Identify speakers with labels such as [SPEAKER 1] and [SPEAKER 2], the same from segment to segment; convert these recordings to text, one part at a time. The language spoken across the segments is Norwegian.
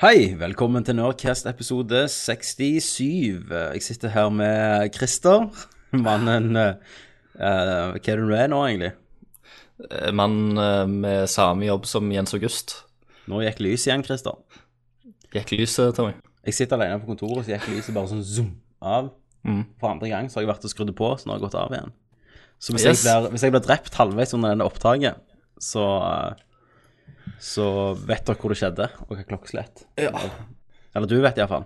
[SPEAKER 1] Hei, velkommen til Nerdcast episode 67. Eh, Jeg sitter her med Christer, mannen eh, eh, Hva er det du er nå, egentlig?
[SPEAKER 2] Eh, Mann eh, med samme jobb som Jens August.
[SPEAKER 1] Nå gikk lyset igjen, Christer.
[SPEAKER 2] Gikk lyset, Tommy?
[SPEAKER 1] Jeg sitter alene på kontoret, så gikk lyset bare sånn zoom av.
[SPEAKER 2] Mm.
[SPEAKER 1] For andre gang så har jeg vært og skrudd det på, så nå har det gått av igjen. Så hvis,
[SPEAKER 2] Yes.
[SPEAKER 1] jeg, blir, hvis jeg blir drept halvveis under denne opptaket, så eh, Så vet dere hvor det skjedde, og hva klokkeslett.
[SPEAKER 2] Ja.
[SPEAKER 1] Eller du vet iallfall.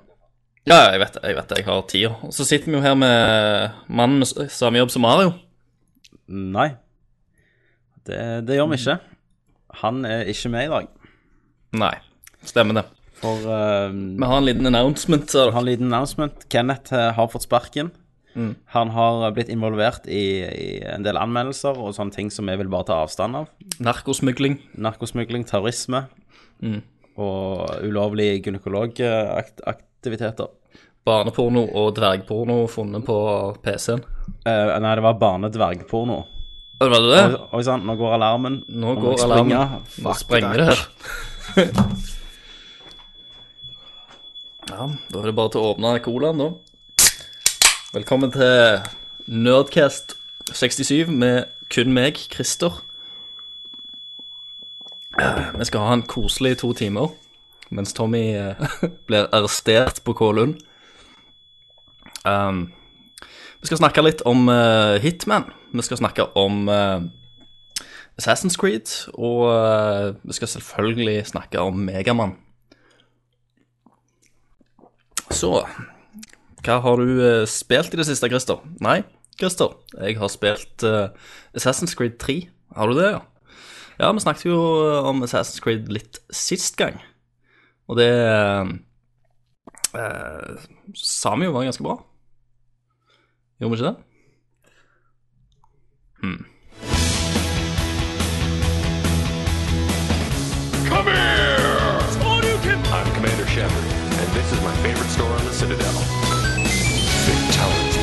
[SPEAKER 2] ja, jeg vet det. Jeg vet det, jeg har tier. Og så sitter vi jo her med mannen med s- samme jobb som Mario.
[SPEAKER 1] Nei. Det, det gjør vi ikke. Han er ikke med i dag.
[SPEAKER 2] Nei, stemmer det.
[SPEAKER 1] For eh,
[SPEAKER 2] Vi har en liten announcement. sa
[SPEAKER 1] har
[SPEAKER 2] dere.
[SPEAKER 1] en liten announcement. Kenneth eh, har fått sparken. Han har eh, blitt involvert i, i en del anmeldelser og sånne ting som vi vil bare ta avstand av.
[SPEAKER 2] Narkosmugling.
[SPEAKER 1] Narkosmugling, terrorisme
[SPEAKER 2] Mm.
[SPEAKER 1] og ulovlige gynekologaktiviteter.
[SPEAKER 2] Barneporno og dvergporno funnet på PC-en.
[SPEAKER 1] Eh, nei, det var barnedvergporno.
[SPEAKER 2] Å, Var det det?
[SPEAKER 1] Oi sann, nå går alarmen.
[SPEAKER 2] Nå
[SPEAKER 1] må
[SPEAKER 2] går
[SPEAKER 1] jeg springe.
[SPEAKER 2] alarmen. Nå
[SPEAKER 1] Fuck,
[SPEAKER 2] sprenger det
[SPEAKER 1] det.
[SPEAKER 2] her. ja, da er det bare til å åpne colaen, da. Velkommen til Nerdcast 67 med kun meg, Christer. Eh, Vi skal ha en koselig to timer, mens Tommy eh, blir arrestert på Kålund. Um, vi skal snakke litt om eh, Hitman. Vi skal snakke om eh, Assassin's Creed, og eh, vi skal selvfølgelig snakke om Megamann. Så Hva har du eh, spilt i det siste, Christer? Nei, Christer, jeg har spilt eh, Assassin's Creed 3. Har du det, ja? Ja, vi snakket jo eh, om Assassin's Creed litt sist gang, og det eh, eh, Sa vi jo var ganske bra. Gjorde vi ikke det?
[SPEAKER 3] Come here! I'm Commander Shepard, and this is my favorite store on the Citadel. Fatality.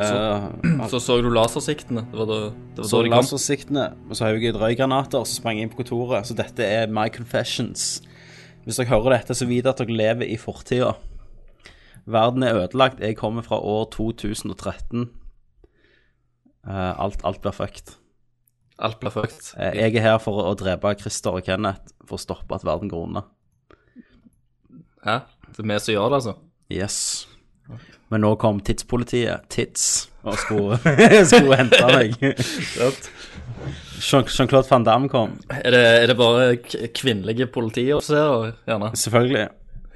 [SPEAKER 2] Mm. Så så du lasersiktene. Det var da, det var
[SPEAKER 1] så
[SPEAKER 2] da de kom.
[SPEAKER 1] lasersiktene, og så haug i røygranater, og så sprang jeg inn på kontoret. Så dette er my confessions. Hvis dere hører dette, så vit at dere lever i fortida. Verden er ødelagt. Jeg kommer fra år 2013. Eh, alt, alt blir fucked.
[SPEAKER 2] Alt ble fucked.
[SPEAKER 1] Eh, Jeg er her for å drepe Christer og Kenneth for å stoppe at verden går unna.
[SPEAKER 2] Hæ? Det er vi som gjør det, altså?
[SPEAKER 1] Yes. Men nå kom tidspolitiet, Tids, og skulle, skulle hente meg. Jean- Jean-Claude van Damme kom,
[SPEAKER 2] Er det, er det bare k kvinnelige politioffiserer, gjerne?
[SPEAKER 1] selvfølgelig.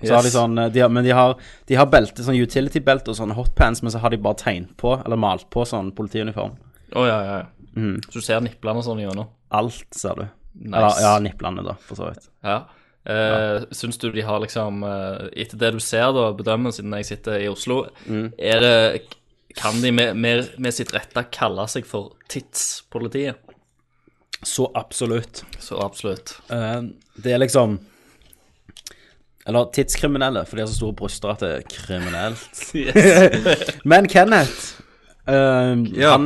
[SPEAKER 1] Så har de
[SPEAKER 2] Yes.
[SPEAKER 1] sånn, eh, de har, men de har, de har belte, sånn utility-belte og sånne hotpants, men så har de bare tegnet på, eller malt på, sånn politiuniform.
[SPEAKER 2] Å ja, ja, ja. Så du ser nipplene og sånn gjennom?
[SPEAKER 1] Alt, ser du. Eller, ja, nipplene, da, for så vidt.
[SPEAKER 2] Ja. Eh, Syns du de har liksom eh, Etter det du ser, da, bedømmer, siden jeg sitter i Oslo, er det Kan de med, med, med sitt rette kalle seg for tidspolitiet?
[SPEAKER 1] Så absolutt.
[SPEAKER 2] Så absolutt.
[SPEAKER 1] Eh, Det er liksom Eller tidskriminelle, for de har så store bryster at det er kriminelt. Men Kenneth eh, Han eh, Vi har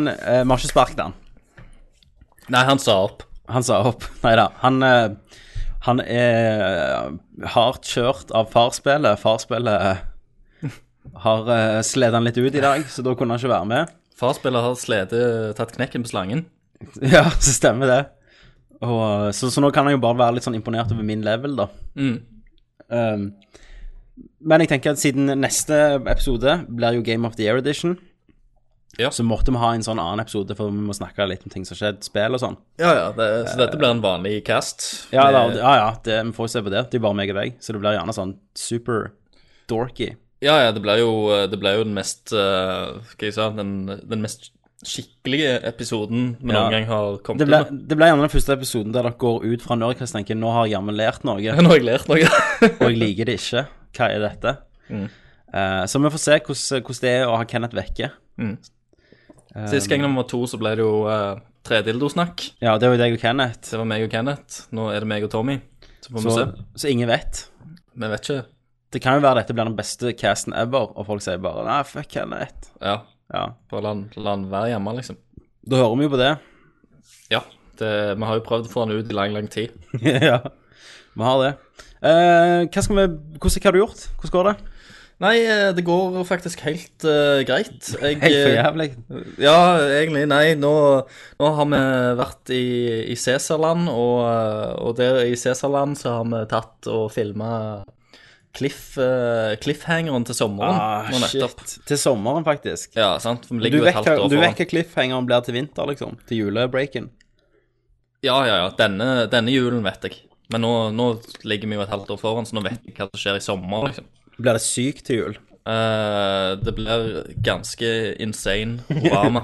[SPEAKER 1] ikke sparket han.
[SPEAKER 2] Nei, han sa opp.
[SPEAKER 1] Han sa opp. Nei da. Han, eh, han er eh, hardt kjørt av farspillet. Farspillet har uh, sledet han litt ut i dag, så da kunne han ikke være med.
[SPEAKER 2] Farspiller har slede tatt knekken på slangen.
[SPEAKER 1] Ja, så stemmer det. Og, eh, så, så nå kan han jo bare være litt sånn imponert over min level, da. Um, men jeg tenker at siden neste episode blir jo Game of the Year Edition,
[SPEAKER 2] Ja.
[SPEAKER 1] så måtte vi ha en sånn annen episode, for vi må snakke litt om ting som har skjedd, spill og sånn.
[SPEAKER 2] Ja, ja, det, så dette blir en vanlig cast.
[SPEAKER 1] Ja, da,
[SPEAKER 2] Med-
[SPEAKER 1] ja, ja det, vi får se på det. Det er bare meg og deg, så det blir gjerne sånn super dorky.
[SPEAKER 2] Ja, ja, det ble jo, det ble jo den mest eh, Hva jeg sa Den, den mest skikkelige episoden vi
[SPEAKER 1] Ja.
[SPEAKER 2] noen gang har kommet
[SPEAKER 1] Det ble,
[SPEAKER 2] ut med.
[SPEAKER 1] det ble gjerne den første episoden der dere går ut fra Nerdcast og tenker nå har jeg jammen lært noe, og
[SPEAKER 2] Nå har jeg lært noe.
[SPEAKER 1] jeg liker det ikke. Hva er dette?
[SPEAKER 2] Mm.
[SPEAKER 1] Eh, så vi får se hvordan, hvordan det er å ha Kenneth vekke.
[SPEAKER 2] Sist gang nummer to så ble det jo uh, tredildosnakk.
[SPEAKER 1] Ja, det var jo deg og Kenneth.
[SPEAKER 2] Det var meg og Kenneth. Nå er det meg og Tommy. Så får vi
[SPEAKER 1] Så,
[SPEAKER 2] se.
[SPEAKER 1] så ingen vet.
[SPEAKER 2] Vi vet ikke.
[SPEAKER 1] Det kan jo være dette blir den beste casten ever, og folk sier bare nei, fuck Kenneth.
[SPEAKER 2] Ja,
[SPEAKER 1] Ja.
[SPEAKER 2] bare la han- la han være hjemme, liksom.
[SPEAKER 1] Da hører vi jo på det.
[SPEAKER 2] Ja. Det, vi har jo prøvd å få han ut i lang, lang tid.
[SPEAKER 1] ja, vi har det. Eh, hva skal vi, hvordan, hva har du gjort? Hvordan går det?
[SPEAKER 2] Nei, eh, det går faktisk helt eh, greit. Jeg, eh,
[SPEAKER 1] Helt for jævlig.
[SPEAKER 2] Ja, egentlig. Nei, nå, nå har vi vært i, i Cæsarland, og, eh, og der i Cæsarland så har vi tatt og filma cliff, eh, cliffhangeren til sommeren. nå nettopp.
[SPEAKER 1] Til sommeren, faktisk.
[SPEAKER 2] Ja, sant? for Vi
[SPEAKER 1] Ah, Du
[SPEAKER 2] ligger jo
[SPEAKER 1] vet,
[SPEAKER 2] et halvt
[SPEAKER 1] hva,
[SPEAKER 2] år
[SPEAKER 1] du vet
[SPEAKER 2] foran.
[SPEAKER 1] hva cliffhangeren blir til vinter, liksom? Til julebreaken.
[SPEAKER 2] Ja, ja, ja. Denne, denne julen vet jeg. Men nå, nå ligger vi jo et halvt år foran, så nå vet jeg hva som skjer i sommer, liksom.
[SPEAKER 1] Blir det sykt til jul?
[SPEAKER 2] Eh, det blir ganske insane drama,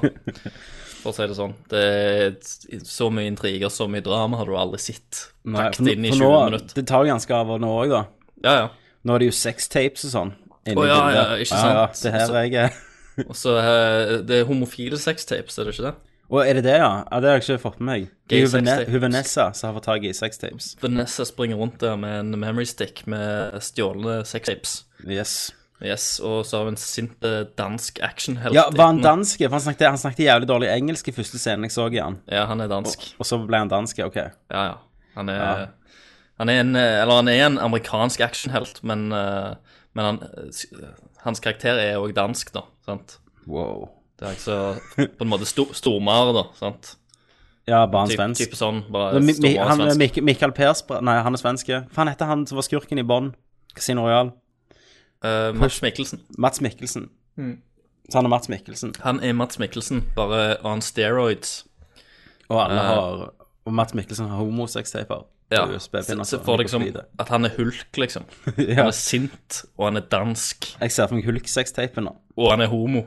[SPEAKER 2] for å si det sånn. Det er så mye intriger, så mye drama har du aldri sett pakket inn i 20
[SPEAKER 1] nå,
[SPEAKER 2] minutter.
[SPEAKER 1] Det tar jo ganske av nå òg, da.
[SPEAKER 2] Ja, ja.
[SPEAKER 1] Nå er det jo sex tapes og sånn. inne i
[SPEAKER 2] Å, ja,
[SPEAKER 1] bildet.
[SPEAKER 2] ja, ikke
[SPEAKER 1] Ja,
[SPEAKER 2] sant?
[SPEAKER 1] ja, det her er jeg
[SPEAKER 2] Og så eh, det er homofile sextapes, er det ikke det?
[SPEAKER 1] Å, er det det, ja? ja? Det har jeg ikke fått med meg. Det er
[SPEAKER 2] Gay
[SPEAKER 1] jo Vene-
[SPEAKER 2] sex tapes.
[SPEAKER 1] hun Vanessa som har fått tak i sex tapes.
[SPEAKER 2] Vanessa springer rundt der med en memory stick med stjålne sextapes.
[SPEAKER 1] Yes.
[SPEAKER 2] Yes, og så har vi en sint eh, dansk actionhelt.
[SPEAKER 1] Ja, var han
[SPEAKER 2] inne.
[SPEAKER 1] dansk? For han snakket, han snakket jævlig dårlig engelsk i første scenen jeg så i han.
[SPEAKER 2] Ja, han er dansk.
[SPEAKER 1] Og så ble han dansk, ja, OK.
[SPEAKER 2] Ja, ja. Han er, Han er, en, eh, eller han er en amerikansk actionhelt, men, eh, men han, eh, s- hans karakter er òg dansk, da. sant?
[SPEAKER 1] Wow.
[SPEAKER 2] Det er altså på en måte sto, stormare, da. sant?
[SPEAKER 1] Ja, bare han
[SPEAKER 2] Typ,
[SPEAKER 1] svensk.
[SPEAKER 2] type sånn, bare
[SPEAKER 1] Men Mi- Mi-
[SPEAKER 2] stormare
[SPEAKER 1] han, eh,
[SPEAKER 2] svensk.
[SPEAKER 1] Mik Mikael Persbrandt Nei, han er svenske. Hva faen heter han som var skurken i Bond? Casino Royal.
[SPEAKER 2] Eh, Mats Mikkelsen.
[SPEAKER 1] Mats Mikkelsen. Så han er Mats Mikkelsen,
[SPEAKER 2] Han er Mats Mikkelsen, bare on steroids.
[SPEAKER 1] og alle har Og Mats Mikkelsen har homosextaper.
[SPEAKER 2] Eh. Ja,
[SPEAKER 1] USB-pinner,
[SPEAKER 2] så, så
[SPEAKER 1] så altså.
[SPEAKER 2] får liksom-
[SPEAKER 1] han
[SPEAKER 2] deg som
[SPEAKER 1] går forbi det.
[SPEAKER 2] at han er hulk, liksom. Han
[SPEAKER 1] ja.
[SPEAKER 2] er sint, og han er dansk,
[SPEAKER 1] Jeg ser for meg Hulk-sextapen nå.
[SPEAKER 2] og han er homo.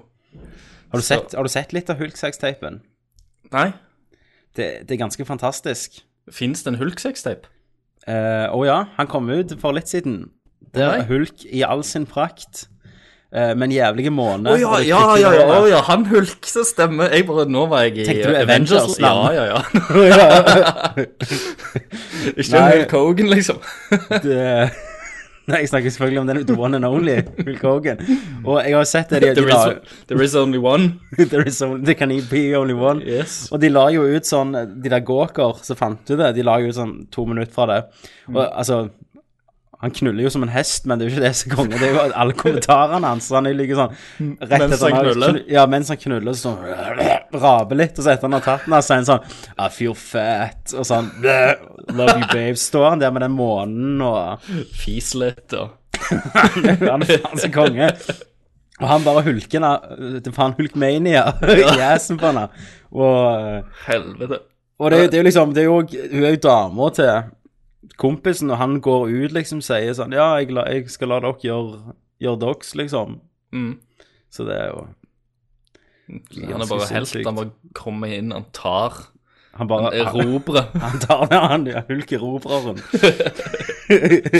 [SPEAKER 1] Har du sett, har du sett litt av Hulk-sextapen?
[SPEAKER 2] Nei,
[SPEAKER 1] Det, det er ganske fantastisk.
[SPEAKER 2] fins det en hulk-sextape?
[SPEAKER 1] Eh, og ja, han kom ut for litt siden. Der
[SPEAKER 2] Nei.
[SPEAKER 1] er Hulk i all sin prakt, eh, men jævlige måne.
[SPEAKER 2] Å ja,
[SPEAKER 1] og det
[SPEAKER 2] ja,
[SPEAKER 1] kvikke
[SPEAKER 2] ja, ja,
[SPEAKER 1] håret.
[SPEAKER 2] å ja, han hulk, så stemmer. Jeg bare, nå var jeg i
[SPEAKER 1] Tenkte du
[SPEAKER 2] eh,
[SPEAKER 1] Avengers,
[SPEAKER 2] Ja,
[SPEAKER 1] mann?
[SPEAKER 2] ja, ja. Ikke
[SPEAKER 1] Nei.
[SPEAKER 2] Hulk Hogan, liksom.
[SPEAKER 1] det... Nei, jeg snakker selvfølgelig om den The One and Only, Hulk Hogan. Og jeg har sett det de, de
[SPEAKER 2] There
[SPEAKER 1] la
[SPEAKER 2] is, there is only one.
[SPEAKER 1] There is only, there can be only one.
[SPEAKER 2] Yes.
[SPEAKER 1] Og de la jo ut sånn De der gåker som fant du det, de la jo ut sånn to minutter fra det. Og altså Han knuller jo som en hest, men det er jo ikke det som er konge. Det er jo alle kommentarene hans. så Han ligger sånn rett
[SPEAKER 2] Mens han
[SPEAKER 1] har
[SPEAKER 2] knuller?
[SPEAKER 1] knu- Ja, mens han knuller, så sånn Raper litt, og så etter han har tatt den, så er han sånn I feel fat, og sånn Love you, babe. Står han der med den månen og
[SPEAKER 2] Fis litt, og
[SPEAKER 1] han er faen så konge. Og han bare hulken Det er faen Hulkmania i assen på henne. Og,
[SPEAKER 2] helvete.
[SPEAKER 1] og det, er jo- det er jo liksom det er jo, Hun er jo dama til kompisen, og han går ut liksom sier sånn Ja, jeg, la, jeg skal la dere gjøre, gjøre deres, liksom.
[SPEAKER 2] Mm.
[SPEAKER 1] Så det er jo
[SPEAKER 2] Han er bare
[SPEAKER 1] Ganske
[SPEAKER 2] helt,
[SPEAKER 1] sinnssykt.
[SPEAKER 2] han bare kommer inn, han tar,
[SPEAKER 1] Han
[SPEAKER 2] han
[SPEAKER 1] bare han,
[SPEAKER 2] erobrer.
[SPEAKER 1] han tar ned han ja, hulkerobreren.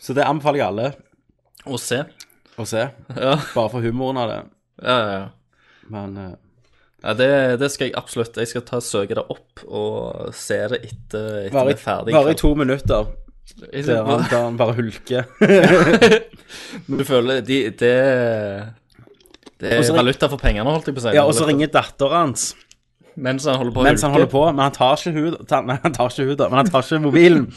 [SPEAKER 1] så det anbefaler jeg alle
[SPEAKER 2] Og se.
[SPEAKER 1] å se.
[SPEAKER 2] Ja,
[SPEAKER 1] Bare for humoren av det.
[SPEAKER 2] ja, ja. ja.
[SPEAKER 1] Men eh,
[SPEAKER 2] Ja, det, det skal jeg absolutt. Jeg skal ta søke det opp og se det etter, etter vi
[SPEAKER 1] bare,
[SPEAKER 2] er ferdig.
[SPEAKER 1] bare i to minutter.
[SPEAKER 2] Jeg-
[SPEAKER 1] Der han, der han bare hulker.
[SPEAKER 2] Du føler de, det Det
[SPEAKER 1] Og så
[SPEAKER 2] er
[SPEAKER 1] ring-
[SPEAKER 2] valuta for pengene, holdt jeg på å si.
[SPEAKER 1] Ja, og så
[SPEAKER 2] Valuta.
[SPEAKER 1] ringer datteren hans
[SPEAKER 2] Mens han holder på å
[SPEAKER 1] mens han
[SPEAKER 2] hulke.
[SPEAKER 1] holder på, men han tar ikke hud, ta, nei, han tar ikke hud, men han tar ikke mobilen.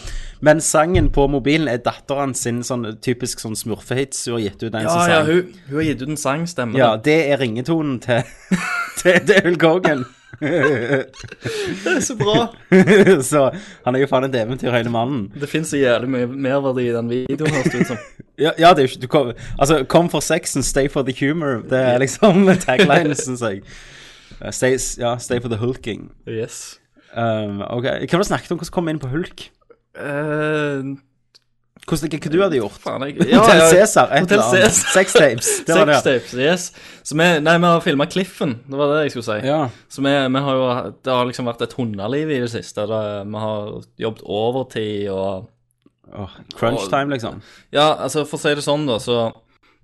[SPEAKER 1] Men sangen på mobilen er datteren sin sånn typisk sånn smurfehits hun har gitt ut. Den
[SPEAKER 2] Ja,
[SPEAKER 1] som
[SPEAKER 2] ja,
[SPEAKER 1] sang.
[SPEAKER 2] hun, hun har gitt ut en sang, stemmer
[SPEAKER 1] ja,
[SPEAKER 2] det?
[SPEAKER 1] det er ringetonen til, til, til Hulk Hogan.
[SPEAKER 2] Det er så bra!
[SPEAKER 1] så han er jo faen et eventyr, hele mannen.
[SPEAKER 2] Det fins så jævlig mye merverdi i den videoen, høres det ut som.
[SPEAKER 1] Ja, ja det er jo ikke du kom, Altså, kom for sexen, stay for the humor. Det er liksom taglinen, syns jeg. Eh, Stay, ja, stay for the hulking.
[SPEAKER 2] Yes.
[SPEAKER 1] Um, ok, Hva var det snakket om? Hvordan kom vi inn på hulk?
[SPEAKER 2] Eh,
[SPEAKER 1] Hvordan, hva du hadde gjort?
[SPEAKER 2] Faen, jeg,
[SPEAKER 1] Hotel Cæsar, et
[SPEAKER 2] Hotel
[SPEAKER 1] eller annet.
[SPEAKER 2] Cæsar.
[SPEAKER 1] Sex tapes. Det var det.
[SPEAKER 2] Sex tapes, yes. Så vi, nei, vi har filma Cliffen, det var det jeg skulle si.
[SPEAKER 1] Ja.
[SPEAKER 2] Så vi, vi har jo, det har liksom vært et hundeliv i det siste. Det, vi har jobbet overtid og
[SPEAKER 1] Åh, crunch time, liksom.
[SPEAKER 2] Ja, altså for å si det sånn, da, så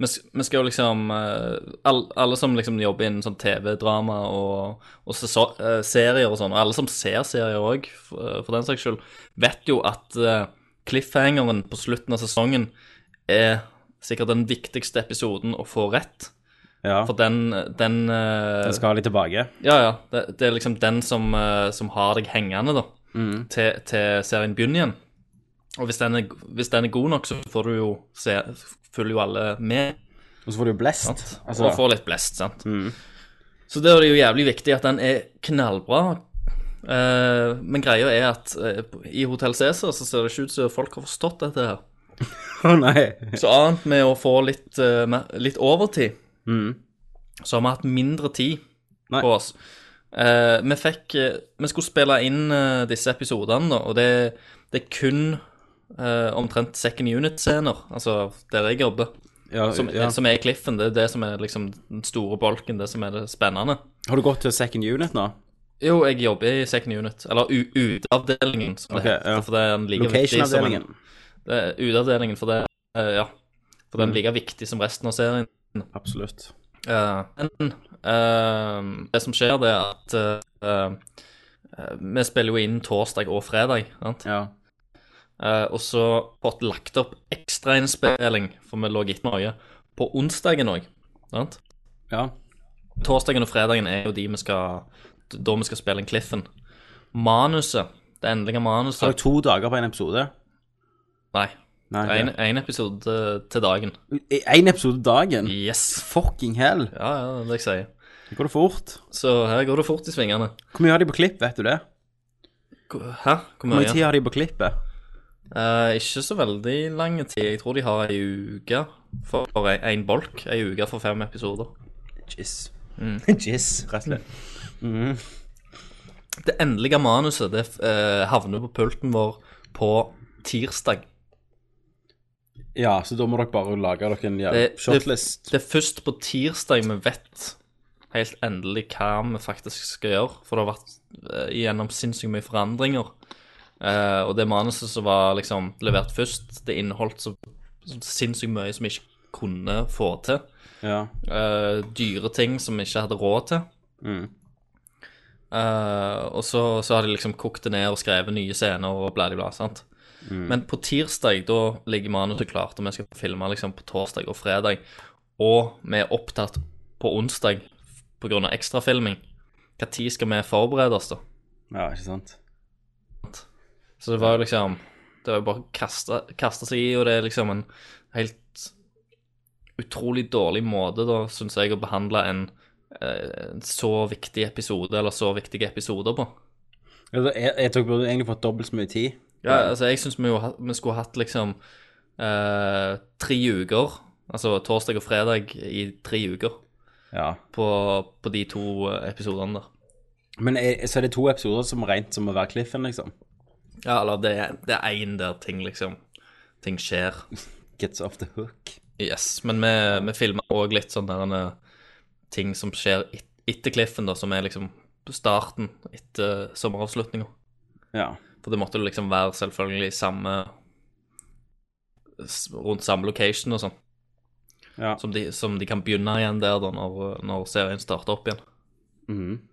[SPEAKER 2] vi, s- vi skal jo liksom eh, all, Alle som liksom jobber innen sånn TV-drama og, og seso- eh, serier og sånn, og alle som ser serier òg, for, eh, for den saks skyld, vet jo at eh, cliffhangeren på slutten av sesongen er sikkert den viktigste episoden å få rett.
[SPEAKER 1] Ja.
[SPEAKER 2] For den, den, eh,
[SPEAKER 1] Jeg skal ha litt tilbake.
[SPEAKER 2] Ja, ja. Det, det er liksom den som, eh, som har deg hengende, da, til, til serien begynner igjen. Og hvis den, er, hvis den er god nok, så får du jo se, følger jo alle med.
[SPEAKER 1] Og så får du jo blest.
[SPEAKER 2] Sant?
[SPEAKER 1] Altså,
[SPEAKER 2] og får litt blest, sant. Så det er det jo jævlig viktig at den er knallbra. Eh, men greia er at eh, i Hotell Cæsar så ser det ikke ut som folk har forstått dette her.
[SPEAKER 1] Å nei.
[SPEAKER 2] Så annet med å få litt, eh, mer- litt overtid, så har vi hatt mindre tid
[SPEAKER 1] Mm. Nei.
[SPEAKER 2] på oss. Eh, vi fikk eh, Vi skulle spille inn eh, disse episodene, da, og det, det er kun eh, omtrent second unit-scener, altså der jeg jobber,
[SPEAKER 1] Ja,
[SPEAKER 2] som,
[SPEAKER 1] ja.
[SPEAKER 2] som er i cliffen. Det er det som er liksom den store bolken, det som er det spennende.
[SPEAKER 1] Har du gått til second unit nå?
[SPEAKER 2] Jo, jeg jobber i second unit, eller U- uteavdelingen, som det
[SPEAKER 1] Ok,
[SPEAKER 2] heter.
[SPEAKER 1] ja.
[SPEAKER 2] For det er en like viktig som en-
[SPEAKER 1] Location-avdelingen.
[SPEAKER 2] det er Uteavdelingen, for det eh, Ja. For den er like viktig som resten av serien.
[SPEAKER 1] Absolutt.
[SPEAKER 2] Eh, men eh, det som skjer, det er at eh, eh, vi spiller jo inn torsdag og fredag. Sant?
[SPEAKER 1] Ja.
[SPEAKER 2] Eh, og så fått lagt opp ekstrainnspilling, for vi lå etter noe, på onsdagen òg.
[SPEAKER 1] Ja.
[SPEAKER 2] Torsdagen og fredagen er jo de vi skal da vi skal spille inn Cliffen. Manuset, det endelige
[SPEAKER 1] Har dere
[SPEAKER 2] manuset
[SPEAKER 1] to dager på en episode?
[SPEAKER 2] Nei.
[SPEAKER 1] Nei. Mm.
[SPEAKER 2] Én episode til dagen.
[SPEAKER 1] Én episode dagen?
[SPEAKER 2] Yes.
[SPEAKER 1] Fucking hell.
[SPEAKER 2] Ja, ja, det er det jeg sier.
[SPEAKER 1] Det går det fort.
[SPEAKER 2] Så her går det fort i svingene.
[SPEAKER 1] Hvor mye har de på klipp, vet du det?
[SPEAKER 2] Hæ? Hvor
[SPEAKER 1] Hvor mye
[SPEAKER 2] mye?
[SPEAKER 1] tid har de på klippet?
[SPEAKER 2] Eh, ikke så veldig lang tid. Jeg tror de har ei uke for, for en, en bolk. Ei uke for fem episoder.
[SPEAKER 1] Jizz.
[SPEAKER 2] Mm.
[SPEAKER 1] Jizz, rett og slett.
[SPEAKER 2] Det endelige manuset det eh, havner på pulten vår på tirsdag.
[SPEAKER 1] Ja, så da må dere bare lage dere en ja,
[SPEAKER 2] Det-
[SPEAKER 1] shotlist.
[SPEAKER 2] Det er først på tirsdag vi vet helt endelig hva vi faktisk skal gjøre. For det har vært eh, gjennom sinnssykt mye forandringer. Eh, og det manuset som var liksom levert først, det inneholdt så, så sinnssykt mye som vi ikke kunne få til.
[SPEAKER 1] Ja.
[SPEAKER 2] eh, dyre ting som vi ikke hadde råd til.
[SPEAKER 1] Mm.
[SPEAKER 2] Eh, og så, så har de liksom kokt det ned og skrevet nye scener og bla, bla, bla. sant? Men på tirsdag da ligger manuset klart, og vi skal filme liksom på torsdag og fredag. Og vi er opptatt på onsdag pga. ekstrafilming. Når skal vi forberede oss, da?
[SPEAKER 1] ja, ikke sant?
[SPEAKER 2] Så det var jo liksom Det var jo bare å kaste, kaste seg i, og det er liksom en helt utrolig dårlig måte, da, syns jeg, å behandle en, eh, en så viktig episode, eller så viktige episoder på.
[SPEAKER 1] Altså, jeg, jeg tror jeg burde egentlig fått dobbelt så mye tid.
[SPEAKER 2] Ja, altså, jeg syns vi, jo ha- vi skulle hatt liksom eh, tre uker, altså torsdag og fredag i tre uker,
[SPEAKER 1] Ja.
[SPEAKER 2] på, på de to eh, episodene der.
[SPEAKER 1] Men er, så er det to episoder som rent som å være cliffen, liksom.
[SPEAKER 2] Ja, eller det, er- det er én der ting, liksom. Ting skjer.
[SPEAKER 1] Gets off the hook.
[SPEAKER 2] Yes, men vi, vi filmer òg litt sånn der en, eh, ting som skjer et, etter cliffen, da, som er liksom starten etter sommeravslutninga.
[SPEAKER 1] Ja.
[SPEAKER 2] For det måtte jo liksom være selvfølgelig i samme s- Rundt samme location og sånn.
[SPEAKER 1] Ja.
[SPEAKER 2] Som, de- som de kan begynne igjen der da, når, når serien starter opp igjen.
[SPEAKER 1] Mhm.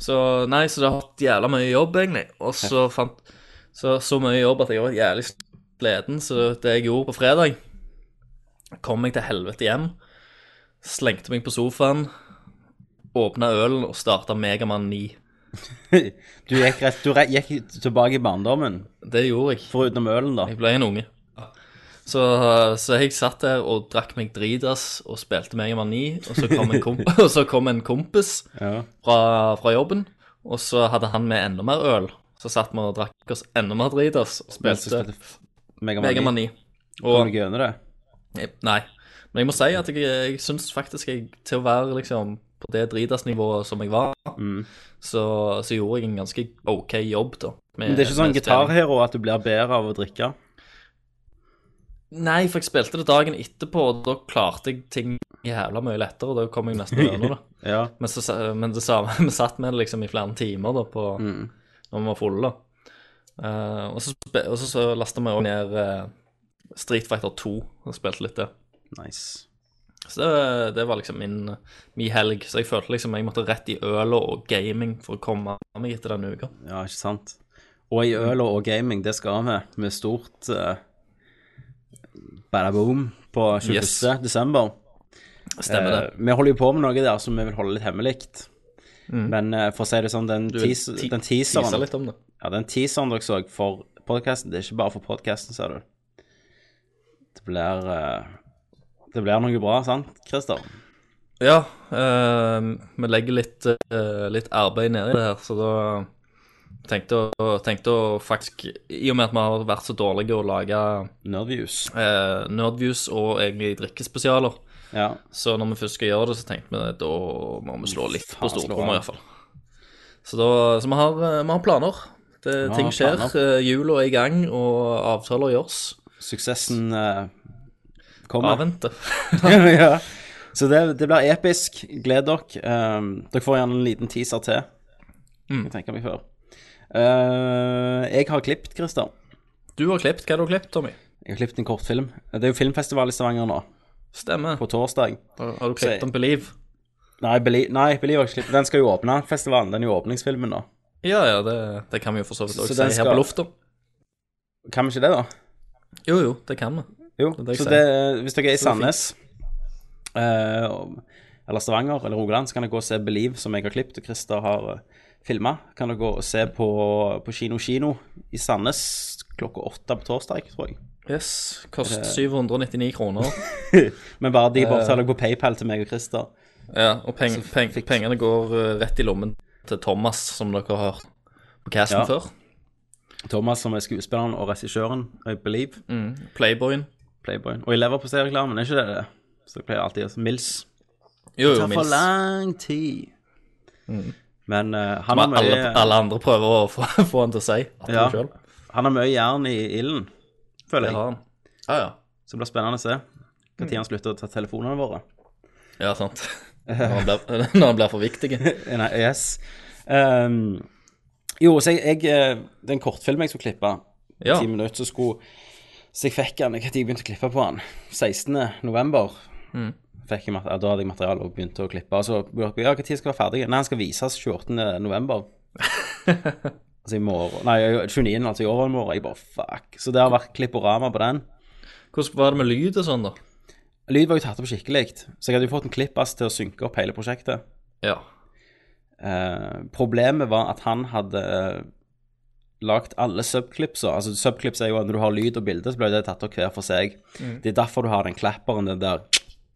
[SPEAKER 2] Så nei, så det har hatt jævla mye jobb, egentlig. Og så fant så, så mye jobb at jeg var jævlig sliten, så det jeg gjorde på fredag Kom jeg til helvete hjem, slengte meg på sofaen, åpna ølen og starta Megamann 9.
[SPEAKER 1] Du gikk, rett, du re- gikk tilbake i barndommen,
[SPEAKER 2] Det gjorde jeg.
[SPEAKER 1] foruten ølen, da.
[SPEAKER 2] Jeg ble en unge. Så, så jeg satt der og drakk meg dritas og spilte Megamann 9, og så kom en, komp og så kom en kompis
[SPEAKER 1] Ja.
[SPEAKER 2] fra, fra jobben, og så hadde han med enda mer øl. Så satt vi og drakk oss enda mer dritas og
[SPEAKER 1] Mens du
[SPEAKER 2] spilte
[SPEAKER 1] Megaman
[SPEAKER 2] Megamann 9.
[SPEAKER 1] Kom du
[SPEAKER 2] Og,
[SPEAKER 1] ikke gjennom det?
[SPEAKER 2] nei, men jeg må si at jeg, jeg syns faktisk jeg, til å være liksom på det dritas-nivået som jeg var,
[SPEAKER 1] Mm.
[SPEAKER 2] så, så gjorde jeg en ganske OK jobb, da. med- Eh,
[SPEAKER 1] Men det er ikke sånn
[SPEAKER 2] med spilling.
[SPEAKER 1] gitarhero at du blir bedre av å drikke?
[SPEAKER 2] Nei, for jeg spilte det dagen etterpå, og da klarte jeg ting jævla mye lettere. Og da kom jeg nesten gjennom det.
[SPEAKER 1] Ja.
[SPEAKER 2] Men, så, sa- men det samme, vi satt med det liksom i flere timer da, på, når vi var fulle. da. Eh, og så, spe- og så, så lasta vi også ned eh, Street Fighter 2 og spilte litt det.
[SPEAKER 1] Nice.
[SPEAKER 2] Så det, det var liksom min, min helg. Så jeg følte liksom jeg måtte rett i øla og gaming for å komme meg etter denne uka.
[SPEAKER 1] Ja, ikke sant. Og i øl og gaming, det skal vi. Med stort uh, bada boom på 21.
[SPEAKER 2] Yes.
[SPEAKER 1] desember.
[SPEAKER 2] Stemmer det.
[SPEAKER 1] Eh, vi holder jo på med noe der som vi vil holde litt hemmelig. Men eh, for å si det sånn, den,
[SPEAKER 2] vil
[SPEAKER 1] teas
[SPEAKER 2] ti-
[SPEAKER 1] den
[SPEAKER 2] Tisa
[SPEAKER 1] teaseren
[SPEAKER 2] litt om det.
[SPEAKER 1] Ja, den teaseren dere så for podkasten, det er ikke bare for podkasten, ser du. Det blir eh, Det blir noe bra, sant, Christer?
[SPEAKER 2] Ja, eh, vi legger litt, eh, litt arbeid ned i det her, så da tenkte jeg tenkte å faktisk I og med at vi har vært så dårlige å lage
[SPEAKER 1] Nerdviews.
[SPEAKER 2] eh, nerdviews og egentlig drikkespesialer,
[SPEAKER 1] Ja.
[SPEAKER 2] så når vi først skal gjøre det, så tenkte vi at da må vi slå litt på
[SPEAKER 1] Faen, slå an.
[SPEAKER 2] stortromma, iallfall. Så, da- så vi, har, eh, vi har planer. Det,
[SPEAKER 1] Vi
[SPEAKER 2] ting
[SPEAKER 1] har
[SPEAKER 2] skjer.
[SPEAKER 1] planer.
[SPEAKER 2] eh, Jula er i gang, og avtaler gjøres.
[SPEAKER 1] Suksessen eh, kommer.
[SPEAKER 2] Avvente.
[SPEAKER 1] ja. Så det, det blir episk. Gled dere. Um, dere får gjerne en liten teaser til. Jeg tenker meg før. Uh, jeg har klippet, Christer.
[SPEAKER 2] Du har klippet. Hva har du klippet, Tommy?
[SPEAKER 1] Jeg har klippet en kortfilm. Det er jo filmfestival i Stavanger nå,
[SPEAKER 2] Stemmer.
[SPEAKER 1] på torsdag.
[SPEAKER 2] Har du
[SPEAKER 1] Så-
[SPEAKER 2] klippet om Believe?
[SPEAKER 1] Nei, Beli- nei Believe har ikke klippet. Den skal jo åpne festivalen. Den er jo åpningsfilmen nå.
[SPEAKER 2] Ja, ja, det, det kan vi jo for så vidt
[SPEAKER 1] Så
[SPEAKER 2] også si
[SPEAKER 1] den
[SPEAKER 2] her
[SPEAKER 1] skal-
[SPEAKER 2] på lufta.
[SPEAKER 1] Kan vi ikke det, da?
[SPEAKER 2] Jo, jo, det kan vi.
[SPEAKER 1] Jo.
[SPEAKER 2] Det er det jeg
[SPEAKER 1] så
[SPEAKER 2] sier.
[SPEAKER 1] det, hvis dere er i
[SPEAKER 2] Så det er
[SPEAKER 1] Sandnes eh, og- eller Stavanger eller Rogaland, så kan dere gå og se Believe, som jeg har klippet og Christer har uh, filma. Kan dere gå og se på, på Kino Kino i Sandnes klokka åtte på torsdag, tror jeg.
[SPEAKER 2] Yes,
[SPEAKER 1] Eh.
[SPEAKER 2] kost 799 kroner.
[SPEAKER 1] Men bare de bare tar dere på
[SPEAKER 2] Eh.
[SPEAKER 1] PayPal til meg og Christer.
[SPEAKER 2] Ja, og peng, peng,
[SPEAKER 1] Altså, fikk-
[SPEAKER 2] pengene går eh, rett i lommen til Thomas, som dere har hørt på casten
[SPEAKER 1] Ja.
[SPEAKER 2] før.
[SPEAKER 1] Thomas, som er skuespilleren og regissøren, I believe,
[SPEAKER 2] Mm. Playboyen.
[SPEAKER 1] Playboy. Og i leverposteireklamen, er ikke det det? Så det pleier alltid å si Mills.
[SPEAKER 2] Jo,
[SPEAKER 1] Det
[SPEAKER 2] jo,
[SPEAKER 1] tar for
[SPEAKER 2] Mils.
[SPEAKER 1] lang tid. Men eh, han, har
[SPEAKER 2] Men alle,
[SPEAKER 1] mye,
[SPEAKER 2] alle andre prøver å få, få han til å si at
[SPEAKER 1] Ja.
[SPEAKER 2] du sjøl.
[SPEAKER 1] han har mye jern i ilden, føler
[SPEAKER 2] Det
[SPEAKER 1] jeg.
[SPEAKER 2] har han. Ja, ja.
[SPEAKER 1] Så det blir spennende å se når han slutter å ta telefonene våre.
[SPEAKER 2] Ja, sant. Når han blir, når han blir for viktig.
[SPEAKER 1] Eh, Nei, yes. Ehm, jo, så jeg, jeg eh, Det er en kortfilm jeg skulle klippe.
[SPEAKER 2] Ja.
[SPEAKER 1] ti minutter, så skulle Så jeg fikk han, jeg hadde begynt å klippe på han 16. november fikk jeg, mat- ja, Da hadde jeg materiale og begynte å klippe Og så, ja, hva tid skal det være ferdig? Nei, han skal vises 28. november Altså i morgen Nei, 29. altså i overmorgen Jeg bare, fuck Så det har vært klipporama på den
[SPEAKER 2] Hvordan var det med lyd og sånn, da?
[SPEAKER 1] Lyd var jo tatt opp skikkelig Så jeg hadde jo fått en klippass til å synke opp hele prosjektet
[SPEAKER 2] Ja.
[SPEAKER 1] Eh, problemet var at han hadde eh, lagt alle subklipser. Altså subklips er jo at når du har lyd og bilde, så blir det tatt opp hver for seg. Det er derfor du har den klapperen, den der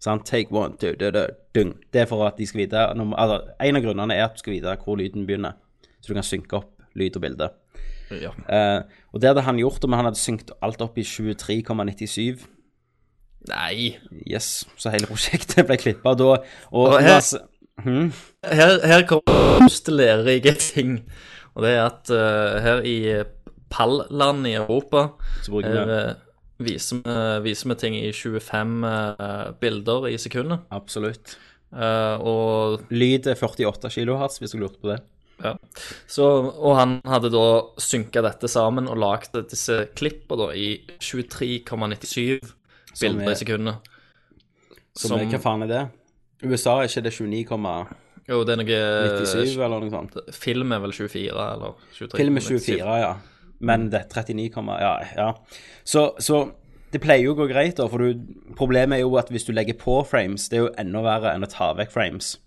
[SPEAKER 1] sant? Take one, two, du, du, dung. Det er for at de skal vite når, altså, En av grunnene er at du skal vite hvor lyden begynner, så du kan synke opp lyd og bilde.
[SPEAKER 2] ja.
[SPEAKER 1] Eh, og det hadde han gjort, men han hadde synkt alt opp i 23,97.
[SPEAKER 2] Nei.
[SPEAKER 1] Yes, så hele prosjektet ble klippa da. Og,
[SPEAKER 2] Og her-
[SPEAKER 1] altså, hm?
[SPEAKER 2] her, her kommer den første lærerike ting. Og det er at eh, her i Palland i Europa
[SPEAKER 1] Så bruker
[SPEAKER 2] her,
[SPEAKER 1] vi
[SPEAKER 2] eh, viser, vi- viser vi ting i 25 eh, bilder i sekundet.
[SPEAKER 1] Absolutt.
[SPEAKER 2] Eh, og,
[SPEAKER 1] Lyd er 48 kilohertz, hvis du lurte på det.
[SPEAKER 2] så, og han hadde da synka dette sammen og lagd disse klippa da i 23,97
[SPEAKER 1] Som
[SPEAKER 2] bilder
[SPEAKER 1] er-
[SPEAKER 2] i sekundet.
[SPEAKER 1] Som, hva faen er det? USA er ikke det 29,97
[SPEAKER 2] Jo, det er noe eh,
[SPEAKER 1] eller noe sånt?
[SPEAKER 2] Film er vel 24, eller 23?
[SPEAKER 1] Film er 24, ja. Men det er 39, ja. ja. Så, så det pleier jo å gå greit, da, for du, problemet er jo at hvis du legger på frames, det er jo enda verre enn å ta vekk frames.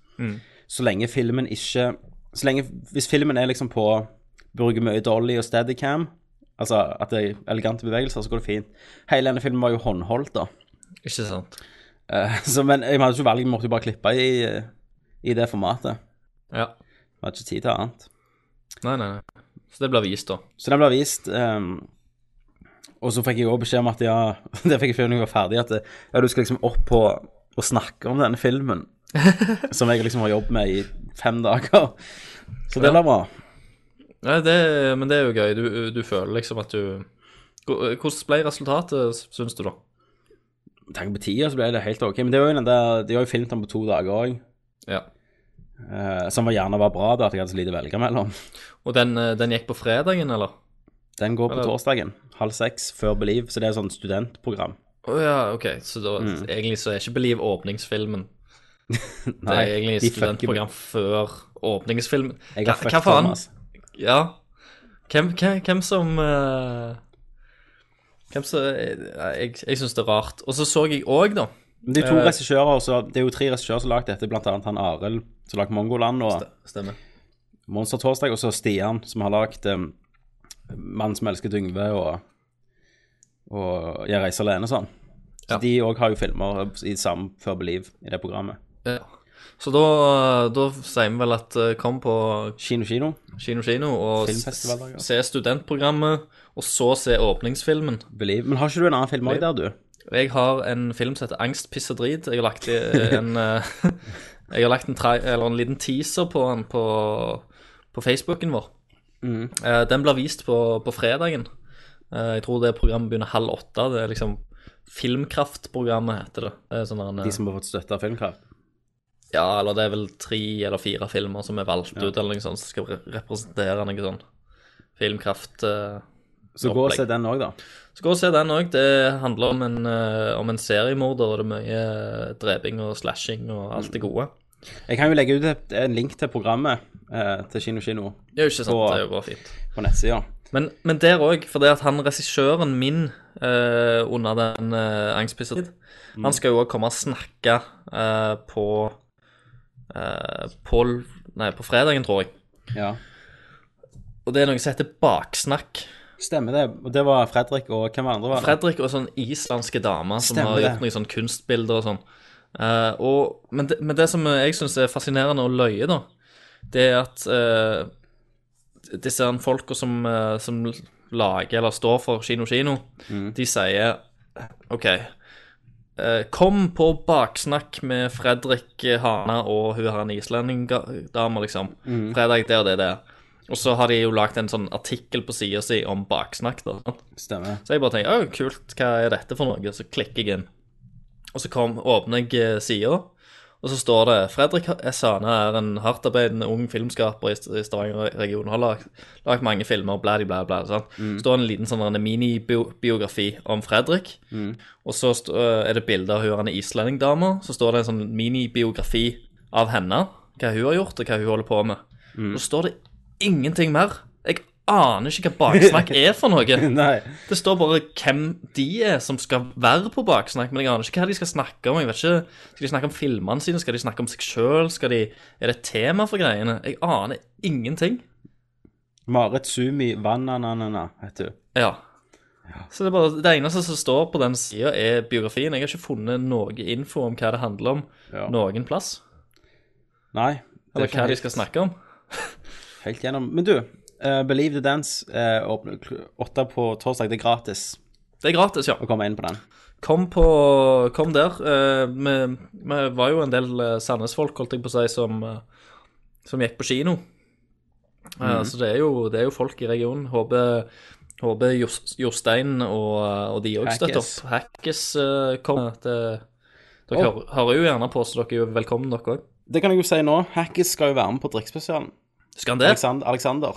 [SPEAKER 1] Så lenge filmen ikke så lenge, Hvis filmen er liksom på Bruker mye dolly og steadicam, altså at det er elegante bevegelser, så går det fint. Hele denne filmen var jo håndholdt, da.
[SPEAKER 2] Ikke sant.
[SPEAKER 1] Eh, Så, men jeg hadde ikke valg, jeg måtte jo bare klippe i, i det formatet.
[SPEAKER 2] Ja.
[SPEAKER 1] Jeg hadde ikke tid til annet.
[SPEAKER 2] Nei, nei, nei. Så det blir vist, da.
[SPEAKER 1] Så den ble vist. ehm, og så fikk jeg òg beskjed om at ja, det fikk jeg før når jeg var ferdig, at ja, du skal liksom opp på og snakke om denne filmen. som jeg liksom har jobbet med i fem dager. Så det
[SPEAKER 2] Ja.
[SPEAKER 1] blir bra.
[SPEAKER 2] Nei, det, men det er jo gøy. Du, du føler liksom at du Hvordan ble resultatet, syns du, da?
[SPEAKER 1] med tanke på tida så ble det helt ok. Men det var jo den der, de har jo filmet den på to dager òg,
[SPEAKER 2] Ja.
[SPEAKER 1] som var gjerne var bra, da, at jeg hadde så lite å velge mellom.
[SPEAKER 2] Og den, eh, den gikk på fredagen, eller?
[SPEAKER 1] Den går på
[SPEAKER 2] Eller-
[SPEAKER 1] torsdagen, halv seks, før Believe, så det er sånn studentprogram.
[SPEAKER 2] Å ja, OK. Så da, egentlig så er ikke Believe åpningsfilmen. Det er egentlig
[SPEAKER 1] de fucker-
[SPEAKER 2] studentprogram før åpningsfilmen.
[SPEAKER 1] Jeg har
[SPEAKER 2] Hva-
[SPEAKER 1] fucket
[SPEAKER 2] hva faen?
[SPEAKER 1] Thomas.
[SPEAKER 2] Ja. Hvem, hvem, hvem som eh, Hvem som Jeg, jeg, jeg syns det er rart. Og så så jeg òg, da.
[SPEAKER 1] Men det er to
[SPEAKER 2] Eh,
[SPEAKER 1] regissører, så det er jo tre regissører som har lagd dette, blant annet han Arild, som har lagd Mongoland og
[SPEAKER 2] Stemmer.
[SPEAKER 1] Monster Torsdag, og så Stian, som har lagd um, Mann som elsket Yngve og, og Jeg reiser alene og sånn. Så
[SPEAKER 2] Ja.
[SPEAKER 1] de òg har jo filmer i samme før Believe i det programmet.
[SPEAKER 2] Ja. Så da, da sier vi vel at eh, kom på
[SPEAKER 1] Kino Kino.
[SPEAKER 2] Kino Kino og s-
[SPEAKER 1] Filmfestivaldager.
[SPEAKER 2] se studentprogrammet, og så se åpningsfilmen.
[SPEAKER 1] Believe. Men har ikke du en annen film òg der, du?
[SPEAKER 2] Jeg har en film som heter Angst, piss og drit. Jeg har lagt i- en, eh, jeg har lagt en, tra- eller en liten teaser på den på, på Facebooken vår. Eh, Den blir vist på, på fredagen. Eh, Jeg tror det programmet begynner halv åtte. Det er liksom Filmkraftprogrammet heter det. det er sånn der en, eh,
[SPEAKER 1] De som har fått støtte av Filmkraft?
[SPEAKER 2] ja, eller det er vel tre eller fire filmer som er valgt ut, eller noe sånt, som skal re- representere noe sånn filmkraft. eh,
[SPEAKER 1] Så gå og se
[SPEAKER 2] Opplegg.
[SPEAKER 1] den òg, da.
[SPEAKER 2] så gå og se den òg. Det handler om en, eh, om en seriemorder, og det er mye eh, dreping og slashing og alt det gode.
[SPEAKER 1] Jeg kan jo legge ut et, en link til programmet eh, til Kino Kino
[SPEAKER 2] Det er jo ikke sant,
[SPEAKER 1] Og-
[SPEAKER 2] det er jo bare fint.
[SPEAKER 1] på nettsida.
[SPEAKER 2] Men, men der òg, for det at han regissøren min eh, under den uh, angstpissetid, han skal jo òg komme og snakke eh, på eh, på, nei, på fredagen, tror jeg.
[SPEAKER 1] Ja.
[SPEAKER 2] Og det er noe som heter baksnakk.
[SPEAKER 1] Stemmer det. Og det var Fredrik og hvem andre var det?
[SPEAKER 2] Fredrik og sånn islandske dame som
[SPEAKER 1] Stemmer
[SPEAKER 2] har
[SPEAKER 1] det.
[SPEAKER 2] gjort noen sånn kunstbilder og sånn. Eh, og, men, det, men det som jeg syns er fascinerende og løye, da, det er at eh, disse her folka som, eh, som lager eller står for Kino Kino,
[SPEAKER 1] Mm.
[SPEAKER 2] de sier OK, eh, kom på baksnakk med Fredrik Hana og hun her en islendingdame, liksom.
[SPEAKER 1] Mm.
[SPEAKER 2] Fredag, det og det, det. Og så har de jo lagd en sånn artikkel på sida si om baksnakk, da. Sant?
[SPEAKER 1] Stemmer.
[SPEAKER 2] Så jeg bare tenker, «Å, kult, hva er dette for noe? Så klikker jeg inn. Og så kom, åpner jeg eh, sida, og så står det Fredrik S. Hane er en hardtarbeidende ung filmskaper i St- i Stavanger-regionen. Har lagt, lagt mange filmer, blæ, blæ, blæ. Sant? står en liten sånn en minibiografi om Fredrik. Og så st- eh, er det bilde av hun ene islendingdama. Så står det en sånn minibiografi av henne. Hva hun har gjort, og hva hun holder på med. Og så står det ingenting mer. Jeg aner ikke hva baksnakk er for noe.
[SPEAKER 1] Nei.
[SPEAKER 2] Det står bare hvem de er som skal være på baksnakk, men jeg aner ikke hva de skal snakke om. Jeg vet ikke, Skal de snakke om filmene sine? Skal de snakke om seg sjøl? De... Er det et tema for greiene? Jeg aner ingenting.
[SPEAKER 1] Marit Sumi Vananana heter hun.
[SPEAKER 2] Ja. Så det, er bare, det eneste som står på den sida, er biografien. Jeg har ikke funnet noe info om hva det handler om
[SPEAKER 1] Ja.
[SPEAKER 2] noen plass.
[SPEAKER 1] Nei. det er
[SPEAKER 2] Eller
[SPEAKER 1] ikke
[SPEAKER 2] hva de
[SPEAKER 1] helt-
[SPEAKER 2] skal snakke om.
[SPEAKER 1] Helt gjennom. Men du, eh, Believe the Dance eh, åpner kl- åtte på torsdag. Det er gratis
[SPEAKER 2] Det er gratis, ja.
[SPEAKER 1] å komme inn på den.
[SPEAKER 2] Kom, på, kom der. Eh, Vi, vi var jo en del eh, Sandnes-folk, holdt jeg på å si, som, eh, som gikk på kino. Eh,
[SPEAKER 1] Mhm.
[SPEAKER 2] Så det er, jo, det er jo folk i regionen. Håper, håper Jos- Jostein og, eh, og de òg støtter
[SPEAKER 1] Hackes.
[SPEAKER 2] opp. Hackes eh, kom. Det, dere
[SPEAKER 1] Å.
[SPEAKER 2] hører- hører jo gjerne på, så dere er jo velkommen, dere òg.
[SPEAKER 1] Det kan jeg jo si nå. Hackis skal jo være med på drikkspesialen.
[SPEAKER 2] Skal han det?
[SPEAKER 1] Alexander. Alexander.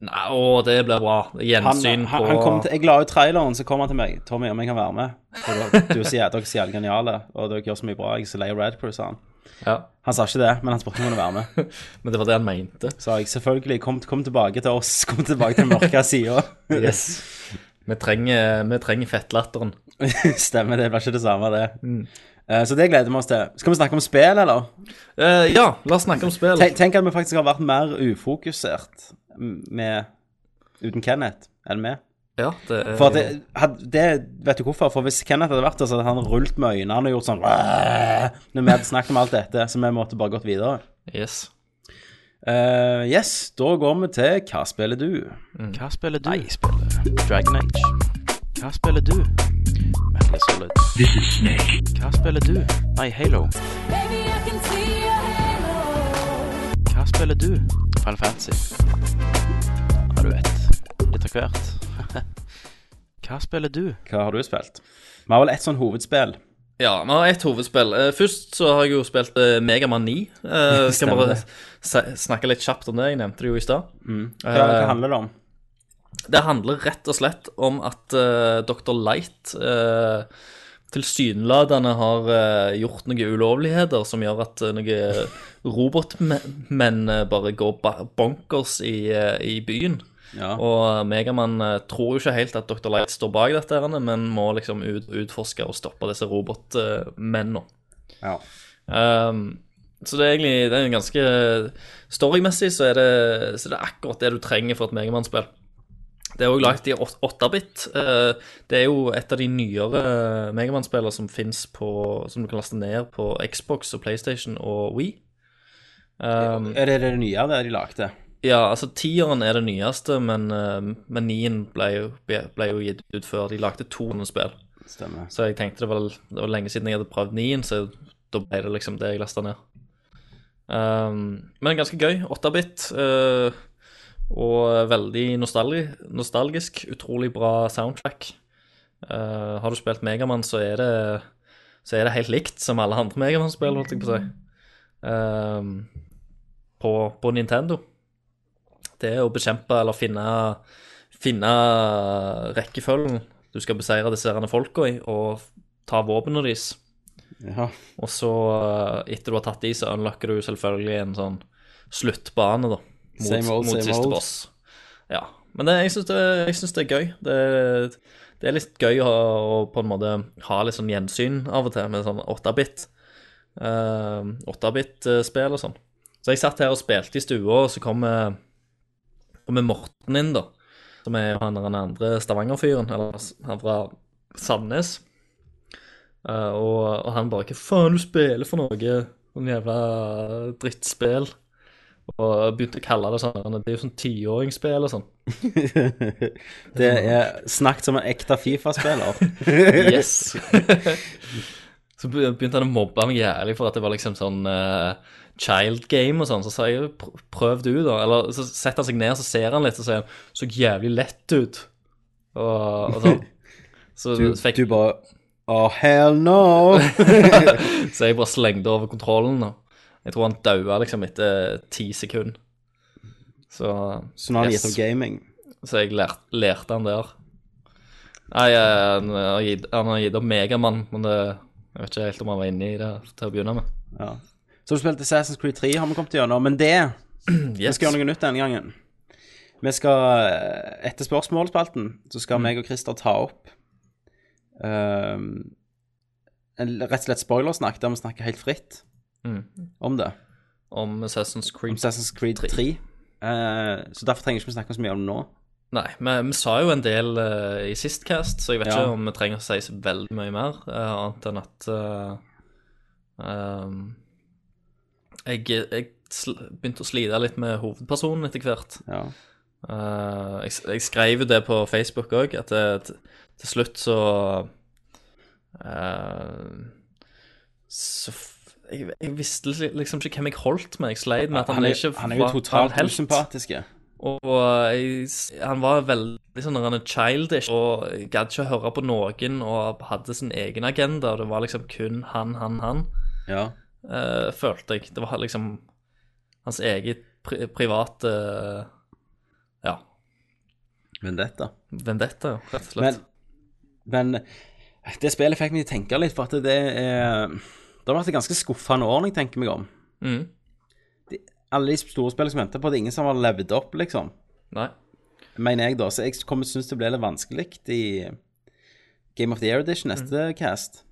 [SPEAKER 2] Nei, å, det blir bra.
[SPEAKER 1] Han,
[SPEAKER 2] Gjensyn
[SPEAKER 1] han,
[SPEAKER 2] på
[SPEAKER 1] han kom til, jeg la ut traileren, så kom han til meg. 'Tommy, om jeg kan være med?' Og da, du sier at dere er så jævlig geniale, og dere gjør så mye bra. Jeg er så lei av Radcrew, sa han.
[SPEAKER 2] ja.
[SPEAKER 1] Han sa ikke det, men han spurte om han ville være med.
[SPEAKER 2] Men det var det han mente.
[SPEAKER 1] Så jeg selvfølgelig kom, kom tilbake til oss. Kom tilbake til den mørke sida.
[SPEAKER 2] Vi trenger, vi trenger fettlatteren.
[SPEAKER 1] Stemmer, det blir ikke det samme, det.
[SPEAKER 4] Mm.
[SPEAKER 1] Eh, Så det gleder vi oss til. Skal vi snakke om spill, eller?
[SPEAKER 2] Eh, ja, la oss snakke om spill.
[SPEAKER 1] Tenk, tenk at vi faktisk har vært mer ufokusert med, uten Kenneth enn med.
[SPEAKER 2] Ja, det er
[SPEAKER 1] For at det, had, det Vet du hvorfor? For hvis Kenneth hadde vært der, så hadde han rullet med øynene og gjort sånn "Åh!" Når vi hadde snakket om alt dette, så vi måtte bare gått videre.
[SPEAKER 2] Yes.
[SPEAKER 1] Eh, yes, da går vi til Hva spiller du?
[SPEAKER 4] Hva spiller du? Jeg Mm. spiller Dragon Age. Hva spiller du? Metal Gear Solid. This is Snake. Hva spiller du? Nei, Halo.
[SPEAKER 5] Baby, I can see your halo.
[SPEAKER 4] Hva spiller du? Final Fantasy. Ja, du vet. Litt av hvert. Hva spiller du?
[SPEAKER 1] Hva har du spilt? Vi har vel ett sånn hovedspill
[SPEAKER 2] Ja, vi har ett hovedspill. Eh, Først så har jeg jo spilt eh, Megaman 9. Eh, Skal
[SPEAKER 1] Stemmer
[SPEAKER 2] bare
[SPEAKER 1] det.
[SPEAKER 2] se- snakke litt kjapt om det. Jeg nevnte det jo i stad. Eh,
[SPEAKER 1] Hva, hva handler det om?
[SPEAKER 2] Det handler rett og slett om at eh, Dr. Light eh, tilsynelatende har eh, gjort noen ulovligheter som gjør at eh, noen robotmenn eh, bare går ba- bonkers i, eh, i byen.
[SPEAKER 1] Ja.
[SPEAKER 2] Og Megaman eh, tror jo ikke helt at Dr. Light står bak dette, her, men må liksom ut, utforske og stoppe disse robotmennene.
[SPEAKER 1] ja.
[SPEAKER 2] Um, så det er egentlig det er en ganske eh, Storymessig så er det, så det er akkurat det du trenger for et Megamann-spill. Det er òg lagt i åt- 8-bit. Eh, Det er jo et av de nyere Megamann-spillene som finnes på Som du kan laste ned på Xbox og PlayStation og Wii. Um,
[SPEAKER 1] Er det det nye det de lagde?
[SPEAKER 2] ja, altså tieren er det nyeste, men, eh, men nien ble, jo- ble jo gitt ut før. De lagde 200 spill.
[SPEAKER 1] Stemmer.
[SPEAKER 2] Så jeg tenkte det var, det var lenge siden jeg hadde prøvd 9, så da ble det liksom det jeg lasta ned. Ehm, men ganske gøy. 8-bit. eh, og veldig nostalgi, nostalgisk. Utrolig bra soundtrack. Eh, har du spilt Megamann, så er det så er det helt likt som alle andre Megamann-spill, holdt jeg på å si. Ehm, på, på Nintendo. Det er å bekjempe eller finne finne rekkefølgen du skal beseire disse herrene folka i, og ta våpnene deres.
[SPEAKER 1] Ja.
[SPEAKER 2] Og så, eh, etter du har tatt de, så unlocker du selvfølgelig en sånn sluttbane, da. Mot,
[SPEAKER 1] Same old,
[SPEAKER 2] mot
[SPEAKER 1] same
[SPEAKER 2] siste
[SPEAKER 1] old.
[SPEAKER 2] boss. Ja. Men det, jeg syns det, jeg synes det er gøy. Det, det er litt gøy å, å på en måte ha litt sånn gjensyn av og til med sånn 8-bit. eh, 8-bit-spill og sånn. Så jeg satt her og spilte i stua, og så kom, eh, kom Morten inn, da. Som er jo han der den andre Stavanger-fyren, eller s- han fra Sandnes. Eh, og, og han bare Hva faen du spiller for noe? Noen jævla drittspill. Og begynte å kalle det sånn. Det er jo sånn tiåringsspill og sånn.
[SPEAKER 1] Det er snakket som en ekte Fifa-spiller.
[SPEAKER 2] Yes! så be- begynte han å mobbe meg jævlig for at det var liksom sånn eh, child game og sånn. Så sa jeg "Pr- prøv du, da. Eller så setter han seg ned, så ser han litt, og sier han så jævlig lett ut. Og, og sånn. Så,
[SPEAKER 1] Du, du
[SPEAKER 2] fikk-
[SPEAKER 1] bare Oh, hell no!
[SPEAKER 2] så jeg bare slengte over kontrollen. Og jeg tror han daua liksom etter ti sekunder. Så
[SPEAKER 1] Så nå har han
[SPEAKER 2] yes.
[SPEAKER 1] gitt opp gaming.
[SPEAKER 2] Så jeg lærte, lærte han der. Nei, eh, han har gitt, han har gitt opp Megamann, men det, jeg vet ikke helt om han var inne i det til å begynne med.
[SPEAKER 1] Ja. Så har du spilt Assassin's Creed 3, har vi kommet gjennom. Men det Vi
[SPEAKER 2] Yes.
[SPEAKER 1] skal gjøre noe nytt denne gangen. Vi skal, eh, Etter spørsmålspalten så
[SPEAKER 2] Mm.
[SPEAKER 1] skal meg og Christer ta opp ehm, en, rett og slett spoilersnakk, der vi snakker helt fritt
[SPEAKER 2] Mm.
[SPEAKER 1] om det.
[SPEAKER 2] Om Assassin's
[SPEAKER 1] Om
[SPEAKER 2] Creed.
[SPEAKER 1] Assassin's Creed 3. Eh, så derfor trenger vi ikke snakke så mye om det nå.
[SPEAKER 2] Nei, vi, vi sa jo en del eh, i sist cast, så jeg vet
[SPEAKER 1] Ja.
[SPEAKER 2] ikke om vi trenger å si så veldig mye mer, eh, annet enn at eh, ehm, eh, jeg, jeg sl begynte å slite litt med hovedpersonen etter hvert.
[SPEAKER 1] Ja.
[SPEAKER 2] Eh, jeg, jeg skrev jo det på Facebook òg, at det, til- til slutt så eh, Så f- jeg, jeg visste li- liksom ikke hvem jeg holdt med. Jeg sleit med at han,
[SPEAKER 1] er-
[SPEAKER 2] ikke
[SPEAKER 1] han er jo
[SPEAKER 2] var- var en
[SPEAKER 1] totalt
[SPEAKER 2] helt.
[SPEAKER 1] usympatisk.
[SPEAKER 2] Og jeg, s- han var veldig sånn han er childish og jeg gadd ikke å høre på noen og hadde sin egen agenda, og det var liksom kun han, han, han,
[SPEAKER 1] Ja.
[SPEAKER 2] eh, følte jeg. Det var liksom hans eget pri private Ja.
[SPEAKER 1] Vendetta.
[SPEAKER 2] Vendetta, rett og
[SPEAKER 1] Men,
[SPEAKER 2] slett.
[SPEAKER 1] men eh, det spillet fikk meg til å tenke litt, for at det er Det har vært et ganske skuffende år, når jeg tenker meg om.
[SPEAKER 2] mm.
[SPEAKER 1] Alle de store spillene som venter på, det er ingen som har levd opp, liksom.
[SPEAKER 2] Nei.
[SPEAKER 1] mener jeg da. Så jeg kommer til å synes det blir litt vanskelig i Game of the Year Edition
[SPEAKER 2] Mm.
[SPEAKER 1] neste cast.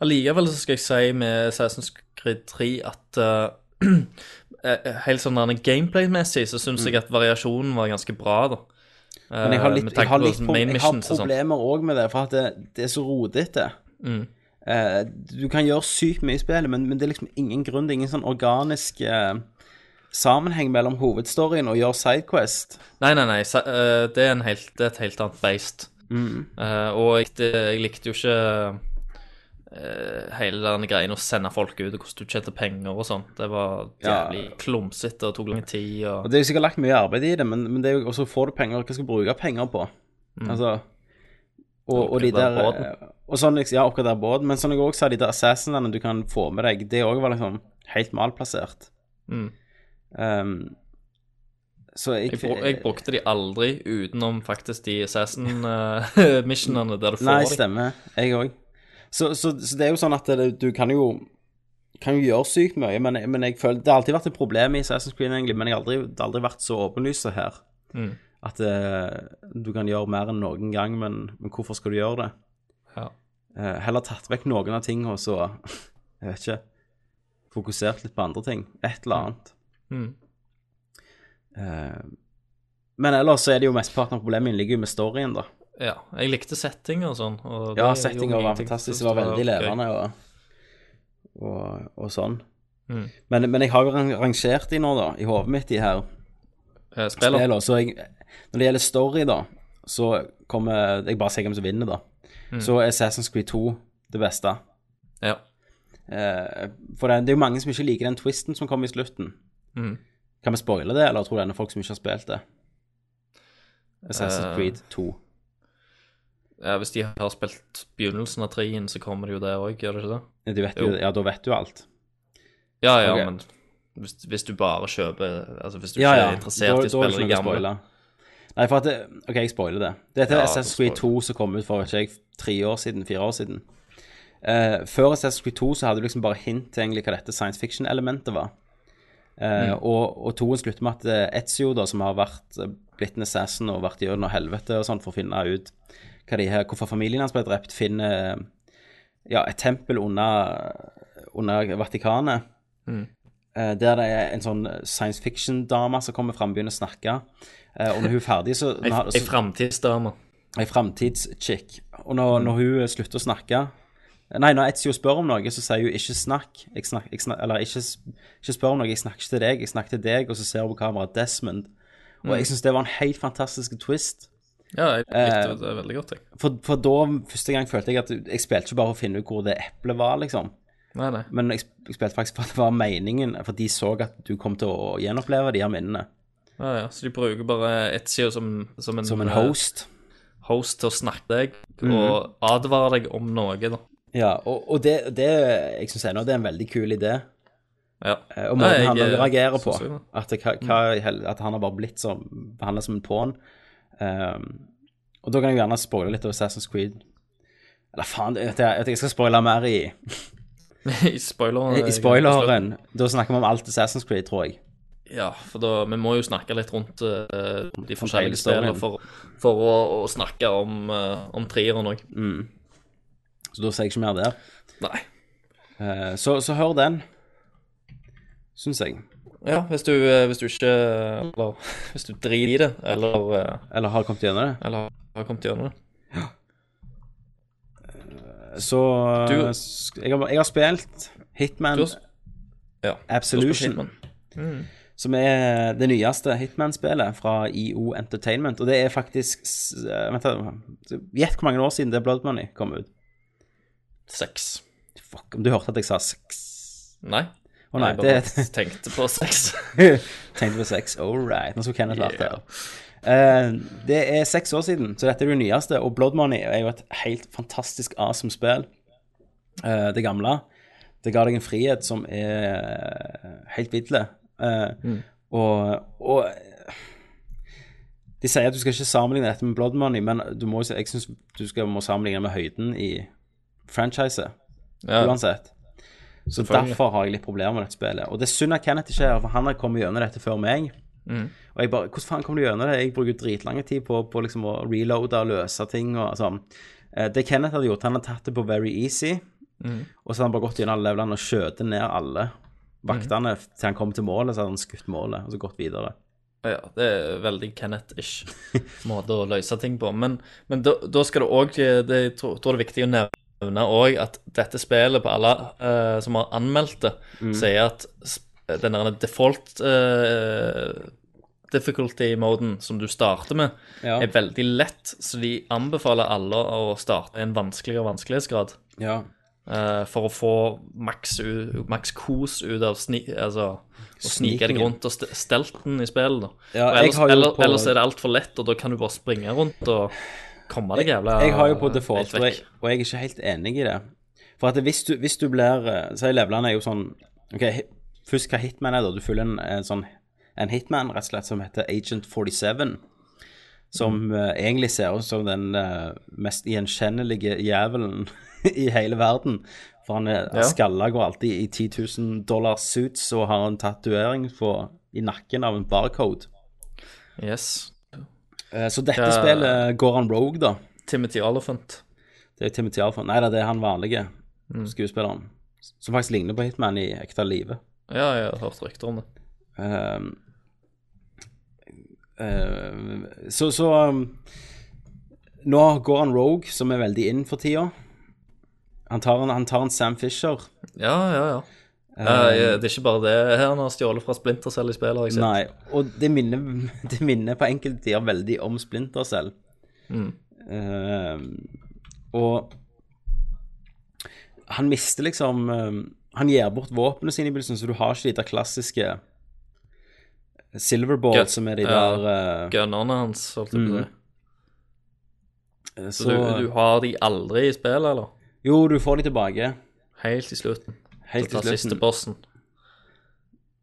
[SPEAKER 2] Allikevel så skal jeg si med Assassin's Creed 3 at eh, eh, Helt sånn der gameplay-messig så syns jeg at variasjonen var ganske bra, da.
[SPEAKER 1] Mm. Men jeg har litt, jeg har litt
[SPEAKER 2] sånn
[SPEAKER 1] pro
[SPEAKER 2] main
[SPEAKER 1] jeg har
[SPEAKER 2] missions og sånn.
[SPEAKER 1] problemer òg med det, for at det, det er så rodete. Eh, du kan gjøre sykt mye i spillet, men, men det er liksom ingen grunn. Det er ingen sånn organisk eh, sammenheng mellom hovedstoryen og gjør sidequest.
[SPEAKER 2] Nei, nei, nei. sa- eh, det, er en helt, det er et helt annet beist. Eh, og jeg, det, jeg likte jo ikke eh, hele den greien å sende folk ut, og hvordan du tjente penger og sånn. Det var
[SPEAKER 1] Ja.
[SPEAKER 2] jævlig klumsete og tok lang tid.
[SPEAKER 1] Og
[SPEAKER 2] Og...
[SPEAKER 1] Det er jo sikkert lagt mye arbeid i det, men, men det er jo
[SPEAKER 2] Mm.
[SPEAKER 1] også får du penger, hva skal du bruke penger på? Altså, og, og de
[SPEAKER 2] Det er
[SPEAKER 1] Mm. der
[SPEAKER 2] bare
[SPEAKER 1] Og sånn, liksom, ja, oppgradere båten, men sånn jeg også sa, de der assassinene du kan få med deg, det òg var liksom helt malplassert.
[SPEAKER 2] Mm.
[SPEAKER 1] Ehm, så jeg,
[SPEAKER 2] Jeg, bru- jeg brukte de aldri utenom faktisk de Assassin-missionene der du får
[SPEAKER 1] Nei,
[SPEAKER 2] dem.
[SPEAKER 1] stemmer. Jeg òg. Så, så, så det er jo sånn at det, du kan jo kan jo gjøre sykt mye, men, men jeg føler, det har alltid vært et problem i Assassin's Creed, egentlig, men jeg har aldri, det har aldri vært så åpenlyst som her.
[SPEAKER 2] Mm.
[SPEAKER 1] At eh, du kan gjøre mer enn noen gang, men, men hvorfor skal du gjøre det?
[SPEAKER 2] Ja.
[SPEAKER 1] Eh, heller tatt vekk noen av tingene og så Jeg vet ikke. Fokusert litt på andre ting. Et eller annet.
[SPEAKER 2] Mm.
[SPEAKER 1] Eh, men ellers så er det jo mesteparten av problemet ligger jo med storyen, da.
[SPEAKER 2] ja. Jeg likte settinga og sånn. Og
[SPEAKER 1] Ja,
[SPEAKER 2] det
[SPEAKER 1] settinga
[SPEAKER 2] gjorde
[SPEAKER 1] var
[SPEAKER 2] ingenting.
[SPEAKER 1] fantastisk.
[SPEAKER 2] Synes
[SPEAKER 1] Det var veldig
[SPEAKER 2] gøy.
[SPEAKER 1] levende og, og, og sånn.
[SPEAKER 2] Mm.
[SPEAKER 1] Men, men jeg har jo rang- rangert de nå, da, i hodet mitt, de her
[SPEAKER 2] Eh, Spiller.
[SPEAKER 1] spillene. Så jeg, når det gjelder story, da, så kommer Jeg bare sier hvem som vinner, da.
[SPEAKER 2] Mm.
[SPEAKER 1] Så er Assassin's Creed 2 det beste.
[SPEAKER 2] Ja.
[SPEAKER 1] Eh, for det, det er jo mange som ikke liker den twisten som kom i slutten.
[SPEAKER 2] Mhm.
[SPEAKER 1] Kan vi spoile det, eller tror du det er folk som ikke har spilt det? Assassin's
[SPEAKER 2] Eh,
[SPEAKER 1] Creed 2.
[SPEAKER 2] ja. Hvis de har spilt begynnelsen av trien, så kommer det jo det òg, gjør det ikke det?
[SPEAKER 1] Ja, Du vet jo,
[SPEAKER 2] jo.
[SPEAKER 1] ja, da vet du alt.
[SPEAKER 2] Ja, ja,
[SPEAKER 1] Ok.
[SPEAKER 2] men hvis, hvis du bare kjøper Altså hvis du
[SPEAKER 1] Ja,
[SPEAKER 2] ikke
[SPEAKER 1] ja.
[SPEAKER 2] er interessert i å
[SPEAKER 1] er det
[SPEAKER 2] spille
[SPEAKER 1] ikke
[SPEAKER 2] de
[SPEAKER 1] noe å
[SPEAKER 2] gamle.
[SPEAKER 1] spoile. Nei, for at det, OK, jeg spoiler det. Dette er
[SPEAKER 2] Ja,
[SPEAKER 1] Assassin's
[SPEAKER 2] du
[SPEAKER 1] Creed 2 som kom ut for ikke jeg, tre år siden, fire år siden. Eh, før Assassin's Creed 2 så hadde du liksom bare hint til egentlig hva dette science fiction-elementet var. Eh,
[SPEAKER 2] Mm.
[SPEAKER 1] Og, og toen slutter med at eh, Ezio, da, som har vært, eh, blitt en assassin og vært gjennom helvete og sånn for å finne ut hva de her, hvorfor familien hans ble drept, finner ja, et tempel under, under Vatikanet.
[SPEAKER 2] Mm.
[SPEAKER 1] Eh, Der det er en sånn science fiction-dame som kommer fram og begynner å snakke. Eh, Og når hun er ferdig, så
[SPEAKER 2] Ei ei framtidsdame.
[SPEAKER 1] Ei framtidskick. Og når, når hun eh, slutter å snakke Nei, når Etzio spør om noe, så sier hun 'ikke snakk'. Jeg snak, jeg snak, eller ikke, s- 'ikke spør om noe, jeg snakker ikke til deg', jeg snakker til deg, og så ser hun på kameraet Desmond. Og
[SPEAKER 2] Mm.
[SPEAKER 1] jeg syns det var en helt fantastisk twist.
[SPEAKER 2] Ja, jeg
[SPEAKER 1] Eh,
[SPEAKER 2] likte det veldig godt, jeg.
[SPEAKER 1] For, for da, første gang, følte jeg at jeg spilte ikke bare for å finne ut hvor det eplet var, liksom.
[SPEAKER 2] Nei, nei.
[SPEAKER 1] Men jeg, sp- jeg spilte faktisk for at det var meningen, for de så at du kom til å gjenoppleve de her minnene.
[SPEAKER 2] Ja, ja. Så de bruker bare Etzio som, som, en,
[SPEAKER 1] Som en
[SPEAKER 2] eh,
[SPEAKER 1] host. Mhm.
[SPEAKER 2] host til å snakke deg og advare deg om noe, da.
[SPEAKER 1] Ja, og, og det, det jeg syns ennå det er en veldig kul idé.
[SPEAKER 2] Ja.
[SPEAKER 1] Eh, Og måten
[SPEAKER 2] Nei,
[SPEAKER 1] han
[SPEAKER 2] jeg, eh,
[SPEAKER 1] reagerer på.
[SPEAKER 2] synes jeg, da.
[SPEAKER 1] At, det, hva, hva, i hel- at han har bare blitt som, behandla som en på'n. Ehm, og da kan jeg gjerne spoile litt over Assassin's Creed. Eller faen, jeg, jeg, jeg skal spoile mer i,
[SPEAKER 2] I spoileren.
[SPEAKER 1] i, i spoileren. Da snakker vi om alt Assassin's Creed, tror jeg.
[SPEAKER 2] Ja, for da, vi må jo snakke litt rundt eh, de
[SPEAKER 1] hele
[SPEAKER 2] forskjellige
[SPEAKER 1] storyen.
[SPEAKER 2] spillene for, for å, å snakke om, uh, om treeren òg.
[SPEAKER 1] Så da sier jeg ikke mer der.
[SPEAKER 2] Nei.
[SPEAKER 1] Eh, så, så hør den, syns jeg.
[SPEAKER 2] Ja, hvis du, eh, hvis du ikke Eller hvis du driter i det, eller, eh,
[SPEAKER 1] Eller har kommet gjennom det.
[SPEAKER 2] eller har kommet gjennom det.
[SPEAKER 1] Så eh,
[SPEAKER 2] Du-
[SPEAKER 1] sk- jeg, har, jeg har spilt Hitman
[SPEAKER 2] Du har- Ja.
[SPEAKER 1] Absolution,
[SPEAKER 2] Hitman.
[SPEAKER 1] som er det nyeste Hitman-spillet fra IO Entertainment. Og det er faktisk s- eh, Vent, da. Gjett hvor mange år siden det Blood Money kom ut.
[SPEAKER 2] Seks.
[SPEAKER 1] Fuck, om du hørte at jeg sa seks
[SPEAKER 2] Nei.
[SPEAKER 1] Å nei,
[SPEAKER 2] jeg
[SPEAKER 1] det
[SPEAKER 2] bare tenkte på seks.
[SPEAKER 1] Tenkte på seks. All right. Nå skulle Kenneth vært her. Eh, det er seks år siden, så dette er det nyeste. Og Blood Money er jo et helt fantastisk awesome spill. Eh, det gamle. Det ga deg en frihet som er helt vidle. Eh, Og, og de sier at du skal ikke sammenligne dette med Blood Money, men du må, jo- jeg syns du skal, må sammenligne med høyden i franchiset
[SPEAKER 2] Ja.
[SPEAKER 1] uansett. Så derfor har jeg litt problemer med dette spillet. Og det er synd at Kenneth ikke er her, for han har kommet gjennom dette før meg. Og jeg bare Hvordan faen kom du gjennom det? Jeg bruker jo dritlange tid på, på liksom å reloade og løse ting og sånn. Eh, Det Kenneth hadde gjort, han hadde tatt det på very easy, og så hadde han bare gått gjennom alle levelene og skjøtet ned alle vaktene til han kom til målet, så hadde han skutt målet, og så gått videre.
[SPEAKER 2] Ja, det er veldig Kenneth-ish måte å løse ting på. Men, men da, da skal det òg det, Jeg tror tror det er viktig å nevne òg at dette spillet, på alle eh, som har anmeldt det,
[SPEAKER 1] Mm.
[SPEAKER 2] sier at sp- den der default eh, difficulty-moden som du starter med,
[SPEAKER 1] Ja.
[SPEAKER 2] er veldig lett. Så de anbefaler alle å starte i en vanskeligere vanskelighetsgrad.
[SPEAKER 1] Ja.
[SPEAKER 2] eh, for å få maks, u- maks kos ut av sni, altså, å snike deg
[SPEAKER 1] Snikingen.
[SPEAKER 2] rundt og st- stelten i spillet. da.
[SPEAKER 1] Ja,
[SPEAKER 2] Og
[SPEAKER 1] jeg
[SPEAKER 2] ellers,
[SPEAKER 1] har jo
[SPEAKER 2] eller,
[SPEAKER 1] på-
[SPEAKER 2] ellers er det altfor lett, og da kan du bare springe rundt og komme deg jævla
[SPEAKER 1] Jeg har jo på
[SPEAKER 2] helt
[SPEAKER 1] default, og jeg,
[SPEAKER 2] vekk.
[SPEAKER 1] og jeg er ikke helt enig i det. For at hvis du, hvis du blir eh, Si levelene er jo sånn OK, hi- først hva hitman er, da. Du følger en, en sånn en hitman rett og slett som heter Agent 47. Som
[SPEAKER 2] Mm.
[SPEAKER 1] eh, egentlig ser ut som den eh, mest gjenkjennelige jævelen i hele verden. For han er
[SPEAKER 2] Ja.
[SPEAKER 1] ja. skalla, går alltid i 10 000 dollar suits og har en tatovering på- i nakken av en barcode.
[SPEAKER 2] Yes.
[SPEAKER 1] Eh, Så dette
[SPEAKER 2] Ja.
[SPEAKER 1] spillet går han rogue, da.
[SPEAKER 2] Timothy Oliphant.
[SPEAKER 1] Det er jo Timothy Alfond. Nei da, det er han vanlige skuespilleren. Som faktisk ligner på Hitman i ekte livet.
[SPEAKER 2] Ja, jeg har hørt rykter om det.
[SPEAKER 1] Ehm, ehm, så så um, Nå går han Rogue, som er veldig inn for tida. Han tar en, han tar en Sam Fisher.
[SPEAKER 2] Ja, ja, ja.
[SPEAKER 1] Um,
[SPEAKER 2] Eh, det er ikke bare det her han har stjålet fra Splinter Cell i spillet, har jeg sett.
[SPEAKER 1] Nei, og det minner, det minner på enkelte tider veldig om Splinter selv.
[SPEAKER 2] Mm.
[SPEAKER 1] og han mister liksom eh, Han gir bort våpnene sine i begynnelsen, så du har ikke de der klassiske Silverball,
[SPEAKER 2] Gu-
[SPEAKER 1] som er de
[SPEAKER 2] ja,
[SPEAKER 1] der eh,
[SPEAKER 2] Gunnerne hans, holdt jeg
[SPEAKER 1] Mm.
[SPEAKER 2] på å si.
[SPEAKER 1] så, eh,
[SPEAKER 2] Så du, du har de aldri i spillet, eller?
[SPEAKER 1] Jo, du får de tilbake.
[SPEAKER 2] Helt i slutten.
[SPEAKER 1] Helt til
[SPEAKER 2] Ta siste
[SPEAKER 1] slutten.
[SPEAKER 2] bossen.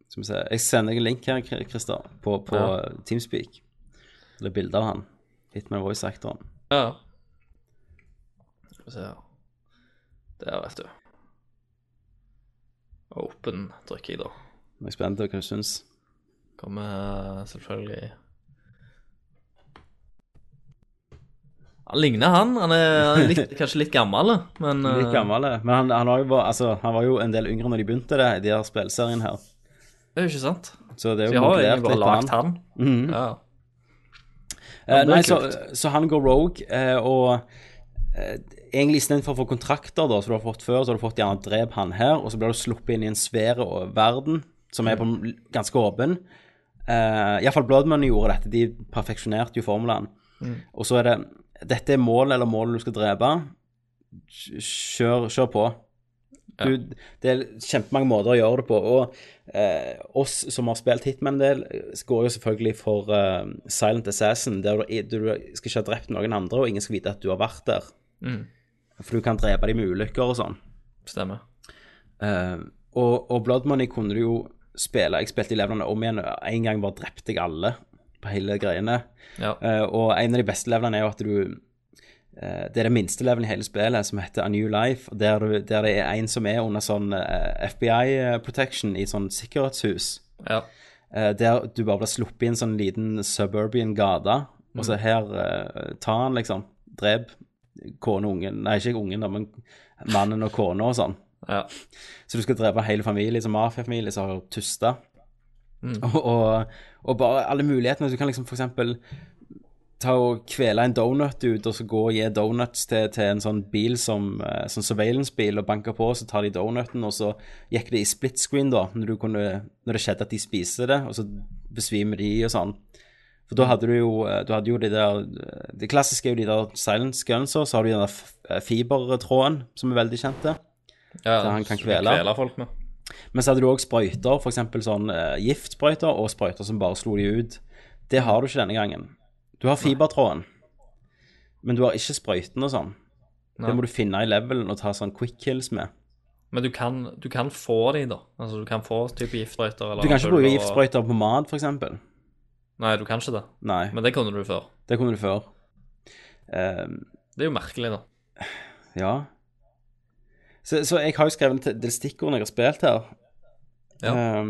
[SPEAKER 1] Skal vi se. Jeg sender deg en link her, Kri- Christer, på, på
[SPEAKER 2] Ja.
[SPEAKER 1] Teamspeak. Det er bilde av han. Hitman voice-actoren.
[SPEAKER 2] Ja. Skal vi se her. Der, vet du. Open trykker jeg, da.
[SPEAKER 1] Jeg er spent på hva du syns.
[SPEAKER 2] Kommer eh, selvfølgelig Han ligner, han. Han er, han er litt, kanskje litt gammel, men eh,
[SPEAKER 1] Litt gammel, det. Men han, han, har jo bare, altså, han var jo en del yngre når de begynte det, i de her spillserien her.
[SPEAKER 2] det er jo ikke sant.
[SPEAKER 1] Så det
[SPEAKER 2] Så
[SPEAKER 1] er
[SPEAKER 2] jeg
[SPEAKER 1] jo
[SPEAKER 2] har
[SPEAKER 1] modellert
[SPEAKER 2] egentlig bare
[SPEAKER 1] litt på han. Mhm.
[SPEAKER 2] lagd han. Ja.
[SPEAKER 1] Eh,
[SPEAKER 2] det er
[SPEAKER 1] nei, så,
[SPEAKER 2] kult.
[SPEAKER 1] så han går rogue, eh, og eh, egentlig istedenfor å få kontrakter da, som du har fått før, så har du fått gjerne drep han her, og så blir du sluppet inn i en svær eh, verden som er på,
[SPEAKER 2] Mm.
[SPEAKER 1] ganske åpen. Uh, Iallfall Bloodmoney gjorde dette, de perfeksjonerte jo formelen.
[SPEAKER 2] Mm.
[SPEAKER 1] Og så er det Dette er målet eller målet du skal drepe. Kj- Kjør, kjør på. Du, det er kjempemange måter å gjøre det på. Og eh, oss som har spilt Hitman en del, eh, går jo selvfølgelig for eh, Silent Assassin, der du, du skal ikke ha drept noen andre, og ingen skal vite at du har vært der.
[SPEAKER 2] Mm.
[SPEAKER 1] For du kan drepe dem med ulykker og sånn.
[SPEAKER 2] Stemmer.
[SPEAKER 1] Eh, og, og Blood Money kunne du jo spille Jeg spilte i levelene om igjen. En gang bare drepte jeg alle på hele greiene.
[SPEAKER 2] Ja.
[SPEAKER 1] Eh, og en av de beste levelene er jo at du eh, Det er det minste levelen i hele spillet, som heter A New Life, og der, du- der det er en som er under sånn eh, FBI eh, protection i sånn sikkerhetshus.
[SPEAKER 2] ja.
[SPEAKER 1] eh, der du bare blir sluppet i en sånn liten suburban gate, og så her eh, tar han liksom Drep kone og ungen Nei, ikke ungen, da, men mannen og kona og sånn.
[SPEAKER 2] ja.
[SPEAKER 1] Så du skal drepe hele familien, som mafiafamilie, som har tusta. Og, og, og bare alle mulighetene. Du kan liksom for eksempel ta og kvele en donut ut, og så gå og gi donuts til, til en sånn bil som eh, sånn surveillance-bil, og banke på, så tar de donuten, og så gikk det i split screen, da, når, du kunne, når det skjedde at de spiste det, og så besvimer de og sånn. For da hadde du jo, eh, du hadde jo de der eh, Det klassiske er jo de der silence guns, og så har du den der f- eh, fibertråden, som er veldig kjente.
[SPEAKER 2] ja.
[SPEAKER 1] Så han kan
[SPEAKER 2] så du
[SPEAKER 1] kvele.
[SPEAKER 2] folk med.
[SPEAKER 1] Men så hadde du òg sprøyter, f.eks. sånn eh, giftsprøyter og sprøyter som bare slo de ut. Det har du ikke denne gangen. Du har fibertråden, men du har ikke sprøyten og sånn. Det
[SPEAKER 2] Nei.
[SPEAKER 1] må du finne i levelen og ta sånn quick kills med.
[SPEAKER 2] Men du kan, du kan få de, da. Altså, du kan få type giftsprøyter eller
[SPEAKER 1] Du kan ikke bruke
[SPEAKER 2] ampuller og-
[SPEAKER 1] giftsprøyter på mat, f.eks.
[SPEAKER 2] Nei, du kan ikke det.
[SPEAKER 1] Nei,
[SPEAKER 2] Men det kunne du før.
[SPEAKER 1] det kunne du før. Eh,
[SPEAKER 2] Det er jo merkelig, da.
[SPEAKER 1] ja. Så, så jeg har jo skrevet en del stikkord når jeg har spilt her.
[SPEAKER 2] Ja.
[SPEAKER 1] Eh,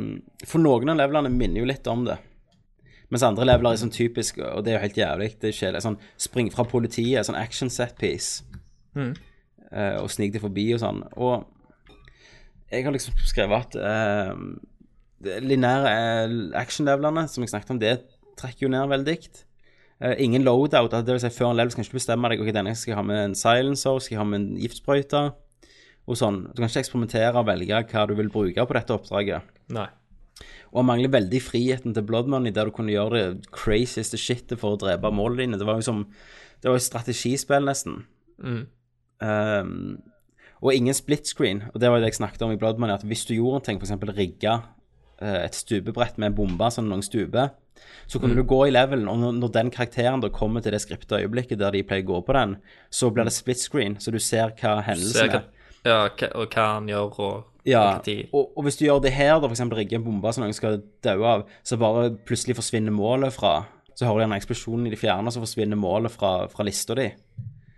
[SPEAKER 1] for noen av levelene minner jo litt om det. Mens andre leveler er sånn typisk, og det er jo helt jævlig, det er kjedelig. Sånn spring fra politiet, sånn action set piece.
[SPEAKER 2] Mhm.
[SPEAKER 1] Eh, og snik deg forbi og sånn. Og jeg har liksom skrevet at eh, det lineære eh, action-levelene, som jeg snakket om, det trekker jo ned veldig. Eh, ingen loadout, altså det vil si før en level så kan du ikke bestemme deg, ok, denne skal jeg ha med en silencer, skal jeg ha med en giftsprøyte, og sånn. Du kan ikke eksperimentere og velge hva du vil bruke på dette oppdraget.
[SPEAKER 2] Nei.
[SPEAKER 1] Og han mangler veldig friheten til Blood Money, der du kunne gjøre det crazieste shitet for å drepe målene dine. Det var jo som Det var jo strategispill, nesten.
[SPEAKER 2] Mm.
[SPEAKER 1] Ehm, og ingen split screen. Og det var jo det jeg snakket om i Blood Money, at hvis du gjorde en ting, f.eks. rigga eh, et stupebrett med en bombe, sånn noen stuper, Så kunne du gå i levelen, og når- når den karakteren da kommer til det skripta øyeblikket der de pleier å gå på den, så blir det split screen, så du ser hva
[SPEAKER 2] Se
[SPEAKER 1] hendelsen
[SPEAKER 2] hva,
[SPEAKER 1] er.
[SPEAKER 2] ja, hva, og hva han gjør, og
[SPEAKER 1] Ja,
[SPEAKER 2] hvilken tid.
[SPEAKER 1] og, og hvis du gjør det her, da, for eksempel rigge en bombe som noen skal daue av, så bare plutselig forsvinner målet fra Så hører du en eksplosjon i det fjerne, og så forsvinner målet fra, fra lista di.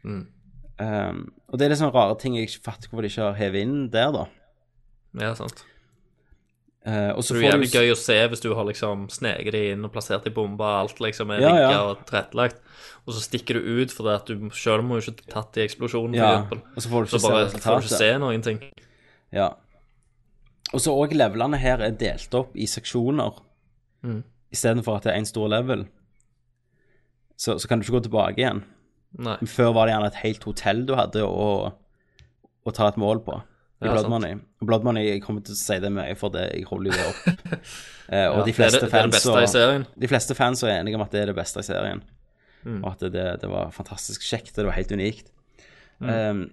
[SPEAKER 2] Mm.
[SPEAKER 1] Um, og det er litt sånne rare ting jeg ikke fatter hvorfor de ikke har hevet inn der, da.
[SPEAKER 2] Ja, sant.
[SPEAKER 1] Eh, og så
[SPEAKER 2] Det er
[SPEAKER 1] får
[SPEAKER 2] jo
[SPEAKER 1] du
[SPEAKER 2] jævlig gøy å se hvis du har liksom sneket deg inn og plassert deg i bomba, alt liksom er
[SPEAKER 1] Ja,
[SPEAKER 2] rigget
[SPEAKER 1] ja.
[SPEAKER 2] og tilrettelagt, og så stikker du ut fordi at du sjøl må jo ikke tatt i eksplosjonen, for
[SPEAKER 1] Ja,
[SPEAKER 2] eksempel.
[SPEAKER 1] og så får du ikke
[SPEAKER 2] så bare
[SPEAKER 1] se
[SPEAKER 2] får du ikke
[SPEAKER 1] resultatet.
[SPEAKER 2] se noen ting.
[SPEAKER 1] Ja. Og så òg levelene her er delt opp i seksjoner.
[SPEAKER 2] Mm.
[SPEAKER 1] Istedenfor at det er én stor level. Så, så kan du ikke gå tilbake igjen.
[SPEAKER 2] Nei.
[SPEAKER 1] Før var det gjerne et helt hotell du hadde å, å ta et mål på. I
[SPEAKER 2] Ja,
[SPEAKER 1] Blood
[SPEAKER 2] sant.
[SPEAKER 1] Money. Blood Money, jeg kommer til å si det mye, for det, jeg holder jo det opp. Eh, og
[SPEAKER 2] Ja,
[SPEAKER 1] de fleste
[SPEAKER 2] det, er det, det er det
[SPEAKER 1] fans
[SPEAKER 2] beste i
[SPEAKER 1] og-
[SPEAKER 2] serien.
[SPEAKER 1] de fleste fans er enige om at det er det beste i serien. Og at det, det var fantastisk kjekt, og det var helt unikt. Um,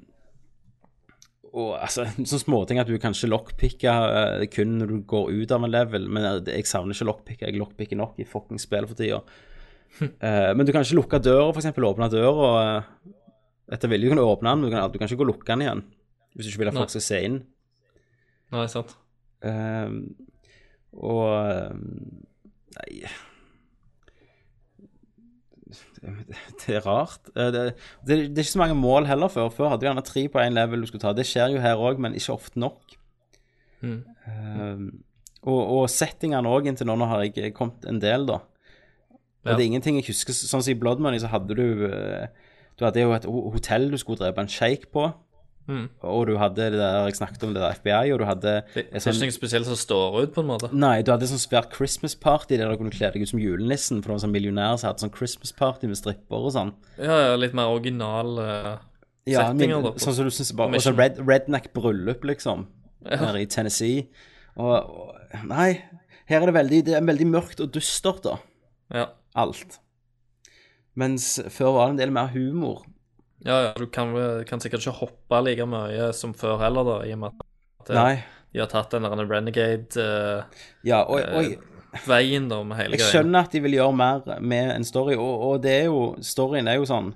[SPEAKER 1] og altså, sånne småting at du kan ikke lockpicke eh, kun når du går ut av en level, men eh, jeg savner ikke lockpicke, jeg lockpicker nok i fucking spill for tida. Eh, men du kan ikke lukke døra, for eksempel, åpne døra, og uh, etter vilje kan du åpne den, men du kan, du kan ikke gå og lukke den igjen, hvis du ikke vil at
[SPEAKER 2] Nei.
[SPEAKER 1] folk skal se inn.
[SPEAKER 2] Nei, sant.
[SPEAKER 1] Ehm, og ehm, Nei det, det er rart. Eh, Det, det, det er ikke så mange mål heller før. Før hadde du gjerne tre på én level du skulle ta. Det skjer jo her òg, men ikke ofte nok.
[SPEAKER 2] Mm.
[SPEAKER 1] Ehm, og, og settingene òg, inntil nå, nå har jeg kommet en del, da. Og
[SPEAKER 2] Ja.
[SPEAKER 1] det er ingenting jeg husker. Sånn som i Blood Money, så hadde du eh, Du hadde jo et ho- hotell du skulle drepe en sjeik på.
[SPEAKER 2] Mm.
[SPEAKER 1] Og du hadde det der jeg snakket om, det der FBI, og du hadde
[SPEAKER 2] Det, det
[SPEAKER 1] et
[SPEAKER 2] er
[SPEAKER 1] sånn-
[SPEAKER 2] ikke noe spesielt som står ut, på en måte.
[SPEAKER 1] Nei, du hadde sånn svært Christmas party der du kunne kle deg ut som julenissen, for det var en sånn millionær som hadde sånn Christmas party med stripper og sånn.
[SPEAKER 2] Ja, ja, litt mer original eh,
[SPEAKER 1] Ja, min,
[SPEAKER 2] settinger, da. på-
[SPEAKER 1] sånn som du synes bare,
[SPEAKER 2] Mission.
[SPEAKER 1] og sånn red, redneck-bryllup, liksom, her i Tennessee. Og, og nei, her er det veldig, det er veldig mørkt og dystert, da,
[SPEAKER 2] ja.
[SPEAKER 1] alt. Mens før var det en del mer humor.
[SPEAKER 2] ja, ja, du kan, kan sikkert ikke hoppe like mye som før heller, da, i og med at eh,
[SPEAKER 1] Nei.
[SPEAKER 2] de har tatt den der Renegade-veien,
[SPEAKER 1] Ja, og, og
[SPEAKER 2] da, med hele
[SPEAKER 1] Jeg skjønner at de vil gjøre mer med en story, og, og det er jo, storyen er jo sånn,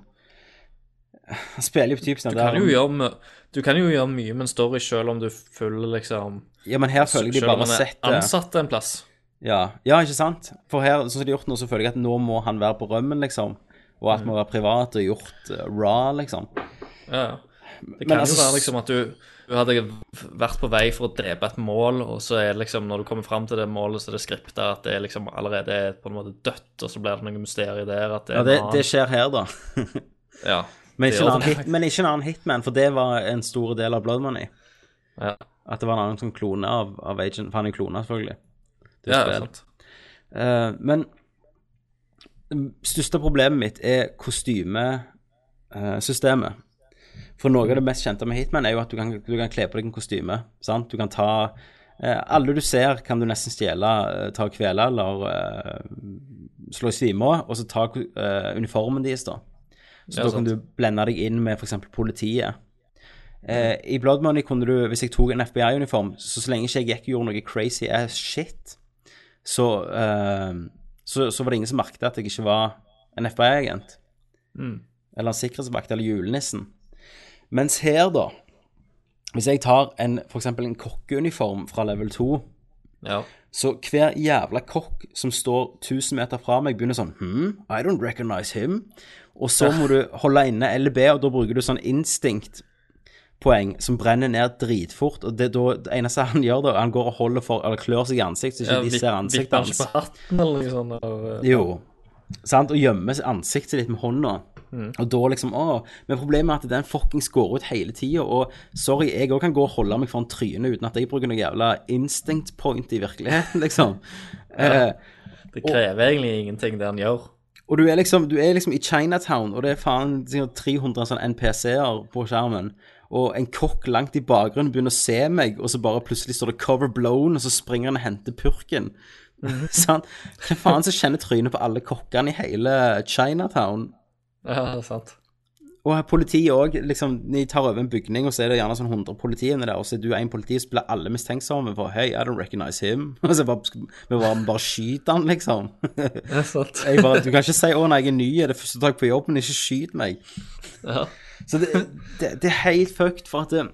[SPEAKER 1] han spiller jo typisk den
[SPEAKER 2] Du kan jo
[SPEAKER 1] om-
[SPEAKER 2] gjøre, mø- du kan jo gjøre mye med en story selv om du følger liksom
[SPEAKER 1] Ja, men her føler jeg de
[SPEAKER 2] Selv om
[SPEAKER 1] bare
[SPEAKER 2] man er
[SPEAKER 1] setter
[SPEAKER 2] ansatt en plass.
[SPEAKER 1] Ja. ja, ikke sant? For her, sånn som de har gjort nå, så føler jeg at nå må han være på rømmen, liksom. Og alt må være privat og gjort eh, raw, liksom.
[SPEAKER 2] Ja, ja. Det
[SPEAKER 1] Men
[SPEAKER 2] kan
[SPEAKER 1] altså-
[SPEAKER 2] jo være liksom at du, du hadde vært på vei for å drepe et mål, og så er det liksom når du kommer fram til det målet, så er det skriptet at det er liksom allerede er på en måte dødt, og så blir det noe mysterium der at det er
[SPEAKER 1] Ja, det,
[SPEAKER 2] en
[SPEAKER 1] det
[SPEAKER 2] annen.
[SPEAKER 1] skjer her, da.
[SPEAKER 2] Ja.
[SPEAKER 1] Men ikke, en
[SPEAKER 2] Det gjør
[SPEAKER 1] annen
[SPEAKER 2] det.
[SPEAKER 1] hit, men ikke en annen hitman, for det var en stor del av Blood Money.
[SPEAKER 2] Ja,
[SPEAKER 1] At det var en annen sånn klone av, av Agent. For han er jo klone, selvfølgelig. Det er
[SPEAKER 2] ja, altså.
[SPEAKER 1] jo spill.
[SPEAKER 2] sant.
[SPEAKER 1] Eh, men det største problemet mitt er kostymesystemet. eh, For noe av det mest kjente med Hitman er jo at du kan, du kan kle på deg en kostyme. sant? Du kan ta eh, Alle du ser, kan du nesten stjele, eh, ta og kvele eller eh, slå i svime av, og så ta eh, uniformen deres, da. Så
[SPEAKER 2] Ja,
[SPEAKER 1] da
[SPEAKER 2] sant.
[SPEAKER 1] kan du blende deg inn med f.eks. politiet. Eh, I Blood Money kunne du, hvis jeg tok en FBI-uniform, så så lenge ikke jeg gikk og gjorde noe crazy ass shit, så, eh, så, så var det ingen som merket at jeg ikke var en FBI-agent. Eller en sikkerhetsvakt, eller julenissen. Mens her, da, hvis jeg tar en, for eksempel en kokkeuniform fra level 2,
[SPEAKER 2] Ja.
[SPEAKER 1] så hver jævla kokk som står 1000 meter fra meg, begynner sånn Hm, I don't recognize him. Og så må du holde inne LB, og da bruker du sånn instinktpoeng som brenner ned dritfort. Og det, er da, det eneste han gjør, da, han går og holder for, eller klør seg i ansiktet, så ikke
[SPEAKER 2] Ja,
[SPEAKER 1] de
[SPEAKER 2] vip-
[SPEAKER 1] ser
[SPEAKER 2] vipper
[SPEAKER 1] ansiktet
[SPEAKER 2] han
[SPEAKER 1] hans.
[SPEAKER 2] ikke på hatten eller noe sånt? eh, eller-
[SPEAKER 1] Jo. Sant? Og gjemmer ansiktet sitt med hånda. Og da liksom Å. Men problemet er at den fuckings går ut hele tida. Og sorry, jeg òg kan gå og holde meg foran trynet uten at jeg bruker noe jævla instinct point i virkeligheten, liksom. Eh,
[SPEAKER 2] Det krever egentlig ingenting, det han gjør.
[SPEAKER 1] og du er, liksom, du er liksom i Chinatown, og det er faen sikkert 300 sånn NPC-er på skjermen. Og en kokk langt i bakgrunnen begynner å se meg, og så bare plutselig står det 'cover blown', og så springer han og henter purken. Sant? Hvem faen som kjenner trynet på alle kokkene i hele Chinatown?
[SPEAKER 2] Ja, sant.
[SPEAKER 1] Og politiet òg, liksom, de tar over en bygning, og så er det gjerne sånn 100 politiene der, og så er du en politi, så blir alle mistenksomme for Hei, I don't recognize him. Og så bare, vi bare, bare skyter han, liksom.
[SPEAKER 2] Ja, sant.
[SPEAKER 1] Jeg bare, du kan ikke si 'Å nei, jeg er ny, er det første dag på jobben, ikke skyt meg'.
[SPEAKER 2] Ja.
[SPEAKER 1] Så det, det, det er helt fucked, for at det,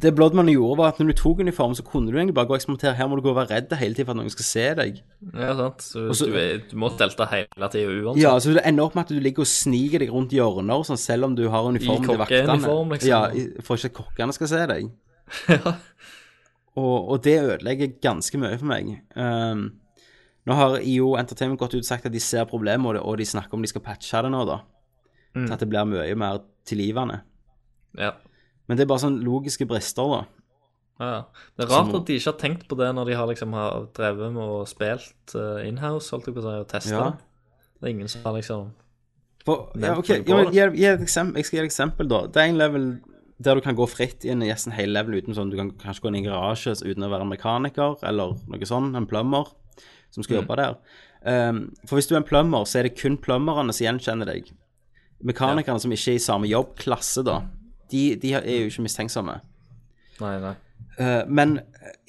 [SPEAKER 1] det Bloodman gjorde, var at når du tok uniform, så kunne du egentlig bare gå og eksperimentere. Her må du gå og være redd hele tiden for at noen skal se deg.
[SPEAKER 2] ja, sant. Så
[SPEAKER 1] så-
[SPEAKER 2] du, er, du må stelte hele tida uansett.
[SPEAKER 1] Ja, så det ender opp med at du ligger og sniker deg rundt hjørner, og sånn, selv om du har uniform
[SPEAKER 2] I
[SPEAKER 1] til vaktene.
[SPEAKER 2] kokkeuniform, liksom.
[SPEAKER 1] Ja, i- for ikke at kokkene skal se deg.
[SPEAKER 2] Ja.
[SPEAKER 1] Og, og det ødelegger ganske mye for meg. Ehm, nå har IO Entertainment gått ut og sagt at de ser problemet, og, det, og de snakker om de skal patche det nå, da. Til at det blir mye mer tilgivende.
[SPEAKER 2] Mm. Ja.
[SPEAKER 1] Men det er bare sånn logiske brister, da.
[SPEAKER 2] Ja, ja. Det er rart at de ikke har tenkt på det når de har liksom har drevet med og spilt eh, inhouse, holdt jeg på å si, og testa.
[SPEAKER 1] Ja.
[SPEAKER 2] Det er ingen som har liksom
[SPEAKER 1] For, ja,
[SPEAKER 2] Nevnt
[SPEAKER 1] ok,
[SPEAKER 2] noe på
[SPEAKER 1] ja, men
[SPEAKER 2] det.
[SPEAKER 1] gi, gi et eksempel, Jeg skal gi et eksempel, da. Det er en level der du kan gå fritt inn i nesten hele level uten sånn Du kan kanskje gå inn i en garasje uten å være en mekaniker eller noe sånn, en plummer som skal jobbe der. Ehm, for hvis du er en plummer, så er det kun plummerne som gjenkjenner deg. Mekanikerne som ikke er i samme jobbklasse, da, de, de er jo ikke mistenksomme.
[SPEAKER 2] Nei, nei.
[SPEAKER 1] Eh, men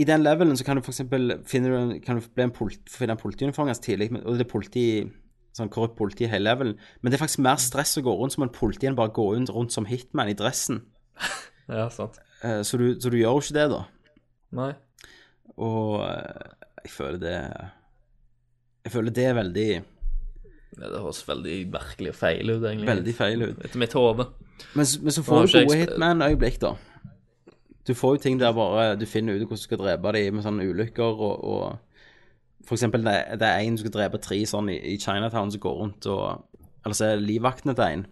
[SPEAKER 1] i den levelen så kan du for eksempel finne du en, kan du bli en polit, finne en politiuniform ganske tidlig, men- og det er politi, sånn korrupt politi i hele levelen. Men det er faktisk mer stress å gå rundt som en politi enn bare å gå rundt, rundt som hitman i dressen.
[SPEAKER 2] Ja, sant.
[SPEAKER 1] Eh, så, du, så du gjør jo ikke det, da.
[SPEAKER 2] Nei.
[SPEAKER 1] Og eh, jeg føler det Jeg føler det er veldig,
[SPEAKER 2] Ja, Det høres veldig merkelig og feil ut, egentlig.
[SPEAKER 1] veldig feil ut.
[SPEAKER 2] Etter mitt hode.
[SPEAKER 1] Men, s- men så
[SPEAKER 2] Nå har
[SPEAKER 1] får du
[SPEAKER 2] ikke jeg
[SPEAKER 1] gode
[SPEAKER 2] sp-
[SPEAKER 1] hitman-øyeblikk, da. Du får jo ting der bare du finner ut hvordan du skal drepe dem med sånne ulykker og, og For eksempel det, det er en som skal drepe tre sånn i, i Chinatown som går rundt og Eller så er det livvaktene til en.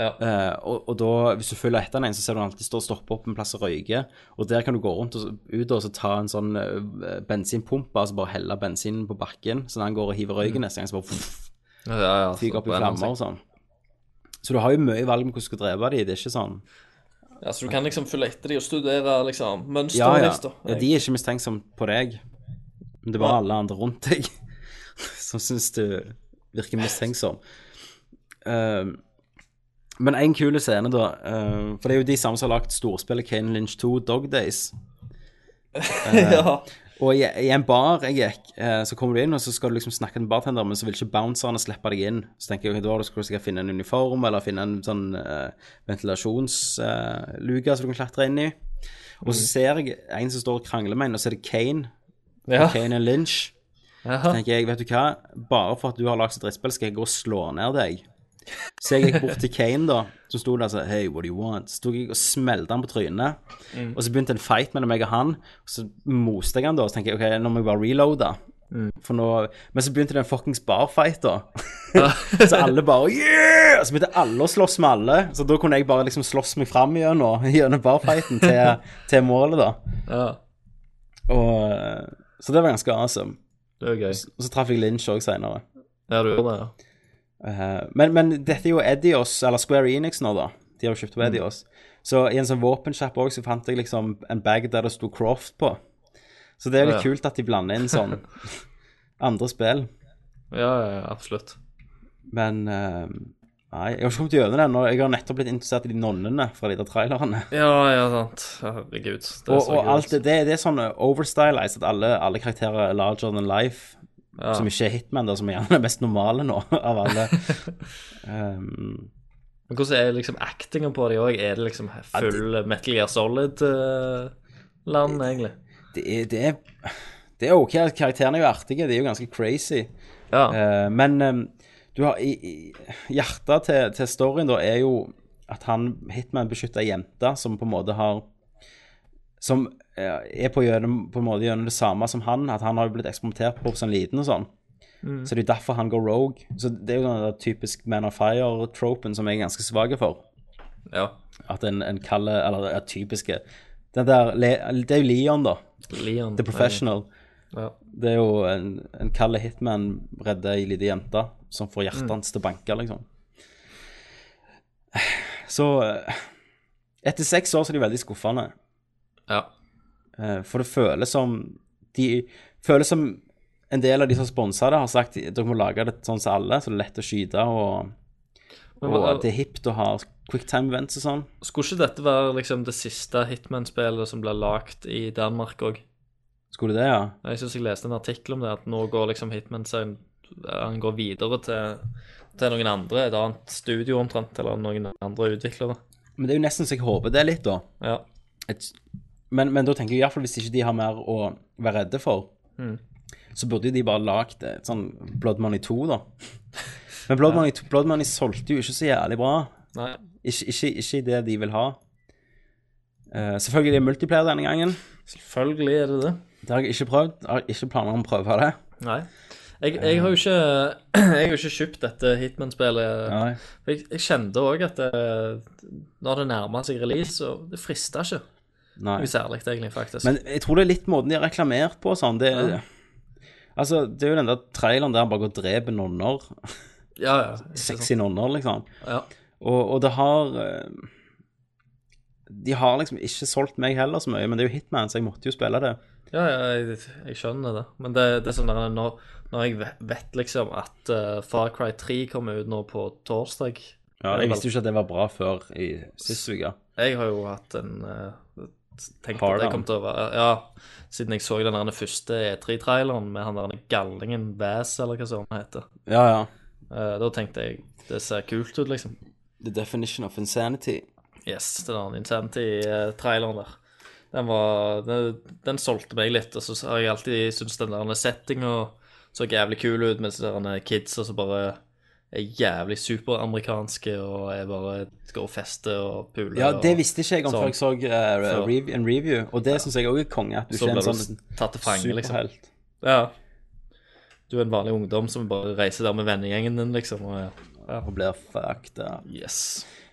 [SPEAKER 2] Ja.
[SPEAKER 1] Eh, og, og da, hvis du følger etter en, så ser du han alltid stå og stoppe opp en plass og røyke. Og der kan du gå rundt og så- ut og så ta en sånn eh, bensinpumpe, altså bare helle bensinen på bakken. Så når han går og hiver røyken neste gang, så bare
[SPEAKER 2] Ja, ja, ja, så
[SPEAKER 1] Mm. fyker opp i
[SPEAKER 2] brenner han
[SPEAKER 1] flammer og sånn. Så du har jo mye valg med hvordan du skal drepe dem. Det er ikke sånn
[SPEAKER 2] seg. Ja, Så du kan liksom følge etter de og studere liksom
[SPEAKER 1] Ja, ja.
[SPEAKER 2] mønsterlister.
[SPEAKER 1] ja de er ikke mistenksomme på deg, men det er bare alle andre rundt deg som syns du virker mistenksom. Ehm, men en kul scene, da ehm, For det er jo de samme som har lagd storspillet Kane Lynch 2, Dog Days.
[SPEAKER 2] ja.
[SPEAKER 1] Og i, i en bar jeg gikk, eh, så kommer du inn, og så skal du liksom snakke med en bartender, men så vil ikke bouncerne slippe deg inn. Så tenker jeg, da skal du sikkert finne en uniform, eller finne en sånn eh, ventilasjonsluke som du kan klatre inn i. Og så ser jeg en som står og krangler med en, og så er det Kane.
[SPEAKER 2] Ja.
[SPEAKER 1] Kane og Lynch.
[SPEAKER 2] ja.
[SPEAKER 1] tenker jeg, vet du hva, bare for at du har lagd et drittspill, skal jeg gå og slå ned deg. Så jeg gikk bort til Kane, da, som sto der og sa Hey, what do you want? Så tok jeg og smelte han på trynet. Og så begynte en fight mellom meg og han. Og så moste jeg han da, og så tenker jeg OK, nå må jeg bare reloade. For nå Men så begynte det en fuckings barfight, da. så alle bare Yeah! Så begynte alle å slåss med alle. Så da kunne jeg bare liksom slåss meg fram gjennom, gjennom barfighten til, til målet, da.
[SPEAKER 2] ja.
[SPEAKER 1] Og eh, Så det var ganske awesome.
[SPEAKER 2] Det er gøy.
[SPEAKER 1] Og så traff jeg Lynch òg seinere.
[SPEAKER 2] Ja, du gjorde det, ja.
[SPEAKER 1] Eh, men, men dette er jo Edios, eller Square Enix nå, da. De har jo
[SPEAKER 2] Mm.
[SPEAKER 1] kjøpt opp Edios. Så i en sånn våpensjappe òg, så fant jeg liksom en bag der det sto Croft på. Så det er litt
[SPEAKER 2] Ja.
[SPEAKER 1] kult at de blander inn sånn andre spill.
[SPEAKER 2] Ja, ja, ja, absolutt.
[SPEAKER 1] Men eh, nei, jeg har ikke kommet gjennom det ennå. Jeg har nettopp blitt interessert i de nonnene fra de der trailerne.
[SPEAKER 2] Ja, ja, sant. Herregud. Det
[SPEAKER 1] Og, og alt det, det, det er sånn overstylized at alle, alle karakterer er larger than life.
[SPEAKER 2] Ja.
[SPEAKER 1] Som ikke er Hitman, da, som er gjerne er mest normale nå av alle. um,
[SPEAKER 2] Men hvordan er liksom actinga på de òg? Er det liksom full Metal Gear Solid-land, egentlig?
[SPEAKER 1] det er, det er, det er ok, karakterene er jo artige, det er jo ganske crazy.
[SPEAKER 2] Ja.
[SPEAKER 1] Eh, men eh, du har, i, i, hjertet til, til storyen da er jo at han, Hitman beskytter ei jente som på en måte har Som eh, er på, gjennom, på en måte gjennom det samme som han, at han har jo blitt eksperimentert på som liten og sånn. Så det er jo derfor han går rogue. Så Det er jo den der typisk Man of Fire-tropen som jeg er ganske svak for
[SPEAKER 2] ja.
[SPEAKER 1] at en, en kaller Eller er typiske den der, Le- Det er jo Leon, da.
[SPEAKER 2] Leon. eh,
[SPEAKER 1] The Professional.
[SPEAKER 2] Ja.
[SPEAKER 1] Det er jo en, en kald hitman redder ei lita jente som får hjertet hans til å banke, liksom. Så eh, Etter seks år så er de veldig skuffende.
[SPEAKER 2] ja.
[SPEAKER 1] eh, For det føles som De føles som en del av de som sponsa det, har sagt dere må lage det sånn som alle, så det er lett å skyte og Og at det er hipt å ha quicktime events og sånn.
[SPEAKER 2] Skulle ikke dette være liksom det siste Hitman-spillet som ble lagd i Danmark òg?
[SPEAKER 1] Skulle det, ja?
[SPEAKER 2] Jeg syns jeg leste en artikkel om det, at nå går liksom Hitman-serien han går videre til, til noen andre, et annet studio omtrent, eller noen andre utviklere.
[SPEAKER 1] Men det er jo nesten så jeg håper det litt, da.
[SPEAKER 2] Ja.
[SPEAKER 1] Et, men, men da tenker jeg iallfall hvis ikke de har mer å være redde for,
[SPEAKER 2] Mm.
[SPEAKER 1] så burde jo de bare lagd et sånn Blood Money 2, da. Men Blood, Money, 2 Blood Money solgte jo ikke så jævlig bra.
[SPEAKER 2] Nei.
[SPEAKER 1] Ikke, ikke, ikke det de vil ha. Eh, selvfølgelig er det multiplayer denne gangen.
[SPEAKER 2] Selvfølgelig er det det.
[SPEAKER 1] Det har jeg ikke prøvd. Jeg har ikke planer om å prøve det.
[SPEAKER 2] Nei. Jeg, jeg har jo ikke, jeg har jo ikke kjøpt dette Hitman-spillet.
[SPEAKER 1] Nei.
[SPEAKER 2] For Jeg, jeg kjente òg at det, når det nærma seg release, så det frista ikke
[SPEAKER 1] Nei.
[SPEAKER 2] noe særlig, egentlig, faktisk.
[SPEAKER 1] Men jeg tror det er litt måten de har reklamert på og sånn. Det,
[SPEAKER 2] Ja.
[SPEAKER 1] Altså, det er jo den der traileren der han bare går og dreper nonner.
[SPEAKER 2] ja, ja. ikke sant.
[SPEAKER 1] Sexy nonner, liksom.
[SPEAKER 2] Ja.
[SPEAKER 1] Og, og det har eh, De har liksom ikke solgt meg heller så mye, men det er jo Hitman, så jeg måtte jo spille det.
[SPEAKER 2] Ja, ja, jeg, jeg skjønner det. Men det, det er sånn der, når, når jeg vet, vet liksom at eh, Far Cry 3 kommer ut nå på torsdag
[SPEAKER 1] jeg visste jo ikke at det var bra før i sist uke.
[SPEAKER 2] Jeg har jo hatt en eh, tenkt
[SPEAKER 1] Hard
[SPEAKER 2] at jeg
[SPEAKER 1] on.
[SPEAKER 2] kom til å være Ja, siden jeg så den der første E3-traileren med han der gallingen Bass, eller hva sånn han heter.
[SPEAKER 1] Ja, ja.
[SPEAKER 2] Eh, da tenkte jeg det ser kult ut, liksom.
[SPEAKER 1] The definition of insanity.
[SPEAKER 2] Yes, den der Insanity-traileren eh, der. Den var den, den solgte meg litt, og så har jeg alltid syntes den der settinga så jævlig kul ut, mens de der kidsa som bare er jævlig superamerikanske og er bare skal og feste og pule
[SPEAKER 1] Ja, det
[SPEAKER 2] og
[SPEAKER 1] visste ikke jeg om
[SPEAKER 2] Sånn.
[SPEAKER 1] før jeg så eh,
[SPEAKER 2] Så-
[SPEAKER 1] rev, en review, og det synes syns jeg òg er konge. At du
[SPEAKER 2] Så
[SPEAKER 1] ikke er
[SPEAKER 2] blir
[SPEAKER 1] en
[SPEAKER 2] du
[SPEAKER 1] sånn
[SPEAKER 2] tatt til fange, liksom.
[SPEAKER 1] superhelt.
[SPEAKER 2] Ja. Du er en vanlig ungdom som bare reiser der med vennegjengen din, liksom. Og, ja.
[SPEAKER 1] Og blir fucked up.
[SPEAKER 2] Yes.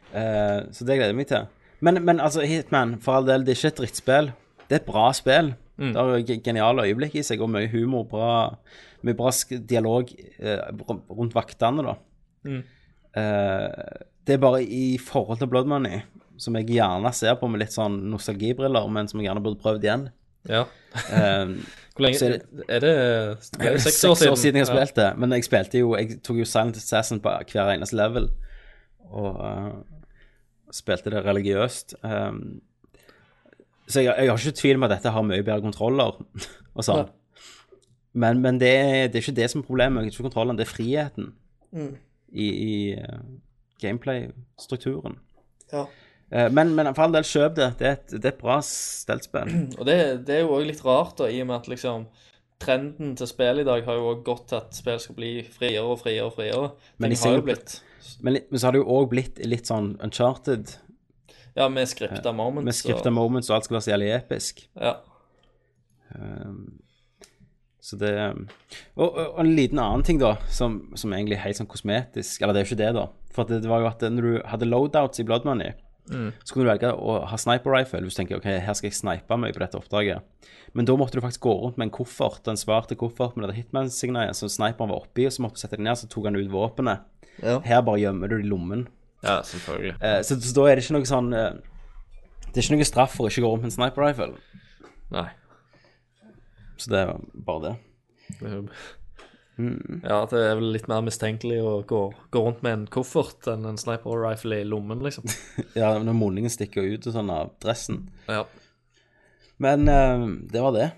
[SPEAKER 1] Eh, så det gleder jeg meg til. Men, men altså, Hitman, for all del, det er ikke et drittspill. Det er et bra spill. Det har ge- geniale øyeblikk i seg, og mye humor, bra, mye bra sk- dialog eh, run- rundt vaktene, da. Eh, det er bare i forhold til Blood Money, som jeg gjerne ser på med litt sånn nostalgibriller, men som jeg gjerne burde prøvd igjen.
[SPEAKER 2] Ja.
[SPEAKER 1] Eh,
[SPEAKER 2] Hvor lenge
[SPEAKER 1] Så er
[SPEAKER 2] er det, er det, det er
[SPEAKER 1] seks år siden jeg spilte, men jeg spilte jo Jeg tok jo Silent Assassin på hver eneste level. Og eh, spilte det religiøst. Ehm, så jeg, jeg har ikke tvil om at dette har mye bedre kontroller og sånn. Men, men det, er- det er ikke det som er problemet. Det er ikke kontrollen, det er friheten i, i eh, gameplay-strukturen. Eh, men, men for all del, kjøp det. Det er et, det er et bra steltspill.
[SPEAKER 2] Og det, det er jo òg litt rart, da, i og med at liksom Trenden til spill i dag har jo òg gått til at spill skal bli friere og friere og friere.
[SPEAKER 1] Men i
[SPEAKER 2] Men de har
[SPEAKER 1] single-
[SPEAKER 2] jo blitt
[SPEAKER 1] Men, litt- men så har det jo òg blitt litt sånn uncharted.
[SPEAKER 2] Ja, med skripta moments.
[SPEAKER 1] Med skripta moments, og alt skal være så jævlig episk.
[SPEAKER 2] og, ja.
[SPEAKER 1] Så det um, Og, og, og en liten annen ting, da, som, som egentlig er helt sånn kosmetisk Eller det er jo ikke det, da. For at det, det var jo at når du hadde loadouts i Blood Money, så kunne du velge å ha sniper rifle hvis du tenker ok, her skal jeg snipe meg på dette oppdraget. Men da måtte du faktisk gå rundt med en koffert, en svart koffert med dette hitman-signalet som sniperen var oppi, og så måtte du sette deg ned, så tok han ut våpenet. Her bare gjemmer du det i lommen.
[SPEAKER 2] ja, selvfølgelig.
[SPEAKER 1] Eh, så, så da er det ikke noe sånn eh, Det er ikke noe straff for å ikke gå rundt med en sniper rifle.
[SPEAKER 2] Nei.
[SPEAKER 1] Så det er bare det.
[SPEAKER 2] det er jo-
[SPEAKER 1] Mm.
[SPEAKER 2] Ja, det er vel litt mer mistenkelig å gå, gå rundt med en koffert enn en sniper rifle i lommen, liksom.
[SPEAKER 1] Ja, når målingen stikker ut og sånn av dressen.
[SPEAKER 2] Ja.
[SPEAKER 1] Men eh, det var det.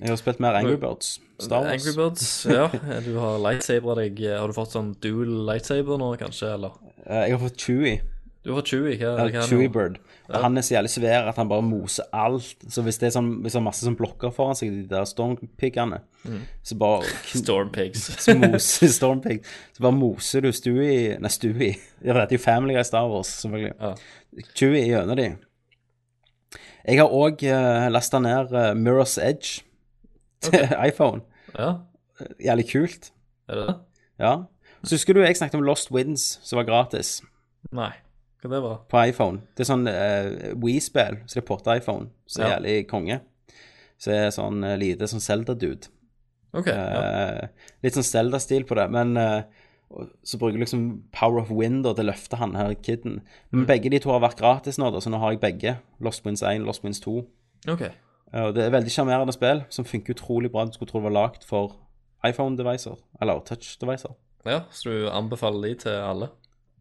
[SPEAKER 1] Jeg har spilt mer Angry Birds. Star Wars.
[SPEAKER 2] Mm. Angry Birds, ja. Du har lightsaber deg. Har du fått sånn dual lightsaber nå, kanskje? Eller?
[SPEAKER 1] Eh, jeg har fått Chewie.
[SPEAKER 2] Du har Chewie, hva hva er
[SPEAKER 1] Eller
[SPEAKER 2] det
[SPEAKER 1] Chewie
[SPEAKER 2] nå?
[SPEAKER 1] Bird. Og han er så jævlig svær at han bare moser alt. Så hvis det er sånn, hvis det er masse som blokker foran seg, de der stormpiggene,
[SPEAKER 2] Mm.
[SPEAKER 1] så bare kn-
[SPEAKER 2] Storm Pigs.
[SPEAKER 1] så moser stormpig. Så bare moser du Stewie Nei, Stewie. Ja, for dette er jo Family Guy Star Wars, selvfølgelig.
[SPEAKER 2] Ja.
[SPEAKER 1] Chewie gjennom de. Jeg har òg uh, lasta ned eh, Mirror's Edge til iPhone.
[SPEAKER 2] Ja,
[SPEAKER 1] Jævlig kult.
[SPEAKER 2] er det det?
[SPEAKER 1] Ja. Så husker du jeg snakket om Lost Winds, som var gratis
[SPEAKER 2] Nei. Hva det var?
[SPEAKER 1] på iPhone. Det er sånn uh, Wii-spill, så det er porta iPhone, så er
[SPEAKER 2] Ja.
[SPEAKER 1] jævlig konge. Så er sånn eh, lite sånn Zelda-dude.
[SPEAKER 2] OK. Ja.
[SPEAKER 1] Eh, litt sånn Zelda-stil på det, men eh, og- så bruker jeg liksom Power of Wind da, til å løfte han her kiden.
[SPEAKER 2] Mm.
[SPEAKER 1] Men begge de to har vært gratis nå, da, så nå har jeg begge. Lost Winds 1, Lost Winds 2.
[SPEAKER 2] OK.
[SPEAKER 1] Eh, og det er veldig sjarmerende spill som funker utrolig bra. Du skulle tro det var lagd for iPhone-devicer, eller touch-devicer.
[SPEAKER 2] Ja, så du anbefaler de til alle?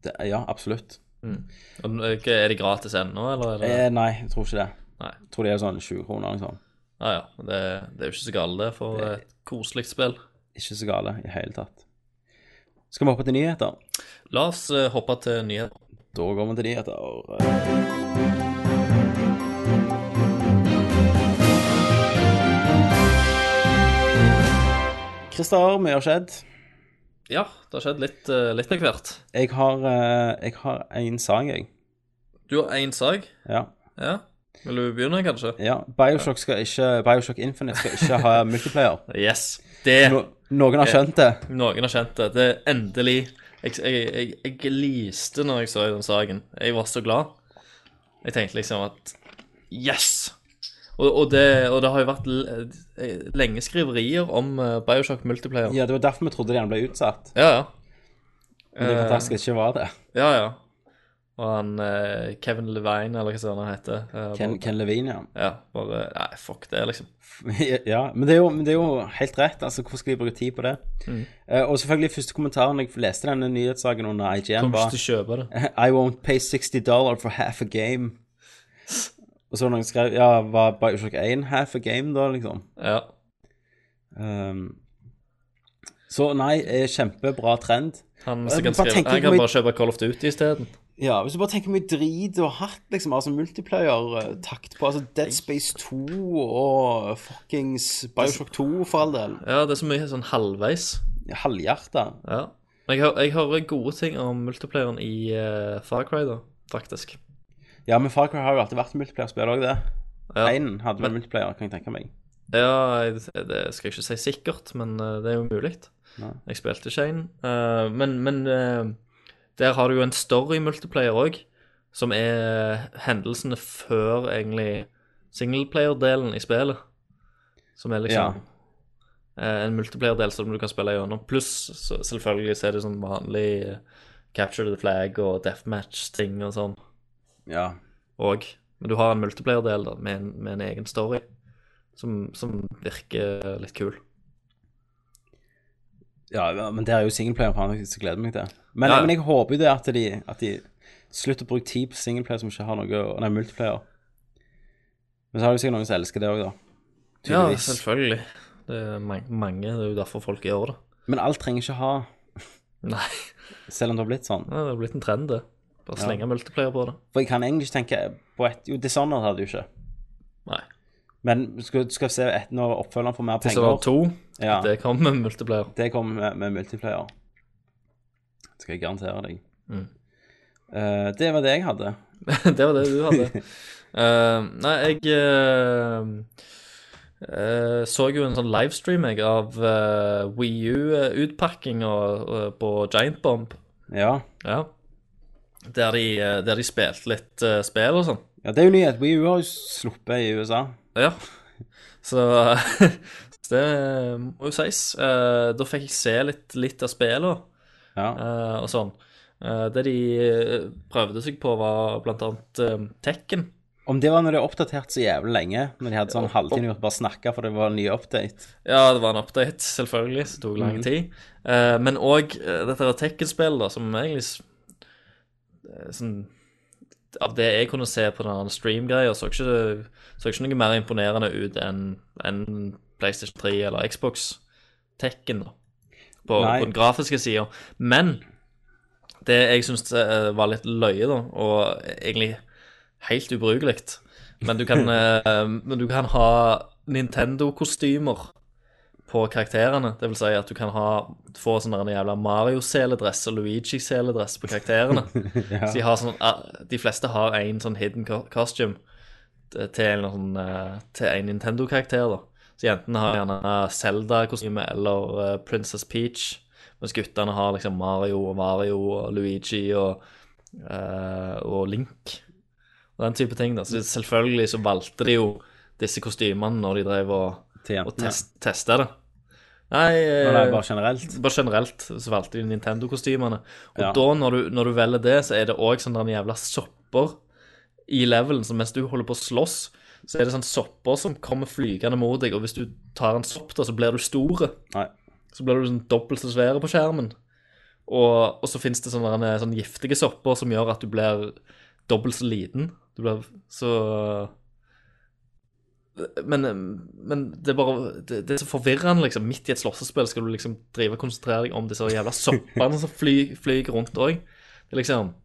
[SPEAKER 1] Det, ja, absolutt.
[SPEAKER 2] Og, eh, hva, Er det gratis ennå, eller? Er det...
[SPEAKER 1] Eh, nei, jeg tror ikke det.
[SPEAKER 2] Nei.
[SPEAKER 1] Jeg tror det er sånn 20 kroner eller noe sånt.
[SPEAKER 2] Ja, Ah, ja. men Det, det er jo ikke så galt, det, for et koselig spill.
[SPEAKER 1] Ikke så gale i det hele tatt. Skal vi hoppe til nyheter?
[SPEAKER 2] La oss eh, hoppe til nyheter.
[SPEAKER 1] Da går vi til nyheter. Christer, mye har skjedd.
[SPEAKER 2] Ja, det har skjedd litt, eh, litt av hvert.
[SPEAKER 1] Jeg har, eh, jeg har en sang, jeg.
[SPEAKER 2] Du har én sak.
[SPEAKER 1] Ja.
[SPEAKER 2] Ja. Vil du begynne, kanskje?
[SPEAKER 1] ja. Bioshock, skal ikke, Bioshock Infinite skal ikke ha multiplayer.
[SPEAKER 2] Yes. Det
[SPEAKER 1] No, noen har skjønt det.
[SPEAKER 2] Noen har kjent det. Det er endelig Jeg, jeg, jeg, jeg gliste når jeg så den saken. Jeg var så glad. Jeg tenkte liksom at Yes! Og, og, det, og det har jo vært l- eh, lenge skriverier om eh, Bioshock Multiplayer.
[SPEAKER 1] Ja, Det var derfor vi trodde den ble utsatt.
[SPEAKER 2] ja. ja.
[SPEAKER 1] Men det er fantastisk at det ikke var det.
[SPEAKER 2] Ja, ja. Og han eh, Kevin Levine, eller hva søren han heter. eh,
[SPEAKER 1] Ken, Ken Levine, ja.
[SPEAKER 2] bare, ja, bare Nei, fuck det, liksom.
[SPEAKER 1] ja, men det, er jo, men det er jo helt rett. altså Hvorfor skal de bruke tid på det?
[SPEAKER 2] Mm.
[SPEAKER 1] Eh, og selvfølgelig, første kommentaren jeg leste denne nyhetssaken under IGN,
[SPEAKER 2] Kommer
[SPEAKER 1] var
[SPEAKER 2] ikke til å kjøpe det.
[SPEAKER 1] I won't pay 60 dollar for half a game. Og så var det noen som skrev Ja, var Bioshock 1 half a game, da, liksom?
[SPEAKER 2] Ja.
[SPEAKER 1] Ehm, så nei, eh, kjempebra trend.
[SPEAKER 2] Han,
[SPEAKER 1] Men
[SPEAKER 2] som kan
[SPEAKER 1] bare
[SPEAKER 2] skrive,
[SPEAKER 1] tenker hvor
[SPEAKER 2] han kan
[SPEAKER 1] mye-
[SPEAKER 2] bare kjøpe Call of Duty isteden.
[SPEAKER 1] Ja, Hvis du bare tenker hvor mye drit du har hatt, liksom, altså multiplayer-takt på altså Dead Space 2 og fuckings Bioshock 2, for all del.
[SPEAKER 2] Ja, det er så mye sånn halvveis.
[SPEAKER 1] Halvhjerta.
[SPEAKER 2] Ja. Men jeg, hø- jeg hører gode ting om multiplayeren i eh, Far Cry, da, faktisk.
[SPEAKER 1] Ja, men Far Cry har jo alltid vært multiplayer-spill òg, det.
[SPEAKER 2] Ja,
[SPEAKER 1] Einen hadde vel multiplayer, kan jeg tenke meg.
[SPEAKER 2] ja jeg, det skal jeg ikke si sikkert, men eh, det er jo mulig.
[SPEAKER 1] Ja.
[SPEAKER 2] Jeg spilte ikke en. eh, men men eh, der har du jo en story multiplayer òg, som er hendelsene før egentlig singleplayer-delen i spillet. Som er
[SPEAKER 1] Ja.
[SPEAKER 2] liksom eh, en multiplayer-del som du kan spille gjennom. Pluss så- selvfølgelig så er det sånn vanlig eh, capture the flag og deathmatch-ting og sånn.
[SPEAKER 1] Ja.
[SPEAKER 2] og, Men du har en multiplayer-del da, med en, med en egen story som, som virker litt kul.
[SPEAKER 1] ja, men det er jo singleplayer, faen, jeg gleder meg til. Men,
[SPEAKER 2] Ja, ja.
[SPEAKER 1] men jeg håper jo det at de, at de slutter å bruke tid på singleplayer som ikke har noe å- Nei, multiplayer. Men så har du sikkert noen som elsker det òg, da.
[SPEAKER 2] Ja,
[SPEAKER 1] Tydeligvis.
[SPEAKER 2] selvfølgelig. Det er mang- mange, det er jo derfor folk gjør det.
[SPEAKER 1] Men alt trenger ikke ha,
[SPEAKER 2] Nei,
[SPEAKER 1] selv om det har blitt sånn.
[SPEAKER 2] det er blitt en trend, det. Bare slenge multiplayer på det.
[SPEAKER 1] For jeg kan egentlig ikke tenke på et Jo, Dishonored hadde jo ikke.
[SPEAKER 2] Nei.
[SPEAKER 1] Men skal, skal vi se et, når oppfølgeren får mer penger
[SPEAKER 2] Dishonored 2,
[SPEAKER 1] ja,
[SPEAKER 2] det kom med multiplayer.
[SPEAKER 1] Det kommer med, med multiplayer. Det skal jeg garantere deg.
[SPEAKER 2] Mm.
[SPEAKER 1] Eh, det var det jeg hadde.
[SPEAKER 2] det var det du hadde. Eh, nei, jeg eh, eh, så jo en sånn livestream jeg av uh, WiiU-utpakkinga på Giant Bomb.
[SPEAKER 1] Ja.
[SPEAKER 2] Ja. Der de, eh, der de spilte litt eh, spill og sånn.
[SPEAKER 1] ja det er jo nyhet. WiiU har jo sluppet i USA.
[SPEAKER 2] Ja. Så så det må jo sies. Eh, da fikk jeg se litt, litt av spillet
[SPEAKER 1] Ja.
[SPEAKER 2] eh, og sånn. Eh, det de eh, prøvde seg på, var blant annet eh, Tekken.
[SPEAKER 1] Om det var når de oppdaterte så jævlig lenge, når de hadde sånn halvtime gjort bare snakka for det var en ny update.
[SPEAKER 2] Ja, det var en update, selvfølgelig, som tok lang
[SPEAKER 1] Mhm.
[SPEAKER 2] tid. Eh, men òg dette her Tekken-spillet, da, som egentlig s- eh, sånn, Av det jeg kunne se på den stream-greia, så ikke, det- så ikke noe mer imponerende ut enn enn PlayStation 3 eller Xbox Tekken, da. På,
[SPEAKER 1] Nei.
[SPEAKER 2] på den grafiske sida. Men det jeg syns var litt løye, da, og egentlig helt ubrukelig men du kan, eh, men du kan ha Nintendo-kostymer på karakterene. Det vil si at du kan ha, få sånn der en jævla Mario-seledress og Luigi-seledress på karakterene. Så de, har sånn, eh, de fleste har en sånn hidden co- costume t- til en, sånn, eh, til en Nintendo-karakter. da. Så jentene har gjerne eh, Zelda-kostyme eller eh, Princess Peach. Mens guttene har liksom Mario og Mario og Luigi og, eh, og Link. Og den type ting. da. Så selvfølgelig så valgte de jo disse kostymene når de drev og,
[SPEAKER 1] Til
[SPEAKER 2] og
[SPEAKER 1] jentene.
[SPEAKER 2] test, testa det. Nei,
[SPEAKER 1] Når det
[SPEAKER 2] eh,
[SPEAKER 1] er bare generelt.
[SPEAKER 2] bare generelt så valgte de Nintendo-kostymene. Og
[SPEAKER 1] Ja.
[SPEAKER 2] da, når du, når du velger det, så er det òg sånne der jævla sopper i levelen. Så mens du holder på å slåss, så er det sånne sopper som kommer flygende mot deg. Og hvis du tar en sopp, da, så blir du store.
[SPEAKER 1] Nei.
[SPEAKER 2] Så blir du sånn dobbelt så svære på skjermen. Og, og så finnes det sånne, derne- sånne giftige sopper som gjør at du blir dobbelt så liten. Du blir så men, men det er bare det, det er så forvirrende, liksom. Midt i et slåssespill skal du liksom drive og konsentrere deg om disse jævla soppene som fly- flyr rundt òg. Det er liksom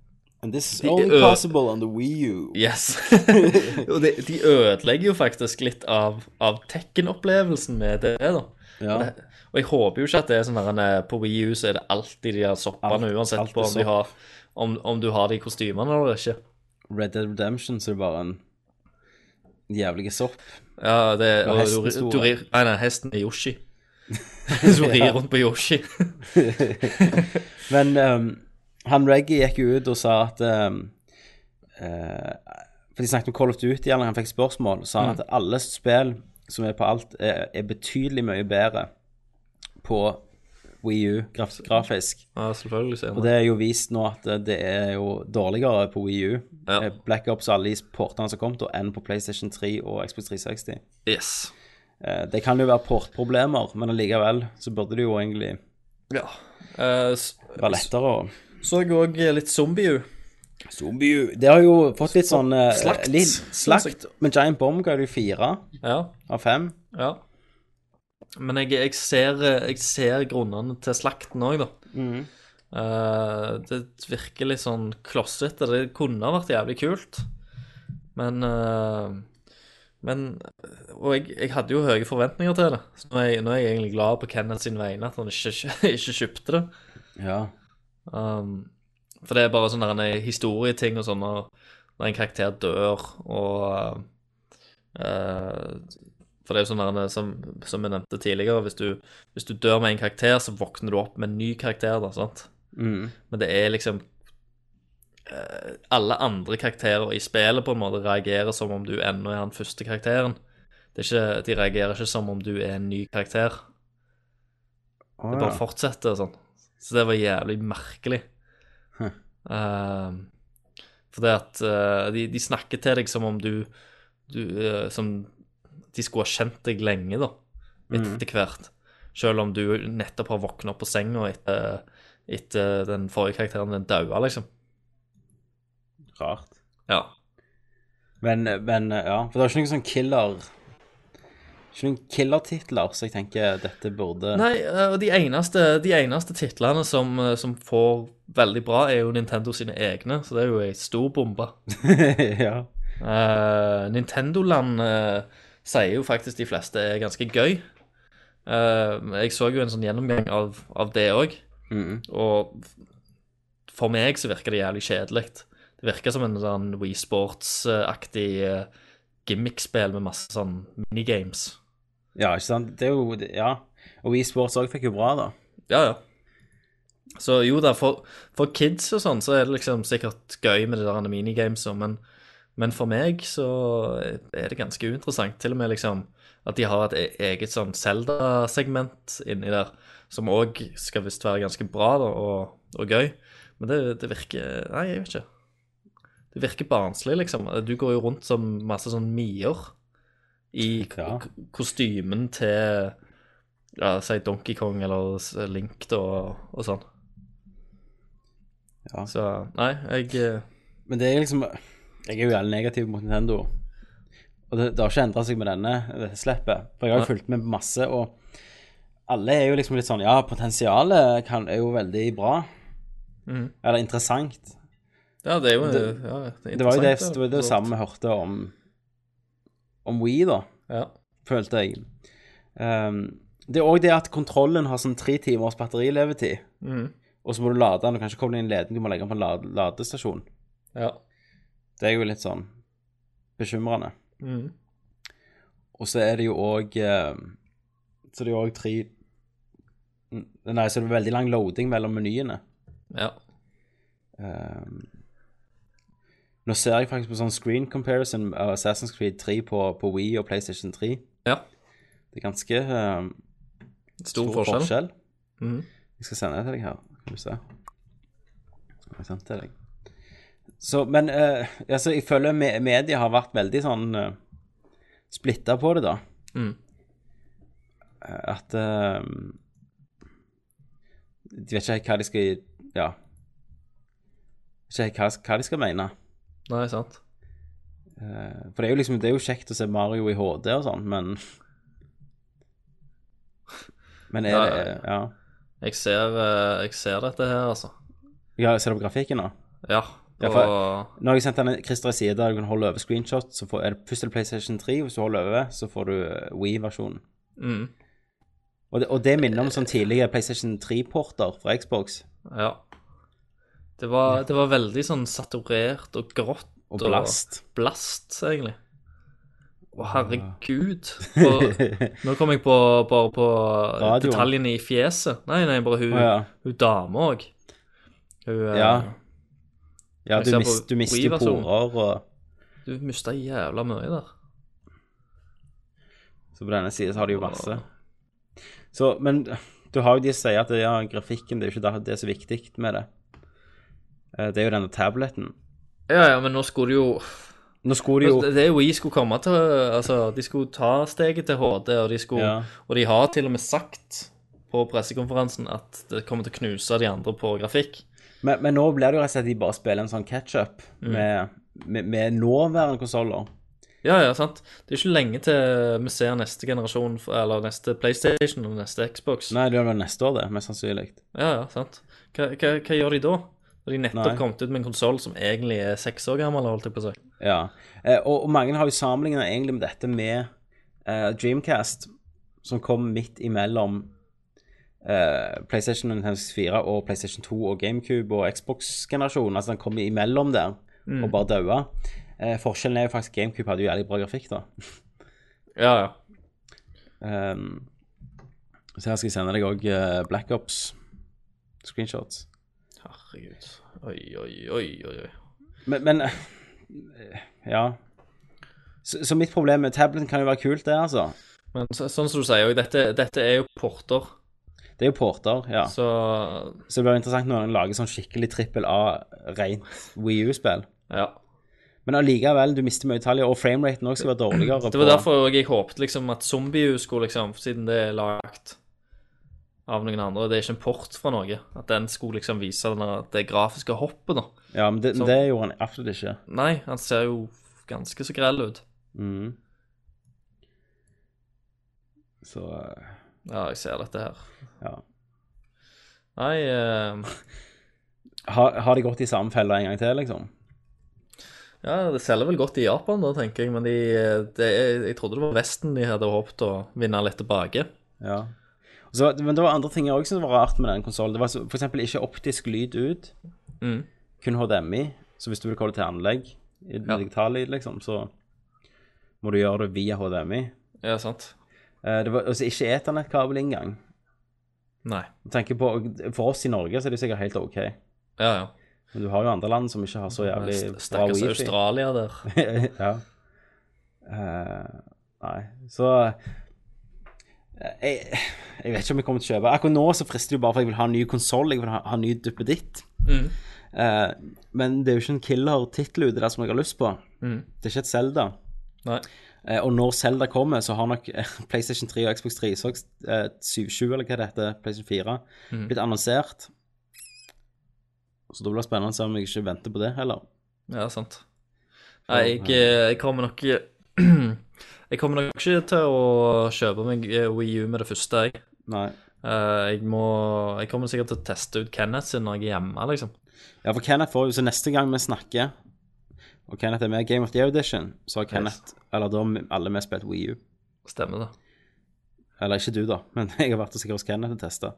[SPEAKER 1] And this is
[SPEAKER 2] De
[SPEAKER 1] only
[SPEAKER 2] ø-
[SPEAKER 1] possible on the Wii U.
[SPEAKER 2] Yes. Og de, de ødelegger jo faktisk litt av, av Tekken-opplevelsen med det, da.
[SPEAKER 1] Ja.
[SPEAKER 2] Og, det, og jeg håper jo ikke at det er sånn der en, eh, på Wii U så er det alltid de der soppene,
[SPEAKER 1] Alt-
[SPEAKER 2] uansett
[SPEAKER 1] alt er
[SPEAKER 2] på om, de
[SPEAKER 1] sopp.
[SPEAKER 2] har, om, om du har de kostymene eller ikke.
[SPEAKER 1] Red Dead Redemption så er det bare en jævlig sopp.
[SPEAKER 2] Ja, det,
[SPEAKER 1] Og
[SPEAKER 2] og,
[SPEAKER 1] hesten
[SPEAKER 2] du,
[SPEAKER 1] sto
[SPEAKER 2] du
[SPEAKER 1] der.
[SPEAKER 2] rir Nei, nei, hesten er Yoshi. Som rir rundt på Yoshi.
[SPEAKER 1] Men ehm, han Reggie gikk jo ut og sa at ehm, eh, For de snakket om Call of Duty, eller han fikk spørsmål, sa han at alle spill som er på alt, er, er betydelig mye bedre på Wii U graf grafisk.
[SPEAKER 2] Ja, selvfølgelig ser
[SPEAKER 1] Og det er jo vist nå at eh, det er jo dårligere på Wii U.
[SPEAKER 2] Ja.
[SPEAKER 1] Eh, Black Ops og alle de portene som kom, da, enn på PlayStation 3 og Xbox 360.
[SPEAKER 2] Yes.
[SPEAKER 1] Eh, Det kan jo være portproblemer, men allikevel så burde det jo egentlig
[SPEAKER 2] Ja. Eh, s-
[SPEAKER 1] være lettere å
[SPEAKER 2] så jeg òg litt Zombie U.
[SPEAKER 1] Zombie Det har jo fått litt sånn eh,
[SPEAKER 2] Slakt.
[SPEAKER 1] Litt slakt. Men Giant Bomb ga det jo fire
[SPEAKER 2] Ja.
[SPEAKER 1] av fem.
[SPEAKER 2] Ja. Men jeg, jeg, ser, eh, jeg ser grunnene til slakten òg, da. Mm. Eh, det virker litt sånn klossete. Det kunne ha vært jævlig kult, men eh, Men Og jeg, jeg hadde jo høye forventninger til det. Så nå er jeg, nå er jeg egentlig glad på Kenneth sin vegne at han ikke, ikke kjøpte det.
[SPEAKER 1] Ja.
[SPEAKER 2] Um, for det er bare sånne der en historieting og sånn, og når en karakter dør, og eh, For det er jo sånn der en, som, som jeg nevnte tidligere, hvis du, hvis du dør med en karakter, så våkner du opp med en ny karakter, da, sant?
[SPEAKER 1] Mm.
[SPEAKER 2] Men det er liksom eh, Alle andre karakterer i spillet på en måte reagerer som om du ennå er den første karakteren. Det er ikke, de reagerer ikke som om du er en ny karakter.
[SPEAKER 1] Å,
[SPEAKER 2] Det
[SPEAKER 1] ja.
[SPEAKER 2] bare fortsetter og sånn. Så det var jævlig merkelig.
[SPEAKER 1] Hm.
[SPEAKER 2] Ehm, for det at eh, de, de snakker til deg som om du, du eh, Som de skulle ha kjent deg lenge, da. Etter hvert. Selv om du nettopp har våkna opp på senga etter, etter den forrige karakteren den daua, liksom.
[SPEAKER 1] Rart.
[SPEAKER 2] Ja.
[SPEAKER 1] Men, eh, men ja. For det er ikke noen sånn killer Ikke noen killertitler, så jeg tenker dette burde
[SPEAKER 2] Nei, eh, og de eneste, de eneste titlene som, eh, som får veldig bra, er jo Nintendo sine egne, så det er jo ei stor bombe.
[SPEAKER 1] ja.
[SPEAKER 2] Eh, Nintendo-land eh, sier jo faktisk de fleste er ganske gøy. Eh, jeg så jo en sånn gjennomgang av, av det òg,
[SPEAKER 1] Mhm.
[SPEAKER 2] og for meg så virker det jævlig kjedelig. Det virker som en sånn Wii Sports-aktig eh, gimmick-spill med masse sånn minigames.
[SPEAKER 1] ja, ikke sant? Det er jo Ja. Og eSports òg fikk jo bra, da.
[SPEAKER 2] Ja, ja. Så jo da, for, for kids og sånn, så er det liksom sikkert gøy med det der minigamesa, men, men for meg så er det ganske uinteressant. Til og med liksom at de har et e- eget sånn Zelda-segment inni der, som òg skal visst være ganske bra da, og, og gøy. Men det, det virker Nei, jeg vet ikke. Det virker barnslig, liksom. Du går jo rundt som masse sånn mier i k-
[SPEAKER 1] Ja.
[SPEAKER 2] k- kostymen til ja, si Donkey Kong eller s- Link da, og, og sånn.
[SPEAKER 1] Ja.
[SPEAKER 2] Så nei, jeg eh,
[SPEAKER 1] Men det er liksom Jeg er jo jævlig negativ mot Nintendo. Og det, det har ikke endra seg med denne dette slippet. For jeg har jo fulgt med på masse, og alle er jo liksom litt sånn Ja, potensialet kan, er jo veldig bra.
[SPEAKER 2] mm.
[SPEAKER 1] Eller interessant.
[SPEAKER 2] Ja, det er jo
[SPEAKER 1] Det-
[SPEAKER 2] ja, er
[SPEAKER 1] Det var jo det,
[SPEAKER 2] interessant,
[SPEAKER 1] det, var det
[SPEAKER 2] for så
[SPEAKER 1] samme vi hørte om Om Wii, da,
[SPEAKER 2] vidt. Ja.
[SPEAKER 1] følte jeg. Ehm, det er òg det at kontrollen har sånn tre timers batterilevetid.
[SPEAKER 2] Mm.
[SPEAKER 1] Og så må du lade den, du kan ikke koble inn leden, du må legge den på en lade, ladestasjon.
[SPEAKER 2] ja.
[SPEAKER 1] Det er jo litt sånn bekymrende.
[SPEAKER 2] Mm.
[SPEAKER 1] Og så er det jo òg Så det er jo òg tre mm, Nei, så er det veldig lang loading mellom menyene.
[SPEAKER 2] ja.
[SPEAKER 1] Ehm, nå ser jeg faktisk på sånn screen comparison av Assassin's Creed 3 på, på Wii og PlayStation 3.
[SPEAKER 2] Ja.
[SPEAKER 1] Det er ganske ehm,
[SPEAKER 2] Stor, forskjell. Mhm.
[SPEAKER 1] Jeg skal sende det til deg her. Skal vi se. Har jeg sendt det til deg? Så, men eh, altså, jeg føler me media har vært veldig sånn uh, splitta på det, da.
[SPEAKER 2] Mhm.
[SPEAKER 1] Eh, At eh, De ehm, vet ikke helt hva de skal Ja. Ikke helt hva, hva de skal mene.
[SPEAKER 2] Nei, sant?
[SPEAKER 1] Eh, For det er jo liksom, det er jo kjekt å se Mario i HD og sånn, men Men er
[SPEAKER 2] Ja,
[SPEAKER 1] det
[SPEAKER 2] ja,
[SPEAKER 1] Ja.
[SPEAKER 2] Jeg ser, eh, jeg ser dette her, altså.
[SPEAKER 1] ja ser du på grafikken nå?
[SPEAKER 2] Ja.
[SPEAKER 1] Ja,
[SPEAKER 2] Og,
[SPEAKER 1] for- Nå har jeg sendt denne Christer en side der du kan holde over screenshot, så får, er det Pustel PlayStation 3. Hvis du holder over, så får du eh, Wii-versjonen.
[SPEAKER 2] mm,
[SPEAKER 1] Og, det- og det minner om sånn tidligere PlayStation 3-porter fra Xbox.
[SPEAKER 2] ja. Det var, det var veldig sånn saturert og grått.
[SPEAKER 1] Og blast.
[SPEAKER 2] blast, egentlig. Å, herregud. Og, nå kom jeg på, på, på
[SPEAKER 1] Radioen.
[SPEAKER 2] detaljene i fjeset. Nei, nei, bare hun,
[SPEAKER 1] Å, ja.
[SPEAKER 2] hun dame òg. Hun eh,
[SPEAKER 1] Ja. Ja,
[SPEAKER 2] Jeg
[SPEAKER 1] du,
[SPEAKER 2] ser
[SPEAKER 1] mis-
[SPEAKER 2] på
[SPEAKER 1] du mister jo
[SPEAKER 2] Wii-versjonen.
[SPEAKER 1] porer og
[SPEAKER 2] Du mista jævla mye der.
[SPEAKER 1] Så på denne siden så har de jo masse. Så, men du har jo de som sier at ja, grafikken det er jo ikke det, det er så viktig med det. Eh, Det er jo denne tableten.
[SPEAKER 2] Ja, ja, men nå skulle det jo Altså,
[SPEAKER 1] Nå skulle de jo
[SPEAKER 2] Det det er jo jeg skulle komme til Altså, de skulle ta steget til HD, og de skulle
[SPEAKER 1] Ja.
[SPEAKER 2] Og de har til og med sagt på pressekonferansen at det kommer til å knuse de andre på grafikk.
[SPEAKER 1] Men, men nå blir det jo rett og slett at de bare spiller en sånn catch-up med, med, med nåværende konsoller.
[SPEAKER 2] Ja, ja, sant. Det er ikke lenge til vi ser neste generasjon, eller neste PlayStation og neste Xbox.
[SPEAKER 1] Nei, det er vel neste år, det, mest sannsynlig.
[SPEAKER 2] Ja, ja, sant. Hva, hva, hva gjør de da? Når de nettopp
[SPEAKER 1] Nei.
[SPEAKER 2] kommet ut med en konsoll som egentlig er seks år gammel, holdt jeg på å si.
[SPEAKER 1] Ja. Eh, og, og mange har jo sammenligna egentlig med dette med eh, Dreamcast, som kom midt imellom eh, PlayStation Nintendo 64 og PlayStation 2 og GameCube og Xbox-generasjonen. Altså den kom imellom der og bare daua. Eh, forskjellen er jo faktisk at GameCube hadde jo jævlig bra grafikk, da.
[SPEAKER 2] Ja, ja.
[SPEAKER 1] Um, så her skal jeg sende deg òg Black Ops screenshots.
[SPEAKER 2] Herregud. Oi, oi, oi, oi. oi.
[SPEAKER 1] Men, men eh, Ja. Så, så mitt problem med tableten kan jo være kult, det, altså.
[SPEAKER 2] Men så, sånn som du sier òg, dette, dette er jo porter,
[SPEAKER 1] Det er jo porter, ja.
[SPEAKER 2] så
[SPEAKER 1] Så det blir interessant når en lager sånn skikkelig trippel A rent Wii U-spill.
[SPEAKER 2] ja.
[SPEAKER 1] Men allikevel, du mister mye detaljer, og frameraten òg skal være dårligere.
[SPEAKER 2] Det var
[SPEAKER 1] på-
[SPEAKER 2] derfor jeg håpet liksom at Zombie skulle liksom, siden det er lagt av noen andre, det er ikke en port fra noe, at den skulle liksom vise den der- det grafiske hoppet, da.
[SPEAKER 1] Ja, men det,
[SPEAKER 2] Så-
[SPEAKER 1] det gjorde han absolutt ikke.
[SPEAKER 2] Nei, han ser jo ganske så grell ut.
[SPEAKER 1] Mhm. Så eh,
[SPEAKER 2] Ja, jeg ser dette her.
[SPEAKER 1] Ja.
[SPEAKER 2] Nei, eh,
[SPEAKER 1] har, har de gått i samme felle en gang til, liksom?
[SPEAKER 2] ja, det selger vel godt i Japan da, tenker jeg, men de, det er, jeg trodde det var Vesten de hadde håpet å vinne litt tilbake.
[SPEAKER 1] Ja. Og Så, men det var andre ting jeg òg syntes var rart med den konsollen. Det var så- for eksempel ikke optisk lyd ut.
[SPEAKER 2] Mhm.
[SPEAKER 1] Kun HDMI. Så hvis du vil koble til anlegg i
[SPEAKER 2] Ja.
[SPEAKER 1] digital lyd, liksom, så må du gjøre det via HDMI.
[SPEAKER 2] Ja, sant?
[SPEAKER 1] Eh, Det var altså ikke eternettkabel engang.
[SPEAKER 2] Nei.
[SPEAKER 1] Jeg tenker på, For oss i Norge så er det sikkert helt OK.
[SPEAKER 2] Ja, ja.
[SPEAKER 1] Men du har jo andre land som ikke har så jævlig
[SPEAKER 2] St-
[SPEAKER 1] bra
[SPEAKER 2] Stakkars
[SPEAKER 1] wifi.
[SPEAKER 2] Australia der.
[SPEAKER 1] ja. Eh, nei, så eh, jeg, jeg vet ikke om jeg kommer til å kjøpe. Akkurat nå så frister det jo bare for jeg vil ha en ny konsoll. Jeg vil ha, ha en ny duppeditt.
[SPEAKER 2] Mhm.
[SPEAKER 1] Eh, men det er jo ikke en killer tittel ute der som jeg har lyst på.
[SPEAKER 2] Mhm.
[SPEAKER 1] Det er ikke et Zelda.
[SPEAKER 2] Nei.
[SPEAKER 1] Eh, og når Zelda kommer, så har nok eh, PlayStation 3 og Xbox 3 så, eh, 720, eller hva det heter, PlayStation 4,
[SPEAKER 2] Mm.
[SPEAKER 1] blitt annonsert. Så da blir det spennende å se om jeg ikke venter på det heller.
[SPEAKER 2] Ja, sant. Nei, jeg, eh, jeg kommer nok Jeg kommer nok ikke til å kjøpe meg eh, Wii U med det første, jeg.
[SPEAKER 1] Nei.
[SPEAKER 2] Eh, Jeg må Jeg kommer sikkert til å teste ut Kenneth sin når jeg er hjemme, liksom.
[SPEAKER 1] Ja, for Kenneth får jo Så neste gang vi snakker, og Kenneth er med i Game of the Audition, så har Kenneth Eller da har alle vi spilt Wii U.
[SPEAKER 2] Stemmer det.
[SPEAKER 1] Eller ikke du, da, men jeg har vært og sikkert hos Kenneth og testa.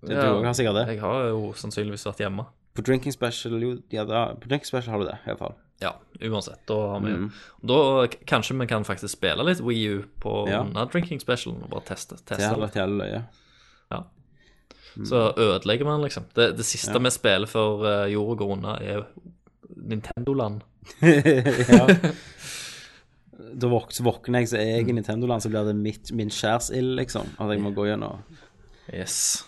[SPEAKER 1] Du
[SPEAKER 2] Ja.
[SPEAKER 1] òg har sikkert det.
[SPEAKER 2] Jeg har jo sannsynligvis vært hjemme.
[SPEAKER 1] På Drinking Special jo, ja, da, på drinking special har du det, i hvert fall.
[SPEAKER 2] Ja, uansett. Da har vi
[SPEAKER 1] Mm.
[SPEAKER 2] Da eh, k- kanskje vi kan faktisk spille litt Wii U på
[SPEAKER 1] Ja.
[SPEAKER 2] denne drinking specialen og bare teste.
[SPEAKER 1] Det
[SPEAKER 2] teste
[SPEAKER 1] hadde
[SPEAKER 2] det.
[SPEAKER 1] vært jævlig løye.
[SPEAKER 2] Ja. Så
[SPEAKER 1] Mm.
[SPEAKER 2] ødelegger man, liksom. Det, det siste vi spiller før eh, jorda går unna, er Nintendo-land.
[SPEAKER 1] ja. Da våk, så våkner jeg, så er
[SPEAKER 2] Mm.
[SPEAKER 1] jeg i Nintendo-land, så blir det mitt, min skjærsild, liksom. At jeg må gå gjennom.
[SPEAKER 2] Yes.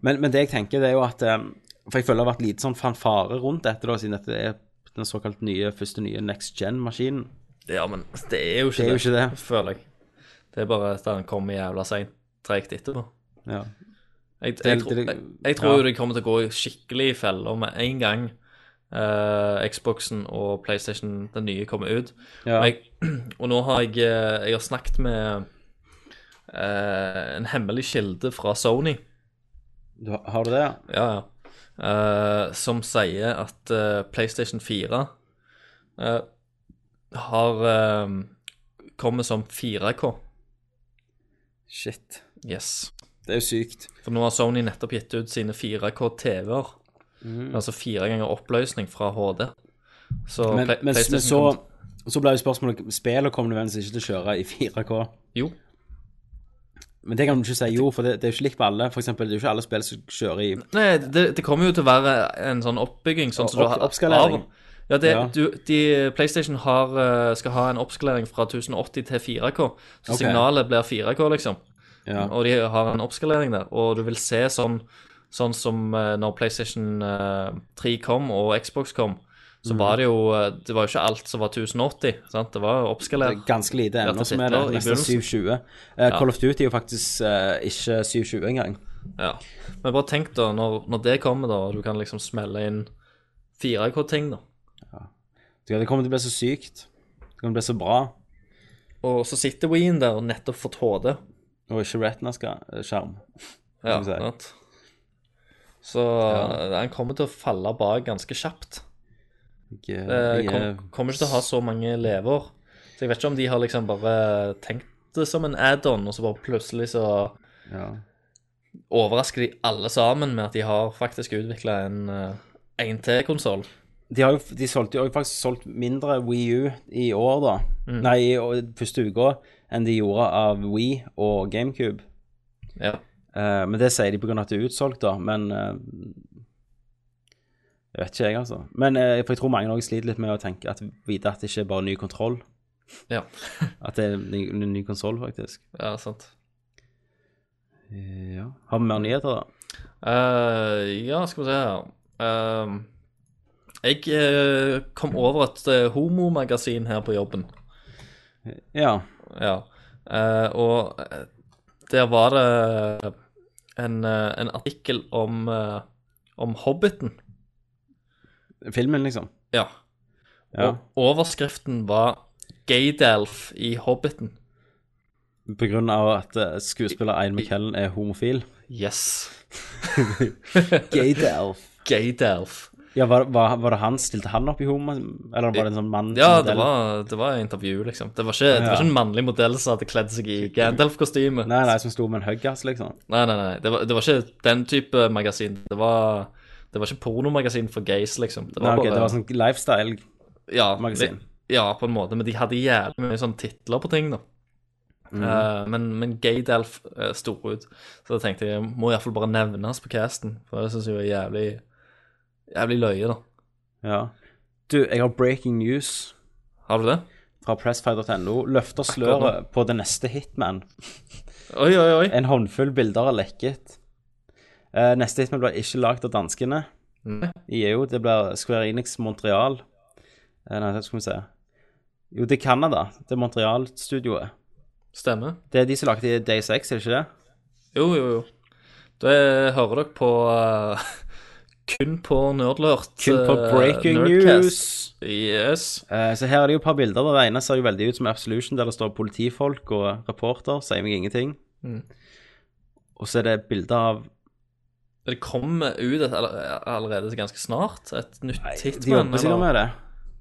[SPEAKER 1] Men, men det jeg tenker, det er jo at eh, For jeg føler det har vært lite sånn fanfare rundt dette, da, siden dette er den såkalt nye, første nye next gen-maskinen.
[SPEAKER 2] Ja, men det er jo ikke
[SPEAKER 1] Det
[SPEAKER 2] det,
[SPEAKER 1] er jo ikke det.
[SPEAKER 2] føler jeg. Det er bare at den kommer jævla seint, tregt etterpå.
[SPEAKER 1] Ja.
[SPEAKER 2] Jeg,
[SPEAKER 1] er
[SPEAKER 2] jeg,
[SPEAKER 1] litt-
[SPEAKER 2] tro- jeg,
[SPEAKER 1] ja.
[SPEAKER 2] jeg tror jo det kommer til å gå i skikkelig i feller med en gang eh, Xboxen og PlayStation, den nye, kommer ut.
[SPEAKER 1] Ja.
[SPEAKER 2] Og, jeg, og nå har jeg, eh, jeg har snakket med eh, en hemmelig kilde fra Sony.
[SPEAKER 1] Du, har- har du det, ja?
[SPEAKER 2] ja, ja. Eh, som sier at eh, PlayStation 4 eh, har eh, kommet som 4K.
[SPEAKER 1] Shit.
[SPEAKER 2] Yes.
[SPEAKER 1] Det er jo sykt.
[SPEAKER 2] For nå har Sony nettopp gitt ut sine 4K-TV-er.
[SPEAKER 1] Mm.
[SPEAKER 2] Altså fire ganger oppløsning fra HD. Så
[SPEAKER 1] Men,
[SPEAKER 2] Play-
[SPEAKER 1] men, men så,
[SPEAKER 2] kommer-
[SPEAKER 1] så ble jo spørsmålet spillet kommer nødvendigvis ikke til å kjøre i 4K.
[SPEAKER 2] Jo.
[SPEAKER 1] Men det kan du ikke si jo, for det, det er jo ikke likt på alle. For eksempel, det er jo ikke alle spill som kjører i
[SPEAKER 2] Nei, det, det kommer jo til å være en sånn oppbygging. Sånn som du
[SPEAKER 1] Opp-
[SPEAKER 2] har
[SPEAKER 1] oppskalering.
[SPEAKER 2] av- Ja, det,
[SPEAKER 1] Ja.
[SPEAKER 2] Du, de, PlayStation har, eh, skal ha en oppskalering fra 1080 til 4K. Så
[SPEAKER 1] Ok.
[SPEAKER 2] signalet blir 4K, liksom.
[SPEAKER 1] Ja.
[SPEAKER 2] Og de har en oppskalering der. Og du vil se sånn, sånn som eh, når PlayStation eh, 3 kom og Xbox kom,
[SPEAKER 1] Mhm.
[SPEAKER 2] så var det jo eh, Det var jo ikke alt som var 1080. sant? Det var
[SPEAKER 1] Det
[SPEAKER 2] oppskalert.
[SPEAKER 1] er Ganske lite ennå
[SPEAKER 2] Hjertet
[SPEAKER 1] som er det.
[SPEAKER 2] sitter i
[SPEAKER 1] Nesten
[SPEAKER 2] begynnelsen.
[SPEAKER 1] 720. Eh, Call of Duty er jo faktisk eh, ikke 720 engang.
[SPEAKER 2] Ja. Men bare tenk, da, når, når det kommer, da, og du kan liksom smelle inn 4K-ting, da.
[SPEAKER 1] Så Det kommer til å bli så sykt. Det kommer til å bli så bra.
[SPEAKER 2] Og så sitter Ween der og nettopp fått HD.
[SPEAKER 1] Og ikke eh, Retina-skjerm.
[SPEAKER 2] Ja,
[SPEAKER 1] Skal vi si.
[SPEAKER 2] sant? Så han kommer til å falle bak ganske kjapt.
[SPEAKER 1] Jeg,
[SPEAKER 2] Eh,
[SPEAKER 1] jeg er-
[SPEAKER 2] kom, kommer ikke til å ha så mange leveår. Så jeg vet ikke om de har liksom bare tenkt det som en add-on, og så bare plutselig så
[SPEAKER 1] ja.
[SPEAKER 2] overrasker de alle sammen med at de har faktisk utvikla en eh, 1T-konsoll.
[SPEAKER 1] De har jo de solgte, jo- har jo faktisk solgt mindre Wii U i år, da.
[SPEAKER 2] Mm.
[SPEAKER 1] Nei, i å- første uka enn de gjorde av Wii og GameCube.
[SPEAKER 2] Ja.
[SPEAKER 1] Eh, men det sier de pga. at det er utsolgt, da. Men eh, Jeg vet ikke, jeg, altså. Men eh, for jeg tror mange også sliter litt med å tenke at vite at det ikke er bare ny kontroll.
[SPEAKER 2] Ja.
[SPEAKER 1] At det er en ny, en ny konsoll, faktisk.
[SPEAKER 2] ja, sant.
[SPEAKER 1] Eh, ja. Har vi mer nyheter, da?
[SPEAKER 2] Eh, ja, skal vi se her Eh, Jeg eh, kom over et eh, homomagasin her på jobben.
[SPEAKER 1] Ja.
[SPEAKER 2] Ja. Eh, og eh, der var det en, eh, en artikkel om, eh, om Hobbiten.
[SPEAKER 1] Filmen, liksom.
[SPEAKER 2] Ja.
[SPEAKER 1] Ja.
[SPEAKER 2] Og overskriften var Gaydelf i Hobbiten.
[SPEAKER 1] På grunn av at eh, skuespiller Ein McKellen er homofil.
[SPEAKER 2] Yes.
[SPEAKER 1] Gaydelf.
[SPEAKER 2] Gaydelf.
[SPEAKER 1] Ja, var, var, var det han? Stilte han opp i homo? Eller var det en sånn mann?
[SPEAKER 2] Ja, det
[SPEAKER 1] modell?
[SPEAKER 2] var, det var intervju, liksom. Det var, ikke, det var
[SPEAKER 1] Ja.
[SPEAKER 2] ikke en mannlig modell som hadde kledd seg i Gandalf-kostyme.
[SPEAKER 1] Nei, nei, som sto med en huggass, liksom.
[SPEAKER 2] Nei, nei, nei. Det var, det var ikke den type magasin. Det var, det var ikke pornomagasin for gays, liksom. Det
[SPEAKER 1] Nei,
[SPEAKER 2] var
[SPEAKER 1] ok,
[SPEAKER 2] bare
[SPEAKER 1] det var sånn lifestyle.
[SPEAKER 2] ja,
[SPEAKER 1] magasin.
[SPEAKER 2] vi- Ja, på en måte. Men de hadde jævlig mye sånn titler på ting, da.
[SPEAKER 1] Mhm.
[SPEAKER 2] Eh, men men Gaydelf uh, sto ut, så da tenkte jeg må iallfall bare nevnes på casten. For det syns jeg er jævlig jævlig løye, da.
[SPEAKER 1] Ja. Du, jeg har breaking news
[SPEAKER 2] Har du det?
[SPEAKER 1] fra pressfire.no. Løfter sløret på det neste Hitman.
[SPEAKER 2] Oi, oi, oi.
[SPEAKER 1] En håndfull bilder er lekket. Eh, neste Hitman blir ikke lagd av danskene
[SPEAKER 2] Mm.
[SPEAKER 1] i EU. Det blir Square Enix Montreal. Eh, nei, det skal vi se. Jo, det er Canada. Det er Montreal-studioet.
[SPEAKER 2] Stemmer.
[SPEAKER 1] Det er de som lagde Day 6, er det ikke det?
[SPEAKER 2] Jo, jo, jo. Da hører dere på eh, Kun på Nerdlurt.
[SPEAKER 1] Kun på
[SPEAKER 2] eh,
[SPEAKER 1] breaking
[SPEAKER 2] Nerdcast. Yes.
[SPEAKER 1] uh, Eh, Så her er det jo et par bilder. og Det ene ser jo veldig ut som Absolution, der det står politifolk og reporter. Sier meg ingenting.
[SPEAKER 2] Mm.
[SPEAKER 1] Og så er det et bilde av
[SPEAKER 2] Det kommer ut et, eller- eh, allerede ganske snart. Et nytt
[SPEAKER 1] De
[SPEAKER 2] Hitman.
[SPEAKER 1] jobber sikkert med det.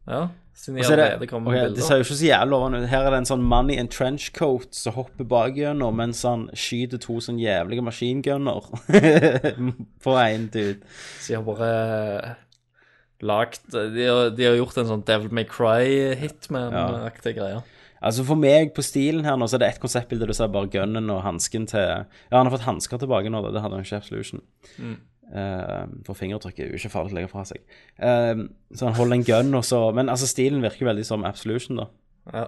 [SPEAKER 2] Ja, siden de
[SPEAKER 1] Og så er det,
[SPEAKER 2] allerede kommer
[SPEAKER 1] ok,
[SPEAKER 2] med
[SPEAKER 1] det
[SPEAKER 2] bilder.
[SPEAKER 1] ser jo ikke så jævlig lovende ut. Her er det en sånn mann i en trenchcoat som hopper bakgjennom mens han skyter to sånn jævlige maskingunner på én dude.
[SPEAKER 2] Så de har bare eh, lagt De har, de har gjort en sånn Devil May Cry-hitman-aktig greie.
[SPEAKER 1] Altså For meg, på stilen her nå, så er det ett konseptbilde du ser bare gunnen og hansken til Ja, han har fått hansker tilbake nå, da. Det hadde han ikke i Absolution. Eh, for fingertrykket er jo ikke farlig å legge fra seg. Eh, så han holder en gun, og så Men altså, stilen virker veldig som Absolution, da.
[SPEAKER 2] Ja.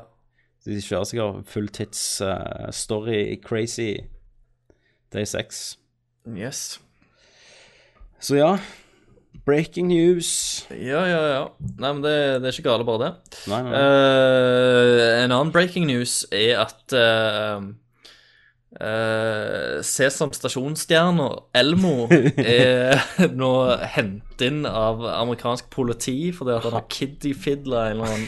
[SPEAKER 1] Så De kjører sikkert fulltids eh, story crazy Day 6.
[SPEAKER 2] Yes.
[SPEAKER 1] Så ja. Breaking news.
[SPEAKER 2] Ja, ja, ja. Nei, men det, det er ikke gale, bare det.
[SPEAKER 1] Nei, nei.
[SPEAKER 2] Eh, en annen breaking news er at eh, Eh, Sesam stasjonsstjerne Elmo er nå hentet inn av amerikansk politi fordi at han har kiddy-fidla en eller annen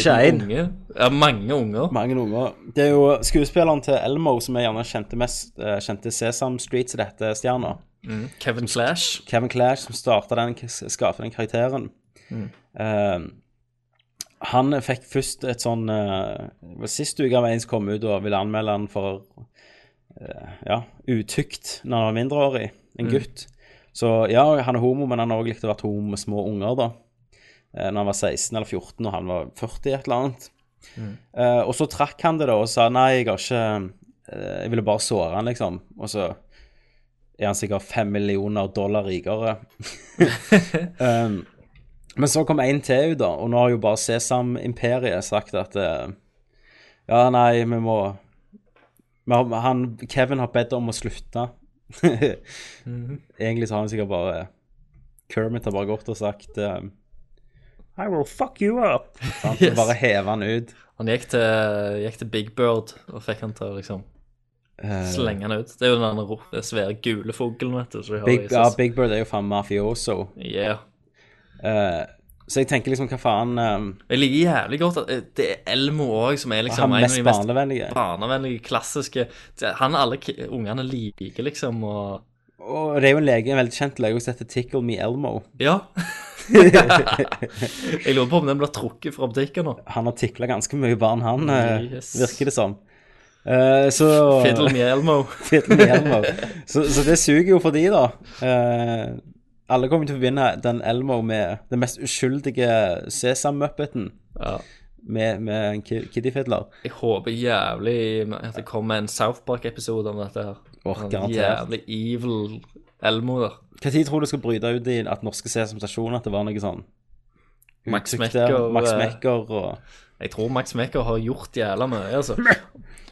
[SPEAKER 1] Skjein.
[SPEAKER 2] liten unge. Ja, mange unger.
[SPEAKER 1] Mange unger. Det er jo skuespilleren til Elmo som er gjerne kjente, mest, eh, kjente Sesam Street, som dette stjerna.
[SPEAKER 2] Mm. Kevin Clash.
[SPEAKER 1] Kevin Clash, som starta den, skapte den karakteren. Eh, han fikk først et sånn eh, det var Sist uke av en som kom ut og ville anmelde han for eh, ja, utukt når han var mindreårig. En gutt. Så ja, han er homo, men han har òg likt å være homo med små unger, da. Eh, når han var 16 eller 14 og han var 40 et eller annet. Eh, og så trakk han det da og sa nei, jeg har ikke eh, Jeg ville bare såre han, liksom. Og så er han sikkert fem millioner dollar rikere. um, men så kom en til ut, da, og nå har jo bare Sesam-imperiet sagt at eh, Ja, nei, vi må vi har, han, Kevin har bedt om å slutte. Egentlig så har han sikkert bare Kermit har bare gått og sagt eh, I will fuck you up. Sant?
[SPEAKER 2] Yes.
[SPEAKER 1] Bare heve han ut.
[SPEAKER 2] Han gikk til, gikk til Big Bird og fikk han til å liksom
[SPEAKER 1] Eh,
[SPEAKER 2] slenge han ut. Det er jo den andre ro- den svære gule fuglen, vet du. som de har i
[SPEAKER 1] Big, ja,
[SPEAKER 2] Sesam.
[SPEAKER 1] Big Bird er jo faen mafioso.
[SPEAKER 2] Yeah.
[SPEAKER 1] Eh, så jeg tenker liksom, hva faen um,
[SPEAKER 2] Jeg liker jævlig godt at eh, det er Elmo òg som er
[SPEAKER 1] Han
[SPEAKER 2] liksom en av
[SPEAKER 1] mest
[SPEAKER 2] de mest
[SPEAKER 1] barnevennlige.
[SPEAKER 2] barnevennlige, klassiske det- Han alle ki- ungene liker, liksom, og
[SPEAKER 1] Og det er jo en lege, en veldig kjent lege som heter Tickle Me Elmo.
[SPEAKER 2] Ja. jeg lurer på om den blir trukket fra butikken nå.
[SPEAKER 1] Han har tikla ganske mye barn, han, eh,
[SPEAKER 2] Yes.
[SPEAKER 1] virker det som. Eh, så
[SPEAKER 2] Fiddle me Elmo.
[SPEAKER 1] Fiddle Me Elmo. Så, så det suger jo for de, da. Eh, alle kommer til å forbinde den Elmo med den mest uskyldige Sesam-muppeten.
[SPEAKER 2] Ja.
[SPEAKER 1] Med, med en ki- kiddy-fiddler.
[SPEAKER 2] Jeg håper jævlig at det kommer en South Park-episode om dette her.
[SPEAKER 1] Åh,
[SPEAKER 2] En
[SPEAKER 1] garantert.
[SPEAKER 2] jævlig evil Elmo der.
[SPEAKER 1] Når tror du det skal bryte ut i at norske Sesam Stasjon at det var noe sånn
[SPEAKER 2] Max
[SPEAKER 1] utsikt der?
[SPEAKER 2] Mekker,
[SPEAKER 1] Max
[SPEAKER 2] eh,
[SPEAKER 1] Mekker og
[SPEAKER 2] Jeg tror Max Mekker har gjort jævla mye, altså.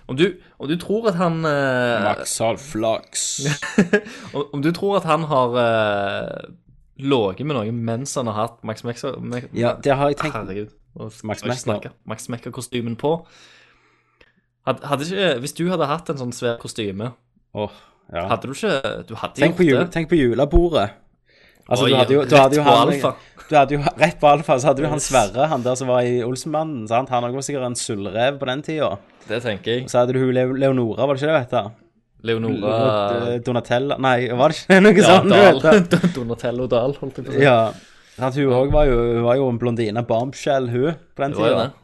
[SPEAKER 2] Om du, om du tror at han eh,
[SPEAKER 1] har flaks.
[SPEAKER 2] Om, om du tror at han har uh, ligget med noen mens han har hatt Max Mekker Me-
[SPEAKER 1] Ja, det har jeg tenkt.
[SPEAKER 2] Herregud. nå skal
[SPEAKER 1] Max
[SPEAKER 2] jeg ikke
[SPEAKER 1] Mekker.
[SPEAKER 2] snakke. Max Mekker-kostymen på. Hadde, hadde ikke, hvis du hadde hatt en sånn svær kostyme,
[SPEAKER 1] Åh, ja.
[SPEAKER 2] hadde du ikke Du hadde
[SPEAKER 1] Tenk på,
[SPEAKER 2] gjort
[SPEAKER 1] jul,
[SPEAKER 2] det.
[SPEAKER 1] tenk på julebordet. Altså,
[SPEAKER 2] Oi,
[SPEAKER 1] du hadde jo, du
[SPEAKER 2] rett
[SPEAKER 1] hadde jo
[SPEAKER 2] på
[SPEAKER 1] han,
[SPEAKER 2] alfa.
[SPEAKER 1] Du hadde jo, rett på alfa, så hadde du han
[SPEAKER 2] Yes.
[SPEAKER 1] Sverre, han der som var i Olsenmannen. sant? Han var sikkert en sølvrev på den tida.
[SPEAKER 2] Det tenker jeg.
[SPEAKER 1] Så hadde du hun Leo- Leonora, var det ikke det, vet du?
[SPEAKER 2] Leonora
[SPEAKER 1] Leonora- eh, Donatella Nei, var det ikke noe sånn
[SPEAKER 2] ja,
[SPEAKER 1] sånt?
[SPEAKER 2] Dahl.
[SPEAKER 1] du vet det?
[SPEAKER 2] Donatello Dahl, holdt jeg på å si.
[SPEAKER 1] Ja. Sant, hun òg var, jo- hun var jo en blondine bombshell, hun, på den
[SPEAKER 2] Det var jo
[SPEAKER 1] tida.
[SPEAKER 2] det.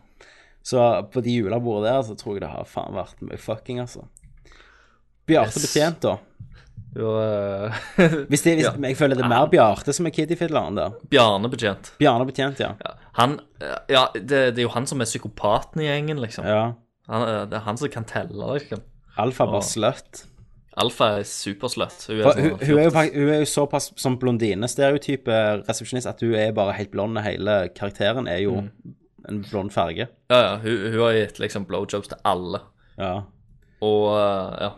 [SPEAKER 1] Så på de julebordene der, så tror jeg det har faen vært mye fucking, altså. Bjarte
[SPEAKER 2] Yes.
[SPEAKER 1] betjent, da.
[SPEAKER 2] Det var, eh,
[SPEAKER 1] Hvis det, hvis,
[SPEAKER 2] Ja. Ah.
[SPEAKER 1] Jeg føler det er mer Bjarte som er Kitty-fiddleren der.
[SPEAKER 2] Bjarne betjent.
[SPEAKER 1] Bjarne betjent, ja.
[SPEAKER 2] Ja, Han, eh, ja det, det er jo han som er psykopaten i gjengen, liksom.
[SPEAKER 1] ja.
[SPEAKER 2] Han, eh, det er han som kan telle, liksom.
[SPEAKER 1] Alfa
[SPEAKER 2] Ja.
[SPEAKER 1] var slutt.
[SPEAKER 2] Alfa er supersløtt. Hun
[SPEAKER 1] For
[SPEAKER 2] er, sånn
[SPEAKER 1] Hun, hun, er jo, fak- hun er jo såpass som blondinestereotype resepsjonist at hun er bare helt blond. og Hele karakteren er jo
[SPEAKER 2] Mm.
[SPEAKER 1] en blond farge.
[SPEAKER 2] Ja, ja, hun, hun har gitt liksom blowjobs til alle.
[SPEAKER 1] Ja.
[SPEAKER 2] Og eh, ja.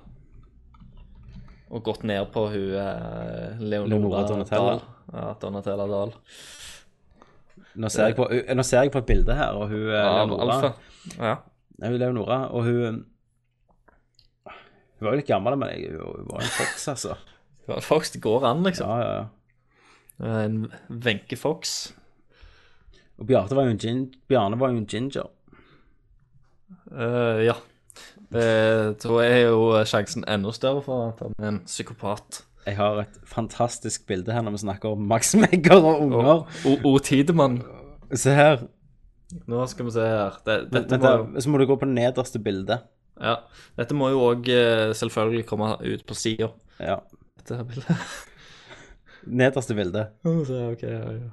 [SPEAKER 2] Og gått ned på hun eh, Leonora
[SPEAKER 1] Leonora Donatella.
[SPEAKER 2] Dahl. Ja, Donatella Dahl.
[SPEAKER 1] Nå ser, jeg på, ø, nå ser jeg på et bilde her, og hun er
[SPEAKER 2] Av
[SPEAKER 1] Leonora.
[SPEAKER 2] Alfa. Ja.
[SPEAKER 1] Nei, Hun er Leonora, og hun Hun var jo litt gammel, men jeg, hun var en fox, altså.
[SPEAKER 2] Ja, Fox, det går an, liksom.
[SPEAKER 1] Ja, ja, ja.
[SPEAKER 2] En Wenche Fox.
[SPEAKER 1] Og Bjarte var jo en gin, Bjarne var jo en ginger.
[SPEAKER 2] Eh, ja. Det tror jeg er jo sjansen enda større for at han er en psykopat.
[SPEAKER 1] Jeg har et fantastisk bilde her når vi snakker om Max Megger og unger.
[SPEAKER 2] Og O. Tidemann.
[SPEAKER 1] Se her.
[SPEAKER 2] Nå skal vi se her. Det, dette,
[SPEAKER 1] Vent,
[SPEAKER 2] må jo,
[SPEAKER 1] da, så må du gå på det nederste bildet.
[SPEAKER 2] ja, dette må jo òg selvfølgelig komme ut på sida.
[SPEAKER 1] Ja.
[SPEAKER 2] Dette her bildet.
[SPEAKER 1] Nederste bilde.
[SPEAKER 2] Nå må vi se, ok, ja, ja.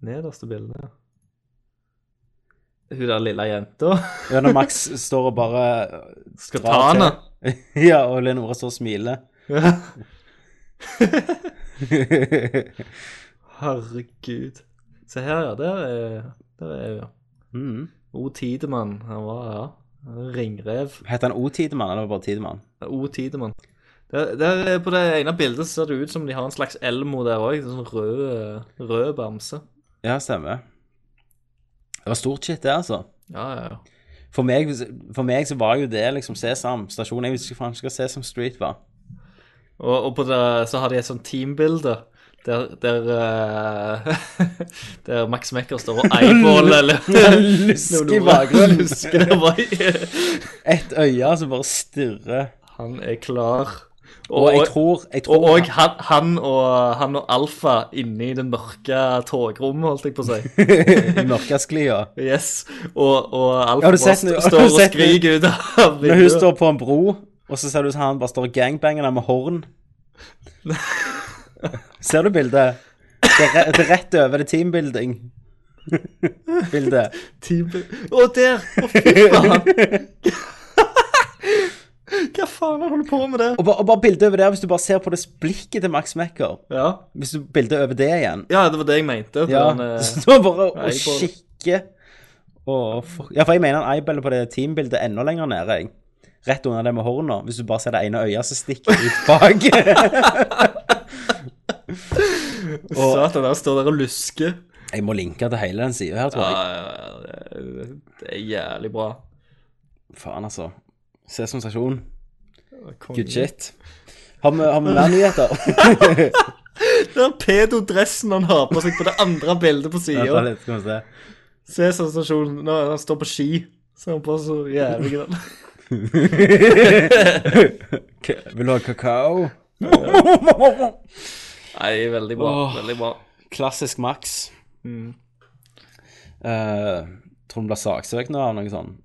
[SPEAKER 2] Nederste bildet, ja. Hun der lille jenta.
[SPEAKER 1] Ja, når Max står og bare eh,
[SPEAKER 2] Skal
[SPEAKER 1] drar
[SPEAKER 2] ta
[SPEAKER 1] til.
[SPEAKER 2] henne.
[SPEAKER 1] Ja, og Leonora står og smiler.
[SPEAKER 2] Herregud. Se her, ja. Der er, der er hun, ja.
[SPEAKER 1] Mhm.
[SPEAKER 2] O. Tidemann. Han var, ja. Ringrev.
[SPEAKER 1] Heter han O-Tidemann eller bare Tidemann?
[SPEAKER 2] O. Tidemann. Der, der, på det ene bildet så ser det ut som de har en slags elmo der òg. Sånn rød, rød bamse.
[SPEAKER 1] Ja, stemmer. Det var stort shit, det, altså.
[SPEAKER 2] Ja, ja, ja.
[SPEAKER 1] For meg, for meg så var jo det liksom Sesam stasjon. Jeg visste ikke faen ikke hva Sesam Street var.
[SPEAKER 2] Og, og på det, så har de et sånt teambilde der, der, eh, der Max Mekker står og eyeballer
[SPEAKER 1] Luske i bakgrunnen.
[SPEAKER 2] Lusker det bare.
[SPEAKER 1] Et øye som bare stirrer.
[SPEAKER 2] Han er klar.
[SPEAKER 1] Og jeg tror, jeg tror
[SPEAKER 2] og, og han, han og han og Alfa inne i det mørke togrommet, holdt jeg på å si.
[SPEAKER 1] i mørkasklia
[SPEAKER 2] Yes. Og, og Alfa
[SPEAKER 1] Har du
[SPEAKER 2] bare
[SPEAKER 1] sett
[SPEAKER 2] st-
[SPEAKER 1] det? Har
[SPEAKER 2] står
[SPEAKER 1] du
[SPEAKER 2] og
[SPEAKER 1] sett det?
[SPEAKER 2] skriker ut av
[SPEAKER 1] Når hun
[SPEAKER 2] vinduet.
[SPEAKER 1] står på en bro, og så ser du sånn, han bare står og gangbanger der med horn. Ser du bildet? Det er, re- det er rett over det teambuilding. Bildet.
[SPEAKER 2] Team- Å, der! Å, fy faen! Hva faen han holder på med det?
[SPEAKER 1] Og, ba, og bare bildet over der, hvis du bare ser på det blikket til Max Mekker.
[SPEAKER 2] Ja.
[SPEAKER 1] Hvis du bildet over det igjen.
[SPEAKER 2] ja, det var det jeg mente. at
[SPEAKER 1] Ja,
[SPEAKER 2] han, eh,
[SPEAKER 1] det står bare og- og
[SPEAKER 2] jeg bare-
[SPEAKER 1] kikker. Å, fuck. Ja, for jeg mener han eyeballer på det teambildet enda lenger nede, jeg. Rett under det med horna, hvis du bare ser det ene øyet som stikker ut bak.
[SPEAKER 2] Satan, der står der og lusker.
[SPEAKER 1] Jeg må linke til hele den sida her, tror jeg.
[SPEAKER 2] Det er jævlig bra.
[SPEAKER 1] Faen, altså. Se som stasjon.
[SPEAKER 2] Konge.
[SPEAKER 1] Good shit. Har vi, har vi mer nyheter?
[SPEAKER 2] Den pedodressen han har på seg på det andre bildet på
[SPEAKER 1] Vent da
[SPEAKER 2] sida.
[SPEAKER 1] litt, skal vi se.
[SPEAKER 2] Se sensasjonen når han står på ski. Så er han bare så jævlig grønn.
[SPEAKER 1] K- Vil du ha kakao?
[SPEAKER 2] Nei, veldig bra. Veldig bra.
[SPEAKER 1] Klassisk Max.
[SPEAKER 2] Mm.
[SPEAKER 1] Eh, tror du blir saksøkt nå av noe sånt?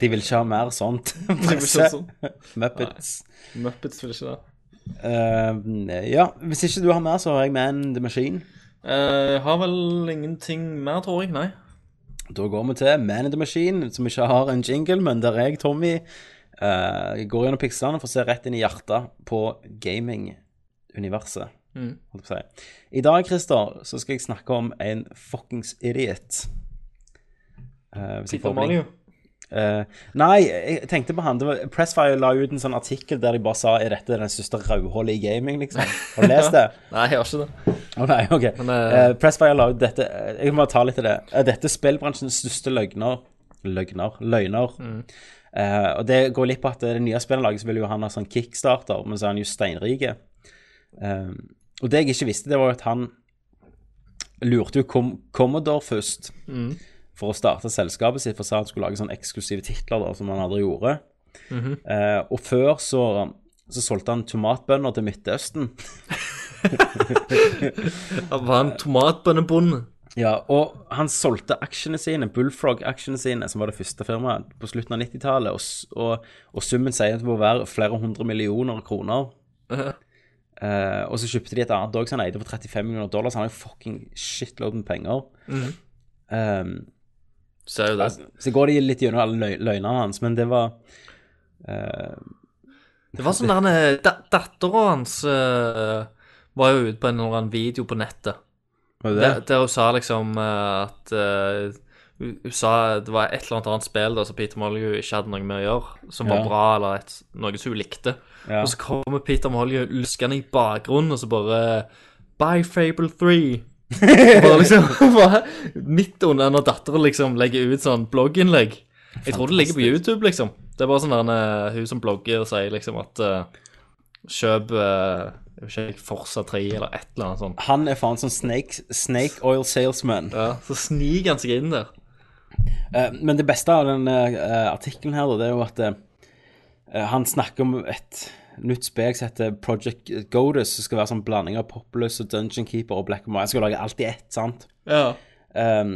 [SPEAKER 1] De vil ikke ha mer sånt.
[SPEAKER 2] Det blir sånn som
[SPEAKER 1] Muppets.
[SPEAKER 2] Muppets vil ikke det.
[SPEAKER 1] Eh, ja, hvis ikke du har mer, så har jeg Man the Machine.
[SPEAKER 2] Eh, har vel ingenting mer, tror jeg. Nei.
[SPEAKER 1] Da går vi til Man in the Machine, som ikke har en jingle, men der jeg, Tommy, eh, går gjennom pikslene for å se rett inn i hjertet på gaming-universet.
[SPEAKER 2] Mm.
[SPEAKER 1] holdt på å si. I dag, Christer, så skal jeg snakke om en fuckings idiot. Eh, hvis jeg
[SPEAKER 2] Peter
[SPEAKER 1] får blink.
[SPEAKER 2] Mario.
[SPEAKER 1] Eh, nei, jeg tenkte på han. Det var, Pressfire la ut en sånn artikkel der de bare sa er dette den største rødhullet i gaming, liksom. Har du lest det?
[SPEAKER 2] Nei, jeg har ikke det.
[SPEAKER 1] Å nei, ok.
[SPEAKER 2] eh,
[SPEAKER 1] Eh, Pressfire la ut dette eh, Jeg må bare ta litt til det. Eh, dette er spillbransjens største løgner. Løgner. Løgner. Eh, og det går litt på at det nye spilllaget så vil jo han ha sånn kickstarter, men så er han jo steinrike. Eh, og det jeg ikke visste, det var jo at han lurte jo Com Commodore først for å starte selskapet sitt, for sa han skulle lage sånne eksklusive titler da, som han aldri gjorde. Eh, og før så, så solgte han tomatbønner til Midtøsten.
[SPEAKER 2] Han var en tomatbønnebonde.
[SPEAKER 1] Ja, og han solgte aksjene sine, Bullfrog-aksjene sine, som var det første firmaet, på slutten av 90-tallet, og, s- og, og summen sier at det må være flere hundre millioner kroner. Uh-huh. Eh, og så kjøpte de et annet dog som han eide for 35 millioner dollar, så han har jo fucking shitload med penger. Eh,
[SPEAKER 2] Ser jo det.
[SPEAKER 1] så går de litt gjennom alle løg- løgnene hans, men det var eh,
[SPEAKER 2] Det var sånn der da, Dattera hans eh, var jo ute på en eller annen video på nettet.
[SPEAKER 1] Var det?
[SPEAKER 2] Der, der hun sa liksom eh, at eh, hun hun sa det var et eller annet annet spill da, som Peter Molyneux ikke hadde noe med å gjøre, som var
[SPEAKER 1] Ja.
[SPEAKER 2] bra, eller et, noe som hun likte.
[SPEAKER 1] Ja.
[SPEAKER 2] Og så kommer Peter Molyneux luskende i bakgrunnen, og så bare Bye, Fable 3. Og bare liksom bare, Midt under når datteren liksom legger ut sånn blogginnlegg. Jeg tror det ligger på YouTube, liksom. Det er bare sånn der eh, hun som blogger og sier liksom at eh, Kjøp eh, jeg vet ikke, Forsa 3 eller et eller annet sånt.
[SPEAKER 1] Han er faen sånn snake, snake oil salesman.
[SPEAKER 2] Ja, så sniker han seg inn der.
[SPEAKER 1] Eh, Men det beste av den eh, artikkelen her, da, det er jo at eh, han snakker om et nytt spek som heter Project Godus, som skal være sånn blanding av Populous og Dungeon Keeper og Black and White. Han skal lage alt i ett, sant?
[SPEAKER 2] Ja.
[SPEAKER 1] Um,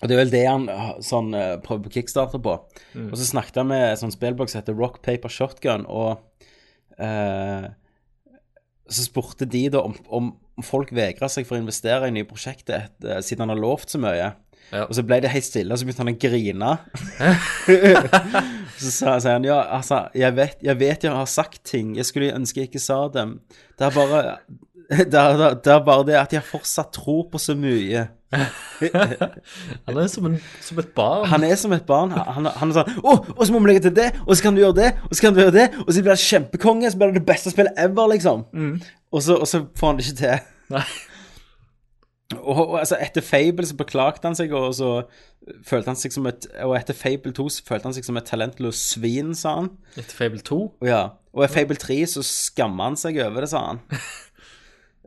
[SPEAKER 1] og det er vel det han uh, sånn, uh, prøver på kickstarter på. Og så snakket han med et sånt spillboks som heter Rock Paper Shotgun, og uh, så spurte de da om, om om folk vegret seg for å investere i nye prosjekter et- uh, siden han har lovt så mye.
[SPEAKER 2] Ja.
[SPEAKER 1] Og så ble det helt stille, og så begynte han å grine. så sa sier han ja, altså, jeg vet, jeg vet jeg har sagt ting, jeg skulle ønske jeg ikke sa dem. Det er bare, det er, det er bare det at jeg fortsatt tror på så mye.
[SPEAKER 2] Han er som, en, som et barn.
[SPEAKER 1] Han er som et barn. Han, han er sånn Å, og så må vi legge til det, og så kan du gjøre det, og så kan du gjøre det, og så blir det kjempekonge, så blir det det beste spillet ever, liksom. Og, så, og så får han det ikke til.
[SPEAKER 2] Nei.
[SPEAKER 1] Og, og altså, etter Fable så beklagte han seg, og så følte han seg som et Og etter Fable 2 så følte han seg som et talentløst svin, sa han.
[SPEAKER 2] Etter Fable 2.
[SPEAKER 1] Og ja. Og i Fable 3 så skammer han seg over det, sa han.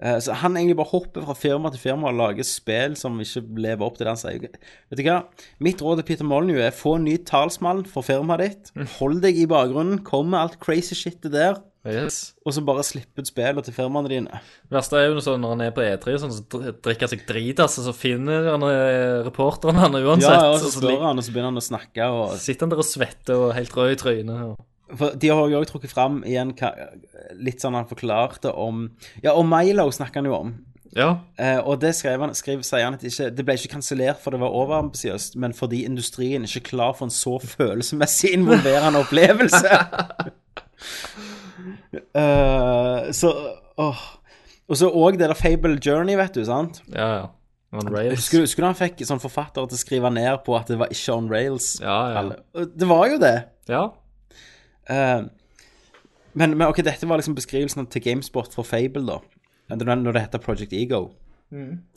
[SPEAKER 1] Eh, Så han egentlig bare hopper fra firma til firma og lager spill som ikke lever opp til det han sier. Vet du hva? Mitt råd til Peter Molyneux er få en ny talsmann for firmaet ditt. Hold deg i bakgrunnen. Kom med alt crazy shitet der,
[SPEAKER 2] Yes.
[SPEAKER 1] og så bare slipp ut spillene til firmaene dine.
[SPEAKER 2] Det verste er jo når sånn, når han er på E3, sånn, så dr- drikker han seg drit, altså, så finner han eh, reporteren han uansett.
[SPEAKER 1] Ja, ja, og så
[SPEAKER 2] og så
[SPEAKER 1] spør han, og så begynner han å snakke, og
[SPEAKER 2] sitter han der og svetter og er helt rød i trynet. Og...
[SPEAKER 1] For de har jo også trukket fram igjen hva- litt sånn han forklarte om Ja, og Milo snakker han jo om.
[SPEAKER 2] Ja.
[SPEAKER 1] Eh, og det skrev han, skrev, sier han at ikke, det ble ikke kansellert for det var overambisiøst, men fordi industrien ikke er klar for en så følelsesmessig involverende opplevelse. Eh, så åh. Og så òg det der Fable Journey, vet du, sant?
[SPEAKER 2] Ja, ja. Han rails.
[SPEAKER 1] Husker du, husker du han fikk sånn forfatter til å skrive ned på at det var ikke on rails?
[SPEAKER 2] Ja, ja.
[SPEAKER 1] Og Det var jo det.
[SPEAKER 2] Ja.
[SPEAKER 1] Eh, men, men ok, dette var liksom beskrivelsen til GameSpot for Fable, da. Når når det heter Project Ego.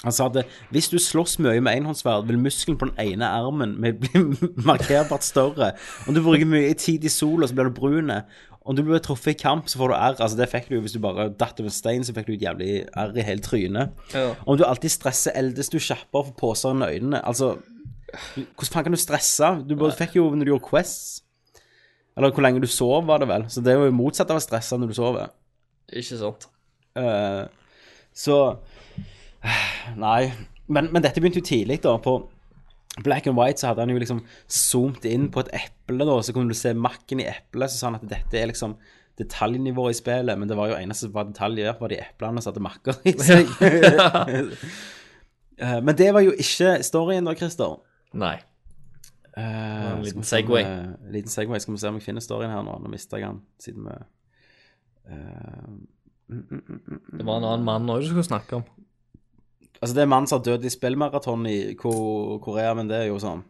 [SPEAKER 1] Han sa at hvis du slåss mye med enhåndsverd, vil muskelen på den ene armen med- bli markerbart større. Om du bruker mye tid i sola, så blir du brune. Om du blir truffet i kamp, så får du R. Altså, det fikk du jo hvis du bare datt over en stein, så fikk du et jævlig R i hele trynet. Om du alltid stresser, eldes du kjappere for poser enn øynene. Altså, du- hvordan faen kan du stresse? Du bare, fikk jo når du gjorde Quests. Eller hvor lenge du sov, var det vel. Så det er jo motsatt av å stresse når du sover.
[SPEAKER 2] Ikke sant.
[SPEAKER 1] Eh, så eh, Nei. Men, men dette begynte jo tidlig, da. På Black and White så hadde han jo liksom zoomet inn på et eple, da, og så kunne du se makken i eplet. Så sa han at dette er liksom detaljnivået i spillet, men det var jo eneste som var detaljer, var de eplene som hadde makker i seg. Eh, men det var jo ikke storyen da, Christer.
[SPEAKER 2] Nei.
[SPEAKER 1] Eh,
[SPEAKER 2] en
[SPEAKER 1] skal vi se
[SPEAKER 2] liten
[SPEAKER 1] om,
[SPEAKER 2] segway.
[SPEAKER 1] eh, liten segway. Skal vi se om jeg finner storyen her nå. Nå mista jeg den, siden vi eh, mm,
[SPEAKER 2] Det var en annen mann òg du skulle snakke om.
[SPEAKER 1] Altså, det er en mann som har dødd i spillmaraton i Ko- Korea, men det er jo sånn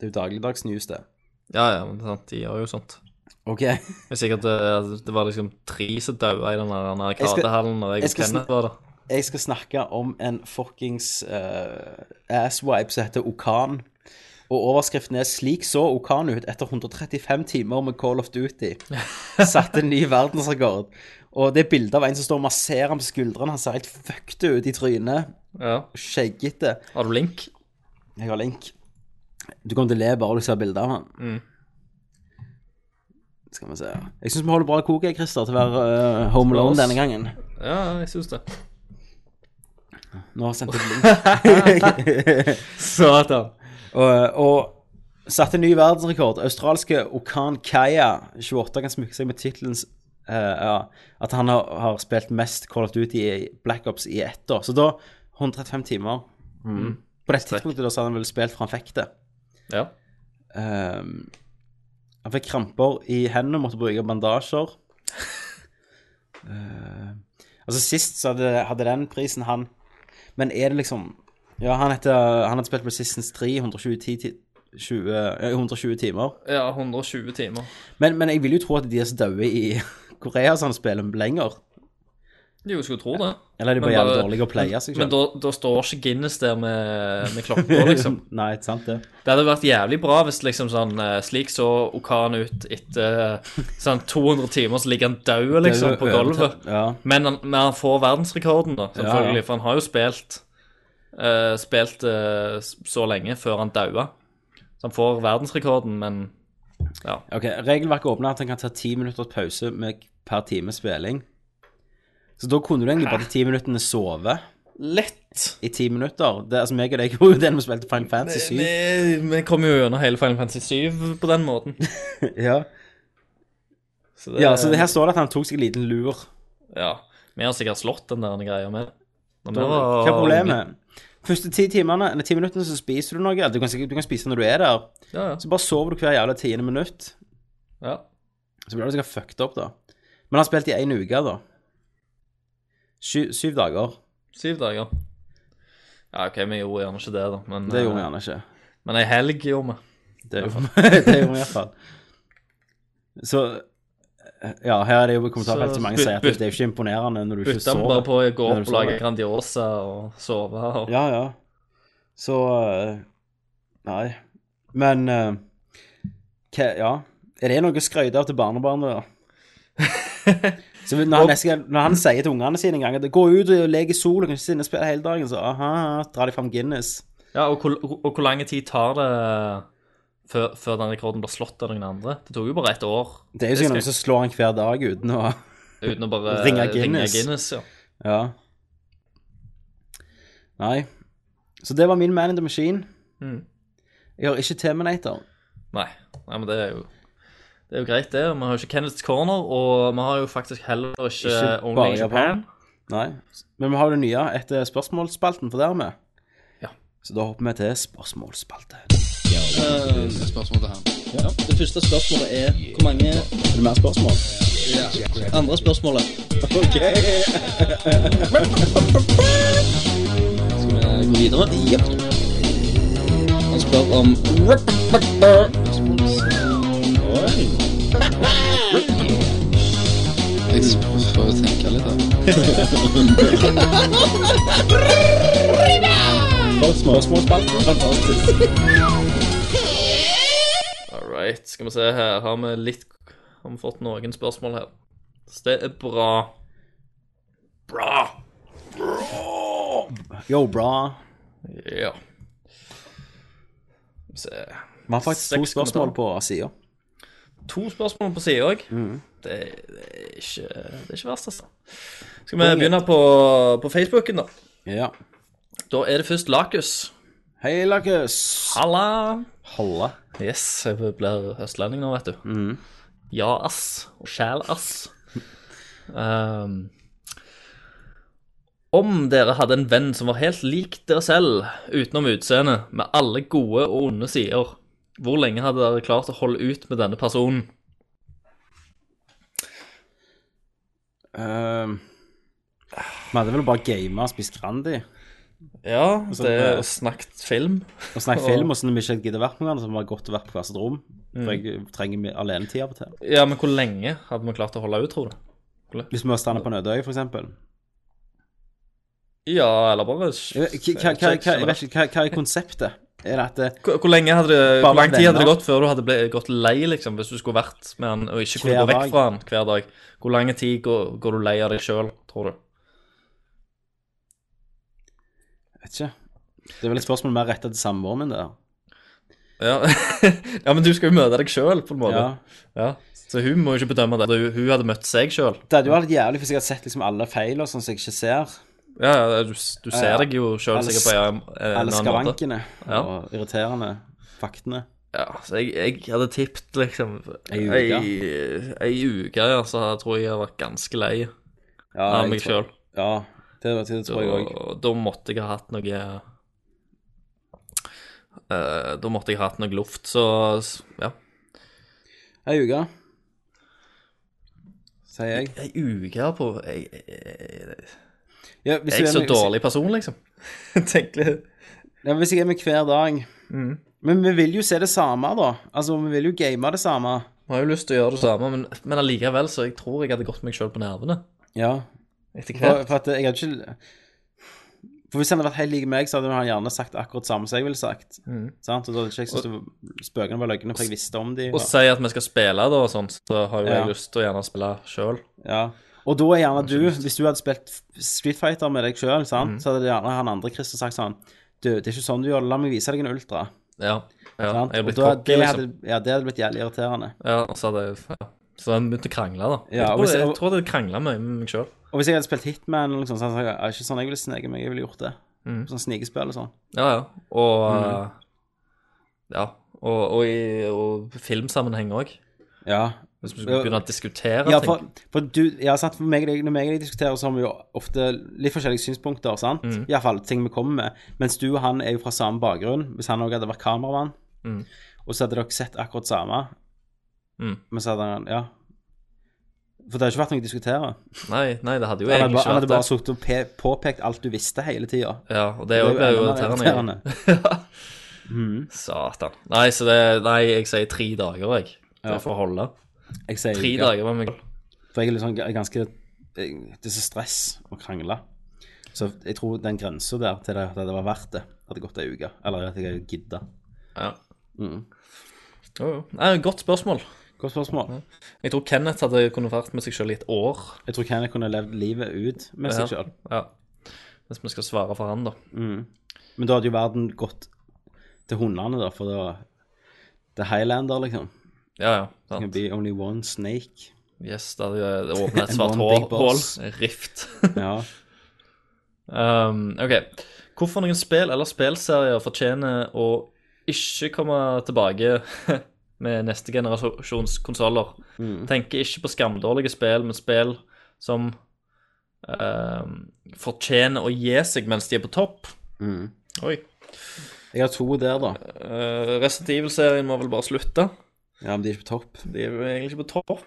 [SPEAKER 1] Det er jo dagligdags news, det.
[SPEAKER 2] Ja, ja, men det er sant, de gjør jo sånt.
[SPEAKER 1] OK.
[SPEAKER 2] Det er sikkert eh, det var liksom tre som daua i den der arkadehallen når jeg,
[SPEAKER 1] jeg
[SPEAKER 2] jeg
[SPEAKER 1] skal
[SPEAKER 2] og Kenneth var der.
[SPEAKER 1] Jeg skal snakke om en fuckings eh, asswipe som heter Okan. Og overskriften er 'Slik så Okan ut etter 135 timer med Call of Duty'. Satte ny verdensrekord. Og det er bilde av en som står og masserer ham på skuldrene. Han ser helt fucked ut i trynet.
[SPEAKER 2] Ja.
[SPEAKER 1] Skjeggete.
[SPEAKER 2] Har du link?
[SPEAKER 1] Jeg har link. Du kommer til å le bare du ser bilder av han. Skal vi se. Jeg syns vi holder bra koke, Christer, til å være eh, home alone
[SPEAKER 2] Bra, ass.
[SPEAKER 1] denne gangen.
[SPEAKER 2] Ja, jeg syns det.
[SPEAKER 1] Nå sendte jeg link.
[SPEAKER 2] Satan.
[SPEAKER 1] og, og satte ny verdensrekord. Australske Okan Kaya, 28, kan smykke seg med tittelen eh, ja, at han har, har spilt mest Call of Duty i Black Ops i ett år. Så da 135 timer. På det tidspunktet da, så hadde han vel spilt fra han fikk det.
[SPEAKER 2] Ja.
[SPEAKER 1] Ehm, han fikk kramper i hendene og måtte bruke bandasjer. Eh, altså Sist så hadde, hadde den prisen han Men er det liksom Ja, han, heter, han hadde spilt Resistance 3 120, ti- ti- 20, eh, 120 timer.
[SPEAKER 2] ja, 120 timer.
[SPEAKER 1] Men, men jeg vil jo tro at de er så daue i Korea som han spiller lenger.
[SPEAKER 2] Jo, jeg skulle tro det.
[SPEAKER 1] Eller er de
[SPEAKER 2] Men
[SPEAKER 1] bare jævlig
[SPEAKER 2] bare-
[SPEAKER 1] dårlige å playe seg
[SPEAKER 2] Men
[SPEAKER 1] selv?
[SPEAKER 2] da, da står ikke Guinness der med, med klokka, liksom.
[SPEAKER 1] Nei, ikke sant det?
[SPEAKER 2] Det hadde vært jævlig bra hvis liksom sånn eh, Slik så Okan ut etter eh, sånn 200 timer, så ligger han død, liksom, på gulvet.
[SPEAKER 1] Ja.
[SPEAKER 2] Men han, men han får verdensrekorden, da,
[SPEAKER 1] Ja, ja.
[SPEAKER 2] selvfølgelig. For han har jo spilt eh, Spilt eh, s- så lenge før han daua. Så han får verdensrekorden, men
[SPEAKER 1] Ok, Regelverket åpner at en kan ta ti minutters pause med per time spilling. Så da kunne du egentlig bare de ti minuttene sove
[SPEAKER 2] Lett!
[SPEAKER 1] i ti minutter. Det, altså, meg og deg gjorde jo det når vi spilte Final Fantasy 7.
[SPEAKER 2] Vi vi kom jo gjennom hele Final Fantasy 7 på den måten.
[SPEAKER 1] Ja.
[SPEAKER 2] Så
[SPEAKER 1] ja, så det her står det at han tok seg en liten lur.
[SPEAKER 2] Ja. Vi har sikkert slått den der greia med. Når vi var
[SPEAKER 1] Hva er problemet? Første ti timene, eller ti minuttene så spiser du noe. Du kan, sikkert- du kan spise når du er der.
[SPEAKER 2] unge. Ja,
[SPEAKER 1] Så bare sover du hver jævla tiende minutt.
[SPEAKER 2] ja. ja.
[SPEAKER 1] Så blir du sikkert fucked opp, da. Men han har spilt i én uke, da. Sy syv dager.
[SPEAKER 2] Syv dager. Ja, OK, vi gjorde gjerne ikke det, da. Men, eh,
[SPEAKER 1] Det gjorde vi gjerne ikke.
[SPEAKER 2] Men ei helg gjorde vi.
[SPEAKER 1] Det er jo det er jo i hvert fall. Så Ja, her er det jo i kommentarfeltet
[SPEAKER 2] Så
[SPEAKER 1] mange
[SPEAKER 2] byt-
[SPEAKER 1] sier at det det er jo ikke imponerende når du ikke
[SPEAKER 2] Bytta
[SPEAKER 1] sover.
[SPEAKER 2] bare på å gå
[SPEAKER 1] Når du
[SPEAKER 2] opp og lage
[SPEAKER 1] sover.
[SPEAKER 2] Grandiosa og sove og
[SPEAKER 1] Ja, ja. Så eh, Nei. Men eh, hva, Ja. Er det noe å skryte av til barnebarnet, da? Så når han, neste, gang- når han sier til ungene sine en gang at 'gå ut og lek i sola, kan ikke sitte inne og spille hele dagen', så aha, drar de fram Guinness.
[SPEAKER 2] Ja, og hvor, og hvor lang tid tar det eh, før, før den rekorden blir slått av noen andre? Det tok jo bare ett år.
[SPEAKER 1] Det er jo sikkert noen som slår han hver dag uten å
[SPEAKER 2] Uten å bare
[SPEAKER 1] Ringe Guinness.
[SPEAKER 2] ja.
[SPEAKER 1] Ja. Nei. Så det var min Man in the Machine.
[SPEAKER 2] Mm.
[SPEAKER 1] Jeg har ikke Terminator.
[SPEAKER 2] Nei. Nei, men det er jo Det er jo greit, det. Vi har jo ikke Kenneth's Corner, og vi har jo faktisk heller ikke,
[SPEAKER 1] Ikke
[SPEAKER 2] Only
[SPEAKER 1] bare
[SPEAKER 2] in
[SPEAKER 1] Japan.
[SPEAKER 2] Japan.
[SPEAKER 1] Nei. Men vi har jo det nye etter spørsmålsspalten, for det har vi.
[SPEAKER 2] Ja.
[SPEAKER 1] Så da hopper vi til spørsmålsspalte.
[SPEAKER 6] Det første spørsmålet er hvor mange
[SPEAKER 1] Er det mer spørsmål?
[SPEAKER 6] andre spørsmålet?
[SPEAKER 1] OK.
[SPEAKER 6] Skal vi gå videre? Jepp. Han spør om Jeg får jo tenke litt her.
[SPEAKER 1] Spørsmålsspalten. Fantastisk.
[SPEAKER 2] All right. Skal vi se her. Har vi litt Har vi fått noen spørsmål her? Så det er bra. Bra.
[SPEAKER 1] Yo, bra.
[SPEAKER 2] Ja. Skal vi se
[SPEAKER 1] Vi har faktisk to
[SPEAKER 2] Seks
[SPEAKER 1] spørsmål på sida.
[SPEAKER 2] To spørsmål på sida òg. Det, det, er ikke- det er ikke verst, altså. Skal vi begynne på, på Facebooken, da?
[SPEAKER 1] Ja.
[SPEAKER 2] Da er det først Lakus.
[SPEAKER 1] Hei, Lakus.
[SPEAKER 2] Halla!
[SPEAKER 1] Halla.
[SPEAKER 2] Yes, jeg blir østlending nå, vet du. Ja, ass. Og sjæl, ass. Ehm, om dere hadde en venn som var helt lik dere selv, utenom utseendet, med alle gode og onde sider, hvor lenge hadde dere klart å holde ut med denne personen?
[SPEAKER 1] Ehm, Vi hadde vel bare gama og spist Grandi
[SPEAKER 2] Ja, det
[SPEAKER 1] det-
[SPEAKER 2] er snakket film.
[SPEAKER 1] og snakket film og sånn når vi ikke helt gidder vært med hverandre, så var det godt å være på hvert sitt rom. For
[SPEAKER 2] Mm.
[SPEAKER 1] jeg trenger mi- alenetid av og til.
[SPEAKER 2] Ja, men hvor lenge hadde vi klart å holde ut, tror du?
[SPEAKER 1] Hvis vi var stranda på en øde øy, for eksempel.
[SPEAKER 2] Ja, eller bare
[SPEAKER 1] Jeg vet ikke- hva- hva- hva- jeg vet ikke, hva, hva er konseptet? Er det at eh, det
[SPEAKER 2] Hvor hvor lenge hadde det,
[SPEAKER 1] Bare
[SPEAKER 2] hvor lang tid hadde det
[SPEAKER 1] venner.
[SPEAKER 2] gått før du hadde ble, gått lei, liksom, hvis du skulle vært med han og ikke kunne
[SPEAKER 1] Hver
[SPEAKER 2] gå vekk
[SPEAKER 1] dag.
[SPEAKER 2] fra han hver dag? Hvor lang tid går, går du lei av deg sjøl, tror du?
[SPEAKER 1] jeg Vet ikke. Det er vel et spørsmål mer retta til samboeren min, det her.
[SPEAKER 2] Ja. ja, men du skal jo møte deg sjøl, på en måte.
[SPEAKER 1] Ja.
[SPEAKER 2] Ja. Så hun må jo ikke bedømme det. Hun, hun hadde møtt seg sjøl.
[SPEAKER 1] Det hadde jo vært jævlig hvis jeg hadde sett liksom alle feil og sånn som jeg ikke ser.
[SPEAKER 2] Ja, ja, du, s- du ser
[SPEAKER 1] Ja, ja.
[SPEAKER 2] deg jo sjøl
[SPEAKER 1] Alle
[SPEAKER 2] sikkert
[SPEAKER 1] s-
[SPEAKER 2] på en, en
[SPEAKER 1] Alle
[SPEAKER 2] annen måte.
[SPEAKER 1] skavankene
[SPEAKER 2] Ja.
[SPEAKER 1] og irriterende faktene.
[SPEAKER 2] Ja, så jeg, jeg hadde tippet liksom
[SPEAKER 1] Ei uke.
[SPEAKER 2] ei- ei uke, ja, så jeg tror jeg jeg var ganske lei
[SPEAKER 1] Ja,
[SPEAKER 2] av
[SPEAKER 1] jeg
[SPEAKER 2] meg
[SPEAKER 1] tror-
[SPEAKER 2] sjøl.
[SPEAKER 1] Ja, det, det tror jeg òg.
[SPEAKER 2] Da, da måtte jeg ha hatt noe eh, Da måtte jeg ha hatt noe luft, så s- ja.
[SPEAKER 1] Ei uke, sier jeg.
[SPEAKER 2] Ei uke her på Jeg, jeg, jeg,
[SPEAKER 1] Ja, hvis
[SPEAKER 2] jeg er
[SPEAKER 1] du
[SPEAKER 2] ikke så
[SPEAKER 1] med- hvis-
[SPEAKER 2] dårlig person, liksom. Tenk litt.
[SPEAKER 1] Ja, hvis jeg er med hver dag. Men vi vil jo se det samme, da. Altså, vi vil jo game det samme.
[SPEAKER 2] Jeg har jo lyst til å gjøre det samme, men, men allikevel så jeg tror jeg hadde gått meg sjøl på nervene.
[SPEAKER 1] Ja.
[SPEAKER 2] Etter
[SPEAKER 1] For,
[SPEAKER 2] hvert.
[SPEAKER 1] for at jeg hadde ikke For hvis han hadde vært helt lik meg, så hadde han gjerne sagt akkurat samme som jeg ville sagt. Sant? Og da hadde ikke jeg syntes spøkene var løgne, for jeg visste om de.
[SPEAKER 2] Mm. Og si at vi skal spille, da, og sånn, så har jo
[SPEAKER 1] Ja.
[SPEAKER 2] jeg lyst til å gjerne spille sjøl.
[SPEAKER 1] Ja. Og da er gjerne du, hvis du hadde spilt Street Fighter med deg sjøl, så
[SPEAKER 2] Mm.
[SPEAKER 1] hadde gjerne han andre Christer sagt sånn Du, det er ikke sånn du gjør det, la meg vise deg en ultra.
[SPEAKER 2] Ja. ja.
[SPEAKER 1] Sant?
[SPEAKER 2] Jeg har
[SPEAKER 1] Og
[SPEAKER 2] blitt
[SPEAKER 1] da,
[SPEAKER 2] cocky,
[SPEAKER 1] det,
[SPEAKER 2] liksom.
[SPEAKER 1] hadde, ja, det hadde blitt jævlig irriterende.
[SPEAKER 2] Ja, og så hadde jeg ja. Så jeg begynte å krangle, da.
[SPEAKER 1] Ja, og
[SPEAKER 2] jeg,
[SPEAKER 1] hvis jeg-
[SPEAKER 2] tror, jeg tror jeg hadde krangla mye med meg sjøl.
[SPEAKER 1] Og hvis jeg hadde spilt Hitman, eller noe sånt, så hadde jeg sagt «Ja, ikke sånn jeg ville sneke meg, jeg ville gjort det.
[SPEAKER 2] Mm.
[SPEAKER 1] Sånn snikespill og sånn.
[SPEAKER 2] Ja, ja. Og
[SPEAKER 1] Mm.
[SPEAKER 2] eh, Ja. Og, og i og filmsammenheng òg.
[SPEAKER 1] Ja.
[SPEAKER 2] Hvis vi skulle
[SPEAKER 1] Ja.
[SPEAKER 2] begynne å diskutere
[SPEAKER 1] Ja,
[SPEAKER 2] ting.
[SPEAKER 1] for, for du ja, sant, for meg, og deg- Når meg og deg diskuterer, så har vi jo ofte litt forskjellige synspunkter, sant?
[SPEAKER 2] Mm.
[SPEAKER 1] I hvert fall ting vi kommer med. Mens du og han er jo fra samme bakgrunn. Hvis han òg hadde vært kameramann,
[SPEAKER 2] Mm.
[SPEAKER 1] og så hadde dere sett akkurat samme,
[SPEAKER 2] Mm.
[SPEAKER 1] men så hadde han Ja. For det har ikke vært noe å diskutere.
[SPEAKER 2] Nei, nei, det hadde jo
[SPEAKER 1] Han hadde, bare-
[SPEAKER 2] egentlig
[SPEAKER 1] han
[SPEAKER 2] ikke
[SPEAKER 1] hadde
[SPEAKER 2] vært
[SPEAKER 1] bare
[SPEAKER 2] det.
[SPEAKER 1] sittet og pe påpekt alt du visste hele tida.
[SPEAKER 2] Ja, og det òg ble jo irriterende. Ja.
[SPEAKER 1] Mm.
[SPEAKER 2] Satan. Nei, så det Nei, jeg sier tre dager, jeg. Det
[SPEAKER 1] Ja.
[SPEAKER 2] får holde.
[SPEAKER 1] Jeg sier
[SPEAKER 2] Tre
[SPEAKER 1] uke,
[SPEAKER 2] dager med meg.
[SPEAKER 1] For jeg er litt sånn g- ganske jeg- Det er så stress å krangle. Så jeg tror den grensa der til det, at det var verdt det, hadde gått ei uke. Eller at jeg gidda.
[SPEAKER 2] Ja.
[SPEAKER 1] Mm.
[SPEAKER 2] Jo, jo. Nei, godt spørsmål.
[SPEAKER 1] Godt spørsmål.
[SPEAKER 2] Jeg tror Kenneth hadde kunnet vært med seg sjøl i et år.
[SPEAKER 1] Jeg tror Kenneth kunne levd livet ut med seg sjøl.
[SPEAKER 2] Ja. Hvis vi skal svare for han, da.
[SPEAKER 1] Men da hadde jo verden gått til hundene, da, for det var The Highlander, liksom.
[SPEAKER 2] Ja, ja.
[SPEAKER 1] Can
[SPEAKER 2] Sant.
[SPEAKER 1] be only one snake.
[SPEAKER 2] Yes, det hadde det åpnet et
[SPEAKER 1] En
[SPEAKER 2] svart
[SPEAKER 1] one
[SPEAKER 2] hå-
[SPEAKER 1] big
[SPEAKER 2] hål.
[SPEAKER 1] boss.
[SPEAKER 2] Rift.
[SPEAKER 1] Ja.
[SPEAKER 2] um, OK. Hvorfor noen spill eller spillserier fortjener å ikke komme tilbake med neste generasjons konsoller?
[SPEAKER 1] Mm.
[SPEAKER 2] Tenker ikke på skamdårlige spill, men spill som um, fortjener å gi seg mens de er på topp. Oi.
[SPEAKER 1] Mm. Jeg har to der, da.
[SPEAKER 2] Uh, Resident Evil-serien må vel bare slutte.
[SPEAKER 1] Ja, Men de er ikke på topp.
[SPEAKER 2] De er jo egentlig ikke på topp.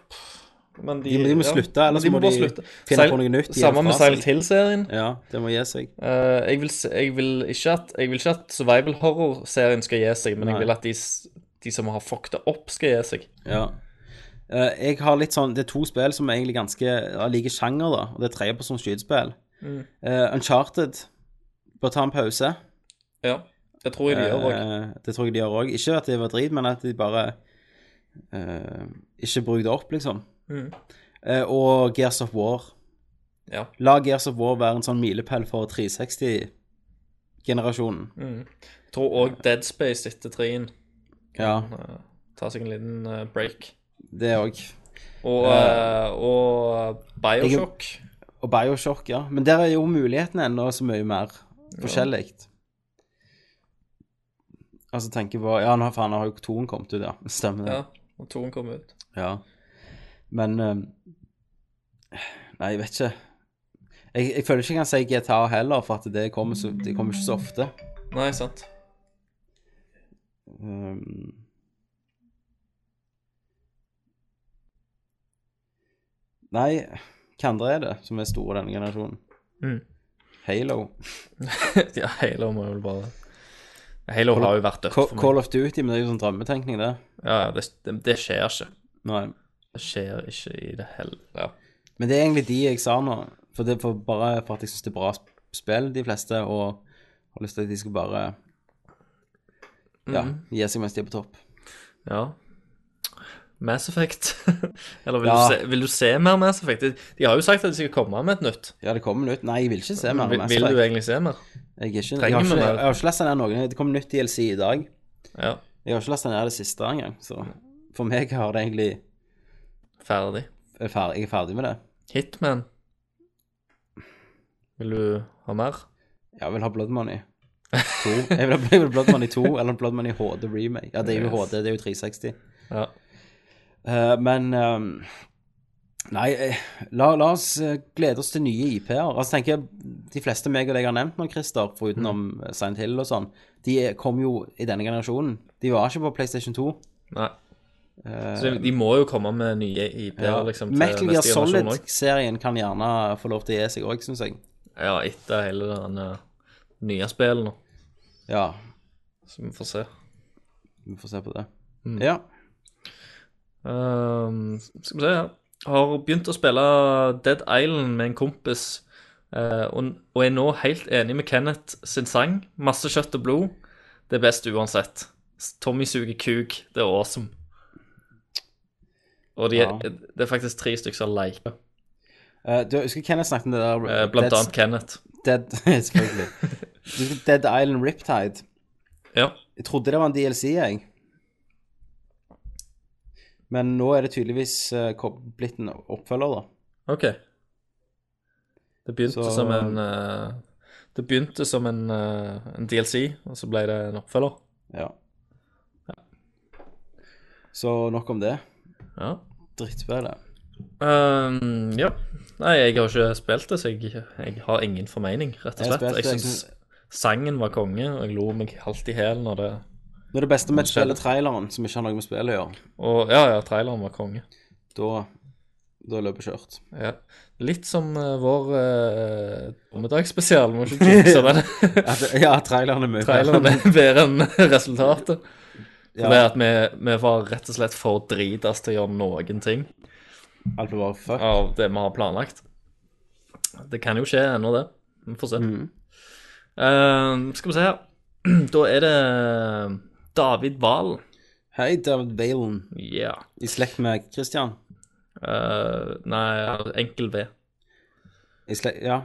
[SPEAKER 2] Men de,
[SPEAKER 1] De må- de må slutte, eller så må
[SPEAKER 2] bare
[SPEAKER 1] de
[SPEAKER 2] slutte.
[SPEAKER 1] finne på
[SPEAKER 2] Seil-
[SPEAKER 1] noe nytt, gi det
[SPEAKER 2] Samme med
[SPEAKER 1] fra seg.
[SPEAKER 2] Silent Hill-serien.
[SPEAKER 1] Ja, det må gi seg.
[SPEAKER 2] Eh, jeg, vil, se- jeg, vil ikke at, jeg vil ikke at survival horror-serien skal gi seg, men
[SPEAKER 1] Nei.
[SPEAKER 2] jeg vil at de, s- de som har fucket det opp, skal gi seg.
[SPEAKER 1] Ja. Eh, jeg har litt sånn, Det er to spill som er egentlig ganske ja, like sjanger, da. Og det er tredje på sånn skytespill.
[SPEAKER 2] Mm.
[SPEAKER 1] Eh, Uncharted bør ta en pause.
[SPEAKER 2] Ja, det tror jeg de gjør òg.
[SPEAKER 1] Eh, det tror jeg de gjør òg. Ikke at det var drit, men at de bare eh, ikke bruk det opp, liksom.
[SPEAKER 2] Mm.
[SPEAKER 1] Eh, og Gears of War.
[SPEAKER 2] Ja.
[SPEAKER 1] La Gears of War være en sånn milepæl for 360-generasjonen.
[SPEAKER 2] mm. Jeg tror òg Dead Space etter treen
[SPEAKER 1] Ja,
[SPEAKER 2] tar seg en liten eh, break.
[SPEAKER 1] det òg.
[SPEAKER 2] Og, eh, og Bioshock.
[SPEAKER 1] Og Bioshock, ja. Men der er jo mulighetene ennå så mye mer forskjellig. Altså tenker på Ja, nå faen, nå har jo toen kommet ut, ja. Stemmer det.
[SPEAKER 2] Ja, og toen kom ut.
[SPEAKER 1] Ja. Men eh, Nei, jeg vet ikke. Jeg, jeg føler ikke jeg kan si GTA heller, for at det kommer, så, det kommer ikke så ofte.
[SPEAKER 2] Nei, sant.
[SPEAKER 1] Um, Nei, hva andre er det som er store i denne generasjonen?
[SPEAKER 2] Mm.
[SPEAKER 1] Halo.
[SPEAKER 2] ja, Halo må jo bare Halo har jo vært dødt
[SPEAKER 1] Ca-
[SPEAKER 2] for meg.
[SPEAKER 1] Call of Duty, men det er jo sånn drømmetenkning, det.
[SPEAKER 2] Ja, ja, det, det, det skjer ikke.
[SPEAKER 1] Nei.
[SPEAKER 2] Det skjer ikke i det hele ja.
[SPEAKER 1] Men det er egentlig de jeg sa nå. For det er for bare for at jeg syns det er bra sp- spill, de fleste, og har lyst til at de skal bare Ja,
[SPEAKER 2] Mm.
[SPEAKER 1] gi seg mens de er på topp.
[SPEAKER 2] Ja. Mass Effect. Eller vil,
[SPEAKER 1] Ja.
[SPEAKER 2] du se, vil du se mer Mass Effect? De, de har jo sagt at de skal komme med et nytt.
[SPEAKER 1] Ja, det kommer nytt. Nei, jeg vil ikke se mer.
[SPEAKER 2] Vil,
[SPEAKER 1] Mass
[SPEAKER 2] vil du
[SPEAKER 1] Effect.
[SPEAKER 2] egentlig se mer?
[SPEAKER 1] Jeg, er ikke, jeg,
[SPEAKER 2] Trenger
[SPEAKER 1] har
[SPEAKER 2] vi
[SPEAKER 1] ikke,
[SPEAKER 2] mer?
[SPEAKER 1] jeg har ikke lest den her noen. Det kom nytt DLC i dag.
[SPEAKER 2] Ja.
[SPEAKER 1] Jeg har ikke lest den her det siste engang, så for meg har det egentlig
[SPEAKER 2] Ferdig.
[SPEAKER 1] er fer- Jeg er ferdig med det.
[SPEAKER 2] Hitman. Vil du ha mer?
[SPEAKER 1] Ja, Jeg vil ha Blood Money 2. Jeg vil ha jeg vil ha Blood Money 2 eller Blood Money HD remake. Ja, det er jo
[SPEAKER 2] Yes.
[SPEAKER 1] HD, det er jo 360.
[SPEAKER 2] Ja.
[SPEAKER 1] Eh, men ehm, Nei, eh, la, la oss eh, glede oss til nye IP-er. Altså, tenker jeg, De fleste meg og deg har nevnt nå, Christer,
[SPEAKER 2] Mm.
[SPEAKER 1] foruten om eh, Silent Hill og sånn, de er- kom jo i denne generasjonen. De var ikke på PlayStation 2.
[SPEAKER 2] Nei. Så de, de må jo komme med nye IP-er liksom, til
[SPEAKER 1] Eh, Metal Gear
[SPEAKER 2] neste generasjon òg.
[SPEAKER 1] Solid-serien kan gjerne få lov til å gi seg òg, syns jeg.
[SPEAKER 2] Ja, etter hele den eh, nye spillet nå.
[SPEAKER 1] Ja,
[SPEAKER 2] Så vi får se.
[SPEAKER 1] vi får se på det.
[SPEAKER 2] Mm.
[SPEAKER 1] Ja.
[SPEAKER 2] Ehm, skal vi se her. Har begynt å spille Dead Island med en kompis, eh, og, og er nå helt enig med Kenneth sin sang. Masse kjøtt og blod. Det er best uansett. Tommy suger kuk. Det er awesome. Og de,
[SPEAKER 1] Ja.
[SPEAKER 2] det er faktisk tre stykker som liker,
[SPEAKER 1] Eh, du, husker Kenneth snakket om det der
[SPEAKER 2] eh, blant
[SPEAKER 1] Dead-
[SPEAKER 2] annet Kenneth.
[SPEAKER 1] Dead, selvfølgelig. Du husker Dead Island Riptide.
[SPEAKER 2] Ja.
[SPEAKER 1] Jeg trodde det var en DLC, jeg. Men nå er det tydeligvis eh, ko- blitt en oppfølger, da.
[SPEAKER 2] OK. Det begynte
[SPEAKER 1] Så- um,
[SPEAKER 2] som en eh, Det begynte som en, eh, en DLC, og så ble det en oppfølger.
[SPEAKER 1] Ja. Så nok om det.
[SPEAKER 2] Ja.
[SPEAKER 1] Drittspillet.
[SPEAKER 2] Ehm, ja. Nei, jeg har ikke spilt det, så jeg, jeg har ingen formening, rett og
[SPEAKER 1] Jeg
[SPEAKER 2] slett.
[SPEAKER 1] spilte,
[SPEAKER 2] Jeg
[SPEAKER 1] jeg
[SPEAKER 2] syns sangen var konge, og jeg lo meg halvt i hæl når det
[SPEAKER 1] Nå er det beste med et spill er traileren, som ikke har noe med spillet å gjøre.
[SPEAKER 2] Og ja, ja, traileren var konge.
[SPEAKER 1] Da, da er løpet kjørt.
[SPEAKER 2] Ja. Litt som eh, vår uh, dommedagsspesial, må ikke jinxe den.
[SPEAKER 1] At- Ja, traileren er mye bedre.
[SPEAKER 2] traileren er bedre enn resultatet.
[SPEAKER 1] Ja.
[SPEAKER 2] Det er at vi, vi var rett og slett for dritas til å gjøre noen ting
[SPEAKER 1] Alt ble bare fuck.
[SPEAKER 2] av det vi har planlagt. Det kan jo skje ennå, det. Vi får se.
[SPEAKER 1] Mm.
[SPEAKER 2] Eh, skal vi se her. Da er det eh, David Valen.
[SPEAKER 1] Hei, David Valen.
[SPEAKER 2] Ja.
[SPEAKER 1] I slekt med Christian.
[SPEAKER 2] Eh, nei, enkel V.
[SPEAKER 1] I slekt, ja,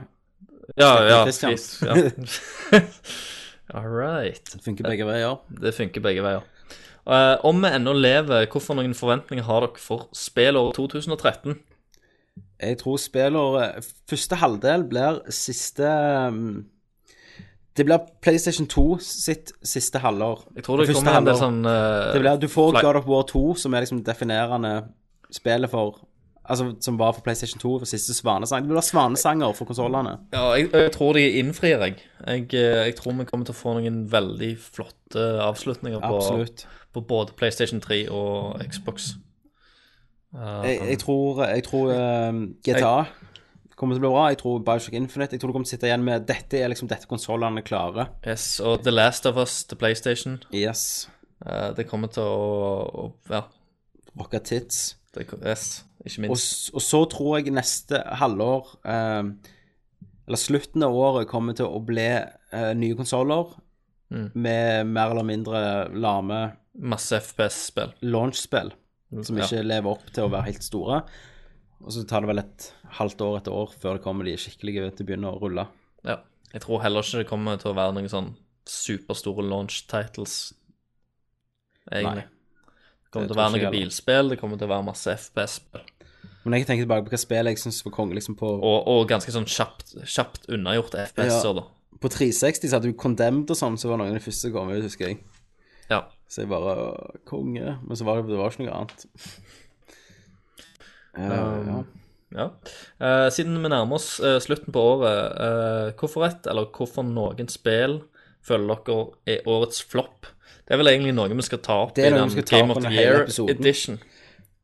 [SPEAKER 2] Ja, ja.
[SPEAKER 1] Christian.
[SPEAKER 2] fint, ja. All right.
[SPEAKER 1] det funker begge veier.
[SPEAKER 2] Det funker begge veier. Eh, om vi ennå lever, hvorfor noen forventninger har dere for spillåret 2013?
[SPEAKER 1] Jeg tror spillåret Første halvdel blir siste um, Det blir PlayStation 2 sitt siste halvår.
[SPEAKER 2] Jeg tror det,
[SPEAKER 1] første
[SPEAKER 2] kommer en del
[SPEAKER 1] halvår.
[SPEAKER 2] sånn eh,
[SPEAKER 1] det blir, Du får
[SPEAKER 2] fly-
[SPEAKER 1] God of War 2, som er liksom definerende spillet for Altså, som var for PlayStation 2, for siste svanesang. Det blir svanesanger for konsollene.
[SPEAKER 2] Ja, jeg, jeg tror de innfrir, jeg. jeg. eh, Jeg tror vi kommer til å få noen veldig flotte avslutninger på,
[SPEAKER 1] Absolutt.
[SPEAKER 2] på både PlayStation 3 og Xbox.
[SPEAKER 1] Jeg, jeg tror, jeg tror um, GTA kommer til å bli bra. Jeg tror Bioshock Infinite Jeg tror du kommer til å sitte igjen med Dette er liksom dette konsollene klarer.
[SPEAKER 2] Yes, og The Last of Us til PlayStation.
[SPEAKER 1] Yes.
[SPEAKER 2] Eh, det kommer til å, å Ja.
[SPEAKER 1] Rocka tits.
[SPEAKER 2] Det, yes, ikke
[SPEAKER 1] Og,
[SPEAKER 2] minst.
[SPEAKER 1] s- og så tror jeg neste halvår, eh, eller slutten av året, kommer til å bli eh, nye konsoller med mer eller mindre lame
[SPEAKER 2] Mm. Masse FPS-spill.
[SPEAKER 1] launchspill som
[SPEAKER 2] Ja.
[SPEAKER 1] ikke lever opp til å være helt store. Og så tar det vel et halvt år, et år, før det kommer de skikkelige til å begynne å rulle.
[SPEAKER 2] Ja. Jeg tror heller ikke det kommer til å være noen sånn superstore launch titles.
[SPEAKER 1] Nei.
[SPEAKER 2] Egentlig. Det
[SPEAKER 1] Det tror
[SPEAKER 2] kommer til å være
[SPEAKER 1] ikke
[SPEAKER 2] noen
[SPEAKER 1] jeg heller.
[SPEAKER 2] bilspill, det kommer til å være masse FPS-spill.
[SPEAKER 1] Men jeg tenker tilbake på hva spill jeg syns var konge. Liksom på,
[SPEAKER 2] Og, og ganske sånn kjapt, kjapt unnagjort
[SPEAKER 1] Ja.
[SPEAKER 2] FPS-er, da.
[SPEAKER 1] på 360 så hadde du Condemned og sånn, så var noen av de første som kom ut, husker jeg.
[SPEAKER 2] Ja.
[SPEAKER 1] Så jeg bare «Åh, Konge. Men så var det, det var ikke noe annet.
[SPEAKER 2] Um,
[SPEAKER 1] Eh, ja.
[SPEAKER 2] ja. Eh, siden vi nærmer oss eh, slutten på året, eh, hvorfor ett eller hvorfor noen spill føler dere er årets flopp? Det er vel egentlig noe vi skal ta opp
[SPEAKER 1] Det er
[SPEAKER 2] i
[SPEAKER 1] noe
[SPEAKER 2] den
[SPEAKER 1] vi skal ta
[SPEAKER 2] Game
[SPEAKER 1] opp
[SPEAKER 2] of the
[SPEAKER 1] under hele
[SPEAKER 2] Year
[SPEAKER 1] episoden.
[SPEAKER 2] edition.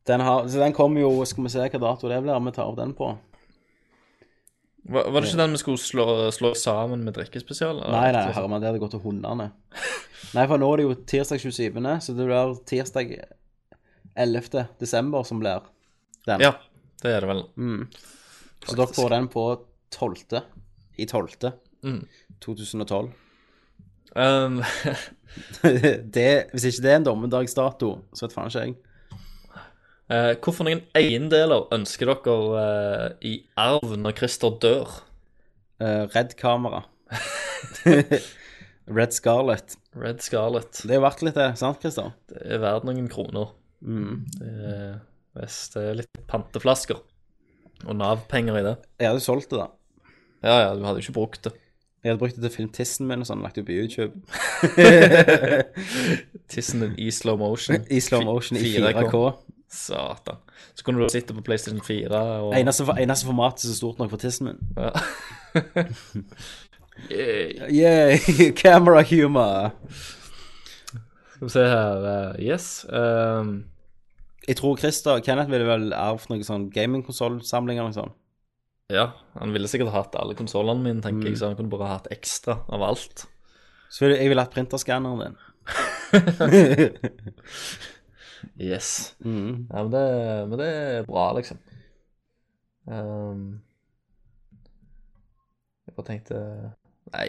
[SPEAKER 1] Den har, så den kommer jo Skal vi se hva dato det blir? Vi tar opp den på.
[SPEAKER 2] Var, var det ikke den vi skulle slå, slå sammen med drikkespesial? eller?
[SPEAKER 1] Nei, nei, Herman, det hadde gått til hundene. Nei, for nå er det jo tirsdag 27., så det blir tirsdag 11. desember som blir den.
[SPEAKER 2] Ja, det er det vel.
[SPEAKER 1] så dere får den på 12. i 12. 2012.
[SPEAKER 2] Um,
[SPEAKER 1] det, hvis ikke det er en dommedagsdato, så vet faen ikke jeg.
[SPEAKER 2] eh, hvorfor noen eiendeler ønsker dere eh, i arv når Christer dør?
[SPEAKER 1] Eh, Red kamera. Red Scarlet.
[SPEAKER 2] Red Scarlet.
[SPEAKER 1] Det er jo verdt litt, det. Sant, Christer?
[SPEAKER 2] Det er verdt noen kroner. Det, er, yes, det er litt panteflasker. Og Nav-penger i det.
[SPEAKER 1] Jeg hadde solgt det, da.
[SPEAKER 2] Ja, ja, du hadde jo ikke brukt det.
[SPEAKER 1] Jeg hadde brukt det til filmtissen min og sånn, lagt det ut på YouTube.
[SPEAKER 2] Tissen din i slow motion.
[SPEAKER 1] I slow motion i 4K.
[SPEAKER 2] Satan. Så kunne du sitte på PlayStation 4 og
[SPEAKER 1] Eneste, eneste formatet som er stort nok for tissen min.
[SPEAKER 2] Ja. Yay.
[SPEAKER 1] Yeah, camera humor.
[SPEAKER 2] Skal vi se her eh, Yes. ehm,
[SPEAKER 1] Jeg tror Christer Kenneth ville vel arvet noen sånn gamingkonsollsamling eller noe sånt.
[SPEAKER 2] ja, han ville sikkert hatt alle konsollene mine, tenker jeg, så han kunne bare hatt ekstra av alt.
[SPEAKER 1] Så ville jeg ville hatt printerskanneren din.
[SPEAKER 2] Yes.
[SPEAKER 1] Mm.
[SPEAKER 2] Ja, men, det, men det er bra, liksom. Ehm, jeg bare tenkte Nei.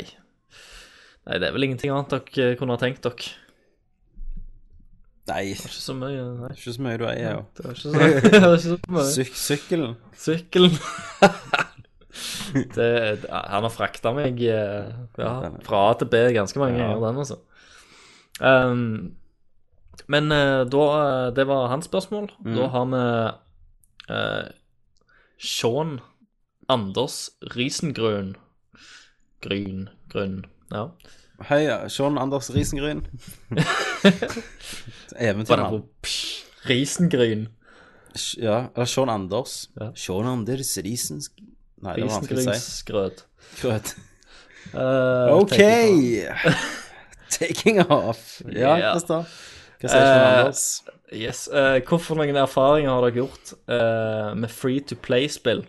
[SPEAKER 2] Nei, det er vel ingenting annet dere kunne ha tenkt dere.
[SPEAKER 1] Nei,
[SPEAKER 2] Det er ikke så mye, nei.
[SPEAKER 1] ikke så mye du eier, jo.
[SPEAKER 2] Det er ikke så, det er ikke så mye.
[SPEAKER 1] Syk sykkelen.
[SPEAKER 2] Sykkelen. det, han har frakta meg eh, ja, fra A til B ganske mange
[SPEAKER 1] Ja.
[SPEAKER 2] ganger, den, altså. Ehm, men eh, da eh, Det var hans spørsmål.
[SPEAKER 1] Mm.
[SPEAKER 2] Da har vi eh, Sean Anders Risengrøn. Gryn. Grønn. Ja.
[SPEAKER 1] Hei, Sean Anders Risengryn. Eventyrmann.
[SPEAKER 2] Risengryn.
[SPEAKER 1] Ja, eller Sean Anders.
[SPEAKER 2] Ja.
[SPEAKER 1] Sean Anders Risens... Nei, det var vanskelig å si.
[SPEAKER 2] Risengrynsgrøt.
[SPEAKER 1] Grøt.
[SPEAKER 2] Eh,
[SPEAKER 1] OK!
[SPEAKER 2] tenker jeg på.
[SPEAKER 1] Taking off. Ja,
[SPEAKER 2] Ja.
[SPEAKER 1] Christer. Hva sier Sean
[SPEAKER 2] Eh,
[SPEAKER 1] Anders?
[SPEAKER 2] Yes. eh, hvorfor noen erfaringer har dere gjort eh, med free to play-spill?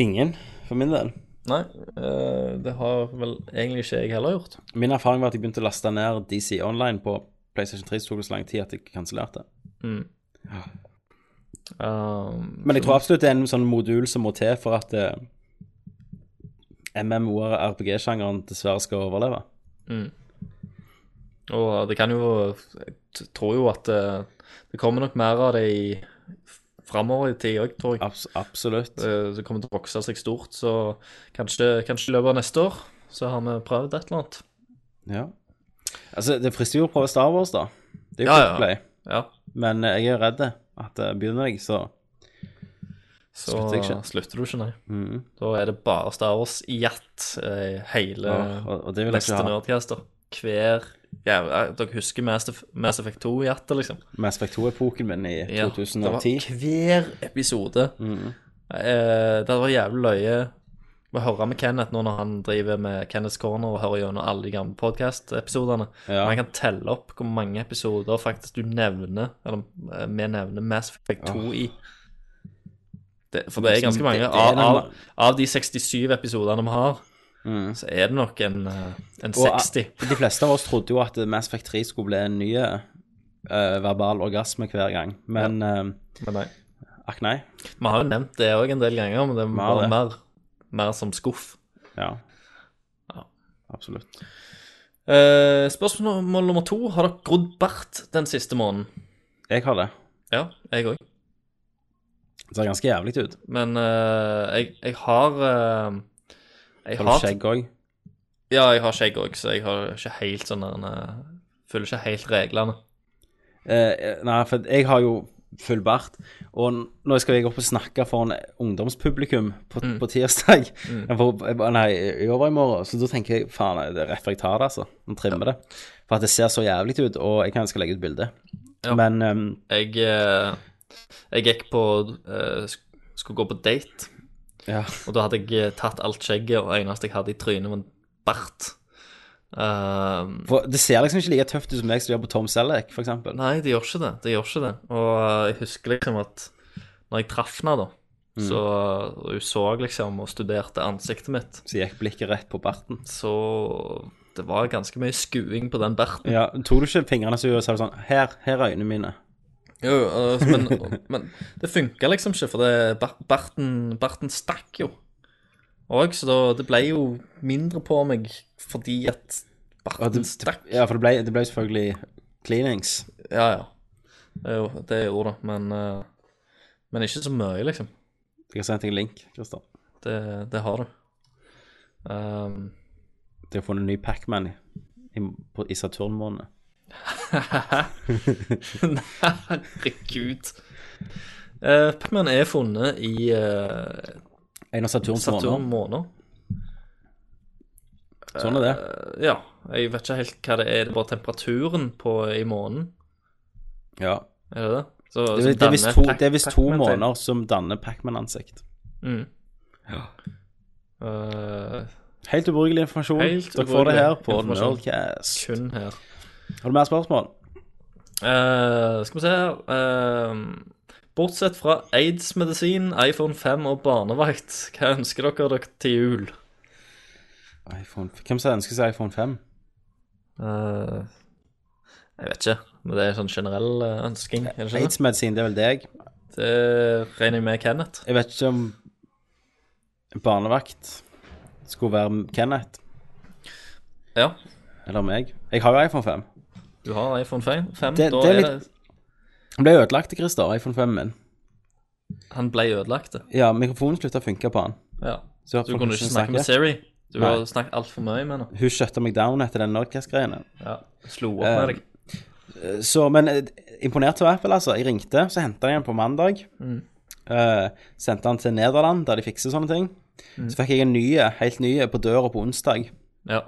[SPEAKER 1] Ingen, for min del.
[SPEAKER 7] Nei, eh, det har vel egentlig ikke jeg heller gjort.
[SPEAKER 1] Min erfaring var at jeg begynte å laste ned DC Online på PlayStation 3, så tok det så lang tid at jeg kansellerte.
[SPEAKER 2] Um,
[SPEAKER 1] Men jeg tror absolutt det er en sånn modul som må til for at eh, MMOR-RPG-sjangeren dessverre skal overleve.
[SPEAKER 2] og det kan jo Jeg t- tror jo at eh, det kommer nok mer av det i framover i tid òg, tror jeg.
[SPEAKER 1] Abs absolutt.
[SPEAKER 2] Eh, Det kommer til å vokse seg stort, så kanskje, kanskje i løpet av neste år så har vi prøvd et eller annet.
[SPEAKER 1] Ja. Altså, det frister jo å prøve Star Wars, da. Det er jo
[SPEAKER 2] Ja,
[SPEAKER 1] ja,
[SPEAKER 2] ja.
[SPEAKER 1] play.
[SPEAKER 2] Ja,
[SPEAKER 1] Men eh, jeg er jo redd at eh, begynner jeg, så
[SPEAKER 2] så
[SPEAKER 1] Slutter jeg ikke.
[SPEAKER 2] slutter du ikke, nei.
[SPEAKER 1] Mhm.
[SPEAKER 2] Da er det bare Star Wars i jatt eh, hele
[SPEAKER 1] Åh, og, og det vil jeg
[SPEAKER 2] neste
[SPEAKER 1] ikke ha.
[SPEAKER 2] Nerdcaster. Hver ja, eh, Dere husker Mass, Eff- Mass Effect 2 i jatt, liksom?
[SPEAKER 1] Mass Effect 2-epoken min i
[SPEAKER 2] Ja,
[SPEAKER 1] 2010.
[SPEAKER 2] Det var hver episode.
[SPEAKER 1] Mm.
[SPEAKER 2] Eh, det var jævlig løye å høre med Kenneth nå når han driver med Kenneth's Corner og hører gjennom alle de gamle podkast-episodene.
[SPEAKER 1] Ja.
[SPEAKER 2] Man kan telle opp hvor mange episoder faktisk du nevner, eller eh, vi nevner Mass Effect 2 i. Det, for det er ganske mange.
[SPEAKER 1] Liksom, det er
[SPEAKER 2] Av,
[SPEAKER 1] den-
[SPEAKER 2] av, av de 67 episodene vi har, så er det nok en, eh, en
[SPEAKER 1] Mm. Og, eh,
[SPEAKER 2] 60.
[SPEAKER 1] De fleste av oss trodde jo at Mass Effect 3 skulle bli en ny eh, verbal orgasme hver gang, men eh,
[SPEAKER 2] Men nei.
[SPEAKER 1] akk nei.
[SPEAKER 2] Vi har jo nevnt det òg en del ganger, men det er
[SPEAKER 1] har
[SPEAKER 2] bare
[SPEAKER 1] det.
[SPEAKER 2] mer, mer som skuff.
[SPEAKER 1] Ja.
[SPEAKER 2] Ja.
[SPEAKER 1] Absolutt.
[SPEAKER 2] Eh, spørsmål nummer to. Har dere grodd bart den siste måneden?
[SPEAKER 1] Jeg har det.
[SPEAKER 2] Ja, jeg òg.
[SPEAKER 1] Det ser ganske jævlig ut.
[SPEAKER 2] Men eh, jeg, jeg har eh, Jeg
[SPEAKER 1] Har du
[SPEAKER 2] har
[SPEAKER 1] skjegg òg?
[SPEAKER 2] Ja, jeg har skjegg òg, så jeg har ikke helt sånn der eh, Følger ikke helt reglene.
[SPEAKER 1] Eh, nei, for jeg har jo full bart, og n- nå skal jeg opp og snakke for en ungdomspublikum på,
[SPEAKER 2] Mm.
[SPEAKER 1] på tirsdag. For, eh, nei, i overmorgen. Så da tenker jeg faen, det er rett før jeg tar det, altså. Og trimmer det. For at det ser så jævlig ut, og jeg kan skal legge ut bilde.
[SPEAKER 2] Ja.
[SPEAKER 1] Men ehm,
[SPEAKER 2] Jeg, eh, jeg gikk på eh, sk- Skulle gå på date,
[SPEAKER 1] ja.
[SPEAKER 2] og da hadde jeg eh, tatt alt skjegget, og det eneste jeg hadde i trynet, var en bart. Eh,
[SPEAKER 1] For det ser liksom ikke like tøft ut som deg som gjør på Tom Selleck, for eksempel.
[SPEAKER 2] Nei, det gjør ikke det. Det gjør ikke det. Og eh, jeg husker liksom at når jeg traff henne, da, så og hun så liksom og studerte ansiktet mitt,
[SPEAKER 1] Så gikk blikket rett på barten.
[SPEAKER 2] så det var ganske mye skuing på den berten.
[SPEAKER 1] Ja, Tok du ikke fingrene så og sa du sånn Her, her er øynene mine.
[SPEAKER 2] Jo, eh, men, men det funka liksom ikke, for det, ber- berten, berten stakk jo. Og så da, det ble jo mindre på meg fordi at
[SPEAKER 1] Og
[SPEAKER 2] berten
[SPEAKER 1] det,
[SPEAKER 2] stakk.
[SPEAKER 1] ja, for det ble, det ble selvfølgelig cleanings.
[SPEAKER 2] Ja, ja. Det er jo- det gjorde det, men, eh, men ikke så mye, liksom.
[SPEAKER 1] Jeg har sendt deg en link, Christer.
[SPEAKER 2] Det, eh, det har du. Ehm,
[SPEAKER 1] De har funnet en ny Pac-Man i, i, på- i Saturn-måned.
[SPEAKER 2] Herregud. Uh, Pac-Man er funnet i eh,
[SPEAKER 1] En av Saturns
[SPEAKER 2] Saturn
[SPEAKER 1] måneder.
[SPEAKER 2] måned.
[SPEAKER 1] Sånn er det.
[SPEAKER 2] Eh, ja, jeg vet ikke helt hva det er. Det er bare temperaturen på i måneden.
[SPEAKER 1] Ja.
[SPEAKER 2] Er det det? Så,
[SPEAKER 1] Det,
[SPEAKER 2] som
[SPEAKER 1] er- det er visst
[SPEAKER 2] danner
[SPEAKER 1] to,
[SPEAKER 2] Pac-
[SPEAKER 1] det er visst to
[SPEAKER 2] Pac-Man til.
[SPEAKER 1] måneder som danner Pac-Man-ansikt.
[SPEAKER 2] Mm.
[SPEAKER 1] Ja.
[SPEAKER 2] Eh,
[SPEAKER 1] Helt ubrukelig informasjon.
[SPEAKER 2] Helt
[SPEAKER 1] Dere får det her
[SPEAKER 2] ubrukelig
[SPEAKER 1] på
[SPEAKER 2] informasjon.
[SPEAKER 1] Nerdcast.
[SPEAKER 2] kun her.
[SPEAKER 1] Har du mer spørsmål?
[SPEAKER 2] Eh, skal vi se her Ehm, Bortsett fra aids-medisin, iPhone 5 og barnevakt, hva ønsker dere dere til jul?
[SPEAKER 1] iPhone, hvem som ønsker seg iPhone 5?
[SPEAKER 2] Eh, jeg vet ikke, men det er sånn generell eh, ønsking. Er det, ikke det?
[SPEAKER 1] Aids-medisin, det er vel deg?
[SPEAKER 2] det regner jeg med Kenneth.
[SPEAKER 1] Jeg vet ikke om barnevakt skulle være Kenneth
[SPEAKER 2] Ja,
[SPEAKER 1] eller meg. Jeg har jo iPhone 5.
[SPEAKER 2] du har iPhone 5. fem,
[SPEAKER 1] Det-
[SPEAKER 2] da
[SPEAKER 1] det er
[SPEAKER 2] er
[SPEAKER 1] litt- Den ble ødelagt, Christer, iPhone 5 min.
[SPEAKER 2] det Han ble ødelagt. det.
[SPEAKER 1] Ja, mikrofonen slutta å funke på han.
[SPEAKER 2] Ja.
[SPEAKER 1] Så
[SPEAKER 2] Du kunne ikke snakke med Siri. Du har snakket altfor mye med henne.
[SPEAKER 1] Hun shutta meg down etter den Nerdcast-greiene.
[SPEAKER 2] Ja. Slo opp med
[SPEAKER 1] Eh,
[SPEAKER 2] deg.
[SPEAKER 1] Så, men eh, imponert av Apple, altså. Jeg ringte, så henta jeg den på mandag.
[SPEAKER 2] Mm.
[SPEAKER 1] Eh, sendte den til Nederland, der de fikser sånne ting.
[SPEAKER 2] Mm.
[SPEAKER 1] Så fikk jeg en ny, helt ny, på døra på onsdag.
[SPEAKER 2] Ja.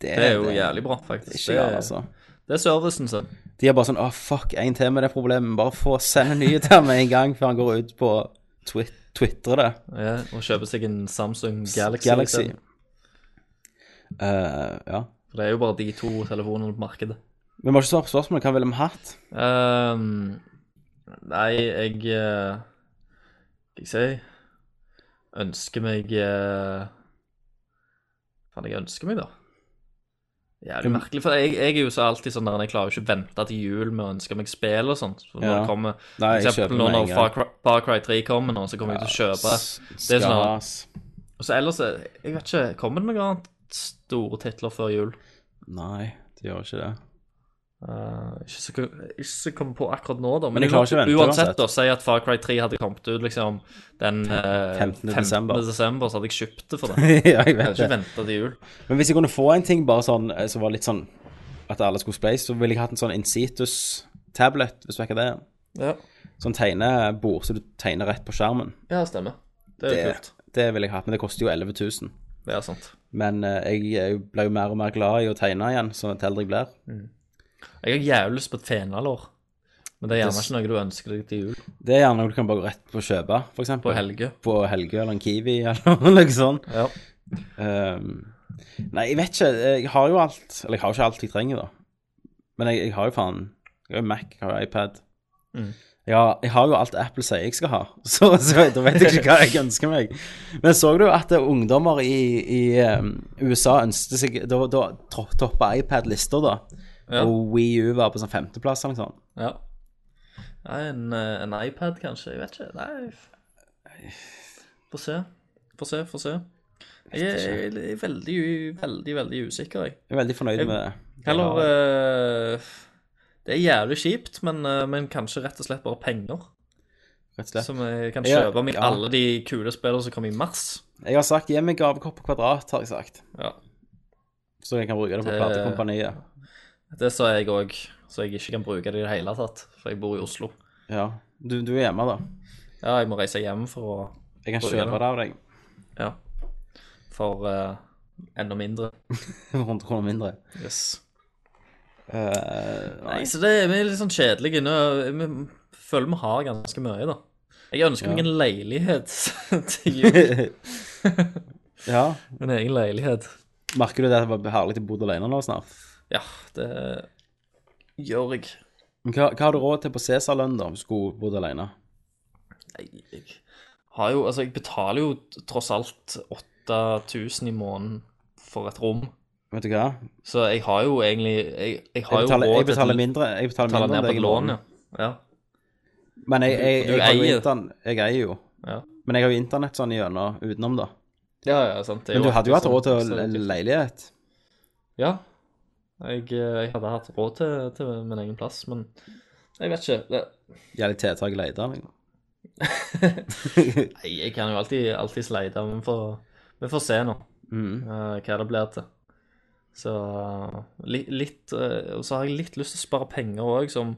[SPEAKER 2] Det er jo jævlig bra, faktisk.
[SPEAKER 1] Det er ikke galt, altså.
[SPEAKER 2] det er servicen sin.
[SPEAKER 1] De er bare sånn Å, fuck, en til med det problemet. Bare få sende en ny til ham med en gang før han går ut på twit Twitter det.
[SPEAKER 2] Ja, og kjøpe seg en Samsung Galaxy.
[SPEAKER 1] Galaxy.
[SPEAKER 2] isteden.
[SPEAKER 1] Eh, ja.
[SPEAKER 2] For det er jo bare de to telefonene på markedet.
[SPEAKER 1] Vi må ikke svare på spørsmålet. Hva ville vi hatt?
[SPEAKER 2] Ehm, nei, jeg eh, Hva skal jeg si ønsker meg eh, Faen, jeg ønsker meg, da. Jævlig merkelig. For jeg, jeg er jo så alltid sånn der Jeg klarer jo ikke å vente til jul med å ønske meg spill og sånt. For når
[SPEAKER 1] Ja.
[SPEAKER 2] det kommer
[SPEAKER 1] Nei,
[SPEAKER 2] For
[SPEAKER 1] jeg
[SPEAKER 2] eksempel
[SPEAKER 1] kjøper
[SPEAKER 2] nå
[SPEAKER 1] med en
[SPEAKER 2] når
[SPEAKER 1] gang.
[SPEAKER 2] Far Cry, Far Cry 3 kommer nå, så kommer jeg til å kjøpe. Det er sånn at-
[SPEAKER 1] Skas.
[SPEAKER 2] Og så ellers, eh, jeg vet ikke, kommer det noe annet store titler før jul?
[SPEAKER 1] Nei, det gjør ikke det.
[SPEAKER 2] Eh, ikke så ikke så jeg kommer på akkurat nå, da.
[SPEAKER 1] Men jeg klarer ikke å vente
[SPEAKER 2] uansett,
[SPEAKER 1] uansett.
[SPEAKER 2] da, si at Far Cry 3 hadde kommet ut liksom den eh,
[SPEAKER 1] 15.
[SPEAKER 2] 15.
[SPEAKER 1] desember.
[SPEAKER 2] desember, så hadde jeg kjøpt det for det.
[SPEAKER 1] ja, jeg
[SPEAKER 2] Jeg
[SPEAKER 1] vet
[SPEAKER 2] hadde ikke
[SPEAKER 1] det.
[SPEAKER 2] venta til jul.
[SPEAKER 1] Men hvis jeg kunne få en ting bare sånn, eh, som var litt sånn at alle skulle spleis, så ville jeg hatt en sånn Incitus-tablet, hvis du vekker det.
[SPEAKER 2] Ja,
[SPEAKER 1] Sånn tegnebord, så du tegner rett på skjermen.
[SPEAKER 2] ja stemmer. Det er jo
[SPEAKER 1] Det,
[SPEAKER 2] kult.
[SPEAKER 1] det ville jeg hatt, men det koster jo 11 000.
[SPEAKER 2] Det er sant.
[SPEAKER 1] Men eh, jeg, jeg ble jo mer og mer glad i å tegne igjen, sånn at eldre jeg blir.
[SPEAKER 2] Jeg har jævlig lyst på et fenalår. Men det er gjerne
[SPEAKER 1] Det-
[SPEAKER 2] ikke noe du ønsker deg til jul.
[SPEAKER 1] Det er gjerne noe du kan bare gå rett på å kjøpe, for eksempel.
[SPEAKER 2] På Helge.
[SPEAKER 1] På Helge eller en Kiwi eller noe sånt.
[SPEAKER 2] Ja.
[SPEAKER 1] Ehm, nei, jeg vet ikke. Jeg har jo alt. Eller jeg har jo ikke alt jeg trenger, da. Men jeg, jeg har jo faen Jeg har jo Mac, jeg har jo iPad.
[SPEAKER 2] Mm.
[SPEAKER 1] Jeg, har, jeg har jo alt Apple sier jeg skal ha, så, så da vet jeg ikke hva jeg ønsker meg. Men så du at eh, ungdommer i, i ehm, USA ønsket seg Da, da tro- toppa iPad-lister, da.
[SPEAKER 2] Ja.
[SPEAKER 1] Og Wii U var på sånn femteplass eller noe sånt.
[SPEAKER 2] ja. Nei, en, eh, en iPad, kanskje? Jeg vet ikke. Nei f- Få se. Få se, få se. Jeg er, jeg er veldig, u- veldig, veldig usikker, jeg.
[SPEAKER 1] Jeg er veldig fornøyd
[SPEAKER 2] Jeg-
[SPEAKER 1] med det.
[SPEAKER 2] Heller eh, Det er jævlig kjipt, men, eh, men kanskje rett og slett bare penger.
[SPEAKER 1] rett og slett.
[SPEAKER 2] Som jeg kan
[SPEAKER 1] Ja,
[SPEAKER 2] kjøpe meg
[SPEAKER 1] ja.
[SPEAKER 2] alle de kule spillene som kom i mars.
[SPEAKER 1] Jeg har sagt 'gi meg gavekort på kvadrat', har jeg sagt.
[SPEAKER 2] Ja.
[SPEAKER 1] Så jeg kan bruke det på
[SPEAKER 2] Det-
[SPEAKER 1] platekompaniet.
[SPEAKER 2] Det sa jeg òg, så jeg ikke kan bruke det i det hele tatt, for jeg bor i Oslo.
[SPEAKER 1] Ja. Du, du er hjemme, da.
[SPEAKER 2] Ja, jeg må reise hjem for å
[SPEAKER 1] Jeg kan
[SPEAKER 2] Bruker
[SPEAKER 1] kjøpe
[SPEAKER 2] det.
[SPEAKER 1] det av deg.
[SPEAKER 2] Ja. For eh, enda mindre.
[SPEAKER 1] 100 kroner mindre.
[SPEAKER 2] Yes.
[SPEAKER 1] Eh, nei.
[SPEAKER 2] Nei, så det vi er litt sånn kjedelig nå. Vi føler vi har ganske mye, da. Jeg ønsker meg en leilighet til jul.
[SPEAKER 1] Ja.
[SPEAKER 2] En egen leilighet.
[SPEAKER 1] Merker du det at det var herlig å bo alene nå snart?
[SPEAKER 2] Ja, det gjør jeg.
[SPEAKER 1] Men hva, hva har du råd til på Cæsar-lønn, da, om du skulle bodd alene?
[SPEAKER 2] Nei, jeg har jo Altså, jeg betaler jo tross alt 8000 i måneden for et rom.
[SPEAKER 1] Vet du hva?
[SPEAKER 2] Så jeg har jo egentlig Jeg, jeg har
[SPEAKER 1] Jeg betaler,
[SPEAKER 2] jo råd
[SPEAKER 1] jeg
[SPEAKER 2] til
[SPEAKER 1] betaler
[SPEAKER 2] å
[SPEAKER 1] mindre, jeg betaler
[SPEAKER 2] betale
[SPEAKER 1] mindre
[SPEAKER 2] ned
[SPEAKER 1] enn
[SPEAKER 2] på
[SPEAKER 1] deg
[SPEAKER 2] et
[SPEAKER 1] i
[SPEAKER 2] lån,
[SPEAKER 1] måneden.
[SPEAKER 2] ja. ja.
[SPEAKER 1] Men jeg, jeg,
[SPEAKER 2] Du-
[SPEAKER 1] jeg,
[SPEAKER 2] du
[SPEAKER 1] har jo
[SPEAKER 2] eier.
[SPEAKER 1] intern- jeg eier jo.
[SPEAKER 2] Ja.
[SPEAKER 1] Men jeg har jo internett sånn gjennom utenom, da.
[SPEAKER 2] Ja, ja, sant. det er
[SPEAKER 1] Men du hadde jo hatt
[SPEAKER 2] alltid
[SPEAKER 1] råd
[SPEAKER 2] sånn-
[SPEAKER 1] til
[SPEAKER 2] sånn utgift.
[SPEAKER 1] le- leilighet.
[SPEAKER 2] Ja. Jeg, eh, jeg hadde hatt råd til, til min egen plass, men jeg vet ikke. Det,
[SPEAKER 1] Jævlig tiltak leide. Liksom.
[SPEAKER 2] nei, jeg kan jo alltid, alltid sleide, men vi får, vi får se nå
[SPEAKER 1] Mm.
[SPEAKER 2] eh, hva det blir til. Så li, litt eh, Og så har jeg litt lyst til å spare penger òg, som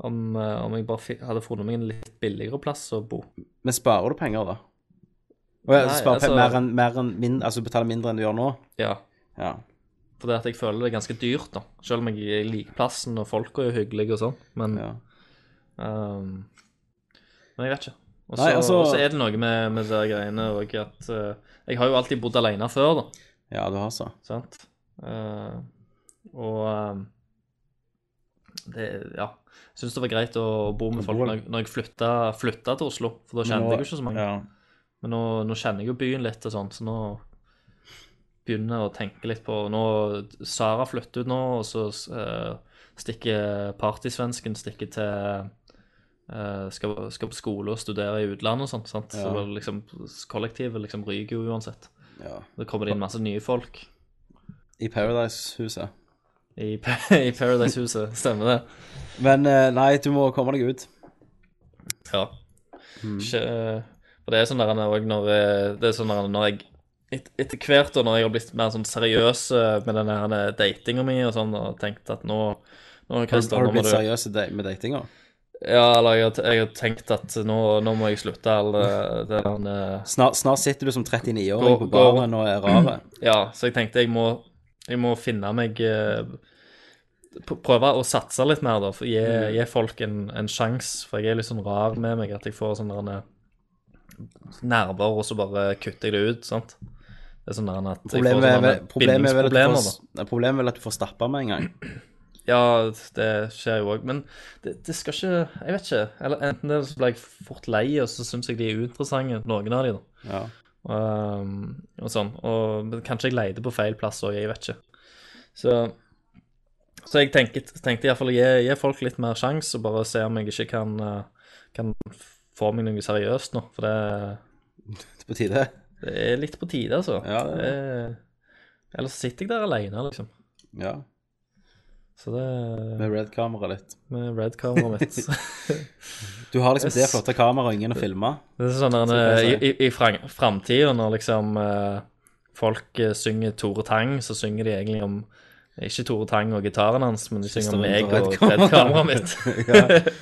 [SPEAKER 2] om, eh, om jeg bare fi, hadde funnet meg en litt billigere plass å bo.
[SPEAKER 1] Men sparer du penger, da? Og jeg
[SPEAKER 2] Nei,
[SPEAKER 1] sparer pe-
[SPEAKER 2] altså-
[SPEAKER 1] mer enn, mer enn min, altså du betaler mindre enn du gjør nå?
[SPEAKER 2] Ja.
[SPEAKER 1] Ja.
[SPEAKER 2] Fordi at jeg føler det er ganske dyrt, da. Selv om jeg liker plassen, og folk er jo hyggelige og sånn, men
[SPEAKER 1] ja.
[SPEAKER 2] Ehm, men jeg vet ikke. Og så
[SPEAKER 1] Nei, altså-
[SPEAKER 2] og så er det noe med, med de greiene òg at eh, Jeg har jo alltid bodd alene før, da.
[SPEAKER 1] ja, du har så.
[SPEAKER 2] Sant? Eh, og eh, det Ja. Jeg syns det var greit å bo med
[SPEAKER 1] Å bo
[SPEAKER 2] folk når, jeg- når jeg flytta, flytta til Oslo, for da kjente
[SPEAKER 1] nå-
[SPEAKER 2] jeg jo ikke så mange.
[SPEAKER 1] Ja.
[SPEAKER 2] Men nå, nå kjenner jeg jo byen litt og sånn, så nå begynner jeg å tenke litt på Nå Sara flytter ut nå, og så eh, stikker partysvensken stikker til eh, skal, skal på skole og studere i utlandet og sånt. sant? Så
[SPEAKER 1] Ja.
[SPEAKER 2] det liksom, kollektivet liksom ryker jo uansett.
[SPEAKER 1] ja.
[SPEAKER 2] Da kommer det inn masse nye folk
[SPEAKER 1] I Paradise-huset.
[SPEAKER 2] i, Pa- i Paradise-huset. Stemmer det?
[SPEAKER 1] Men eh, nei, du må komme deg ut.
[SPEAKER 2] Ja. Ikke, eh, for det er sånn der òg når eh, Det er sånn der når jeg et, Etter hvert og når jeg har blitt mer sånn seriøs eh, med den datinga mi og sånn, og tenkt at nå nå,
[SPEAKER 1] Har du,
[SPEAKER 2] Christian,
[SPEAKER 1] har
[SPEAKER 2] nå
[SPEAKER 1] du
[SPEAKER 2] må
[SPEAKER 1] blitt
[SPEAKER 2] du,
[SPEAKER 1] seriøs i da- med datinga?
[SPEAKER 2] ja, eller jeg, har t- jeg har tenkt at nå, nå må jeg slutte all eh, det der eh,
[SPEAKER 1] Snart, snart sitter du som 39-åring
[SPEAKER 2] Gå-
[SPEAKER 1] på
[SPEAKER 2] gå-
[SPEAKER 1] baren og er rare.
[SPEAKER 2] Ja, så jeg tenkte jeg må, jeg må finne meg eh, pr- Prøve å satse litt mer, da. For gi,
[SPEAKER 1] Mm.
[SPEAKER 2] gi folk en, en sjanse. For jeg er litt sånn rar med meg at jeg får sånn der en- nerver, og så bare kutter jeg det ut. sant? Det er sånn der en at jeg får
[SPEAKER 1] Problemet er
[SPEAKER 2] sånn der
[SPEAKER 1] vel
[SPEAKER 2] en
[SPEAKER 1] problemet er vel at du
[SPEAKER 2] bindingsproblemer,
[SPEAKER 1] får, nei, problemet er vel at du får stappa med en gang.
[SPEAKER 2] Ja, det skjer jo òg, men det, det skal ikke Jeg vet ikke. Eller enten det så ble jeg fort lei, og så syns jeg de er uinteressante, noen av de, da.
[SPEAKER 1] Ja.
[SPEAKER 2] Ehm, og sånn. Og men kanskje jeg leide på feil plass òg, jeg vet ikke. Så, så jeg tenkte, tenkte iallfall å gi, gi folk litt mer sjanse, og bare se om jeg ikke kan, eh, kan få meg noe seriøst nå. For det,
[SPEAKER 1] På tide.
[SPEAKER 2] det er litt på tide, altså.
[SPEAKER 1] Ja, det er
[SPEAKER 2] Det er- Ellers sitter jeg der aleine, liksom.
[SPEAKER 1] Ja.
[SPEAKER 2] Så det er
[SPEAKER 1] Med red-kameraet ditt.
[SPEAKER 2] med red-kameraet mitt.
[SPEAKER 1] Du har liksom det
[SPEAKER 2] Yes.
[SPEAKER 1] flotte kameraet og ingen å filme.
[SPEAKER 2] Det er sånn der,
[SPEAKER 1] Så
[SPEAKER 2] eh,
[SPEAKER 1] kan jeg
[SPEAKER 2] i, i, i framtida, når liksom eh, folk eh, synger Tore Tang, så synger de egentlig om ikke Tore Tang og gitaren hans, men de synger om
[SPEAKER 1] runde
[SPEAKER 2] meg
[SPEAKER 1] og
[SPEAKER 2] og
[SPEAKER 1] Red Kamera.
[SPEAKER 2] kameraet mitt.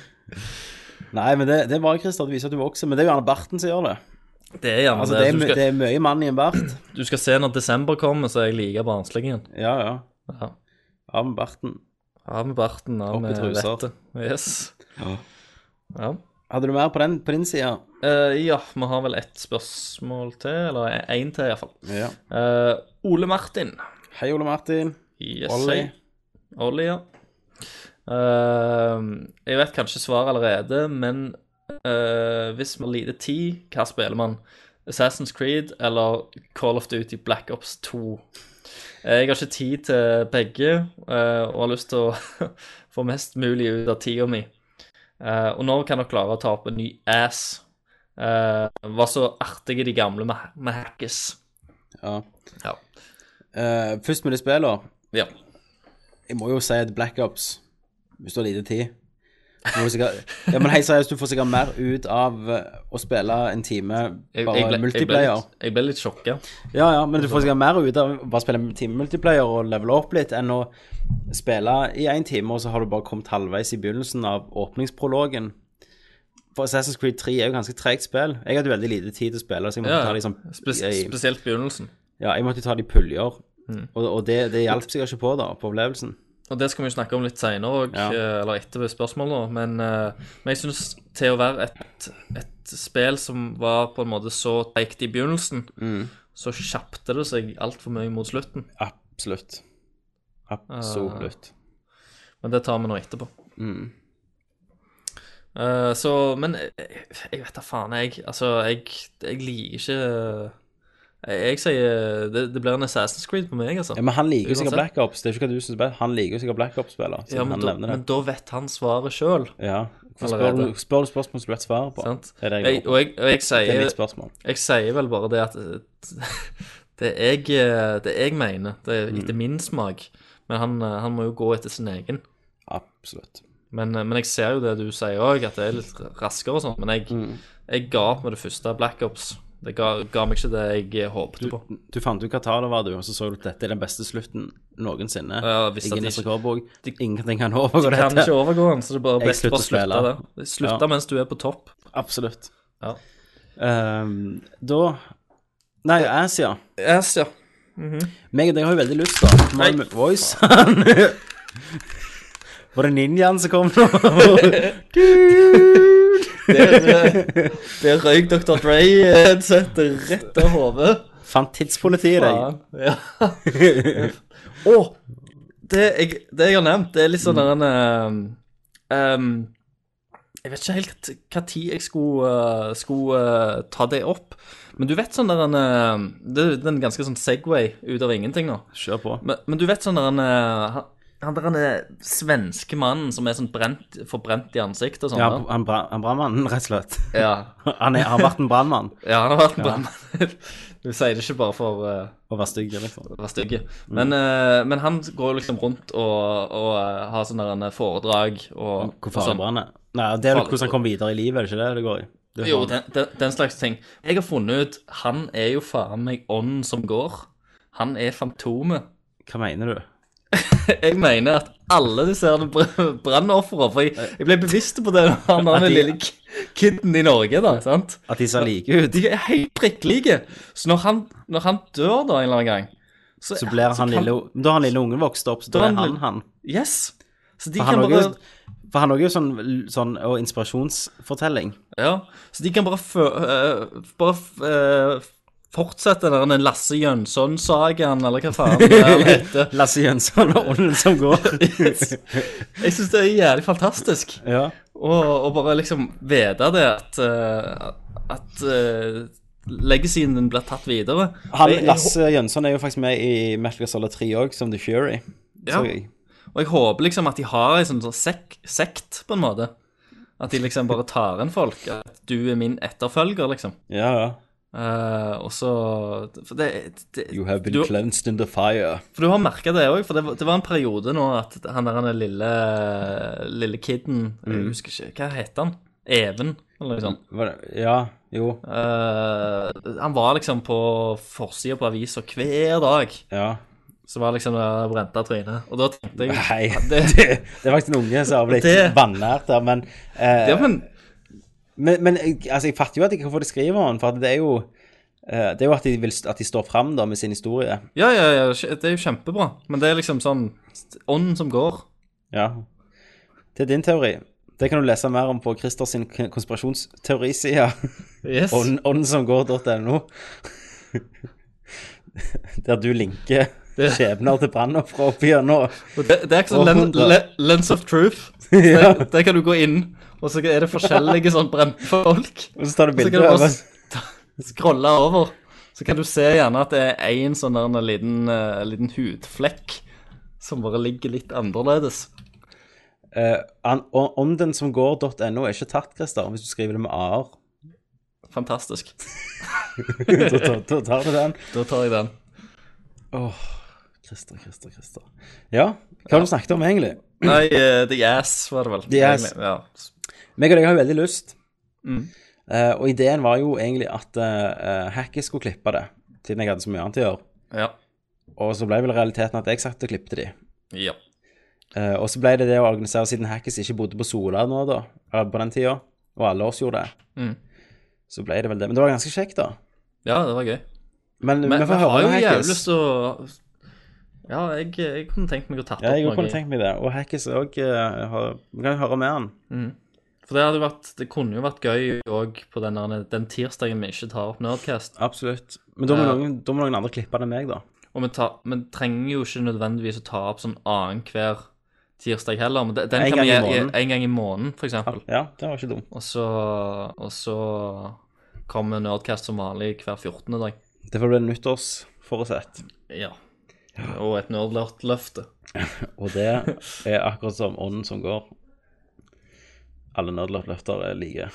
[SPEAKER 1] Nei, men det, det er bra, Christer, at du viser at du vokser. Men det er jo gjerne barten som gjør det.
[SPEAKER 2] Det er gjerne
[SPEAKER 1] Altså, det er,
[SPEAKER 2] det.
[SPEAKER 1] my-
[SPEAKER 2] Så Du
[SPEAKER 1] det er mye mann i en bart.
[SPEAKER 2] skal, du skal se når desember kommer, så er jeg like barnslig igjen.
[SPEAKER 1] Ja, ja.
[SPEAKER 2] Ja.
[SPEAKER 1] Av med barten.
[SPEAKER 2] Av med barten, av
[SPEAKER 1] Opp i
[SPEAKER 2] med
[SPEAKER 1] truser.
[SPEAKER 2] vettet. Yes.
[SPEAKER 1] Ja.
[SPEAKER 2] Ja.
[SPEAKER 1] Hadde du mer på, den, på din side?
[SPEAKER 2] Eh, ja, vi har vel ett spørsmål til, eller én til iallfall.
[SPEAKER 1] Ja.
[SPEAKER 2] Uh, Ole Martin.
[SPEAKER 1] Hei, Ole Martin.
[SPEAKER 2] Yes,
[SPEAKER 1] Ollie.
[SPEAKER 2] hei. Ollie, ja. Ehm, jeg vet kanskje svaret allerede, men eh, hvis man har lite tid, hva spiller man? Assassin's Creed eller Call of Duty Black Ops 2? Eh, Jeg har ikke tid til begge, eh, og har lyst til å få mest mulig ut av tida mi. Eh, og når kan dere klare å ta opp en ny ass? Eh, var så artige de gamle med, med hackes.
[SPEAKER 1] Ja.
[SPEAKER 2] Ja.
[SPEAKER 1] Eh, først med de spillene.
[SPEAKER 2] Ja.
[SPEAKER 1] Jeg må jo si at Black Ops, hvis du har lite tid så må du sikkert, ja, men hei, seriøst, du får sikkert mer ut av eh, å spille en time
[SPEAKER 2] Jeg,
[SPEAKER 1] bare
[SPEAKER 2] jeg, ble, jeg, ble
[SPEAKER 1] multiplayer.
[SPEAKER 2] litt, jeg ble litt sjokka.
[SPEAKER 1] Ja, ja, men du får sikkert mer ut av å bare spille en time multiplayer og levele opp litt, enn å spille i én time, og så har du bare kommet halvveis i begynnelsen av åpningsprologen. For Assassin's Creed 3 er jo ganske tregt spill. Jeg hadde veldig lite tid til å spille, så jeg måtte
[SPEAKER 2] Ja,
[SPEAKER 1] ta liksom
[SPEAKER 2] spes Mm.
[SPEAKER 1] jeg,
[SPEAKER 2] spesielt begynnelsen.
[SPEAKER 1] Ja, jeg måtte ta de puljer. Og, og det, det hjalp sikkert ikke på, da, på opplevelsen.
[SPEAKER 2] Og det skal vi jo snakke om litt seinere òg,
[SPEAKER 1] Ja.
[SPEAKER 2] eller etter spørsmålet. nå, Men, eh, men jeg syns til å være et, et spill som var på en måte så teikt i begynnelsen,
[SPEAKER 1] Mm.
[SPEAKER 2] så kjappte det seg altfor mye mot slutten.
[SPEAKER 1] Absolutt. Absolutt.
[SPEAKER 2] Men det tar vi nå etterpå.
[SPEAKER 1] Mm.
[SPEAKER 2] Eh, så Men jeg, jeg vet da faen, jeg. Altså, jeg, jeg liker ikke Jeg, jeg sier det, det blir en Assassin's Creed på meg, altså.
[SPEAKER 1] Ja, men han liker jo
[SPEAKER 2] Uansett.
[SPEAKER 1] sikkert Black Ops. Det er ikke hva du synes er best. Han liker jo sikkert Black Ops-spiller, siden
[SPEAKER 2] Ja, men,
[SPEAKER 1] han
[SPEAKER 2] da,
[SPEAKER 1] nevner det.
[SPEAKER 2] men da vet han svaret sjøl.
[SPEAKER 1] Ja. For Spør
[SPEAKER 2] Allerede.
[SPEAKER 1] du, spør du spørsmål som du vet svaret på?
[SPEAKER 2] Sant?
[SPEAKER 1] Det er det jeg
[SPEAKER 2] Jeg,
[SPEAKER 1] lurer på.
[SPEAKER 2] og jeg, og jeg,
[SPEAKER 1] Det er
[SPEAKER 2] sier,
[SPEAKER 1] mitt spørsmål.
[SPEAKER 2] jeg sier vel bare det at eh, Det jeg, eh, det jeg mener, det
[SPEAKER 1] Mm.
[SPEAKER 2] er etter min smak, men han, eh, han må jo gå etter sin egen.
[SPEAKER 1] Absolutt.
[SPEAKER 2] Men, eh, men jeg ser jo det du sier òg, at det er litt raskere og sånn. Men jeg,
[SPEAKER 1] Mm.
[SPEAKER 2] jeg ga opp med det første Black Ops. Det ga, ga meg ikke det jeg eh, håpte på.
[SPEAKER 1] Du fant ut hva tallet var, du, og så så du at dette er den beste slutten noensinne.
[SPEAKER 2] Ja, jeg visste
[SPEAKER 1] I
[SPEAKER 2] at
[SPEAKER 1] Guinness
[SPEAKER 2] de-
[SPEAKER 1] rekordbok. Ingenting kan overgå
[SPEAKER 2] Du kan
[SPEAKER 1] dette.
[SPEAKER 2] ikke overgå han, så det er bare
[SPEAKER 1] Jeg
[SPEAKER 2] best
[SPEAKER 1] slutter
[SPEAKER 2] bare
[SPEAKER 1] å
[SPEAKER 2] slutte det.
[SPEAKER 1] spille.
[SPEAKER 2] Slutte
[SPEAKER 1] Ja.
[SPEAKER 2] mens du er på topp.
[SPEAKER 1] Absolutt.
[SPEAKER 2] Ja.
[SPEAKER 1] Ehm, da Nei, Asia.
[SPEAKER 2] Yes, ja.
[SPEAKER 1] Meg og deg har jo veldig lyst, da.
[SPEAKER 2] Nei.
[SPEAKER 1] Nei. Voice. Var det ninjaen som kom nå?
[SPEAKER 2] Det røyk Dr.
[SPEAKER 1] eh,
[SPEAKER 2] Dre-headsetet rett av hodet.
[SPEAKER 1] Fant tidspolitiet deg?
[SPEAKER 2] Faen, Ja. Å! det, jeg, det jeg har nevnt, det er litt sånn der en eh, em, Jeg vet ikke helt hva tid jeg skulle, eh, skulle eh, ta det opp. Men du vet sånn der en eh, Det det er en ganske sånn Segway ut av ingenting nå.
[SPEAKER 1] Kjør på.
[SPEAKER 2] Men, men du vet sånn der en eh, han- Han der en eh, svenske mannen som er sånn brent, forbrent i ansiktet og sånn.
[SPEAKER 1] Ja,
[SPEAKER 2] da.
[SPEAKER 1] han, bra, han brannmannen, rett og slett.
[SPEAKER 2] ja.
[SPEAKER 1] Han er, har vært en brannmann
[SPEAKER 2] ja, han har vært en brannmann. Du sier det ikke bare for eh,
[SPEAKER 1] og var stygg, liksom.
[SPEAKER 2] var stygge. Men, eh, men han går liksom rundt og, og eh, har sånne der, eh, foredrag og,
[SPEAKER 1] Hvor
[SPEAKER 2] og
[SPEAKER 1] farlig
[SPEAKER 2] sånn.
[SPEAKER 1] brann er. Nei, det er jo hvordan han kom videre i livet, er det ikke det det går i? Det er
[SPEAKER 2] Jo,
[SPEAKER 1] sånn.
[SPEAKER 2] den, den, den slags ting. Jeg har funnet ut han er jo faen meg ånden som går. Han er Fantomet.
[SPEAKER 1] Hva mener du?
[SPEAKER 2] Jeg mener at alle disse her br- brannofrene For jeg, jeg ble bevisst på det da han
[SPEAKER 1] At
[SPEAKER 2] var den
[SPEAKER 1] de-
[SPEAKER 2] lille k- kiden i Norge, da. sant?
[SPEAKER 1] At de ser like ut?
[SPEAKER 2] De er helt prikklike. Så når han, når han dør da en eller annen gang
[SPEAKER 1] Så blir han
[SPEAKER 2] kan-
[SPEAKER 1] lille Da han lille ungen vokste opp, så
[SPEAKER 2] Da
[SPEAKER 1] da
[SPEAKER 2] han
[SPEAKER 1] er han
[SPEAKER 2] lille-
[SPEAKER 1] han.
[SPEAKER 2] Yes. Så de
[SPEAKER 1] For han
[SPEAKER 2] kan
[SPEAKER 1] også
[SPEAKER 2] bare
[SPEAKER 1] jo for han også jo sånn, sånn og inspirasjonsfortelling.
[SPEAKER 2] eh, Ja, så de kan bare, fø, øh, bare f- øh, fortsette den der Lasse Jønsson-sagaen, eller hva faen det er han heter.
[SPEAKER 1] Lasse Jønsson og ånden som går.
[SPEAKER 2] Jeg syns det er jævlig fantastisk.
[SPEAKER 1] Ja.
[SPEAKER 2] Og, og bare liksom vite det at eh, At eh, legacyen din blir tatt videre.
[SPEAKER 1] Han,
[SPEAKER 2] Jeg- jeg-
[SPEAKER 1] Lasse Jønsson er jo faktisk med i Metal Gear Solid 3 òg, som The Fury.
[SPEAKER 2] Ja.
[SPEAKER 1] Så jeg-
[SPEAKER 2] Og jeg håper liksom at de har en sånn sånn sek sekt, på en måte. At de liksom bare tar inn folk. At du er min etterfølger, liksom.
[SPEAKER 1] ja, ja.
[SPEAKER 2] Eh, og så For det, det
[SPEAKER 1] You have been
[SPEAKER 2] du,
[SPEAKER 1] cleansed in the fire.
[SPEAKER 2] For du har merka det òg, for det, var- det var en periode nå at han der han er lille, lille kiden
[SPEAKER 1] Mm.
[SPEAKER 2] Jeg husker ikke Hva heter han? Even, eller noe sånt.
[SPEAKER 1] Var det- Ja, jo.
[SPEAKER 2] Eh, han var liksom på forsida på avisa hver dag.
[SPEAKER 1] Ja.
[SPEAKER 2] Så var liksom det brente trynet. Og da tenkte jeg
[SPEAKER 1] Hei. Det,
[SPEAKER 2] Det-
[SPEAKER 1] det er faktisk en unge som har blitt
[SPEAKER 2] Det-
[SPEAKER 1] vanært der, men eh,
[SPEAKER 2] Ja, men
[SPEAKER 1] Men, men jeg- altså, jeg fatter jo at jeg kan få det skriver om, for at det er jo eh, det er jo at de, vil, at de står fram da, med sin historie.
[SPEAKER 2] Ja, ja, ja, det er jo kjempebra. Men det er liksom sånn ånden som går.
[SPEAKER 1] Ja. Det er din teori. Det kan du lese mer om på Christer sin k- konspirasjonsteoriside.
[SPEAKER 2] Yes.
[SPEAKER 1] ånd- Åndensomgår.no. Der du linker skjebner til brannofre opp igjennom.
[SPEAKER 2] Det, det er ikke sånn len, le, lens of truth.
[SPEAKER 1] Ja.
[SPEAKER 2] Der, der kan du gå inn, og så er det forskjellige sånn brente folk.
[SPEAKER 1] Og så tar du
[SPEAKER 2] Så kan
[SPEAKER 1] bilde
[SPEAKER 2] du
[SPEAKER 1] av
[SPEAKER 2] bare
[SPEAKER 1] oss.
[SPEAKER 2] s- scrolle over. Så kan du se gjerne at det er én sånn der, en liten, eh, liten hudflekk som bare ligger litt annerledes.
[SPEAKER 1] eh, Åndensomgår.no er ikke tatt, Christer, hvis du skriver det med a-er.
[SPEAKER 2] Fantastisk.
[SPEAKER 1] Da tar- Da tar du den.
[SPEAKER 2] Da tar jeg den.
[SPEAKER 1] Christer, Christer, Christer. Ja, hva har du snakket om egentlig?
[SPEAKER 2] Nei, eh, The Ass var det vel.
[SPEAKER 1] The Ass.
[SPEAKER 2] Ja.
[SPEAKER 1] Meg og deg har jo veldig lyst.
[SPEAKER 2] Mm.
[SPEAKER 1] Eh, og ideen var jo egentlig at uh, Hacky skulle klippe det, siden jeg hadde så mye annet å gjøre.
[SPEAKER 2] Ja.
[SPEAKER 1] Og så ble vel realiteten at jeg satt og klippte de.
[SPEAKER 2] ja.
[SPEAKER 1] Eh, og så ble det det å organisere, siden Hackis ikke bodde på Sola nå, da, eller på den tida, og alle oss gjorde det,
[SPEAKER 2] Mm.
[SPEAKER 1] så ble det vel det. Men det var ganske kjekt, da.
[SPEAKER 2] Ja, det var gøy.
[SPEAKER 1] Men,
[SPEAKER 2] Men
[SPEAKER 1] vi får
[SPEAKER 2] jeg har
[SPEAKER 1] høre
[SPEAKER 2] jo
[SPEAKER 1] med
[SPEAKER 2] jævlig
[SPEAKER 1] Hackis.
[SPEAKER 2] lyst til å Ja, jeg, jeg kunne tenkt meg å tatt
[SPEAKER 1] Ja, jeg
[SPEAKER 2] opp
[SPEAKER 1] kunne
[SPEAKER 2] noe.
[SPEAKER 1] tenkt meg det. Og Hackis òg Vi kan høre med han.
[SPEAKER 2] Mm. For det, hadde jo vært, det kunne jo vært gøy òg på den, der- den tirsdagen vi ikke tar opp Nerdcast.
[SPEAKER 1] Absolutt. Men da må,
[SPEAKER 2] Ja.
[SPEAKER 1] noen, da må noen andre klippe det enn meg, da.
[SPEAKER 2] Og vi, tar, vi trenger jo ikke nødvendigvis å ta opp sånn annenhver tirsdag heller. Men de- den
[SPEAKER 1] En
[SPEAKER 2] kan
[SPEAKER 1] gang
[SPEAKER 2] vi
[SPEAKER 1] i
[SPEAKER 2] gjøre
[SPEAKER 1] måneden.
[SPEAKER 2] en gang i måneden, for eksempel.
[SPEAKER 1] Ja, det var ikke dumt.
[SPEAKER 2] Og så, og så kommer Nerdcast som vanlig hver 14. dag.
[SPEAKER 1] Det får bli nyttårsforutsett.
[SPEAKER 2] Ja. Og et nerdløfte.
[SPEAKER 1] Og det er akkurat som ånden som går. Alle nødløfter er like,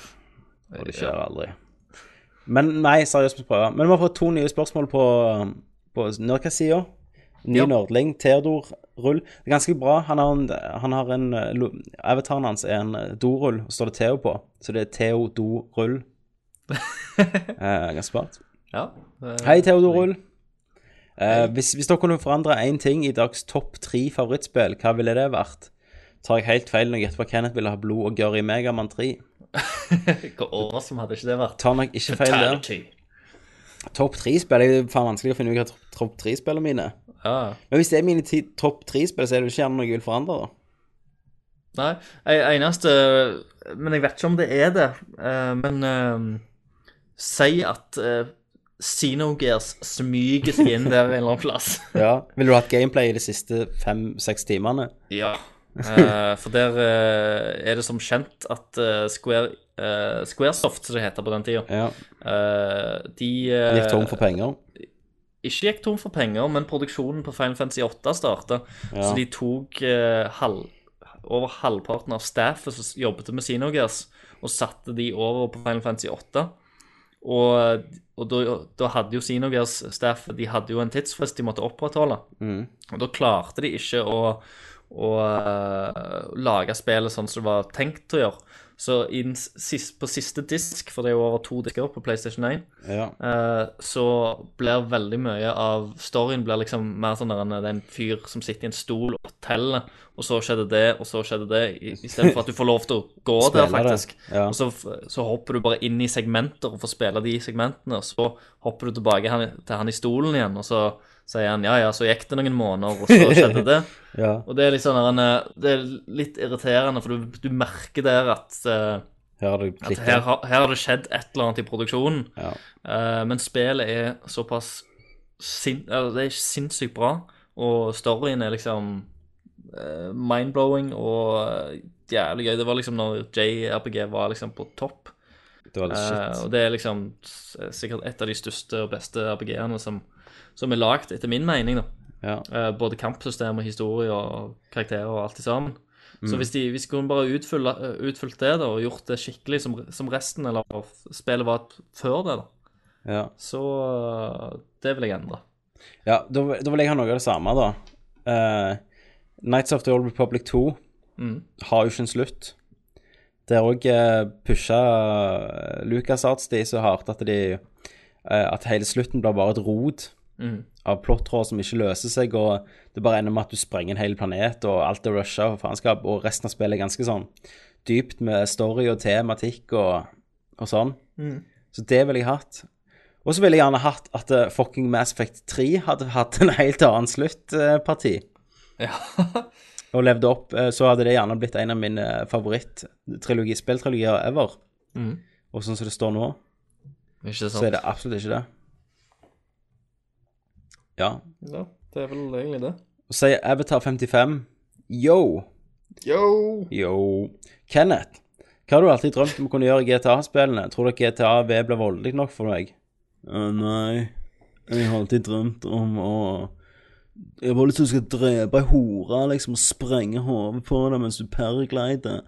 [SPEAKER 1] og det skjer aldri. Men nei, seriøst, vi prøver. Men vi har fått to nye spørsmål på, på Nerdcast-sida. Ny
[SPEAKER 2] Ja.
[SPEAKER 1] nerdling, Theodor Rull. Det er ganske bra. Han har en, han har en eh, lo- Avataren hans er en eh, dorull, og står det Theo på. Så det er Theo Do Rull. eh, ganske smart.
[SPEAKER 2] Ja. det-
[SPEAKER 1] Mm. Hei, Theodor Rull. Eh, hvis, hvis dere kunne forandre én ting i dags topp tre favorittspill, hva ville det vært? Tar jeg helt feil når jeg gjetter på at Kenneth ville ha blod og gørr i Megaman 3?
[SPEAKER 2] Hvor awesome hadde ikke det vært?
[SPEAKER 1] Tar nok ikke feil der.
[SPEAKER 2] Fatality.
[SPEAKER 1] Topp tre-spill er jo faen vanskelig å finne ut hva topp- topp tre-spillene mine er.
[SPEAKER 2] Ja.
[SPEAKER 1] Men hvis det er mine ti, topp tre-spill, så er det jo ikke gjerne noe jeg vil forandre, da.
[SPEAKER 2] Nei, jeg, eneste Men jeg vet ikke om det er det. eh, men eh, si at uh, Xenogears smyger seg inn der en eller annen plass.
[SPEAKER 1] Ja. Ville du hatt gameplay i de siste fem-seks timene?
[SPEAKER 2] ja. Eh, for der eh, er det som kjent at eh, Square, eh, Squaresoft, som det heter på den tida,
[SPEAKER 1] Ja.
[SPEAKER 2] eh, de eh,
[SPEAKER 1] Gikk tom for penger?
[SPEAKER 2] ikke gikk tom for penger, men produksjonen på Final Fantasy 8 starta.
[SPEAKER 1] Ja.
[SPEAKER 2] Så de tok eh, halv, over halvparten av staffet som s- jobbet med Xenogears, og satte de over på Final Fantasy 8. Og, og da, da hadde jo Xenogears-staffet De hadde jo en tidsfrist de måtte opprettholde.
[SPEAKER 1] Mhm.
[SPEAKER 2] Og da klarte de ikke å, å eh, lage spillet sånn som det var tenkt å gjøre. Så i den s- sist, på siste disk, for det er jo over to disker på PlayStation 1,
[SPEAKER 1] Ja.
[SPEAKER 2] Eh, så blir veldig mye av storyen blir liksom mer sånn der en, det er en fyr som sitter i en stol og teller, og så skjedde det, og så skjedde det, i- istedenfor at du får lov til å gå der,
[SPEAKER 1] Spiller det.
[SPEAKER 2] faktisk.
[SPEAKER 1] Ja.
[SPEAKER 2] Og så, f- så hopper du bare inn i segmenter og får spille de segmentene, og så hopper du tilbake han, til han i stolen igjen, og så sier han ja, ja, så gikk det noen måneder, og så skjedde det.
[SPEAKER 1] Ja.
[SPEAKER 2] Og det er litt sånn der en, eh, Det er litt irriterende, for du, du merker der at eh,
[SPEAKER 1] Her har det
[SPEAKER 2] At
[SPEAKER 1] klikket.
[SPEAKER 2] her, har- her har det skjedd et eller annet i produksjonen.
[SPEAKER 1] Ja.
[SPEAKER 2] Eh, men spillet er såpass sin, eller, Det er sinnssykt bra, og storyen er liksom eh, mindblowing og eh, jævlig gøy. Det var liksom når JRPG var liksom på topp.
[SPEAKER 1] Det var litt
[SPEAKER 2] Eh,
[SPEAKER 1] shit.
[SPEAKER 2] og det er liksom s- sikkert et av de største og beste RPG-ene som, som er lagd, etter min mening. da.
[SPEAKER 1] Ja.
[SPEAKER 2] Eh, både kampsystem og historie og karakterer og alt i sammen. Så hvis de, hvis de kunne bare utfylle, utfylt det da, og gjort det skikkelig som, som resten, eller spillet var før det, da,
[SPEAKER 1] Ja.
[SPEAKER 2] så øh, det vil jeg endre.
[SPEAKER 1] ja, da da vil jeg ha noe av det samme, da. Eh, Nights of the Old Republic 2 har jo ikke en slutt. Der òg uh, pusha uh, Lucas Arts de så hardt at de eh, At hele slutten blir bare et rot av plottråd som ikke løser seg, og det bare ender med at du sprenger en hel planet, og alt er rusha og faenskap, og resten av spillet er ganske sånn dypt med story og tematikk og, og sånn. Så det ville jeg hatt. Og så ville jeg gjerne hatt at eh, fucking Mass Effect 3 hadde hatt en helt annen sluttparti. og levde opp. eh, Så hadde det gjerne blitt en av mine favoritt-spilltrilogier ever. Og sånn som det står nå,
[SPEAKER 2] Ikke sant?
[SPEAKER 1] så er det absolutt ikke det. Ja.
[SPEAKER 2] Ja, det er vel egentlig det.
[SPEAKER 1] Og sier Avatar 55 yo. Yo. Kenneth, hva har du alltid drømt om å kunne gjøre i GTA-spillene? Tror du at GTA V ble voldelig nok for deg? Eh, nei, jeg har alltid drømt om å Jeg har bare lyst til å skal drepe ei hore, liksom, og sprenge hodet på det mens du paraglider.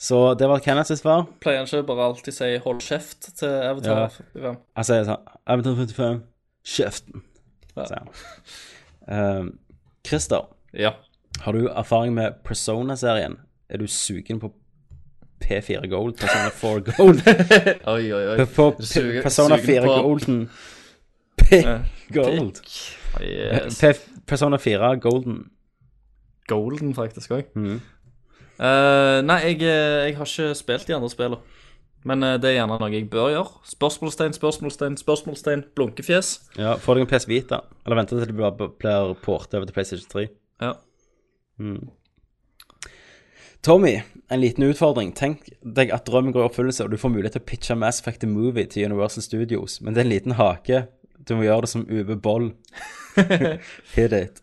[SPEAKER 1] Så det var Kenneths svar.
[SPEAKER 2] Pleier han ikke bare alltid si 'hold kjeft' til Avatar?
[SPEAKER 1] Ja.
[SPEAKER 2] Ja.
[SPEAKER 1] Han sier sånn Avatar 55, kjeften, sier han. Ehm, Christer.
[SPEAKER 2] ja.
[SPEAKER 1] Har du erfaring med Persona-serien? Er du sugen på P4 Gold? Persona 4 Gold?
[SPEAKER 2] Oi, oi, oi.
[SPEAKER 1] På P-
[SPEAKER 2] Suge-
[SPEAKER 1] Persona
[SPEAKER 2] sugen
[SPEAKER 1] 4
[SPEAKER 2] på-
[SPEAKER 1] Golden P Gold
[SPEAKER 2] Yes.
[SPEAKER 1] P Persona 4 Golden
[SPEAKER 2] Golden, faktisk òg.
[SPEAKER 1] Mhm.
[SPEAKER 2] nei, jeg, eh, jeg har ikke spilt de andre spillene. Men eh, det er gjerne noe jeg bør gjøre. Spørsmålstegn, spørsmålstegn, spørsmålstegn, blunkefjes.
[SPEAKER 1] Ja, får deg en PS Vita Eller venter til det bare blir portet over til Playstation 3
[SPEAKER 2] Ja.
[SPEAKER 1] Tommy, en liten utfordring. Tenk deg at drømmen går i oppfyllelse, og du får mulighet til å pitche Mass Effect The Movie til Universal Studios, men det er en liten hake. Du må gjøre det som Uwe Boll. Hit it.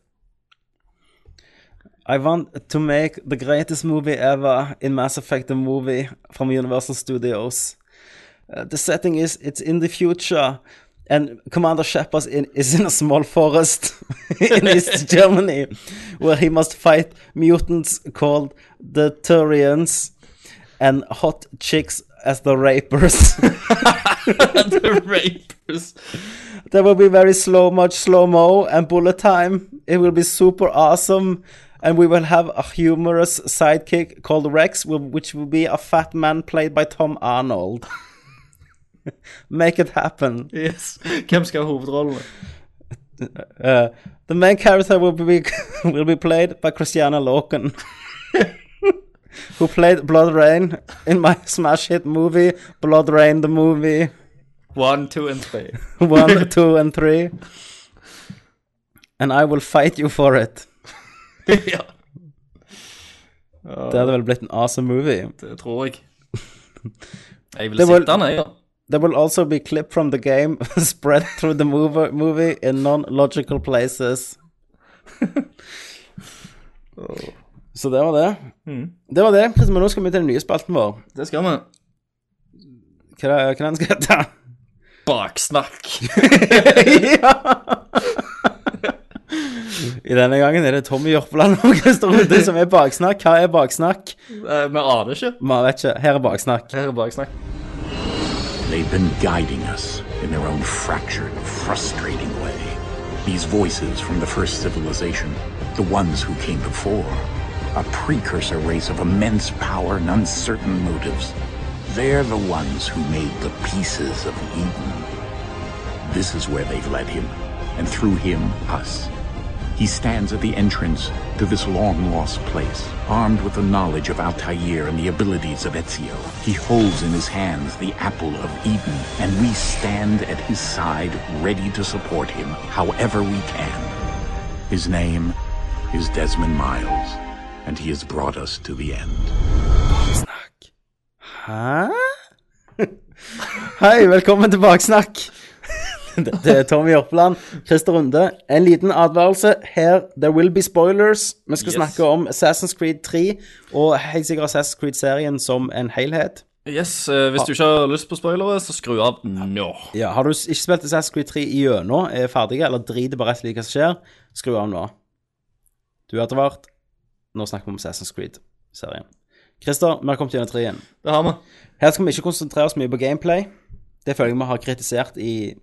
[SPEAKER 1] I want to make the greatest movie ever in Mass Effect The Movie from Universal Studios. Uh, the setting is it's in the future. And Commander Shepard in, is in a small forest in East Germany where he must fight mutants called the Turians and hot chicks as the rapers.
[SPEAKER 2] The Rapers.
[SPEAKER 1] there will be very slow, much slow mo and bullet time. It will be super awesome. And we will have a humorous sidekick called Rex, wh- which will be a fat man played by Tom Arnold. Make it happen.
[SPEAKER 2] Yes. Hvem skal ha hovedrollene?
[SPEAKER 1] Uh, the main character will be will be played by Christiana Loken, who played Blood Rain in my smash hit movie Blood Rain the movie
[SPEAKER 2] One, two and three.
[SPEAKER 1] one, two, and three. And I will fight you for it.
[SPEAKER 2] ja,
[SPEAKER 1] Det hadde vel blitt en awesome movie.
[SPEAKER 2] det tror jeg. Jeg vil
[SPEAKER 1] Det var-
[SPEAKER 2] sitte den, jeg, da.
[SPEAKER 1] There will also be clip from the game spread through the mover- movie in non-logical places. Så det var det. Det var det. Chris, Men nå skal vi til den nye spalten vår.
[SPEAKER 2] Det skal vi.
[SPEAKER 1] Hva er hva er den skal hete?
[SPEAKER 2] Baksnakk.
[SPEAKER 1] ja! I denne gangen er det Tommy Jørpeland og Christer Rudi som er baksnakk. Hva er baksnakk?
[SPEAKER 2] Eh, Vi aner ikke.
[SPEAKER 1] Man vet ikke. Her er baksnakk.
[SPEAKER 2] Her er baksnakk.
[SPEAKER 8] They've been guiding us in their own fractured, frustrating way. These voices from the first civilization, the ones who came before, a precursor race of immense power and uncertain motives. They're the ones who made the pieces of Eden. This is where they've led him, and through him, us. He stands at the entrance to this long lost place, armed with the knowledge of Altair and the abilities of Ezio. He holds in his hands the apple of Eden, and we stand at his side, ready to support him however we can. His name is Desmond Miles, and he has brought us to the end.
[SPEAKER 1] Snakk. Hæ? Hei, velkommen til Baksnakk. Dette er Tommy Jørpeland, Christer Runde. En liten advarelse her. There will be spoilers. Vi skal
[SPEAKER 2] Yes.
[SPEAKER 1] snakke om Assassin's Creed 3 og helt sikkert Assassin's Creed-serien som en helhet.
[SPEAKER 2] Yes, eh, Hvis du ikke har lyst på spoilere, så skru av nå.
[SPEAKER 1] Ja, Har du s- ikke spilt Assassin's Creed 3 igjennom, er ferdig, eller driter bare rett i hva som skjer, skru av nå. Du har advart. Nå snakker vi om Assassin's Creed-serien. Christer, vi har kommet gjennom 3 igjen.
[SPEAKER 2] Det har vi.
[SPEAKER 1] Her skal vi ikke konsentrere oss mye på gameplay. Det føler jeg vi har kritisert i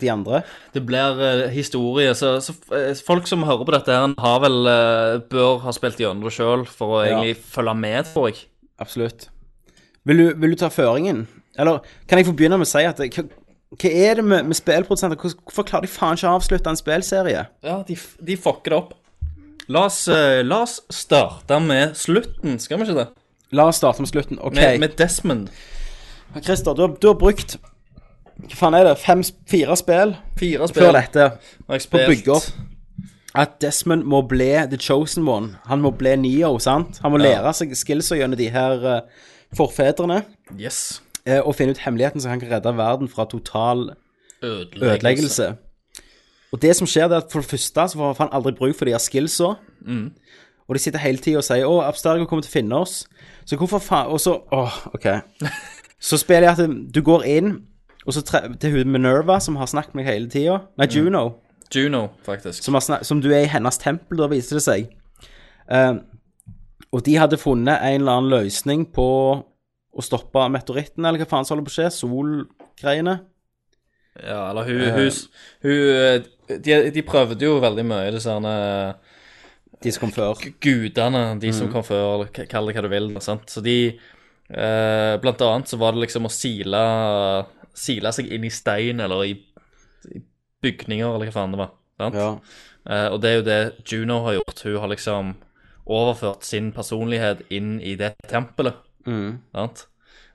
[SPEAKER 1] de andre.
[SPEAKER 2] Det blir eh, historie. Så, så eh, folk som hører på dette, her har vel eh, bør ha spilt gjennom det sjøl for å
[SPEAKER 1] Ja.
[SPEAKER 2] egentlig følge med, tror jeg.
[SPEAKER 1] Absolutt. Vil du, vil du ta føringen? Eller kan jeg få begynne med å si at det- hva, hva er det med, med spillprodusenter? Hvor- Hvorfor klarer de faen ikke å avslutte en spillserie?
[SPEAKER 2] Ja, de, f- de fucker det opp. La oss, eh, la oss starte med slutten, skal vi ikke det?
[SPEAKER 1] La oss starte med slutten. OK.
[SPEAKER 2] Med, med Desmond.
[SPEAKER 1] Christer, du har, du har brukt Hva faen er det? Fem, fire spill
[SPEAKER 2] Fire
[SPEAKER 1] før
[SPEAKER 2] spill
[SPEAKER 1] dette.
[SPEAKER 2] har jeg
[SPEAKER 1] på å bygge
[SPEAKER 2] spilt.
[SPEAKER 1] opp. At Desmond må bli The Chosen One. Han må bli Neo, sant? Han må lære seg skillsa gjennom de her eh, forfedrene.
[SPEAKER 2] Yes.
[SPEAKER 1] eh, og finne ut hemmeligheten så han kan redde verden fra total
[SPEAKER 2] Ødeleggelse.
[SPEAKER 1] ødeleggelse. Og det som skjer, det er at for det første så får han aldri bruk for de her skillsa. Og de sitter hele tida og sier 'Å, Abstergo kommer til å finne oss'. Så hvorfor faen Og så Åh, OK. Så spiller jeg at du går inn, og så tre til hun Minerva, som har snakket med meg hele tida. Nei, Juno
[SPEAKER 2] Juno, faktisk.
[SPEAKER 1] som, har snak- som du er i hennes tempel, da viser det seg. Eh, og de hadde funnet en eller annen løsning på å stoppe meteoritten, eller hva faen som holder på å skje, solgreiene.
[SPEAKER 2] Ja, eller hun, hun, s- hun eh, de, de prøvde jo veldig mye, disse herne
[SPEAKER 1] De som kom før.
[SPEAKER 2] gudene, de som
[SPEAKER 1] Mm.
[SPEAKER 2] kom før, eller k- kall det hva du vil. Sant? Så de eh, Blant annet så var det liksom å sile Sile seg inn i stein eller i, i bygninger, eller hva faen det var. Sant?
[SPEAKER 1] Ja.
[SPEAKER 2] Eh, og det er jo det Juno har gjort. Hun har liksom overført sin personlighet inn i det tempelet.
[SPEAKER 1] Mm.
[SPEAKER 2] Sant?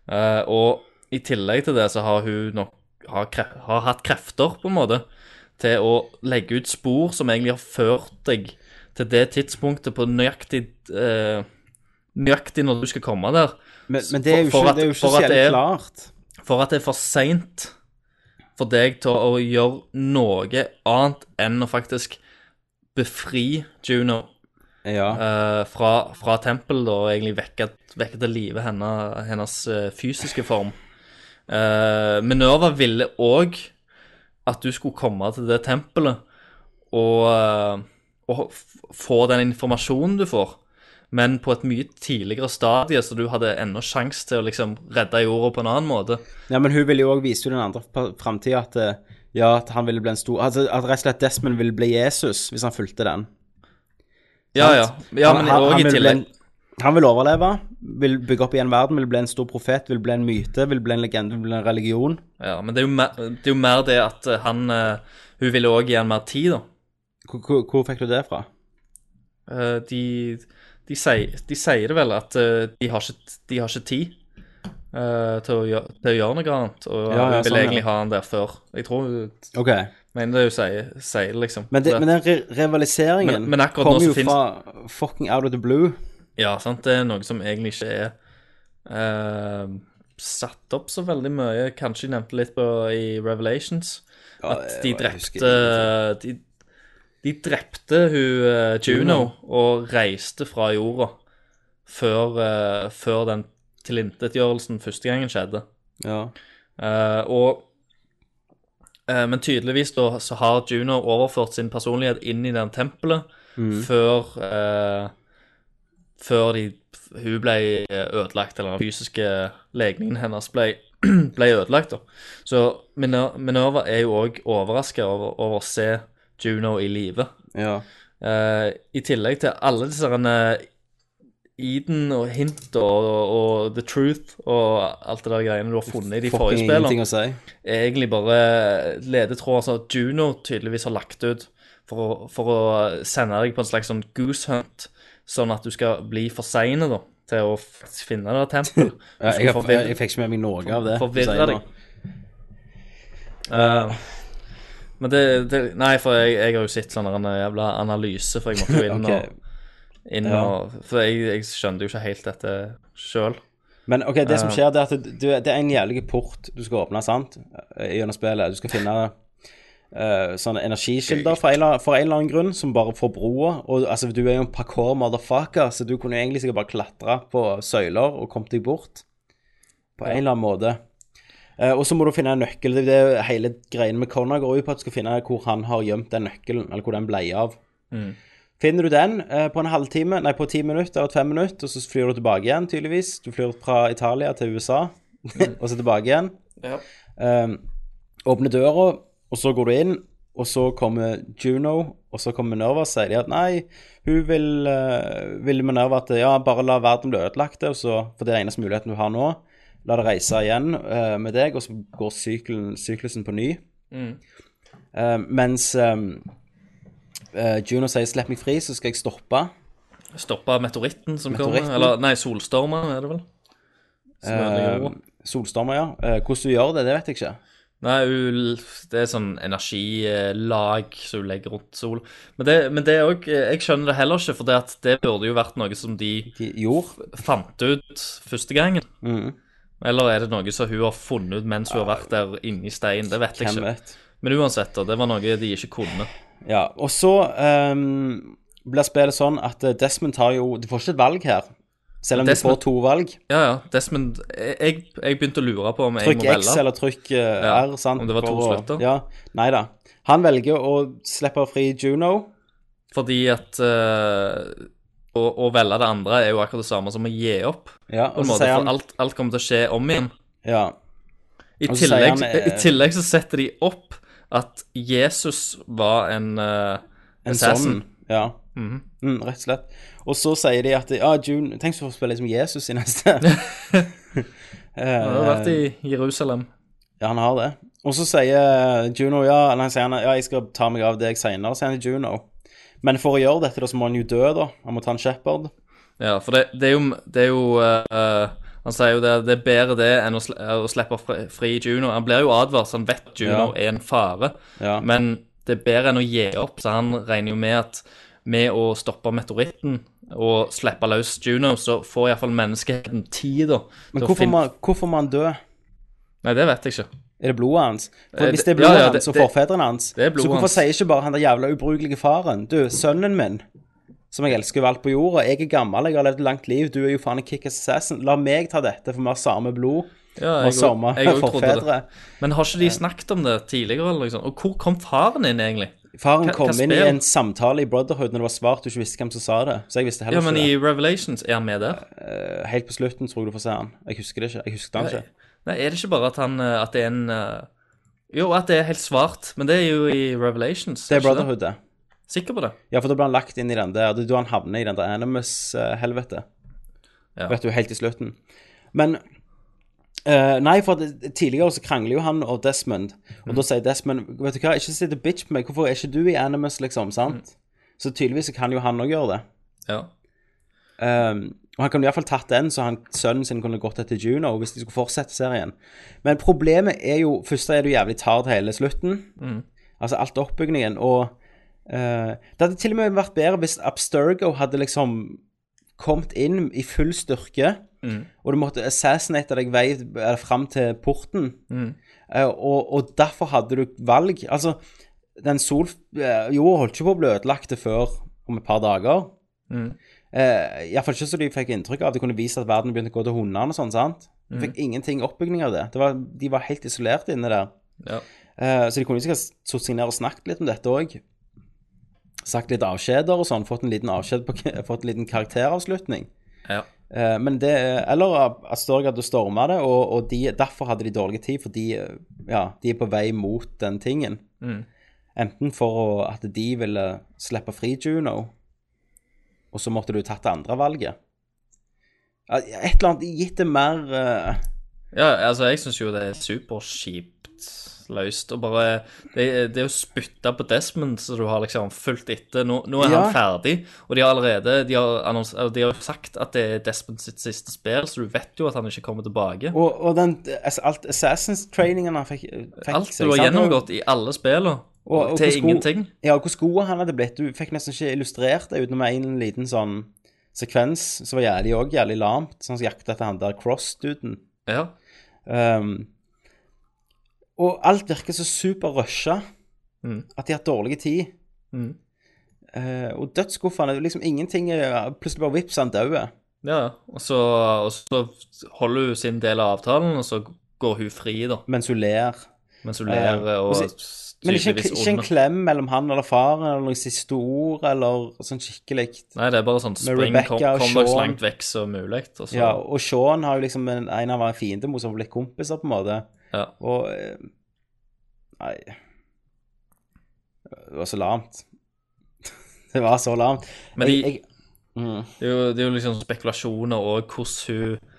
[SPEAKER 2] Eh, og i tillegg til det så har hun nok har, kre- har hatt krefter, på en måte, til å legge ut spor som egentlig har ført deg til det tidspunktet på nøyaktig eh, Nøyaktig når du skal komme der.
[SPEAKER 1] Men, men det er jo
[SPEAKER 2] For-
[SPEAKER 1] ikke,
[SPEAKER 2] for at-
[SPEAKER 1] det er jo ikke
[SPEAKER 2] for
[SPEAKER 1] så
[SPEAKER 2] at det
[SPEAKER 1] jævlig
[SPEAKER 2] er-
[SPEAKER 1] klart.
[SPEAKER 2] For at det er for seint for deg til å gjøre noe annet enn å faktisk befri Juno
[SPEAKER 1] Ja.
[SPEAKER 2] eh, fra, fra tempel da, og egentlig vekke, vekke til live henne, hennes eh, fysiske form. Eh, Minerva ville òg at du skulle komme til det tempelet og, eh, og f- få den informasjonen du får, men på et mye tidligere stadie, så du hadde ennå sjanse til å liksom redde jorda på en annen måte.
[SPEAKER 1] ja, men hun ville jo òg vise jo den andre framtida at eh, ja, at han ville bli en stor altså, At rett og slett Desmond ville bli Jesus hvis han fulgte den.
[SPEAKER 2] Ja, ja. ja
[SPEAKER 1] Han-
[SPEAKER 2] men
[SPEAKER 1] han-
[SPEAKER 2] også
[SPEAKER 1] han
[SPEAKER 2] i
[SPEAKER 1] vil bli
[SPEAKER 2] tillegg
[SPEAKER 1] en- Han vil overleve, vil bygge opp igjen verden, vil bli en stor profet, vil bli en myte, vil bli en legende, vil bli en religion.
[SPEAKER 2] ja, Men det er, jo mer, det er jo mer det at eh, han eh, Hun ville òg gi han mer tid, da.
[SPEAKER 1] Hvor, hvor, hvor fikk du det fra?
[SPEAKER 2] Eh, de, de, sier, de sier det vel at eh, de, har ikke, de har ikke tid eh, til, å gjøre, til å gjøre noe annet. Og
[SPEAKER 1] Ja, ja,
[SPEAKER 2] hun vil
[SPEAKER 1] sånn, ja.
[SPEAKER 2] egentlig ha han der før. Jeg tror hun
[SPEAKER 1] Ok.
[SPEAKER 2] mener det hun sier, sier det, liksom.
[SPEAKER 1] Men, det,
[SPEAKER 2] Så-
[SPEAKER 1] men den re rivaliseringen
[SPEAKER 2] Men- men akkurat nå
[SPEAKER 1] kommer jo
[SPEAKER 2] så finnes-
[SPEAKER 1] fra fucking out of the blue.
[SPEAKER 2] Ja, sant. Det er noe som egentlig ikke er eh, satt opp så veldig mye. Kanskje jeg nevnte litt på i Revelations. At de
[SPEAKER 1] jeg husker
[SPEAKER 2] drepte de, de drepte hun eh, Juno og reiste fra jorda før, eh, før den tilintetgjørelsen første gangen skjedde.
[SPEAKER 1] Ja.
[SPEAKER 2] Eh, og eh, Men tydeligvis da så har Juno overført sin personlighet inn i den tempelet
[SPEAKER 1] Mm.
[SPEAKER 2] før eh, Før de, hun ble eh, ødelagt, eller den fysiske legningen hennes ble, ble ødelagt. da. Så Miner- Minerva er jo òg overraska over, over å se Juno i live.
[SPEAKER 1] ja.
[SPEAKER 2] Eh, I tillegg til alle disse herne Eden og Hint og, og The Truth og alt det der greiene du har funnet i de forrige
[SPEAKER 1] Fucking ingenting
[SPEAKER 2] spillene,
[SPEAKER 1] å si.
[SPEAKER 2] er egentlig bare ledetråder som Juno tydeligvis har lagt ut for å, for å sende deg på en slags sånn goose hunt, sånn at du skal bli for seine da, til å faktisk finne det tempelet.
[SPEAKER 1] Ja, jeg, har- jeg, jeg fikk ikke med meg noe av det. du
[SPEAKER 2] Forvirre
[SPEAKER 1] sier
[SPEAKER 2] deg.
[SPEAKER 1] nå.
[SPEAKER 2] Eh, men det, det Nei, for jeg, jeg har jo sett sånn en jævla analyse, for jeg måtte jo inn
[SPEAKER 1] Ok.
[SPEAKER 2] og inn
[SPEAKER 1] Ja.
[SPEAKER 2] og For jeg, jeg skjønte jo ikke helt dette sjøl.
[SPEAKER 1] Men ok, det som skjer, det er at du, det er en jævlig port du skal åpne, sant? Eh, Gjennom spillet. Du skal finne eh, sånne energikilder for en, eller- for en eller annen grunn, som bare får broa. Og altså, du er jo en parkour motherfucker, så du kunne jo egentlig sikkert bare klatre på søyler og kommet deg bort. På en eller annen måte. Eh, og så må du finne en nøkkel. Det er jo hele greien med Connor går ut på at du skal finne hvor han har gjemt den nøkkelen, eller hvor den ble av. Finner du den eh, på en halvtime, nei, på ti minutter eller fem minutter, og så flyr du tilbake igjen, tydeligvis. Du flyr fra Italia til USA, og så tilbake igjen.
[SPEAKER 2] Ja.
[SPEAKER 1] Um, åpner døra, og så går du inn, og så kommer Juno, og så kommer Minerva og sier de at nei, hun vil, eh, vil Minerva at ja, bare la verden bli ødelagt, og så, for det er eneste muligheten du har nå. La det reise igjen eh, med deg, og så går syklen, syklusen på ny. Eh, mens eh, eh, Juno sier 'slipp meg fri, så skal jeg stoppe'.
[SPEAKER 2] Stoppa meteoritten som
[SPEAKER 1] Meteoritten.
[SPEAKER 2] kommer. Eller nei, solstormen er det vel. Som ødelegger
[SPEAKER 1] Eh,
[SPEAKER 2] jorda.
[SPEAKER 1] Solstormer, ja. Eh, hvordan du gjør det, det vet jeg ikke.
[SPEAKER 2] Nei, hun- det er sånn energilag som hun legger rundt sol. Men det, men det er òg Jeg skjønner det heller ikke, for det, at det burde jo vært noe som de
[SPEAKER 1] De- Jord.
[SPEAKER 2] fant ut første gangen.
[SPEAKER 1] Mm.
[SPEAKER 2] Eller er det noe som hun har funnet ut mens hun har vært der inni steinen? Det vet jeg
[SPEAKER 1] Hvem
[SPEAKER 2] ikke.
[SPEAKER 1] vet.
[SPEAKER 2] Men uansett, da, det var noe de ikke kunne.
[SPEAKER 1] Ja, og så ehm, blir spillet sånn at eh, Desmond tar jo Du får ikke et valg her, selv om
[SPEAKER 2] Desmond-
[SPEAKER 1] du får to valg.
[SPEAKER 2] Ja, ja, Desmond Jeg, jeg begynte å lure på om jeg
[SPEAKER 1] Trykk
[SPEAKER 2] må velge.
[SPEAKER 1] X eller trykk eh,
[SPEAKER 2] Ja,
[SPEAKER 1] R, sant?
[SPEAKER 2] om det var to
[SPEAKER 1] for å-
[SPEAKER 2] slutter.
[SPEAKER 1] Ja, Nei da. Han velger å slippe fri Juno.
[SPEAKER 2] Fordi at eh, å, å velge det andre er jo akkurat det samme som å gi opp.
[SPEAKER 1] Ja, og
[SPEAKER 2] På en
[SPEAKER 1] så
[SPEAKER 2] måte,
[SPEAKER 1] sier
[SPEAKER 2] for
[SPEAKER 1] han
[SPEAKER 2] alt, alt kommer til å skje om igjen.
[SPEAKER 1] ja,
[SPEAKER 2] I
[SPEAKER 1] Og så sier
[SPEAKER 2] tillegg,
[SPEAKER 1] han, eh,
[SPEAKER 2] I tillegg så setter de opp at Jesus var en eh,
[SPEAKER 1] en
[SPEAKER 2] assassin. Mhm.
[SPEAKER 1] sånn. Ja. Mm, rett og slett. Og så sier de at ja, June, Tenk så får spille som Jesus i neste.
[SPEAKER 2] Han har jo vært
[SPEAKER 1] eh,
[SPEAKER 2] i Jerusalem.
[SPEAKER 1] Ja, han har det. Og så sier Juno ja, eller han sier han, ja, jeg skal ta meg av deg senere, sier han til Juno. Men for å gjøre dette, da, så må han jo dø, da. Han må ta en shepherd.
[SPEAKER 2] Ja, for det, det er jo, det er jo eh, Han sier jo det, det er bedre det enn å, sl eh, å slippe fri, fri Juno. Han blir jo advart, så han vet Juno
[SPEAKER 1] Ja.
[SPEAKER 2] er en fare.
[SPEAKER 1] Ja.
[SPEAKER 2] Men det er bedre enn å gi opp, så han regner jo med at med å stoppe meteoritten og slippe løs Juno, så får iallfall menneskeheten tid, da. til
[SPEAKER 1] Men
[SPEAKER 2] å
[SPEAKER 1] hvorfor
[SPEAKER 2] finne-
[SPEAKER 1] må, han- hvorfor må han dø?
[SPEAKER 2] Nei, det vet jeg ikke.
[SPEAKER 1] Er det blodet hans? For
[SPEAKER 2] Eh,
[SPEAKER 1] hvis
[SPEAKER 2] det-
[SPEAKER 1] det er blodet
[SPEAKER 2] ja, ja, det-
[SPEAKER 1] hans og
[SPEAKER 2] det-
[SPEAKER 1] forfedrene hans,
[SPEAKER 2] det er blodet
[SPEAKER 1] så hvorfor
[SPEAKER 2] hans.
[SPEAKER 1] sier ikke bare han der jævla ubrukelige faren Du, sønnen min, som jeg elsker over alt på jorda, jeg er gammel, jeg har levd et langt liv, du er jo faen en kickass assassin, la meg ta dette, for vi har samme blod, vi
[SPEAKER 2] Ja, jeg
[SPEAKER 1] har
[SPEAKER 2] også-
[SPEAKER 1] samme
[SPEAKER 2] jeg også trodde det.
[SPEAKER 1] forfedre.
[SPEAKER 2] Men har ikke de snakket om det tidligere? eller liksom? Og hvor kom faren inn, egentlig?
[SPEAKER 1] Faren
[SPEAKER 2] Hva-
[SPEAKER 1] kom
[SPEAKER 2] hva
[SPEAKER 1] inn i
[SPEAKER 2] spill?
[SPEAKER 1] en samtale i Brotherhood når det var svart du ikke visste hvem som sa det, så jeg visste heller
[SPEAKER 2] Ja, men
[SPEAKER 1] ikke det.
[SPEAKER 2] i Revelations, er han med der?
[SPEAKER 1] Eh, Helt på slutten tror jeg du får se han. Jeg husker det ikke. Jeg husker han
[SPEAKER 2] Nei,
[SPEAKER 1] ikke.
[SPEAKER 2] nei, er det ikke bare at han eh, At det er en eh, Jo, at det er helt svart, men det er jo i Revelations.
[SPEAKER 1] Det er
[SPEAKER 2] ikke
[SPEAKER 1] Brotherhood, det.
[SPEAKER 2] Sikker på det?
[SPEAKER 1] Ja, for da ble han lagt inn i den der. Det er da han havner i den der Animus-helvete.
[SPEAKER 2] Ja.
[SPEAKER 1] Vet du, helt i slutten. Men eh, Nei, for det, tidligere så krangler jo han og Desmond. Og
[SPEAKER 2] Mm.
[SPEAKER 1] da sier Desmond Vet du hva, ikke sitt bitch på meg. Hvorfor er ikke du i Animus, liksom?
[SPEAKER 2] Mm.
[SPEAKER 1] Sant? Så tydeligvis så kan jo han òg gjøre det.
[SPEAKER 2] Ja.
[SPEAKER 1] Um, og han kunne iallfall tatt den, så han, sønnen sin kunne gått etter Juno hvis de skulle fortsette serien. Men problemet er jo Først er du jævlig tard hele slutten. Altså alt oppbyggingen. Og eh, det hadde til og med vært bedre hvis Abstergo hadde liksom kommet inn i full styrke, og du måtte assassinate deg vei eller fram til porten. Eh, og, og derfor hadde du valg. Altså, den sol... eh, Jorda holdt ikke på å bli ødelagt før om et par dager.
[SPEAKER 2] Mm.
[SPEAKER 1] Eh, Iallfall ikke så de fikk inntrykk av. De kunne vist at verden begynte å gå til hundene og sånn, sant? De fikk ingenting oppbygging av det. det var, de var helt isolert inne der.
[SPEAKER 2] Ja.
[SPEAKER 1] Eh, så de kunne jo sikkert satt seg ned og snakket litt om dette òg. Sagt litt avskjeder og sånn. Fått en liten avskjed på, fått en liten karakteravslutning.
[SPEAKER 2] ja.
[SPEAKER 1] Eh, men det Eller at Storg hadde storma det, og, og de, derfor hadde de dårlig tid, for de, eh, ja, de er på vei mot den tingen.
[SPEAKER 2] Mm.
[SPEAKER 1] Enten for å, at de ville slippe fri Juno, og så måtte du tatt det andre valget. Ja, Et eller annet Gitt det mer eh,
[SPEAKER 2] ja altså, jeg syns jo det er superkjipt løst. Og bare Det, det å spytte på Desmond, så du har liksom fulgt etter Nå, nå er
[SPEAKER 1] Ja.
[SPEAKER 2] han ferdig, og de har allerede De har, annons, eller de har jo sagt at det er Desmond sitt siste spill, så du vet jo at han ikke kommer tilbake.
[SPEAKER 1] Og, og den altså, alt Assassins-trainingen han fikk, eh, fikk
[SPEAKER 2] Alt
[SPEAKER 1] seg,
[SPEAKER 2] du har
[SPEAKER 1] sant?
[SPEAKER 2] gjennomgått i alle spillene,
[SPEAKER 1] Og- og hvor
[SPEAKER 2] til
[SPEAKER 1] sko-
[SPEAKER 2] ingenting.
[SPEAKER 1] Ja, hvor skoa han hadde blitt. Du fikk nesten ikke illustrert det utenom en liten sånn sekvens så var jævlig òg jævlig lamt. Så han jakta etter han der cross-duden.
[SPEAKER 2] Ja.
[SPEAKER 1] Ehm, og alt virker så superrusha at de har hatt dårlig tid.
[SPEAKER 2] Mm.
[SPEAKER 1] Eh, og dødsskuffene liksom Ingenting er Plutselig bare vips, han døde.
[SPEAKER 2] ja. Og, så, og så holder hun sin del av avtalen, og så går hun fri, da.
[SPEAKER 1] Mens hun ler.
[SPEAKER 2] Mens hun ler
[SPEAKER 1] Ja.
[SPEAKER 2] og
[SPEAKER 1] Og så- Men ikke, en-
[SPEAKER 2] tydeligvis
[SPEAKER 1] ikke en
[SPEAKER 2] ond.
[SPEAKER 1] klem mellom han eller faren eller noen siste ord eller sånn skikkelig.
[SPEAKER 2] Nei, det er bare sånn
[SPEAKER 1] Med
[SPEAKER 2] spring,
[SPEAKER 1] Rebecca
[SPEAKER 2] kom,
[SPEAKER 1] og
[SPEAKER 2] kom dere så
[SPEAKER 1] Sean.
[SPEAKER 2] langt vekk som mulig. Og så,
[SPEAKER 1] Ja, og Sean har jo liksom en, en av hans fiender mot som har blitt kompiser, på en måte.
[SPEAKER 2] Ja.
[SPEAKER 1] Og eh, Nei. Det var så lamt. det var så lamt.
[SPEAKER 2] Men de-
[SPEAKER 1] jeg, jeg, mm,
[SPEAKER 2] Det er, jo, det er jo liksom spekulasjoner og hvordan hun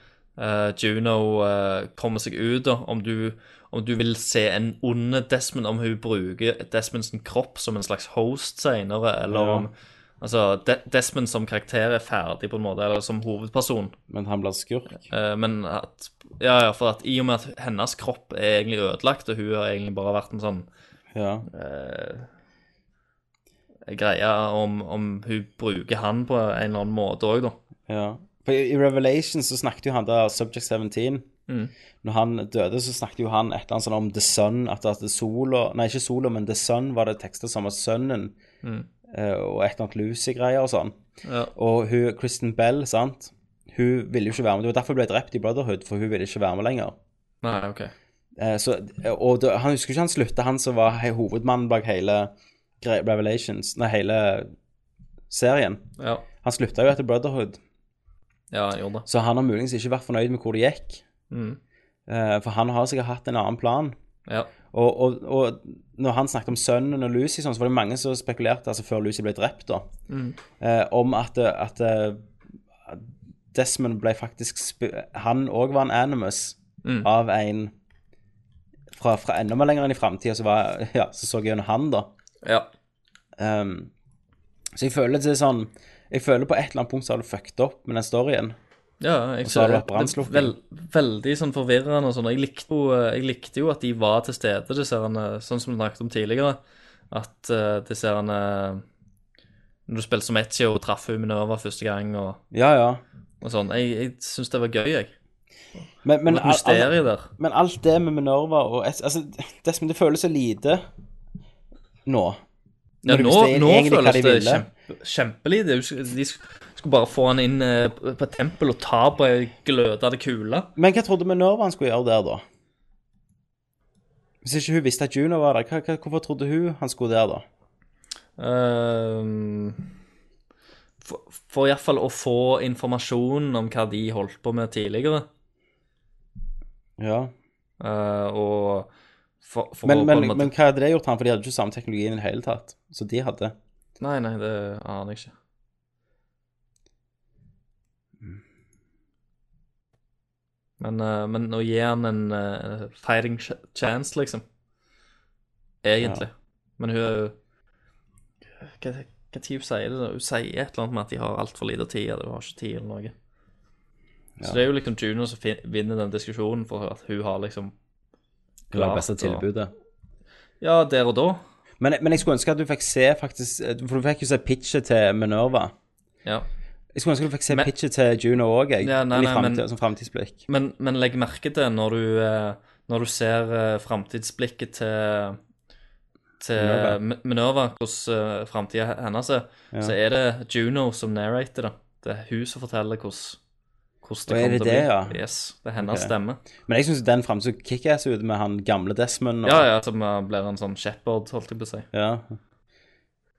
[SPEAKER 2] eh, Juno eh, kommer seg ut, da. Om du, om du vil se en onde Desmond, om hun bruker Desmonds kropp som en slags host senere, eller
[SPEAKER 1] Ja.
[SPEAKER 2] om Altså, De Desmond som karakter er ferdig, på en måte, eller som hovedperson,
[SPEAKER 1] men han blir skurk.
[SPEAKER 2] Eh, men at Ja, ja, for at i og med at hennes kropp er egentlig ødelagt, og hun har egentlig bare vært en sånn
[SPEAKER 1] Ja.
[SPEAKER 2] greie om, om hun bruker han på en eller annen måte òg, da.
[SPEAKER 1] ja. For i, I Revelation så snakket jo han der Subject 17. Når han døde, så snakket jo han et eller annet sånn om The Sun. At, at sola Nei, ikke sola, men The Sun var det tekster som var sønnen. eh, og et eller annet Lucy-greier og sånn.
[SPEAKER 2] Ja.
[SPEAKER 1] Og hun, Kristen Bell, sant? hun ville jo ikke være med. Det var derfor hun ble drept i Brotherhood, for hun ville ikke være med lenger.
[SPEAKER 2] Nei, OK.
[SPEAKER 1] Eh, så, og da, han husker ikke han slutta, han som var he- hovedmannen bak hele gre- Revelations, nei, hele serien.
[SPEAKER 2] Ja.
[SPEAKER 1] Han slutta jo etter Brotherhood,
[SPEAKER 2] Ja, han gjorde det.
[SPEAKER 1] så han har muligens ikke vært fornøyd med hvor det gikk.
[SPEAKER 2] Mm.
[SPEAKER 1] Eh, for han har sikkert hatt en annen plan.
[SPEAKER 2] Ja.
[SPEAKER 1] Og, og, og når han snakket om sønnen og Lucy, sånn, så var det mange som spekulerte, altså før Lucy ble drept, da, eh, om at, at eh, Desmond ble faktisk sp- Han òg var en animus av en fra, fra enda mer lenger enn i framtida, så, var- ja, så så jeg gjennom han, da.
[SPEAKER 2] ja.
[SPEAKER 1] Ehm, så jeg føler det er sånn Jeg føler på et eller annet punkt så har du fucket opp med den storyen.
[SPEAKER 2] Ja, jeg
[SPEAKER 1] Og så har det
[SPEAKER 2] ser det.
[SPEAKER 1] vært
[SPEAKER 2] Det
[SPEAKER 1] brannslukking.
[SPEAKER 2] er vel, veldig sånn forvirrende og sånn. Jeg likte, jo, jeg likte jo at de var til stede, disse herrene, sånn som vi snakket om tidligere. At eh, disse herrene Når du spilte som Etje og traff hun Minerva første gang og,
[SPEAKER 1] Ja, ja.
[SPEAKER 2] og sånn. Jeg, jeg syns det var gøy, jeg.
[SPEAKER 1] Men, men,
[SPEAKER 2] Men,
[SPEAKER 1] al- al-
[SPEAKER 2] mysteriet der.
[SPEAKER 1] Men alt det med Minerva og S- altså, Desmond, det føles så lite nå.
[SPEAKER 2] Ja,
[SPEAKER 1] du
[SPEAKER 2] nå,
[SPEAKER 1] visste egentlig
[SPEAKER 2] nå
[SPEAKER 1] hva de
[SPEAKER 2] føles det
[SPEAKER 1] ville.
[SPEAKER 2] kjempe, kjempelite. De sk- De sk- skulle bare få han inn eh, på på et tempel og ta på ei glødende kule.
[SPEAKER 1] Men hva trodde Minerva han skulle gjøre der, da? Hvis ikke hun visste at Juno var der, hva, hva, hvorfor trodde hun han skulle der, da?
[SPEAKER 2] Ehm, for, for iallfall å få informasjon om hva de holdt på med tidligere.
[SPEAKER 1] Ja.
[SPEAKER 2] eh, og for, for
[SPEAKER 1] Men,
[SPEAKER 2] å på
[SPEAKER 1] men,
[SPEAKER 2] en måte-
[SPEAKER 1] men hva hadde det gjort han, for de hadde jo ikke samme teknologien i det hele tatt. Så de hadde.
[SPEAKER 2] Nei, nei, det aner jeg ikke. Men, eh, men å gi han en eh, fighting ch- chance, liksom. Egentlig. Men hun er jo Hva, hva tid hun sier det? da? Hun sier et eller annet med at de har altfor lite tid, eller hun har ikke tid, eller noe. Så det er jo liksom Juno som fin vinner den diskusjonen, for at hun har liksom
[SPEAKER 1] Det var det
[SPEAKER 2] klart
[SPEAKER 1] beste
[SPEAKER 2] å-
[SPEAKER 1] tilbudet.
[SPEAKER 2] Ja, der og da.
[SPEAKER 1] Men, men jeg skulle ønske at du fikk se faktisk For du fikk jo se pitchet til Minerva.
[SPEAKER 2] Ja.
[SPEAKER 1] Jeg skulle ønske du fikk se
[SPEAKER 2] Men-
[SPEAKER 1] pitchet til Juno òg, jeg.
[SPEAKER 2] Ja, nei,
[SPEAKER 1] i
[SPEAKER 2] nei, men-
[SPEAKER 1] fremtid- Som framtidsblikk.
[SPEAKER 2] Men, men legg merke til når du, eh, når du ser eh, framtidsblikket til, til
[SPEAKER 1] Minerva.
[SPEAKER 2] Mi- Minerva, hvordan uh, framtida hennes er, så er det Juno som narrater det. Det er hun som forteller hvordan, hvordan det
[SPEAKER 1] Og er
[SPEAKER 2] kommer
[SPEAKER 1] det
[SPEAKER 2] til å bli.
[SPEAKER 1] det, ja?
[SPEAKER 2] Yes, det er hennes
[SPEAKER 1] Ok.
[SPEAKER 2] stemme.
[SPEAKER 1] Men jeg syns den framstår kickass ut med han gamle Desmond. Og,
[SPEAKER 2] Ja, ja, som eh, blir en sånn shepherd, holdt jeg på å si.
[SPEAKER 1] ja.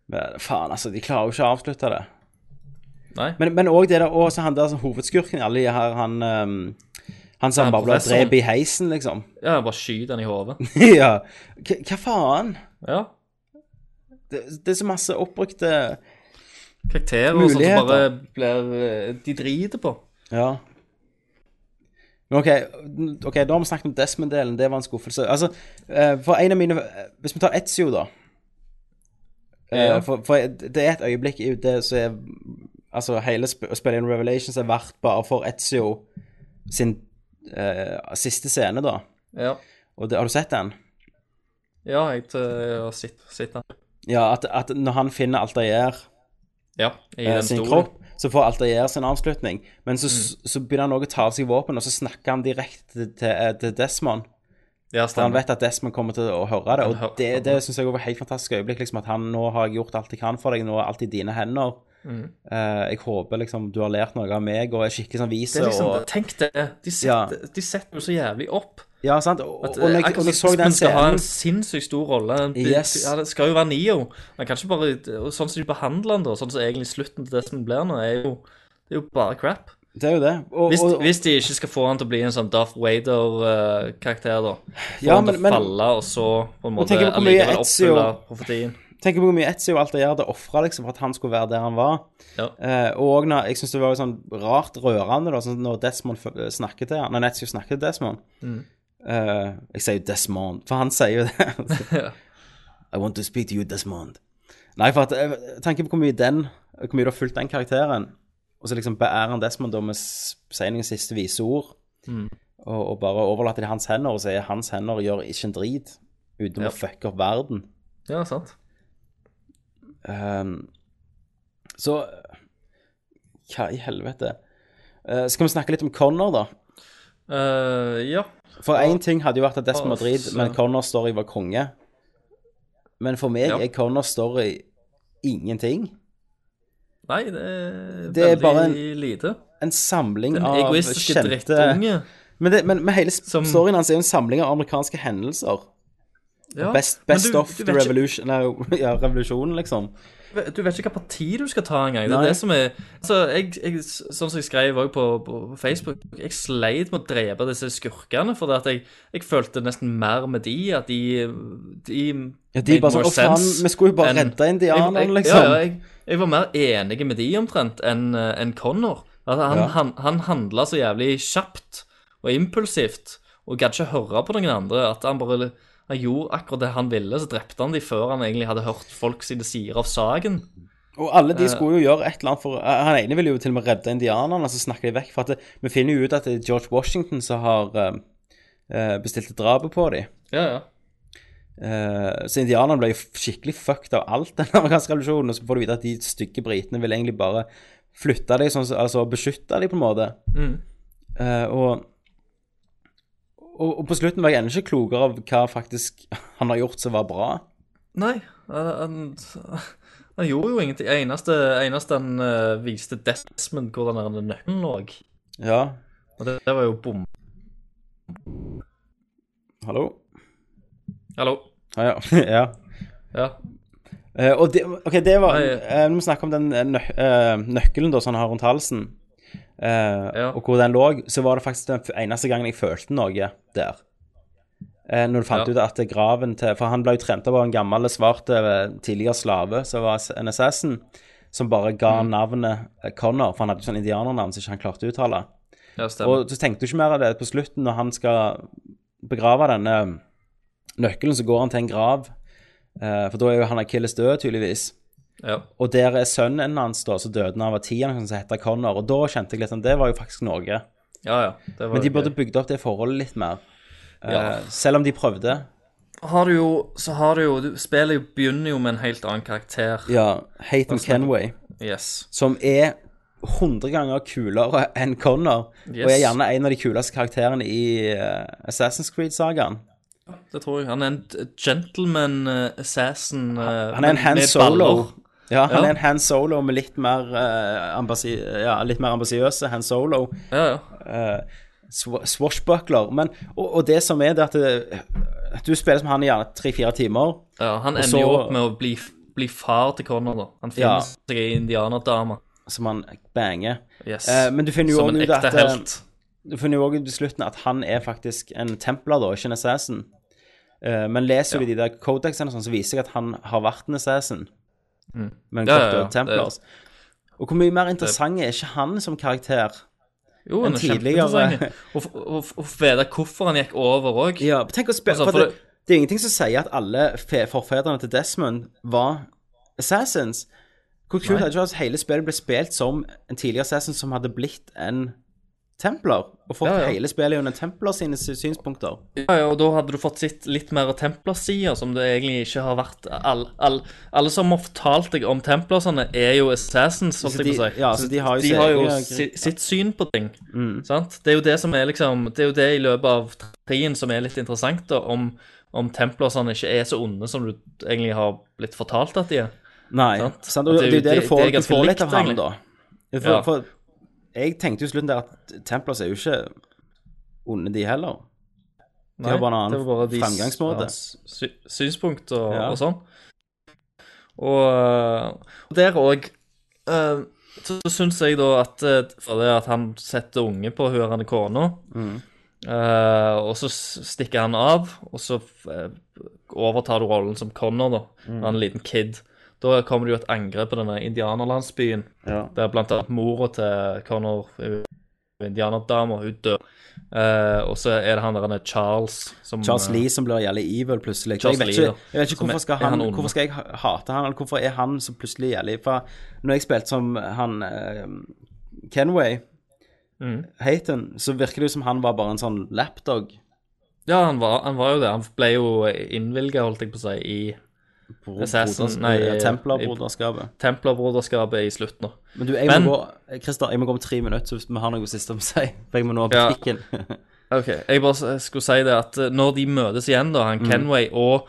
[SPEAKER 1] Men faen, altså. De klarer jo ikke å avslutte det.
[SPEAKER 2] Nei.
[SPEAKER 1] Men- Men òg det der og så han der som hovedskurken i alle de her, han ehm, Han som
[SPEAKER 2] Han
[SPEAKER 1] bare ble
[SPEAKER 2] professoren.
[SPEAKER 1] drept i heisen, liksom.
[SPEAKER 2] Ja, bare skyt den i hodet.
[SPEAKER 1] ja. Hva- Hva faen?
[SPEAKER 2] Ja.
[SPEAKER 1] Det, det er så masse oppbrukte
[SPEAKER 2] Karakterer og sånt som bare
[SPEAKER 1] Muligheter.
[SPEAKER 2] blir eh, De driter på.
[SPEAKER 1] Ja. Men OK, ok, da har vi snakket om Desmond-delen. Det var en skuffelse. Altså, eh, for en av mine Hvis vi tar Etzio, da. Eh,
[SPEAKER 2] Ja.
[SPEAKER 1] For, for det er et øyeblikk i det som er Altså, hele sp spillet in Revelations er verdt bare for Etzio sin eh, siste scene, da.
[SPEAKER 2] Ja,
[SPEAKER 1] Og det, har du sett den?
[SPEAKER 2] ja jeg, eh, jeg har sett sett den.
[SPEAKER 1] Ja, at, at når han finner Altair
[SPEAKER 2] Ja, i
[SPEAKER 1] eh,
[SPEAKER 2] den Mm.
[SPEAKER 1] sin
[SPEAKER 2] store.
[SPEAKER 1] kropp, så får Altair sin avslutning. Men så, så begynner han også å ta av seg våpen, og så snakker han direkte til, til, eh, til Desmond.
[SPEAKER 2] Ja,
[SPEAKER 1] For han
[SPEAKER 2] stemmer.
[SPEAKER 1] vet at Desmond kommer til å høre det,
[SPEAKER 2] Han hø-
[SPEAKER 1] og det, det syns jeg var et helt fantastisk øyeblikk. liksom At han nå har jeg gjort alt jeg kan for deg, nå er alt i dine hender.
[SPEAKER 2] Mm.
[SPEAKER 1] Eh, jeg håper liksom du har lært noe av meg og er skikkelig sånn vis.
[SPEAKER 2] Det er liksom,
[SPEAKER 1] og,
[SPEAKER 2] Tenk det. De setter, de setter jo så jævlig opp.
[SPEAKER 1] ja, sant? Og, og,
[SPEAKER 2] At,
[SPEAKER 1] når jeg,
[SPEAKER 2] akkurat
[SPEAKER 1] og når jeg så
[SPEAKER 2] Espen
[SPEAKER 1] den
[SPEAKER 2] skal ha en
[SPEAKER 1] scenen
[SPEAKER 2] sinnssykt stor rolle. Han blir-
[SPEAKER 1] Yes.
[SPEAKER 2] ja, det skal jo være Nio. Men kanskje bare og Sånn som de behandler han da, sånn som egentlig slutten til Desmond blir nå, er jo Det er jo bare crap.
[SPEAKER 1] Det er jo det. Og,
[SPEAKER 2] Hvis,
[SPEAKER 1] og, og,
[SPEAKER 2] hvis de ikke skal få han til å bli en sånn Darth Vader-karakter, da. Få
[SPEAKER 1] Ja,
[SPEAKER 2] han
[SPEAKER 1] men-
[SPEAKER 2] til
[SPEAKER 1] men-
[SPEAKER 2] å falle, og så på en måte
[SPEAKER 1] tenker på hvor mye
[SPEAKER 2] allikevel
[SPEAKER 1] Ezio-
[SPEAKER 2] oppfylle profetien.
[SPEAKER 1] tenker på hvor mye Etzio og alt det gjør, det ofra liksom for at han skulle være der han var.
[SPEAKER 2] Ja.
[SPEAKER 1] Eh, og også når, jeg syns det var sånn rart rørende da, sånn når Desmond f- snakker til han, når Etzio snakker til Desmond. Eh, jeg sier jo Desmond, for han sier jo det. Altså, I want to speak to you, Desmond. Nei, for at, eh, tenk på hvor mye den, hvor mye du har fulgt den karakteren, og så liksom beærer han Desmond da med s- seilingens siste vise ord, og, og bare overlater det i hans hender, og sier hans hender gjør ikke en drit, uten
[SPEAKER 2] Ja.
[SPEAKER 1] å fucke opp verden.
[SPEAKER 2] Ja, sant.
[SPEAKER 1] Ehm, så Hva i helvete? Eh, skal vi snakke litt om Connor, da?
[SPEAKER 2] Eh, ja.
[SPEAKER 1] For én ting hadde jo vært at Desmond var drit,
[SPEAKER 2] Åh,
[SPEAKER 1] men
[SPEAKER 2] så-
[SPEAKER 1] Connors story var konge. Men for meg
[SPEAKER 2] Ja.
[SPEAKER 1] er Connors story ingenting.
[SPEAKER 2] Nei, det er,
[SPEAKER 1] Det er
[SPEAKER 2] veldig
[SPEAKER 1] bare en-
[SPEAKER 2] lite.
[SPEAKER 1] En samling
[SPEAKER 2] En
[SPEAKER 1] av
[SPEAKER 2] egoistiske
[SPEAKER 1] kjente
[SPEAKER 2] drittunge.
[SPEAKER 1] men, det, men, men hele sp-
[SPEAKER 2] Som-
[SPEAKER 1] storyen hans er jo en samling av amerikanske hendelser.
[SPEAKER 2] Ja.
[SPEAKER 1] Best,
[SPEAKER 2] Men
[SPEAKER 1] best
[SPEAKER 2] du-
[SPEAKER 1] of
[SPEAKER 2] du
[SPEAKER 1] the
[SPEAKER 2] vet ikke-
[SPEAKER 1] revolution Nei, ja, revolusjonen, liksom.
[SPEAKER 2] Du vet ikke hva parti du skal ta engang. Det
[SPEAKER 1] Nei.
[SPEAKER 2] er det som er altså, jeg, jeg, Sånn som jeg skrev også på, på på Facebook, jeg sleit med å drepe disse skurkene. For at jeg, jeg følte nesten mer med de, at de De,
[SPEAKER 1] Ja, de
[SPEAKER 2] made
[SPEAKER 1] bare sånn,
[SPEAKER 2] more
[SPEAKER 1] «Å, faen,
[SPEAKER 2] sense
[SPEAKER 1] vi skulle jo bare
[SPEAKER 2] enn-
[SPEAKER 1] redde indianerne,
[SPEAKER 2] Jeg- jeg-
[SPEAKER 1] liksom.»
[SPEAKER 2] Ja, ja, jeg, jeg var mer enig med de omtrent enn eh, enn Connor. At han,
[SPEAKER 1] Ja.
[SPEAKER 2] han, han handla så jævlig kjapt og impulsivt og gadd ikke høre på noen andre. At han bare han gjorde akkurat det han ville, så drepte han de før han egentlig hadde hørt folk sine sider av saken.
[SPEAKER 1] Og alle de skulle jo gjøre et eller annet for eh, Han ene ville jo til og med redde indianerne, så snakker de vekk. For at det, vi finner jo ut at det er George Washington som har eh, eh, bestilt drapet på dem.
[SPEAKER 2] Ja, ja.
[SPEAKER 1] så indianerne ble jo f- skikkelig fucked av alt den amerikanske revolusjonen. Og så får du vite at de stygge britene vil egentlig bare flytte dem, sånn, som- altså beskytte dem på en måte.
[SPEAKER 2] Mm.
[SPEAKER 1] Eh, og, og, og på slutten var jeg ennå ikke klokere av hva faktisk han har gjort som var bra.
[SPEAKER 2] Nei, han, han, han gjorde jo ingenting. Eneste, eneste han eh, viste Desmond hvordan den der nøkkelen lå.
[SPEAKER 1] Ja,
[SPEAKER 2] Og det, det var jo bom.
[SPEAKER 1] hallo?
[SPEAKER 2] Hallo?
[SPEAKER 1] Ja, ja. ja.
[SPEAKER 2] Ja.
[SPEAKER 1] Eh, og det, ok, det var
[SPEAKER 2] Nei,
[SPEAKER 1] eh, Når vi snakker om den eh, nø, eh, nøkkelen da, som han har rundt halsen, eh,
[SPEAKER 2] Ja.
[SPEAKER 1] og hvor den lå, så var det faktisk den f- eneste gangen jeg følte noe der. Eh, når du fant
[SPEAKER 2] Ja.
[SPEAKER 1] ut at graven til For han ble jo trent opp av en gammel, svart eh, tidligere slave som var s- en assassin, som bare ga
[SPEAKER 2] Mm.
[SPEAKER 1] navnet eh, Connor, for han hadde jo sånn indianernavn som ikke han klarte å uttale.
[SPEAKER 2] ja, stemmer.
[SPEAKER 1] Og så tenkte du ikke mer av det på slutten, når han skal begrave denne nøkkelen, så går han til en grav. eh, For da er jo han Akilles død, tydeligvis.
[SPEAKER 2] ja.
[SPEAKER 1] Og der er sønnen hans, da, som døde da han var ti, han som heter Connor. Og da kjente jeg litt sånn, det var jo faktisk Norge.
[SPEAKER 2] ja, ja. Det var
[SPEAKER 1] Men de
[SPEAKER 2] jo
[SPEAKER 1] burde
[SPEAKER 2] gøy.
[SPEAKER 1] bygd opp det forholdet litt mer. Eh,
[SPEAKER 2] Ja.
[SPEAKER 1] Selv om de prøvde.
[SPEAKER 2] Har du jo, så har du jo du, Spillet jo begynner jo med en helt annen karakter.
[SPEAKER 1] Ja, Hate on Kenway,
[SPEAKER 2] Yes.
[SPEAKER 1] som er 100 ganger kulere enn Connor, og er
[SPEAKER 2] Yes.
[SPEAKER 1] gjerne en av de kuleste karakterene i eh, Assassin's Creed-sagaen.
[SPEAKER 2] Det tror jeg. Han er en gentleman eh, assassin eh,
[SPEAKER 1] Han er en
[SPEAKER 2] med-
[SPEAKER 1] Han
[SPEAKER 2] med
[SPEAKER 1] Solo.
[SPEAKER 2] baller.
[SPEAKER 1] Ja, han
[SPEAKER 2] Ja.
[SPEAKER 1] er en Han Solo med litt mer, eh, ambasi ja, litt mer ambisiøse Han Solo. eh,
[SPEAKER 2] Ja, ja.
[SPEAKER 1] Sw swashbuckler. Men, og, og det som er, det at det, du spiller som han i gjerne tre-fire timer.
[SPEAKER 2] ja. Han ender
[SPEAKER 1] så-
[SPEAKER 2] jo opp med å bli, bli far til Connor, da. Han
[SPEAKER 1] Ja.
[SPEAKER 2] finner seg ei indianerdame.
[SPEAKER 1] Som han banger.
[SPEAKER 2] Yes.
[SPEAKER 1] Eh, men du finner jo
[SPEAKER 2] Som en
[SPEAKER 1] også ut
[SPEAKER 2] ekte
[SPEAKER 1] at eh,
[SPEAKER 2] helt.
[SPEAKER 1] Du finner jo også ut i slutten at han er faktisk en templer, da, ikke en assassin. Eh, men leser du i de der codexene, og sånn, så viser jeg at han har vært en assassin. Men
[SPEAKER 2] Mm. Ja,
[SPEAKER 1] ja,
[SPEAKER 2] ja, ja.
[SPEAKER 1] templers. Og hvor mye mer interessant er ikke han som karakter?
[SPEAKER 2] Jo,
[SPEAKER 1] enn
[SPEAKER 2] han er
[SPEAKER 1] tidligere.
[SPEAKER 2] kjempeinteressant. Og f- og f- og få vite hvorfor han gikk over òg.
[SPEAKER 1] Ja, tenk å spille
[SPEAKER 2] Altså,
[SPEAKER 1] for,
[SPEAKER 2] for
[SPEAKER 1] det, det er ingenting som sier at alle fe forfedrene til Desmond var assassins. Hvor kult hadde det vært hvis hele spillet ble spilt som en tidligere assassin som hadde blitt en Templer, og fått
[SPEAKER 2] Ja, ja.
[SPEAKER 1] hele spillet under Templer sine sy- synspunkter.
[SPEAKER 2] Ja, ja, og da hadde du fått sett litt mer av Templars-sida, som det egentlig ikke har vært all, all, Alle som har fortalt deg om Templarsene, er jo Assassins, holdt
[SPEAKER 1] Så
[SPEAKER 2] jeg på å
[SPEAKER 1] de-
[SPEAKER 2] si.
[SPEAKER 1] ja, Mm. så de har jo
[SPEAKER 2] de har jo
[SPEAKER 1] sine-
[SPEAKER 2] si, sitt syn på ting. Sant? Det er jo det som er liksom Det er jo det i løpet av trien som er litt interessant, da, om, om Templarsene ikke er så onde som du egentlig har blitt fortalt at de er.
[SPEAKER 1] Nei,
[SPEAKER 2] Sant?
[SPEAKER 1] sant? Og, det er jo det du får,
[SPEAKER 2] det er
[SPEAKER 1] du
[SPEAKER 2] ganske
[SPEAKER 1] får litt
[SPEAKER 2] likt,
[SPEAKER 1] av ham,
[SPEAKER 2] egentlig.
[SPEAKER 1] da. For,
[SPEAKER 2] Ja.
[SPEAKER 1] for jeg tenkte jo i slutten der at Templers er jo ikke onde, de heller. De har bare en annen
[SPEAKER 2] det var bare de-
[SPEAKER 1] fremgangsmåte.
[SPEAKER 2] hans sy synspunkt og,
[SPEAKER 1] Ja.
[SPEAKER 2] og sånn. Og, øh, og der òg så, så syns jeg da at øh, For det at han setter unge på hun her kona,
[SPEAKER 1] Mm.
[SPEAKER 2] øh, og så s- stikker han av, og så øh, overtar du rollen som Connor, da,
[SPEAKER 1] Mm.
[SPEAKER 2] når han er en liten kid. Da kommer det jo et angrep på denne indianerlandsbyen,
[SPEAKER 1] Ja.
[SPEAKER 2] der blant annet mora til Connor, hun indianerdama, hun dør. Eh, og så er det han der han er Charles som
[SPEAKER 1] Charles
[SPEAKER 2] eh,
[SPEAKER 1] Lee som blir jævlig evil plutselig.
[SPEAKER 2] Charles
[SPEAKER 1] jeg, vet
[SPEAKER 2] Lee,
[SPEAKER 1] ikke,
[SPEAKER 2] da.
[SPEAKER 1] jeg vet ikke
[SPEAKER 2] Som
[SPEAKER 1] hvorfor
[SPEAKER 2] er-
[SPEAKER 1] skal
[SPEAKER 2] er
[SPEAKER 1] han,
[SPEAKER 2] han ond?
[SPEAKER 1] hvorfor skal jeg ha- hate han, eller hvorfor er han så plutselig jævlig? For når jeg spilte som han eh, Kenway, Mm. Hayton, så virker det jo som han var bare en sånn lapdog
[SPEAKER 2] Ja, han var, han var jo det. Han ble jo innvilga, holdt jeg på å si, i
[SPEAKER 1] på
[SPEAKER 2] Assassin,
[SPEAKER 1] broders-
[SPEAKER 2] nei,
[SPEAKER 1] eh, Templerbroderskapet.
[SPEAKER 2] Templerbroderskapet i slutten. nå.
[SPEAKER 1] Men du, jeg
[SPEAKER 2] Men-
[SPEAKER 1] må gå eh, Christer, jeg må gå om tre minutter, så hvis vi har noe siste om seg. For jeg må nå på
[SPEAKER 2] Ja.
[SPEAKER 1] butikken.
[SPEAKER 2] Ok, jeg bare s- skulle si det at eh, når de møtes igjen, da, han Kenway og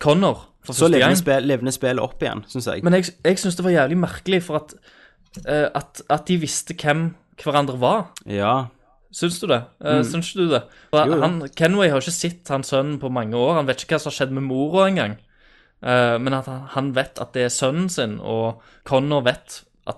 [SPEAKER 2] Connor for
[SPEAKER 1] Mm. så
[SPEAKER 2] første gang
[SPEAKER 1] levner spil, levner spillet opp igjen, syns jeg.
[SPEAKER 2] Men jeg, jeg syns det var jævlig merkelig, for at, eh, at, at de visste hvem hverandre var.
[SPEAKER 1] ja.
[SPEAKER 2] Syns du det? Eh, Syns ikke du det? For
[SPEAKER 1] Mm. Jo, jo.
[SPEAKER 2] Han, Kenway har ikke sett han sønnen på mange år. Han vet ikke hva som har skjedd med mora engang. Eh, men at han, han vet at det er sønnen sin, og Connor vet at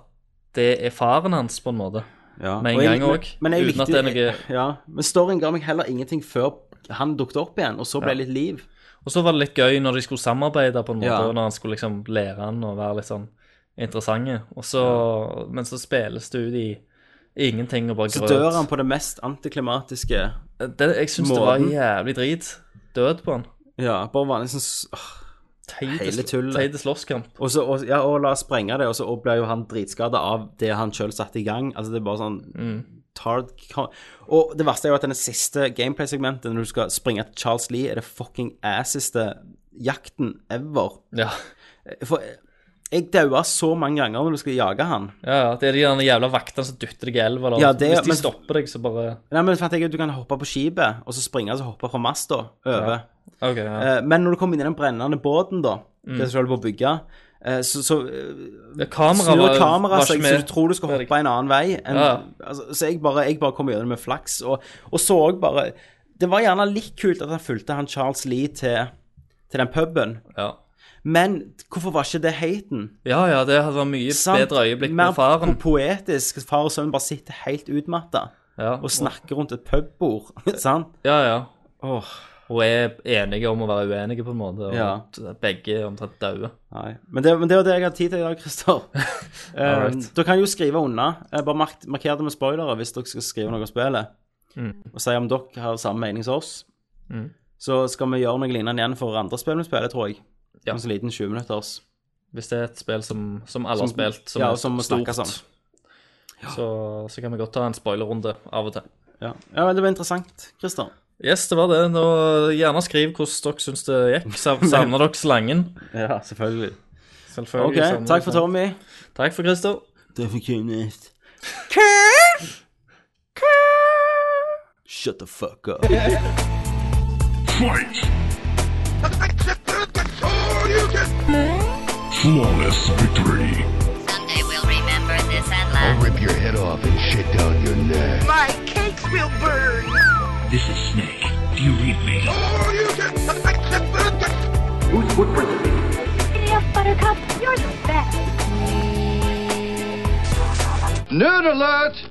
[SPEAKER 2] det er faren hans, på en måte.
[SPEAKER 1] ja.
[SPEAKER 2] Med en
[SPEAKER 1] Og jeg-
[SPEAKER 2] gang òg,
[SPEAKER 1] men jeg
[SPEAKER 2] uten
[SPEAKER 1] likte-
[SPEAKER 2] at det er noe-
[SPEAKER 1] Ja. Men storyen ga meg heller ingenting før han dukket opp igjen, og så ble det litt liv.
[SPEAKER 2] Og så var det litt gøy når de skulle samarbeide, på en måte,
[SPEAKER 1] Ja.
[SPEAKER 2] og når han skulle liksom lære han å være litt sånn interessante. Og så, Men så spilles det ut i ingenting og bare
[SPEAKER 1] Så
[SPEAKER 2] grøt.
[SPEAKER 1] dør han på det mest antiklimatiske
[SPEAKER 2] Det, jeg syns det var
[SPEAKER 1] Måten.
[SPEAKER 2] jævlig drit. Død på han.
[SPEAKER 1] Ja, bare vanlig sånn s- åh.
[SPEAKER 2] Teite
[SPEAKER 1] Hele
[SPEAKER 2] sl-
[SPEAKER 1] tullet.
[SPEAKER 2] Teite slåsskamp.
[SPEAKER 1] og så, og, ja, og la oss sprenge det, og så blir jo han dritskada av det han sjøl satte i gang. Altså, det er bare sånn
[SPEAKER 2] Mm.
[SPEAKER 1] tard Og det verste er jo at denne siste gameplay-segmentet, når du skal springe til Charles Lee, er det fucking asseste jakten ever.
[SPEAKER 2] Ja.
[SPEAKER 1] For jeg daua så mange ganger når du skal jage han.
[SPEAKER 2] Ja, ja, det er de der jævla vaktene som dytter deg i elva. eller-
[SPEAKER 1] Ja, det-
[SPEAKER 2] Hvis de
[SPEAKER 1] men-
[SPEAKER 2] stopper deg, så bare
[SPEAKER 1] Nei, men fant jeg ut du kan hoppe på skipet, og så springe og så hoppe fra masta over.
[SPEAKER 2] OK, ja.
[SPEAKER 1] Eh, Men når du kommer inn i den brennende båten, da,
[SPEAKER 2] Mm.
[SPEAKER 1] det som du holder på å bygge, eh, så, så
[SPEAKER 2] Ja, Kameraet
[SPEAKER 1] snur
[SPEAKER 2] var,
[SPEAKER 1] kameraet
[SPEAKER 2] var ikke
[SPEAKER 1] seg, så
[SPEAKER 2] med.
[SPEAKER 1] du tror du skal hoppe en annen vei. enn-
[SPEAKER 2] Ja.
[SPEAKER 1] altså, så jeg bare, jeg bare kom gjennom med flaks, og, og så òg bare Det var gjerne litt kult at han fulgte han Charles Lee til, til den puben,
[SPEAKER 2] Ja.
[SPEAKER 1] men hvorfor var ikke det haten?
[SPEAKER 2] ja, ja, det hadde vært mye
[SPEAKER 1] Sant?
[SPEAKER 2] bedre øyeblikk
[SPEAKER 1] Mer
[SPEAKER 2] med faren.
[SPEAKER 1] po- poetisk. Far og sønn bare sitter helt utmatta
[SPEAKER 2] Ja,
[SPEAKER 1] og snakker rundt et pubbord, sant?
[SPEAKER 2] ja, ja.
[SPEAKER 1] Åh,
[SPEAKER 2] Hun er enige om å være uenige, på en måte. Og
[SPEAKER 1] Ja.
[SPEAKER 2] t- begge er omtrent døde.
[SPEAKER 1] nei. Men det, men det var det jeg hadde tid til i dag, Christer. Eh,
[SPEAKER 2] Alright.
[SPEAKER 1] Dere kan jo skrive unna. Eh, Bare mark marker det med spoilere hvis dere skal skrive noe om spillet.
[SPEAKER 2] Mm.
[SPEAKER 1] Og si om dere har samme mening som oss. Så skal vi gjøre noe lignende igjen for andre spill vi spiller, tror jeg.
[SPEAKER 2] Ja.
[SPEAKER 1] En sånn liten 20-minutters.
[SPEAKER 2] Hvis det er et spill som, som alle
[SPEAKER 1] Som-
[SPEAKER 2] har spilt, som
[SPEAKER 1] ja,
[SPEAKER 2] er
[SPEAKER 1] og som må
[SPEAKER 2] stort,
[SPEAKER 1] snakkes om.
[SPEAKER 2] så, så kan vi godt ta en spoilerrunde av og til.
[SPEAKER 1] Ja. ja, men det var interessant, Christer.
[SPEAKER 2] Yes, det var det. Nå, gjerne skriv hvordan dere syns det gikk. Sav- Savner dere slangen?
[SPEAKER 1] Ja, selvfølgelig. Ok,
[SPEAKER 2] Selvfølgelig. savner
[SPEAKER 1] takk
[SPEAKER 2] dere
[SPEAKER 1] for
[SPEAKER 2] slangen.
[SPEAKER 1] Tommy.
[SPEAKER 2] Takk for Christer.
[SPEAKER 1] Det er for kunst. Shut the fuck up.
[SPEAKER 8] Fight! Flawless victory.
[SPEAKER 9] Someday we'll remember this and laugh.
[SPEAKER 3] Rip your head off and shit down your neck.
[SPEAKER 10] My cakes will burn.
[SPEAKER 8] This is Snake. Do you read me?
[SPEAKER 3] Or you can...
[SPEAKER 9] Giddy up, Buttercup. You're the best.
[SPEAKER 10] Nerd alert!